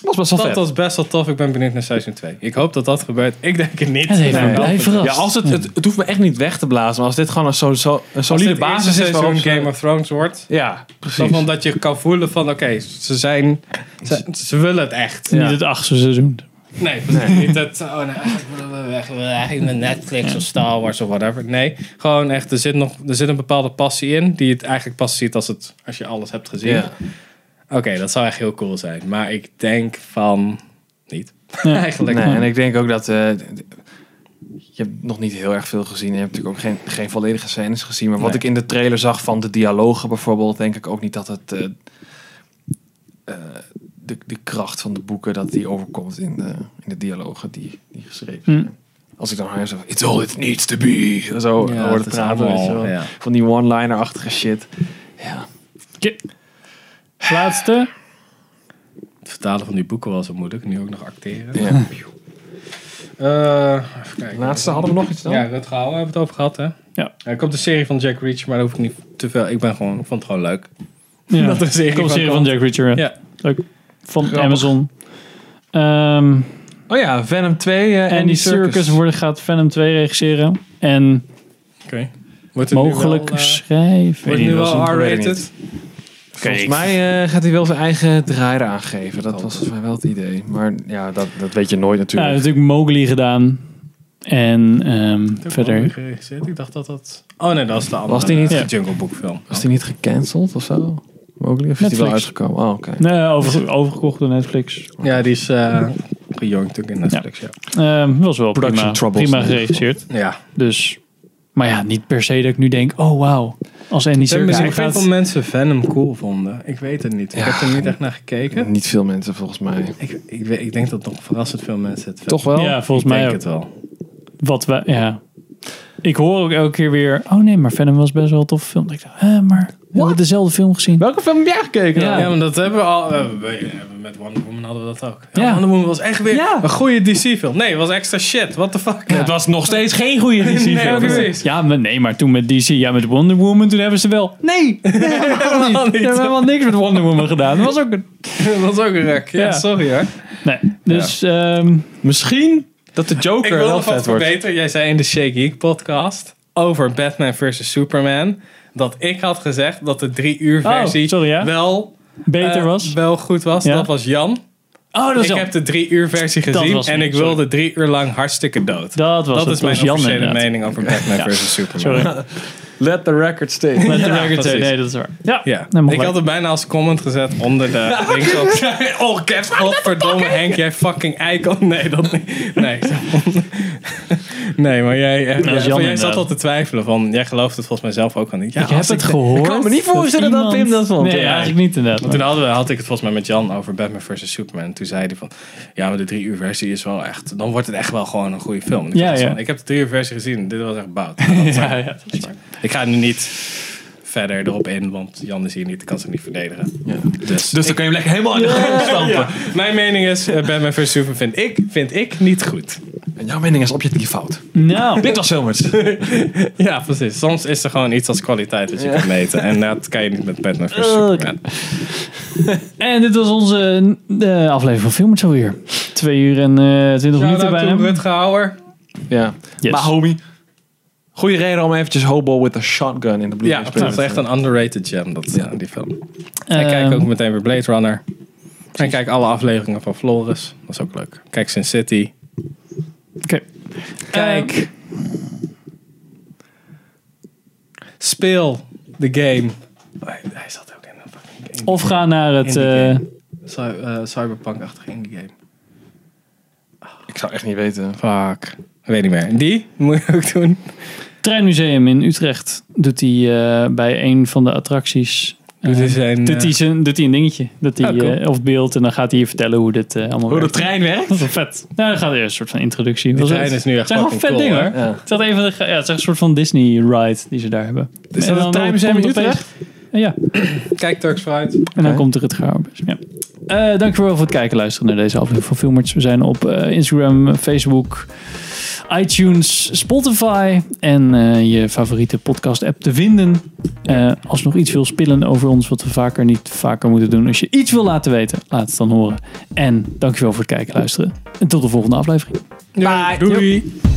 Speaker 1: was best wel
Speaker 3: dat
Speaker 1: vet.
Speaker 3: was best wel tof. Ik ben benieuwd naar seizoen 2. Ik hoop dat dat gebeurt. Ik denk het niet.
Speaker 2: Het heeft me
Speaker 3: Nee.
Speaker 2: blij verrast.
Speaker 1: Ja, als het,
Speaker 2: Ja.
Speaker 1: het, het hoeft me echt niet weg te blazen, maar als dit gewoon een, zo, zo, een
Speaker 3: Als
Speaker 1: solide
Speaker 3: dit eerste
Speaker 1: basis is
Speaker 3: seizoen
Speaker 1: waarom ze-
Speaker 3: Game of Thrones wordt.
Speaker 1: Ja,
Speaker 3: Zo
Speaker 1: precies.
Speaker 3: van dat je kan voelen van, oké, ze zijn... Ze, ze willen het echt.
Speaker 2: Niet het achtste seizoen.
Speaker 3: Nee, precies. niet dat... Oh, nou, eigenlijk willen we weg. We willen eigenlijk naar Netflix of Star Wars of whatever. Nee, gewoon echt, er zit, nog, er zit een bepaalde passie in... die je het eigenlijk pas ziet als, het, als je alles hebt gezien.
Speaker 1: Ja.
Speaker 3: Oké, dat zou echt heel cool zijn. Maar ik denk van... Niet. eigenlijk.
Speaker 1: Nee,
Speaker 3: Nee,
Speaker 1: en ik denk ook dat. eh, d- d- je hebt nog niet heel erg veel gezien. Je hebt natuurlijk ook geen, geen volledige scènes gezien. Maar wat
Speaker 3: Nee.
Speaker 1: ik in de trailer zag van de dialogen bijvoorbeeld, denk ik ook niet dat het. eh, eh, de, de kracht van de boeken, dat die overkomt in de, in de dialogen die, die geschreven zijn. Als ik dan haar zo. It's all it needs to be. Zo
Speaker 3: Hm. Ja,
Speaker 1: hoor
Speaker 3: het
Speaker 1: het
Speaker 3: is
Speaker 1: praten.
Speaker 3: allemaal,
Speaker 1: weet je wel.
Speaker 3: ja.
Speaker 1: Van die one-liner-achtige shit.
Speaker 2: Laatste.
Speaker 3: Het vertalen van die boeken was zo moeilijk. Nu ook nog acteren.
Speaker 1: Ja.
Speaker 3: Eh, even kijken.
Speaker 1: Laatste hadden we nog iets dan?
Speaker 3: Ja, Rutger Hauer hebben we het over gehad, hè?
Speaker 2: Ja.
Speaker 3: Er komt een serie van Jack Reacher, maar daar hoef ik niet te veel... Ik ben gewoon, ik vond het gewoon leuk.
Speaker 2: Ja.
Speaker 3: Dat er een serie
Speaker 2: Komt
Speaker 3: van
Speaker 2: serie van
Speaker 3: komt.
Speaker 2: Jack Reacher. Ja.
Speaker 3: Ja.
Speaker 2: Leuk. Van
Speaker 1: Grappig.
Speaker 2: Amazon. Ehm
Speaker 1: Oh ja, Venom 2 eh,
Speaker 2: en die Circus, worden, gaat Venom 2 regisseren. En
Speaker 3: Oké. Wordt het nu
Speaker 2: mogelijk
Speaker 3: wel, eh,
Speaker 2: schrijven.
Speaker 3: Wordt het nu wel
Speaker 1: weet
Speaker 3: R-rated?
Speaker 1: Volgens mij eh, gaat hij wel zijn eigen draaier aangeven. Dat was volgens mij wel het idee. Maar ja, dat, dat weet je nooit
Speaker 2: Ja, hij
Speaker 1: natuurlijk.
Speaker 2: heeft natuurlijk Mowgli gedaan. En ehm, verder.
Speaker 3: Ik dacht dat dat... Oh nee, dat is de andere.
Speaker 1: Was die niet-
Speaker 3: eh, Jungle Book film.
Speaker 1: Was hij niet gecanceld of zo? Mogelijk. Of is die wel
Speaker 2: Netflix.
Speaker 1: uitgekomen? Oh, oké.
Speaker 2: Nee, over, overgekocht door Netflix.
Speaker 3: Ja, die is eh gejongd natuurlijk in Netflix, ja.
Speaker 2: Ehm, was wel
Speaker 1: Production
Speaker 2: prima,
Speaker 1: troubles.
Speaker 2: prima geregisseerd.
Speaker 3: Ja.
Speaker 2: Dus, maar ja, niet per se dat ik nu denk, oh wauw. Als Andy
Speaker 3: Er
Speaker 2: Serkis
Speaker 3: misschien
Speaker 2: gaat...
Speaker 3: veel mensen Venom cool vonden. Ik weet het niet. Ik heb er niet echt naar gekeken.
Speaker 1: Niet veel mensen volgens mij.
Speaker 3: Ik, ik, weet- ik denk dat nog verrassend veel mensen het vet
Speaker 1: Toch wel?
Speaker 2: Ja, volgens
Speaker 3: Ik denk
Speaker 2: mij ook.
Speaker 3: het wel.
Speaker 2: Wat we, ja. Ik hoor ook elke keer weer, oh nee, maar Venom was best wel een tof film. Ik dacht, hè, maar we hebben dezelfde film gezien.
Speaker 1: Welke film heb jij gekeken?
Speaker 3: Ja,
Speaker 2: Ja.
Speaker 3: maar dat hebben we al. eh, we- eh, met Wonder Woman hadden we dat ook. Ja,
Speaker 2: Ja.
Speaker 3: Wonder Woman was echt weer
Speaker 2: Ja.
Speaker 3: een goede DC-film. Nee, het was extra shit. What the fuck?
Speaker 1: Het was nog steeds geen goede
Speaker 3: Nee,
Speaker 1: DC-film.
Speaker 3: precies.
Speaker 2: Ja, maar nee, maar toen met DC, ja, met Wonder Woman, toen hebben ze wel... Nee, nee helemaal niet. Ze hebben helemaal niks met Wonder Woman gedaan. Dat was ook een...
Speaker 3: Dat was ook een rek. Ja,
Speaker 2: Ja.
Speaker 3: sorry hoor.
Speaker 2: Nee, dus... ehm,
Speaker 1: Misschien dat de
Speaker 3: Ik
Speaker 1: Joker
Speaker 3: wil
Speaker 1: wel
Speaker 3: nog wat
Speaker 1: vet wordt.
Speaker 3: verbeteren. Jij zei in de Shake Geek podcast over Batman vs. Superman dat ik had gezegd dat de drie uur
Speaker 2: Oh,
Speaker 3: versie
Speaker 2: sorry, ja.
Speaker 3: wel,
Speaker 2: Beter
Speaker 3: eh,
Speaker 2: was.
Speaker 3: wel goed was.
Speaker 2: Ja.
Speaker 3: Dat was Jan.
Speaker 2: Oh, dat is
Speaker 3: ik
Speaker 2: wel-
Speaker 3: heb de drie uur versie
Speaker 2: Dat
Speaker 3: gezien
Speaker 2: was
Speaker 3: en
Speaker 2: hem,
Speaker 3: ik
Speaker 2: sorry.
Speaker 3: wilde drie uur lang hartstikke dood.
Speaker 2: Dat was
Speaker 3: dat
Speaker 2: het,
Speaker 3: is mijn
Speaker 2: dat was Jan
Speaker 3: officiële
Speaker 2: inderdaad.
Speaker 3: mening over Batman vs. Superman.
Speaker 2: Sorry.
Speaker 1: Let the record stay.
Speaker 2: Let the record stay. Nee, dat is waar. Ja, dat mag
Speaker 3: ik
Speaker 2: wel.
Speaker 3: had het bijna als comment gezet onder de links op. Oh, Kev, godverdomme Henk, jij fucking eikel. Nee, dat niet. Nee, nee maar jij, eh,
Speaker 2: Nou, Dat is
Speaker 3: jij,
Speaker 2: jammer,
Speaker 3: jij zat
Speaker 2: inderdaad.
Speaker 3: al te twijfelen van, jij gelooft het volgens mij zelf ook al niet.
Speaker 2: Ik heb
Speaker 3: als
Speaker 2: het
Speaker 3: de-
Speaker 2: gehoord.
Speaker 1: Ik kan me niet voorstellen dat,
Speaker 2: iemand-
Speaker 1: Pim dat vond.
Speaker 2: Nee,
Speaker 1: Ja.
Speaker 2: eigenlijk niet inderdaad.
Speaker 3: Want toen hadden we, had ik het volgens mij met Jan over Batman vs. Superman. Toen zei hij van, ja, maar de drie uur versie is wel echt... Dan wordt het echt wel gewoon een goede film. En ik
Speaker 2: Ja,
Speaker 3: dacht
Speaker 2: ja.
Speaker 3: Van, ik heb de drie uur versie gezien. Dit was echt bout. Dat is waar. Weet je. Ik ga nu niet verder erop in, want Jan is hier niet. Ik kan ze niet verdedigen. Dus,
Speaker 1: dan kun je hem lekker helemaal in de grond stampen.
Speaker 3: Mijn mening is, eh, Batman vs. Superman vind ik, vind ik niet goed.
Speaker 1: En jouw mening is objectief fout.
Speaker 2: Nou.
Speaker 1: Dit was Hilmers.
Speaker 3: ja, precies. Soms is er gewoon iets als kwaliteit dat je
Speaker 1: Ja.
Speaker 3: kan meten. En dat kan je niet met Batman vs.
Speaker 2: Oh,
Speaker 3: Superman.
Speaker 2: En dit was onze eh, aflevering van Film het zo weer. Twee uur en eh twintig minuten bijna.
Speaker 3: Rutger Hauer.
Speaker 1: Ja. Maar homie. Goede reden om eventjes Hobo with a Shotgun in
Speaker 3: Ja,
Speaker 1: de Blu-ray
Speaker 3: dat
Speaker 1: speler
Speaker 3: is
Speaker 1: te
Speaker 3: echt een underrated gem, dat, eh, die film. En
Speaker 1: Ehm.
Speaker 3: kijk ook meteen weer Blade Runner. En kijk alle afleveringen van Flores. Dat is ook leuk. Kijk Sin City.
Speaker 2: Oké.
Speaker 3: Kijk. Speel de game. Oh, hij- hij zat ook in een fucking game.
Speaker 2: Of ga naar het,
Speaker 3: Indie game.
Speaker 2: eh,
Speaker 3: Cy- eh, Cyberpunk-achtige indie game.
Speaker 1: Ik zou echt niet weten.
Speaker 3: Fuck. Weet niet meer. Die moet je ook doen.
Speaker 2: Treinmuseum in Utrecht doet hij eh, bij een van de attracties.
Speaker 3: Doet hij
Speaker 2: eh,
Speaker 3: zijn,
Speaker 2: doet hij
Speaker 3: eh,
Speaker 2: zijn- doet hij een dingetje. Dat hij,
Speaker 3: Oh, cool.
Speaker 2: eh, of beeld. En dan gaat hij je vertellen hoe dit eh, allemaal
Speaker 3: Hoe de
Speaker 2: werkt.
Speaker 3: trein werkt?
Speaker 2: Dat is wel vet. Nou, dan gaat er een soort van introductie.
Speaker 3: Die
Speaker 2: Was
Speaker 3: trein
Speaker 2: het?
Speaker 3: is nu echt
Speaker 2: Het zijn gewoon vet
Speaker 3: fucking
Speaker 2: ding
Speaker 3: cool,
Speaker 2: hoor.
Speaker 3: hè? Ja.
Speaker 2: Het, is echt, een- ja, het is echt een soort van Disney ride die ze daar hebben.
Speaker 3: Is
Speaker 2: En
Speaker 3: dat
Speaker 2: dan
Speaker 3: het Treinmuseum
Speaker 2: komt
Speaker 3: in
Speaker 2: opeens-
Speaker 3: Utrecht?
Speaker 2: Ja.
Speaker 3: Kijk Turks Fruit.
Speaker 2: En dan komt er het gauw. Ja. Eh, dankjewel voor het kijken en luisteren naar deze aflevering van Filmarts. We zijn op eh, Instagram, Facebook, iTunes, Spotify en eh, je favoriete podcast app te vinden. Eh, als je nog iets wil spillen over ons, wat we vaker niet vaker moeten doen. Als je iets wil laten weten, laat het dan horen. En dankjewel voor het kijken en luisteren. En tot de volgende aflevering.
Speaker 3: Doei.